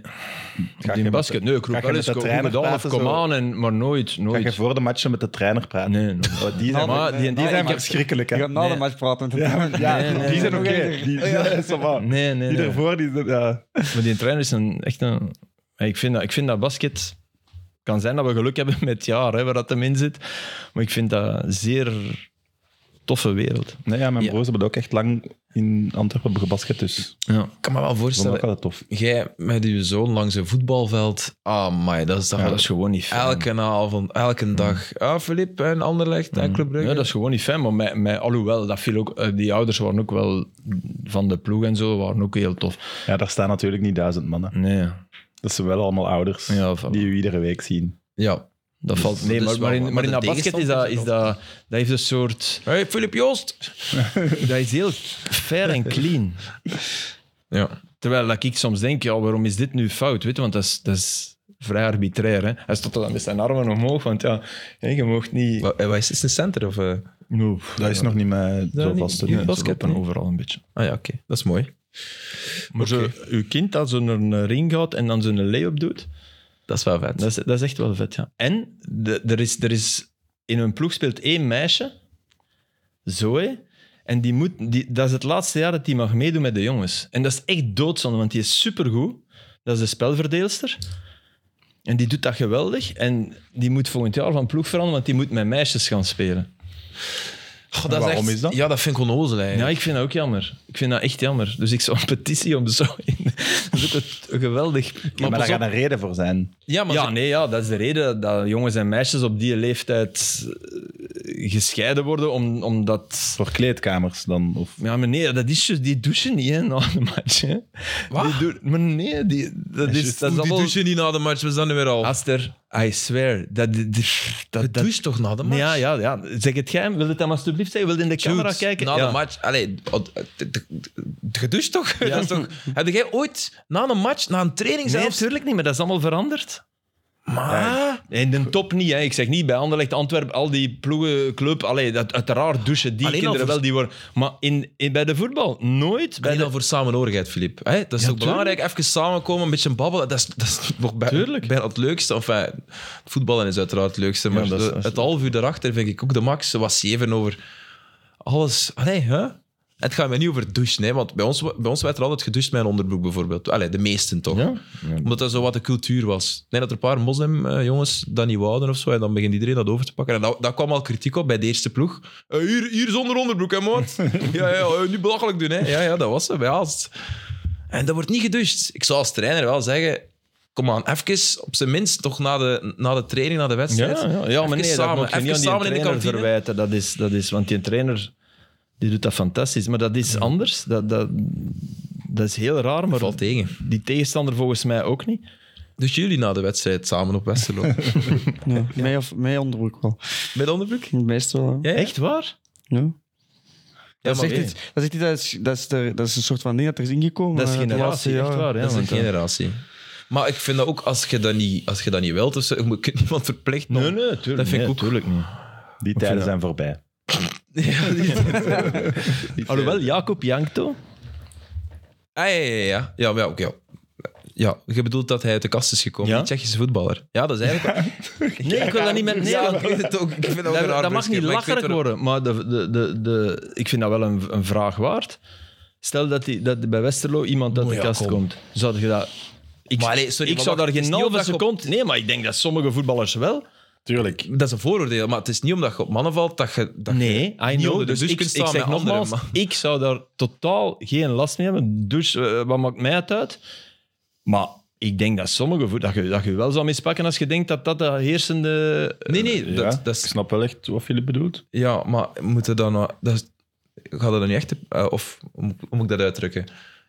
Speaker 3: Ga
Speaker 2: die
Speaker 3: je met
Speaker 2: basket.
Speaker 3: de-
Speaker 2: Nee, ik roep
Speaker 3: ga je
Speaker 2: wel
Speaker 3: met
Speaker 2: eens
Speaker 3: de
Speaker 2: goed
Speaker 3: trainer
Speaker 2: gedaan of
Speaker 3: praten,
Speaker 2: kom
Speaker 3: zo?
Speaker 2: aan, en, maar nooit.
Speaker 3: Ga je
Speaker 2: nooit.
Speaker 3: voor de matchen met de trainer praten?
Speaker 2: Nee, nee.
Speaker 3: Oh, die zijn,
Speaker 2: Maar die-
Speaker 3: die
Speaker 2: die-
Speaker 3: zijn
Speaker 2: ik heb-
Speaker 3: verschrikkelijk.
Speaker 4: Je
Speaker 3: Hè?
Speaker 4: gaat na de match praten. met hem.
Speaker 3: Ja,
Speaker 2: Nee, nee,
Speaker 3: die zijn
Speaker 4: nee.
Speaker 3: oké.
Speaker 4: Nee.
Speaker 3: Die, ja, ça va.
Speaker 2: Nee, nee.
Speaker 3: die
Speaker 2: nee.
Speaker 3: ervoor, die zijn... Ja.
Speaker 2: Maar die trainer is een, echt een... Ja, Ik vind, dat, ik vind dat basket... kan zijn dat we geluk hebben met het jaar hè, waar dat hem in zit. Maar ik vind dat een zeer toffe wereld.
Speaker 3: Nee, ja, mijn
Speaker 1: Ja.
Speaker 3: broers hebben ook echt lang in Antwerpen gebasket, dus dat
Speaker 2: Ja.
Speaker 1: Ik kan me wel
Speaker 3: vond ik ook
Speaker 1: voorstellen,
Speaker 3: altijd tof.
Speaker 1: jij met je zoon langs een voetbalveld. Ah, my, dat is toch
Speaker 2: Ja,
Speaker 1: wel-
Speaker 2: dat is gewoon niet fijn.
Speaker 1: elke avond, elke dag. Ah, Filip en Anderlecht en Club Brugge.
Speaker 2: Mm. Ja, dat is gewoon niet fijn. Maar mij, mij, alhoewel, dat viel ook, eh, die ouders waren ook wel... Van de ploeg en zo, waren ook heel tof.
Speaker 3: Ja, daar staan natuurlijk niet duizend mannen.
Speaker 2: Nee,
Speaker 3: Dat zijn wel allemaal ouders
Speaker 2: Ja, voilà.
Speaker 3: die u iedere week zien.
Speaker 1: ja.
Speaker 2: dat valt...
Speaker 1: Dus dat
Speaker 2: Nee,
Speaker 1: is wel-
Speaker 2: maar, maar,
Speaker 1: maar
Speaker 2: in, maar in
Speaker 1: de
Speaker 2: dat basket is dat...
Speaker 1: tegenstand
Speaker 2: Is
Speaker 1: is
Speaker 2: dat, dat heeft een soort...
Speaker 1: Hey, Filip Joost.
Speaker 2: Dat is heel fair en clean.
Speaker 1: Ja.
Speaker 2: Terwijl dat ik soms denk, ja, waarom is dit nu fout? Weet je, want dat is, dat is vrij arbitrair. Hè? Hij stond dan met zijn armen omhoog, want ja, hè, je mocht niet...
Speaker 1: Wat, eh, wat is het? Is het een center? Of, eh?
Speaker 3: Dat is nog niet meer
Speaker 1: Dat
Speaker 3: zo
Speaker 1: niet.
Speaker 3: vast. hè.
Speaker 1: Ja.
Speaker 2: Nee,
Speaker 1: basket
Speaker 2: ze lopen
Speaker 1: niet.
Speaker 2: overal een beetje.
Speaker 1: Ah ja, oké. Dat is mooi.
Speaker 2: Maar zo, uw kind dat zo naar een ring gaat en dan zo'n lay-up doet,
Speaker 1: Dat is wel vet.
Speaker 2: dat is, dat is echt wel vet, ja. En de- er is, er is... In hun ploeg speelt één meisje, Zoe, en die moet, die, dat is het laatste jaar dat die mag meedoen met de jongens. En dat is echt doodzonde, want die is supergoed. Dat is de spelverdeelster. En die doet dat geweldig. En die moet volgend jaar van ploeg veranderen, want die moet met meisjes gaan spelen.
Speaker 1: Goh,
Speaker 3: En waarom
Speaker 1: echt-
Speaker 3: is dat?
Speaker 1: Ja, dat vind ik onnozel eigenlijk.
Speaker 2: Ja, ik vind dat ook jammer. Ik vind dat echt jammer. Dus ik zou een petitie om zo in. Dat is ook een geweldig.
Speaker 3: Maar,
Speaker 1: pas
Speaker 3: daar
Speaker 1: op.
Speaker 3: gaat een reden voor zijn.
Speaker 1: Ja, maar
Speaker 2: Ja,
Speaker 1: ze-
Speaker 2: nee, ja, dat is de reden dat jongens en meisjes op die leeftijd eh, gescheiden worden, om- omdat...
Speaker 3: Voor kleedkamers dan. Of,
Speaker 2: Ja, maar nee, dat is juist, die douchen niet hè, na de match. Hè.
Speaker 1: Wat?
Speaker 2: Die doen- maar nee, die, dat
Speaker 1: Dus
Speaker 2: is, dat is
Speaker 1: die
Speaker 2: allemaal...
Speaker 1: douchen niet na de match, we zijn nu weer al.
Speaker 2: Aster, I swear. Dat, dat,
Speaker 1: Je
Speaker 2: dat, dat-
Speaker 1: doucht toch na de match?
Speaker 2: ja, ja, ja. Zeg het geheim. Wil het dan alsjeblieft zeggen? Wil je in de camera
Speaker 1: Dude,
Speaker 2: kijken?
Speaker 1: Na
Speaker 2: ja.
Speaker 1: de match. Allee, oh, d- d- d- d- gedoucht toch?
Speaker 2: Ja.
Speaker 1: Dat is toch? Heb jij ooit na een match, na een training
Speaker 2: Nee,
Speaker 1: zelfs...
Speaker 2: natuurlijk niet, maar dat is allemaal veranderd.
Speaker 1: maar...
Speaker 2: In de top niet, hè. ik zeg niet bij Anderlecht, Antwerpen, al die ploegen, club. Allee, dat, uiteraard douchen die
Speaker 1: Alleen al
Speaker 2: kinderen
Speaker 1: voor-
Speaker 2: wel, die worden. Maar in, in, bij de voetbal, nooit. Bij
Speaker 1: Ben je
Speaker 2: de,
Speaker 1: dan voor samenhorigheid, Filip? Hè, Dat is
Speaker 2: Ja,
Speaker 1: toch belangrijk? Even samenkomen, een beetje babbelen. Dat is, dat is nog bij,
Speaker 2: Tuurlijk.
Speaker 1: bijna het leukste. Enfin, het voetballen is uiteraard het leukste. Maar
Speaker 2: Ja, dat is- dat is-
Speaker 1: het half uur daarachter vind ik ook de max. Ze was zeven over alles. Allee, hè? Het gaat mij niet over douchen. Hè? Want bij ons, bij ons werd er altijd gedoucht met een onderbroek, bijvoorbeeld. Allee, de meesten toch.
Speaker 2: Ja?
Speaker 1: Omdat dat zo wat de cultuur was. Nee, dat er een paar moslimjongens dat niet wouden of zo. En dan begint iedereen dat over te pakken. En dat, dat kwam al kritiek op bij de eerste ploeg. Eh, hier, hier zonder onderbroek, hè, maat? ja, ja, eh, niet belachelijk doen, hè? Ja, ja, dat was ze. Bij Aalst. En dat wordt niet gedoucht. Ik zou als trainer wel zeggen. Kom aan, even op zijn minst toch na de, na de training, na de
Speaker 2: Ja,
Speaker 1: wedstrijd.
Speaker 2: ja, ja maar
Speaker 1: Even
Speaker 2: nee,
Speaker 1: samen,
Speaker 2: dat moet
Speaker 1: even
Speaker 2: je niet aan die
Speaker 1: samen in de
Speaker 2: trainer
Speaker 1: kantine.
Speaker 2: verwijten. Dat is, dat is, want die trainer die doet dat fantastisch. Maar dat is anders. Dat, dat, dat is heel raar, maar
Speaker 1: Valt tegen.
Speaker 2: die tegenstander volgens mij ook niet.
Speaker 1: Dus jullie na de wedstrijd samen op Westerlo.
Speaker 4: Ja, Mij of mij onderbroek wel.
Speaker 1: Met onderbroek?
Speaker 4: Meestal. hè.
Speaker 1: Ja, ja.
Speaker 2: Echt waar?
Speaker 4: Ja.
Speaker 1: Ja,
Speaker 4: Dat
Speaker 1: maar
Speaker 4: is echt
Speaker 1: nee.
Speaker 4: iets- dat is echt iets dat is- dat is er- dat is een soort van ding dat er is ingekomen.
Speaker 2: Dat is
Speaker 4: eh, de laatste
Speaker 2: generatie, echt
Speaker 4: jaren.
Speaker 2: waar. Hè,
Speaker 1: Dat is een
Speaker 2: want, eh,
Speaker 1: generatie. Maar ik vind dat ook, als je dat niet, als je dat niet wilt, of zo, je moet je kunt niemand verplicht. om-
Speaker 2: Nee, nee, tuurlijk,
Speaker 1: Dat vind ik
Speaker 2: nee,
Speaker 1: ook-
Speaker 2: tuurlijk niet.
Speaker 3: Die tijden zijn voorbij.
Speaker 1: Ja, die-
Speaker 2: Alhoewel, Jacob Jankto,
Speaker 1: Ah, ja, ja, ja. Ja, maar ja, oké. ja. ja, je bedoelt dat hij uit de kast is gekomen,
Speaker 2: Ja?
Speaker 1: die Tsjechische voetballer. Ja, dat is eigenlijk...
Speaker 2: Nee, ik wil dat niet met... Nee,
Speaker 1: Ja,
Speaker 2: want-
Speaker 1: ik weet het ook. Ik vind dat ook een
Speaker 2: dat,
Speaker 1: raar
Speaker 2: dat mag
Speaker 1: bruggetje,
Speaker 2: niet
Speaker 1: maar ik weet
Speaker 2: lacherig
Speaker 1: waar-
Speaker 2: worden, maar de, de, de, de, ik vind dat wel een, een vraag waard. Stel dat, die, dat bij Westerlo iemand uit
Speaker 1: Oh
Speaker 2: de
Speaker 1: ja,
Speaker 2: kast
Speaker 1: kom.
Speaker 2: komt. Zou je dat... Ik,
Speaker 1: Maar allee, sorry,
Speaker 2: ik
Speaker 1: maar
Speaker 2: zou
Speaker 1: wacht,
Speaker 2: daar
Speaker 1: het
Speaker 2: geen
Speaker 1: is niet
Speaker 2: halve
Speaker 1: omdat je op-
Speaker 2: seconde... Nee, maar ik denk dat sommige voetballers wel.
Speaker 3: Tuurlijk.
Speaker 1: Dat is een vooroordeel, maar het is niet omdat je op mannen valt dat je... Dat je-
Speaker 2: Nee, I
Speaker 1: niet
Speaker 2: know.
Speaker 1: onder de
Speaker 2: Dus
Speaker 1: douche
Speaker 2: ik,
Speaker 1: kunt
Speaker 2: ik
Speaker 1: staan
Speaker 2: zeg
Speaker 1: met anderen,
Speaker 2: nogmaals, ik zou daar totaal geen last mee hebben. Dus eh, wat maakt mij het uit? Maar ik denk dat sommige voet, dat je, dat je wel zou mispakken als je denkt dat dat de heersende...
Speaker 1: Nee, nee,
Speaker 3: Ja,
Speaker 1: dat, dat
Speaker 3: ik
Speaker 1: is...
Speaker 3: snap wel echt wat Filip bedoelt.
Speaker 1: Ja, maar moeten dan... nou- Dat is- gaat dat dan nu echt... eh, of hoe moet- hoe moet ik dat uitdrukken?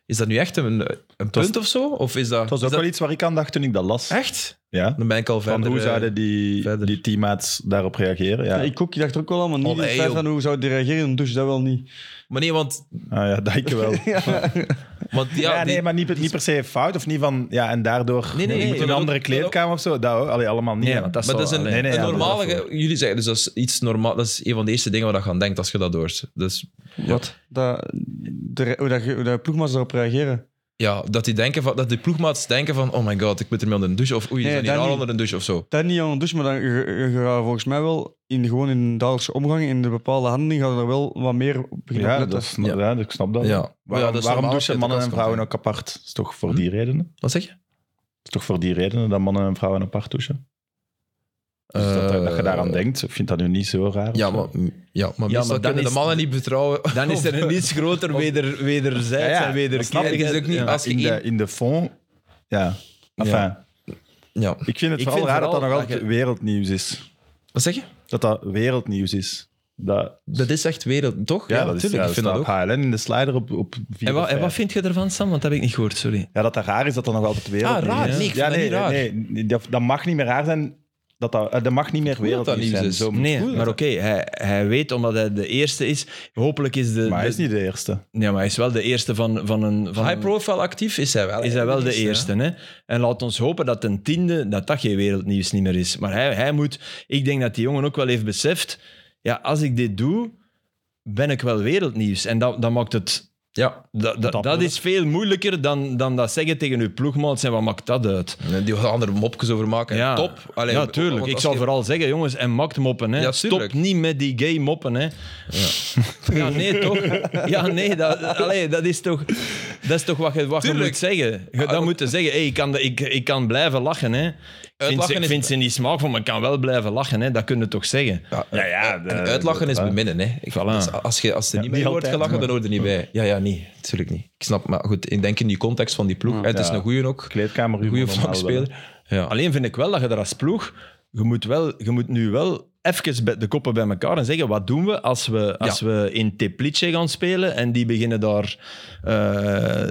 Speaker 1: Is dat nu echt een, een
Speaker 3: was-
Speaker 1: punt of zo? Of is dat...
Speaker 3: Het was
Speaker 1: is
Speaker 3: ook
Speaker 1: dat-
Speaker 3: wel iets waar ik aan dacht toen ik dat las.
Speaker 1: Echt?
Speaker 3: Ja.
Speaker 1: Dan ben ik al
Speaker 3: Van
Speaker 1: verder...
Speaker 3: hoe
Speaker 1: eh,
Speaker 3: zouden die,
Speaker 1: verder.
Speaker 3: die teammates daarop reageren? Ja.
Speaker 4: Ja, ik ook, ik dacht ook wel allemaal niet.
Speaker 1: Oh,
Speaker 4: in het
Speaker 1: nee,
Speaker 4: feit
Speaker 1: joh.
Speaker 4: van hoe zou die reageren in de douche, dat wel niet.
Speaker 1: Maar nee, want...
Speaker 3: Ah, ja, dat ik wel. ja,
Speaker 1: want ja, die-
Speaker 3: nee, maar niet, niet per se fout of niet van... Ja, en daardoor
Speaker 1: Nee, nee,
Speaker 3: je
Speaker 1: nee, dat
Speaker 3: moet in een
Speaker 1: ook-
Speaker 3: andere
Speaker 1: dat ook-
Speaker 3: kleedkamer of zo. Dat, hoor. allee, allemaal niet.
Speaker 2: Nee,
Speaker 3: hè.
Speaker 2: want dat
Speaker 1: maar dat is een,
Speaker 2: zou-
Speaker 3: nee, nee,
Speaker 1: een
Speaker 3: ja,
Speaker 1: normale...
Speaker 3: dat is
Speaker 1: ge- jullie zeggen dus dat is iets normaal. Dat is een van de eerste dingen waar je aan denkt als je dat hoort. Dus,
Speaker 4: Wat? Dat, de, re- hoe, dat, ge- hoe dat ploegmaats daarop reageren.
Speaker 1: ja, dat, die denken van, dat die ploegmaats denken van, oh my god, ik moet ermee onder een douche. Of oei,
Speaker 4: Nee,
Speaker 1: er zijn hier
Speaker 4: dat
Speaker 1: al
Speaker 4: niet.
Speaker 1: onder een douche of zo.
Speaker 4: Dat niet aan de douche, maar dan, je, je- je gaat volgens mij wel in, gewoon in de dagelijkse omgang, in de bepaalde handeling, gaat er wel wat meer op beginnen
Speaker 3: Ja,
Speaker 4: opletten.
Speaker 3: dat snap, ja. ik snap dat.
Speaker 1: Ja. Maar ja,
Speaker 3: Waarom,
Speaker 1: dat Hm? is
Speaker 3: waarom
Speaker 1: normaal als je uit
Speaker 3: douchen
Speaker 1: de
Speaker 3: mannen en
Speaker 1: kast
Speaker 3: vrouwen
Speaker 1: komt,
Speaker 3: ook apart? Dat is toch voor die redenen? Dat
Speaker 1: Wat zeg je?
Speaker 3: is toch voor die redenen dat mannen en vrouwen apart douchen? Dus dat,
Speaker 1: Eh,
Speaker 3: dat je daaraan denkt, ik vind dat nu niet zo raar. of
Speaker 1: Ja,
Speaker 3: zo.
Speaker 1: maar, ja, maar meestal
Speaker 2: dan
Speaker 1: kunnen de
Speaker 2: is-
Speaker 1: mannen niet betrouwen.
Speaker 2: Dan is er niets groter weder, wederzijds
Speaker 3: Ja, ja,
Speaker 2: en
Speaker 3: dat snap
Speaker 2: wederkerig.
Speaker 1: ik. Het is ook niet-
Speaker 2: Ja.
Speaker 1: als je
Speaker 3: in, de,
Speaker 1: één-
Speaker 3: in de fond, ja. Enfin,
Speaker 1: Ja.
Speaker 3: ik vind het
Speaker 2: Ik
Speaker 3: vooral
Speaker 2: vind
Speaker 3: raar dat
Speaker 2: vooral
Speaker 3: dat nog
Speaker 2: dat
Speaker 3: altijd wereldnieuws is.
Speaker 1: Wat zeg je?
Speaker 3: Dat dat wereldnieuws is. Dat,
Speaker 1: Dat is echt wereld, toch?
Speaker 3: ja, dat is ja,
Speaker 1: natuurlijk.
Speaker 3: dat
Speaker 1: ik vind dat
Speaker 3: staat
Speaker 1: ook.
Speaker 3: op HLN in de slider op, op vier
Speaker 2: En, wat,
Speaker 3: of
Speaker 2: en wat
Speaker 3: vijf.
Speaker 2: vind je ervan, Sam? Want dat heb ik niet gehoord, sorry.
Speaker 3: Ja, dat dat raar is dat dat nog altijd
Speaker 1: Ah,
Speaker 3: wereldnieuws
Speaker 1: raar.
Speaker 3: is.
Speaker 1: Nee, ik vind
Speaker 3: ja,
Speaker 1: dat
Speaker 3: nee,
Speaker 1: niet raar.
Speaker 3: nee, nee, dat, dat mag niet meer raar zijn. Dat, dat, eh, dat mag niet meer
Speaker 1: Goed dat dat
Speaker 3: wereldnieuws
Speaker 1: nieuws
Speaker 3: zijn.
Speaker 1: is. Mm.
Speaker 3: Zo moet
Speaker 2: Nee,
Speaker 3: het.
Speaker 2: maar oké, hij, hij weet omdat hij de eerste is. Hopelijk is de...
Speaker 3: Maar hij
Speaker 2: de-
Speaker 3: is niet de eerste.
Speaker 2: Ja, maar hij is wel de eerste van, van een... Van
Speaker 1: High profile actief is hij wel.
Speaker 2: is hij wel de eerste. Hè? En laat ons hopen dat een tiende, dat dat geen wereldnieuws niet meer is. Maar hij, hij moet, ik denk dat die jongen ook wel heeft beseft, ja, als ik dit doe, ben ik wel wereldnieuws. En dat, dat maakt het,
Speaker 1: Ja,
Speaker 2: dat, dat, dat is veel moeilijker dan, dan dat zeggen tegen uw ploegmaats en wat maakt dat uit?
Speaker 1: en die gaan er mopjes over maken.
Speaker 2: Ja,
Speaker 1: Top. Allee,
Speaker 2: ja,
Speaker 1: want
Speaker 2: tuurlijk.
Speaker 1: als
Speaker 2: Ik zal
Speaker 1: je-
Speaker 2: vooral zeggen, jongens, en maakt moppen. Hè.
Speaker 1: Ja,
Speaker 2: Stop
Speaker 1: tuurlijk.
Speaker 2: niet met die gay moppen. Hè. Ja. nee, toch? Ja, nee, dat, allee, dat is toch... Dat is toch wat je, wat je
Speaker 1: Tuurlijk. Ah,
Speaker 2: moet zeggen. Je, dat moet je zeggen. Hey, ik, kan de- ik, ik kan blijven lachen. Hè. Ik Vind,
Speaker 1: Uitlachen
Speaker 2: ze,
Speaker 1: is-
Speaker 2: vind ze niet smaak van, maar ik kan wel blijven lachen. Hè. Dat kun je toch zeggen.
Speaker 1: Ja,
Speaker 3: Ja, ja, de-
Speaker 1: en uitlachen is
Speaker 3: dat-
Speaker 1: beminnen. Hè. Ik,
Speaker 2: Voilà.
Speaker 1: dus als, je, als er niet
Speaker 3: niet
Speaker 1: mee wordt
Speaker 3: altijd,
Speaker 1: gelachen,
Speaker 3: maar-
Speaker 1: dan hoort er niet bij. Ja, ja, nee. Natuurlijk niet. Ik snap, maar goed, ik denk in die context van die ploeg. En het is
Speaker 3: Ja.
Speaker 1: een goeie ook.
Speaker 3: Kleedkamer,
Speaker 1: Een goede flankspeler. Ja.
Speaker 2: Alleen vind ik wel dat je daar als ploeg... Je moet, wel, je moet nu wel even bij- de koppen bij elkaar en zeggen wat doen we als we, als we in Teplice gaan spelen en die beginnen daar eh,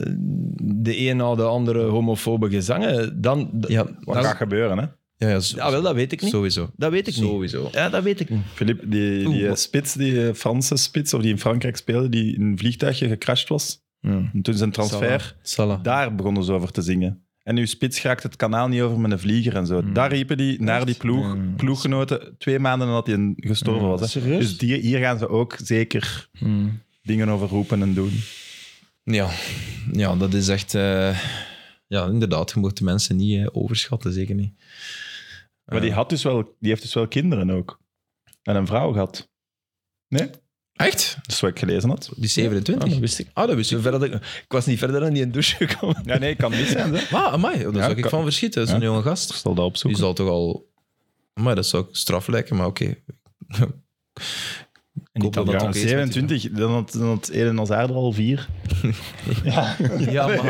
Speaker 2: de een na de andere homofobe gezangen, dan... d-
Speaker 1: Ja,
Speaker 3: Wat
Speaker 2: dan-
Speaker 3: gaat gebeuren, hè?
Speaker 1: Ja, ja, zo-
Speaker 2: ja, wel, dat weet ik niet.
Speaker 1: sowieso.
Speaker 2: Dat weet ik niet.
Speaker 1: Sowieso.
Speaker 2: Ja, dat weet ik niet.
Speaker 3: Filip, die, die
Speaker 1: Oeh,
Speaker 3: eh,
Speaker 1: wat-
Speaker 3: spits, die eh, Franse spits, of die in Frankrijk speelde, die in een vliegtuigje gecrashed was. En toen zijn transfer,
Speaker 1: Salah.
Speaker 3: daar begonnen ze over te zingen. En uw spits raakt het kanaal niet over met een vlieger en zo. Daar riepen die naar die ploeg, ploeggenoten twee maanden nadat hij gestorven was. Hè.
Speaker 2: Serieus?
Speaker 3: Dus die, hier gaan ze ook zeker dingen over roepen en doen.
Speaker 1: Ja. ja, dat is echt... eh, Ja, inderdaad. Je moet de mensen niet eh, overschatten, zeker niet.
Speaker 3: Maar die, had dus wel, die heeft dus wel kinderen ook. En een vrouw gehad. Nee?
Speaker 1: Echt?
Speaker 3: Dat is wat ik gelezen had.
Speaker 1: Die
Speaker 2: Ah,
Speaker 1: 27?
Speaker 2: dat wist ik.
Speaker 1: Ah, dat wist ik.
Speaker 2: Zover dat ik, ik was niet verder dan die in douche gekomen.
Speaker 3: Ja, nee, kan niet zijn. hè.
Speaker 1: Ah, amai. Daar
Speaker 3: Ja,
Speaker 1: zou ik
Speaker 3: kan-
Speaker 1: van verschieten. Zo'n
Speaker 3: Ja.
Speaker 1: jonge
Speaker 3: Ik
Speaker 1: gast.
Speaker 3: zal dat
Speaker 1: Die
Speaker 3: opzoeken.
Speaker 1: zal toch al... Maar dat zou ik straf lijken, maar oké.
Speaker 2: En
Speaker 1: Koppel
Speaker 2: die kan dat
Speaker 1: dan
Speaker 2: ook
Speaker 1: ook
Speaker 2: eens
Speaker 1: eens met die
Speaker 3: 27, dan had, dan had Eden Hazard er al vier.
Speaker 1: Ja, maar...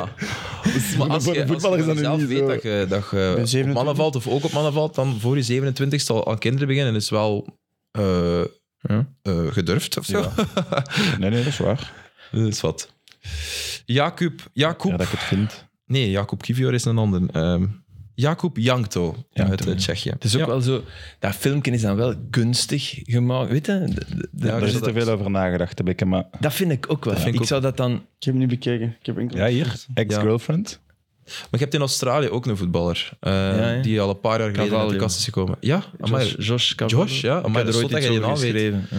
Speaker 1: maar als
Speaker 3: voor
Speaker 1: je,
Speaker 3: een
Speaker 1: als
Speaker 3: voetballer
Speaker 1: je
Speaker 3: is dat nu
Speaker 1: zelf
Speaker 3: niet
Speaker 1: weet
Speaker 3: zo.
Speaker 1: dat je, dat je op
Speaker 4: 27?
Speaker 1: mannen valt, of ook op mannen valt, dan voor je 27ste al aan kinderen beginnen, is wel eh,
Speaker 2: Ja.
Speaker 1: eh, gedurfd of zo.
Speaker 3: Ja. Nee, nee, dat is waar.
Speaker 1: Dat is wat. Jacob, Jacob
Speaker 3: Ja, dat ik het vind.
Speaker 1: Nee, Jacob Kivior is een ander. Ehm Jacob Jankto uit eh, Tsjechië.
Speaker 2: Het is ook
Speaker 1: Ja.
Speaker 2: wel zo... Dat filmpje is dan wel gunstig gemaakt. Weet je? De- de- de-
Speaker 1: Ja,
Speaker 3: Daar
Speaker 1: dus
Speaker 3: is te
Speaker 1: dat-
Speaker 3: veel over nagedacht, heb ik. hè, Maar
Speaker 2: Dat vind ik ook wel.
Speaker 1: vind ik
Speaker 2: ik
Speaker 1: ook.
Speaker 2: zou dat dan...
Speaker 4: Ik heb hem niet bekeken. Ik heb enkel...
Speaker 3: ja, hier, ex-girlfriend.
Speaker 1: Maar je hebt in Australië ook een voetballer. eh,
Speaker 2: ja.
Speaker 1: Die al een paar jaar geleden uit de
Speaker 2: Cavallo.
Speaker 1: kast is gekomen. Ja, amai.
Speaker 2: Josh, Josh, Cavallo.
Speaker 1: Josh, ja.
Speaker 2: Ik
Speaker 1: Amai,
Speaker 2: heb
Speaker 1: dat is zot dat je die naam weet.
Speaker 2: ja.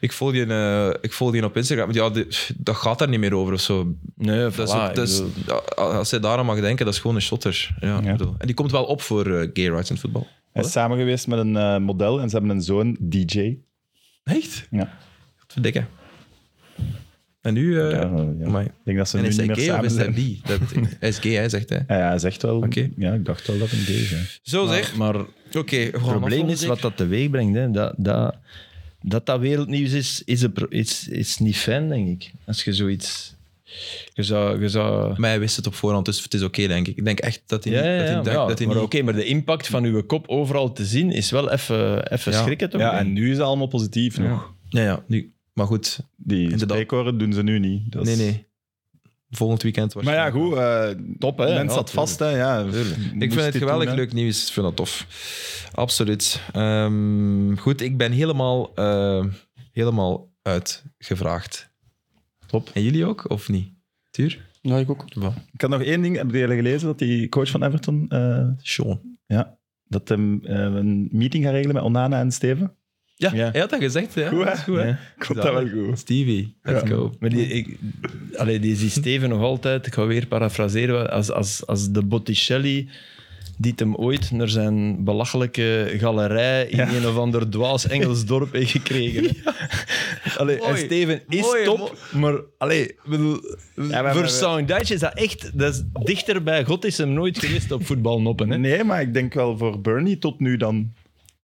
Speaker 1: Ik volg die, eh, ik volg die op Instagram. Ja, die- pff, dat gaat daar niet meer over of zo.
Speaker 2: Nee,
Speaker 1: Dat is ook- dat is- a- als hij daaraan mag denken, dat is gewoon een shotter. Ja,
Speaker 3: Ja.
Speaker 1: ik bedoel. En die komt wel op voor eh, gay rights in het voetbal.
Speaker 3: Hij is samen geweest met een eh, model en ze hebben een zoon, DJ.
Speaker 1: Echt?
Speaker 3: Ja.
Speaker 1: Dikke. En nu... eh,
Speaker 3: Ja, eh, ja.
Speaker 1: amai.
Speaker 3: Ik denk dat ze
Speaker 1: En
Speaker 3: nu
Speaker 1: is
Speaker 3: niet
Speaker 1: hij
Speaker 3: meer
Speaker 1: gay of
Speaker 3: samen
Speaker 1: is hij
Speaker 3: zijn.
Speaker 1: bi? Dat, hij is gay, hè, zegt hij.
Speaker 3: Ja, ja, hij zegt wel.
Speaker 1: Oké.
Speaker 3: Ja, ik dacht wel dat een deze.
Speaker 1: Zo zeg.
Speaker 2: Maar maar
Speaker 1: Oké, we
Speaker 2: het
Speaker 1: gaan
Speaker 2: probleem
Speaker 1: afronden,
Speaker 2: is
Speaker 1: zeker?
Speaker 2: wat dat teweeg brengt. Hè. Dat, dat, dat dat wereldnieuws is, is, een pro- is, is niet fijn, denk ik. Als je zoiets... Je zou... Je zou
Speaker 1: Maar hij wist het op voorhand, dus het is oké, denk ik. Ik denk echt dat hij
Speaker 2: ja,
Speaker 1: niet...
Speaker 2: ja,
Speaker 1: dat hij
Speaker 2: ja,
Speaker 1: denkt
Speaker 2: maar, ja,
Speaker 3: nou,
Speaker 1: dat hij
Speaker 2: maar
Speaker 1: niet...
Speaker 2: oké, maar de impact van uw kop overal te zien is wel even, even
Speaker 1: Ja.
Speaker 2: schrikken, toch?
Speaker 3: Ja, en nu is het allemaal positief nog.
Speaker 1: Ja, ja, nu. Maar goed,
Speaker 3: Die
Speaker 1: Inderdaad.
Speaker 3: spreekwoorden doen ze nu niet. Dat is-
Speaker 1: nee, nee. Volgend weekend
Speaker 3: Maar ja,
Speaker 1: waarschijnlijk.
Speaker 3: goed. eh
Speaker 2: Top, hè?
Speaker 3: Mens
Speaker 2: Ja,
Speaker 3: zat
Speaker 2: tuurlijk.
Speaker 3: vast, hè? Ja.
Speaker 1: Ik
Speaker 3: Moest
Speaker 1: vind
Speaker 3: dit
Speaker 1: het
Speaker 3: doen,
Speaker 1: geweldig
Speaker 3: hè.
Speaker 1: leuk nieuws. Ik vind dat tof. Absoluut. Ehm, goed, ik ben helemaal, ehm, helemaal uitgevraagd.
Speaker 3: Top.
Speaker 1: En jullie ook, of niet? Tuur?
Speaker 4: Ja, ik ook.
Speaker 3: Ik had nog één ding. Hebben jullie gelezen dat die coach van Everton eh,
Speaker 1: Sean.
Speaker 3: dat hem eh, een meeting gaat regelen met Onana en Steven.
Speaker 1: Ja,
Speaker 2: Ja.
Speaker 1: hij had dat gezegd. Ja.
Speaker 3: Goed, hè?
Speaker 1: Dat is goed, hè?
Speaker 2: Ja.
Speaker 3: Ik vond dat wel goed.
Speaker 1: Stevie, let's go.
Speaker 2: Maar die, ik, allee, die is Steven nog altijd, ik ga weer parafraseren, als, als, als de Botticelli die hem ooit naar zijn belachelijke galerij in een of ander dwaas Engels dorp heeft gekregen. Allee, en
Speaker 1: Mooi.
Speaker 2: Steven is
Speaker 1: Mooi,
Speaker 2: top, maar allee, ik bedoel,
Speaker 3: maar-
Speaker 2: voor
Speaker 3: maar-
Speaker 2: Sound Duits is dat echt dat is dichter bij God is hem nooit geweest op voetbalnoppen. Hè?
Speaker 3: Nee, maar ik denk wel voor Bernie tot nu dan.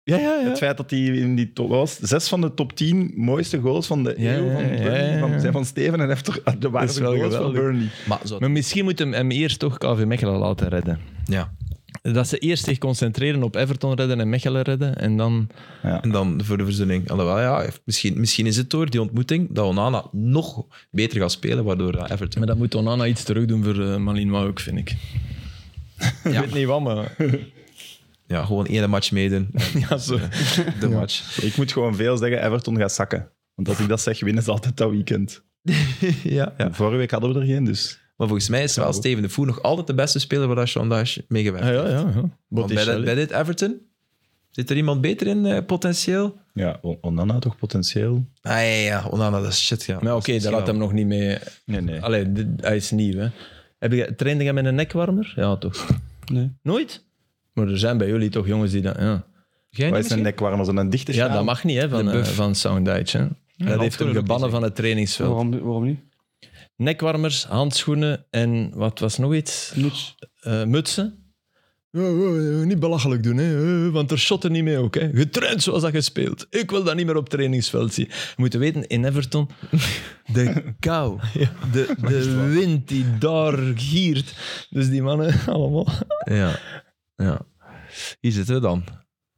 Speaker 2: Ja, ja, ja.
Speaker 3: Het feit dat hij in die top was, zes van de top 10 mooiste goals van de
Speaker 2: Ja,
Speaker 3: eeuw van,
Speaker 2: ja, ja,
Speaker 3: Burnley,
Speaker 2: ja.
Speaker 3: van, zijn van Steven en heeft er de
Speaker 2: is
Speaker 3: waren
Speaker 2: wel
Speaker 3: goals van
Speaker 2: geweldig.
Speaker 3: Bernie.
Speaker 1: Maar zo...
Speaker 2: Maar misschien moet hem, hem eerst toch KV Mechelen laten redden.
Speaker 1: Ja.
Speaker 2: Dat ze eerst zich concentreren op Everton redden en Mechelen redden en dan...
Speaker 1: En dan voor de verzoening. Alhoewel, ja, misschien, misschien is het door die ontmoeting dat Onana nog beter gaat spelen, waardoor dat Everton...
Speaker 2: Maar dat moet Onana iets terug doen voor eh, Malinois ook, vind ik. Ik weet niet wat, maar...
Speaker 1: Ja, gewoon één match meedoen. eh,
Speaker 2: Ja, zo.
Speaker 1: De match.
Speaker 3: Ik moet gewoon veel zeggen, Everton gaat zakken. Want als ik dat zeg, winnen ze altijd dat weekend.
Speaker 1: ja, ja.
Speaker 3: En vorige week hadden we er geen, dus...
Speaker 1: Maar volgens mij is wel Steven de Voer nog altijd de beste speler waar dat Sondage mee gewerkt
Speaker 2: Ja, ja, ja.
Speaker 1: heeft. Want bij, dat- bij dit Everton zit er iemand beter in, eh, potentieel?
Speaker 3: Ja, On- Onana toch potentieel?
Speaker 1: Ah, ja, ja, Onana, dat is shit, ja.
Speaker 2: Maar oké, daar had hem nog niet mee...
Speaker 3: Nee, nee.
Speaker 2: Allee, dit- hij is nieuw, hè. Heb je, trainde jij met een nekwarmer? Ja, toch?
Speaker 4: Nee.
Speaker 2: Nooit? Maar er zijn bij jullie toch jongens die dat... Ja,
Speaker 1: Jij
Speaker 3: Wij
Speaker 1: niet
Speaker 3: zijn
Speaker 1: misschien?
Speaker 3: nekwarmers en een dichte
Speaker 2: ja
Speaker 3: sjaal.
Speaker 2: dat mag niet, hè, van,
Speaker 1: De
Speaker 2: eh,
Speaker 1: buff.
Speaker 2: van Soundage, hè. dat heeft hem
Speaker 1: handschoenen
Speaker 2: gebannen
Speaker 1: ook
Speaker 2: van het trainingsveld.
Speaker 4: Waarom, waarom niet?
Speaker 2: Nekwarmers, handschoenen en wat was nog iets?
Speaker 4: Niets.
Speaker 2: Eh, mutsen. Ja, ja, ja, niet belachelijk doen, hè? eh, want er shotten niet mee ook. Hè? Getraind zoals dat gespeeld. Ik wil dat niet meer op trainingsveld zien. We moeten weten, in Everton, de kou, de, de wind die daar giert. Dus die mannen allemaal.
Speaker 1: Ja. ja. Hier zitten we dan.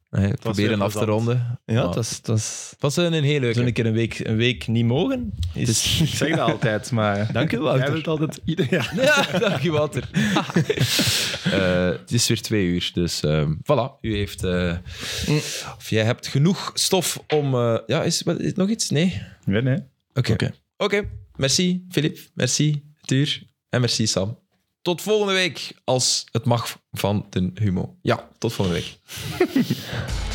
Speaker 1: Hey, proberen
Speaker 3: weer
Speaker 1: af te
Speaker 3: plezant.
Speaker 1: ronden.
Speaker 2: Ja,
Speaker 1: Maar
Speaker 2: dat is... Dat is
Speaker 1: Het was een een heel leuke.
Speaker 2: Zo'n keer een week, een week niet mogen. Is...
Speaker 3: Ik zeg dat altijd, maar...
Speaker 2: Dank u,
Speaker 3: Jij
Speaker 2: Wouter.
Speaker 3: wilt altijd... ieder- Ja.
Speaker 1: Ja, dank je, Wouter. Eh, het is weer twee uur, dus ehm, voilà. U heeft... eh, of jij hebt genoeg stof om... eh, ja, is, wat, is nog iets? Nee? Oké.
Speaker 3: Nee, nee.
Speaker 1: Oké.
Speaker 2: Oké.
Speaker 1: Merci, Filip. Merci, Tuur. En merci, Sam. Tot volgende week, als het mag van den humo. Ja, tot volgende week.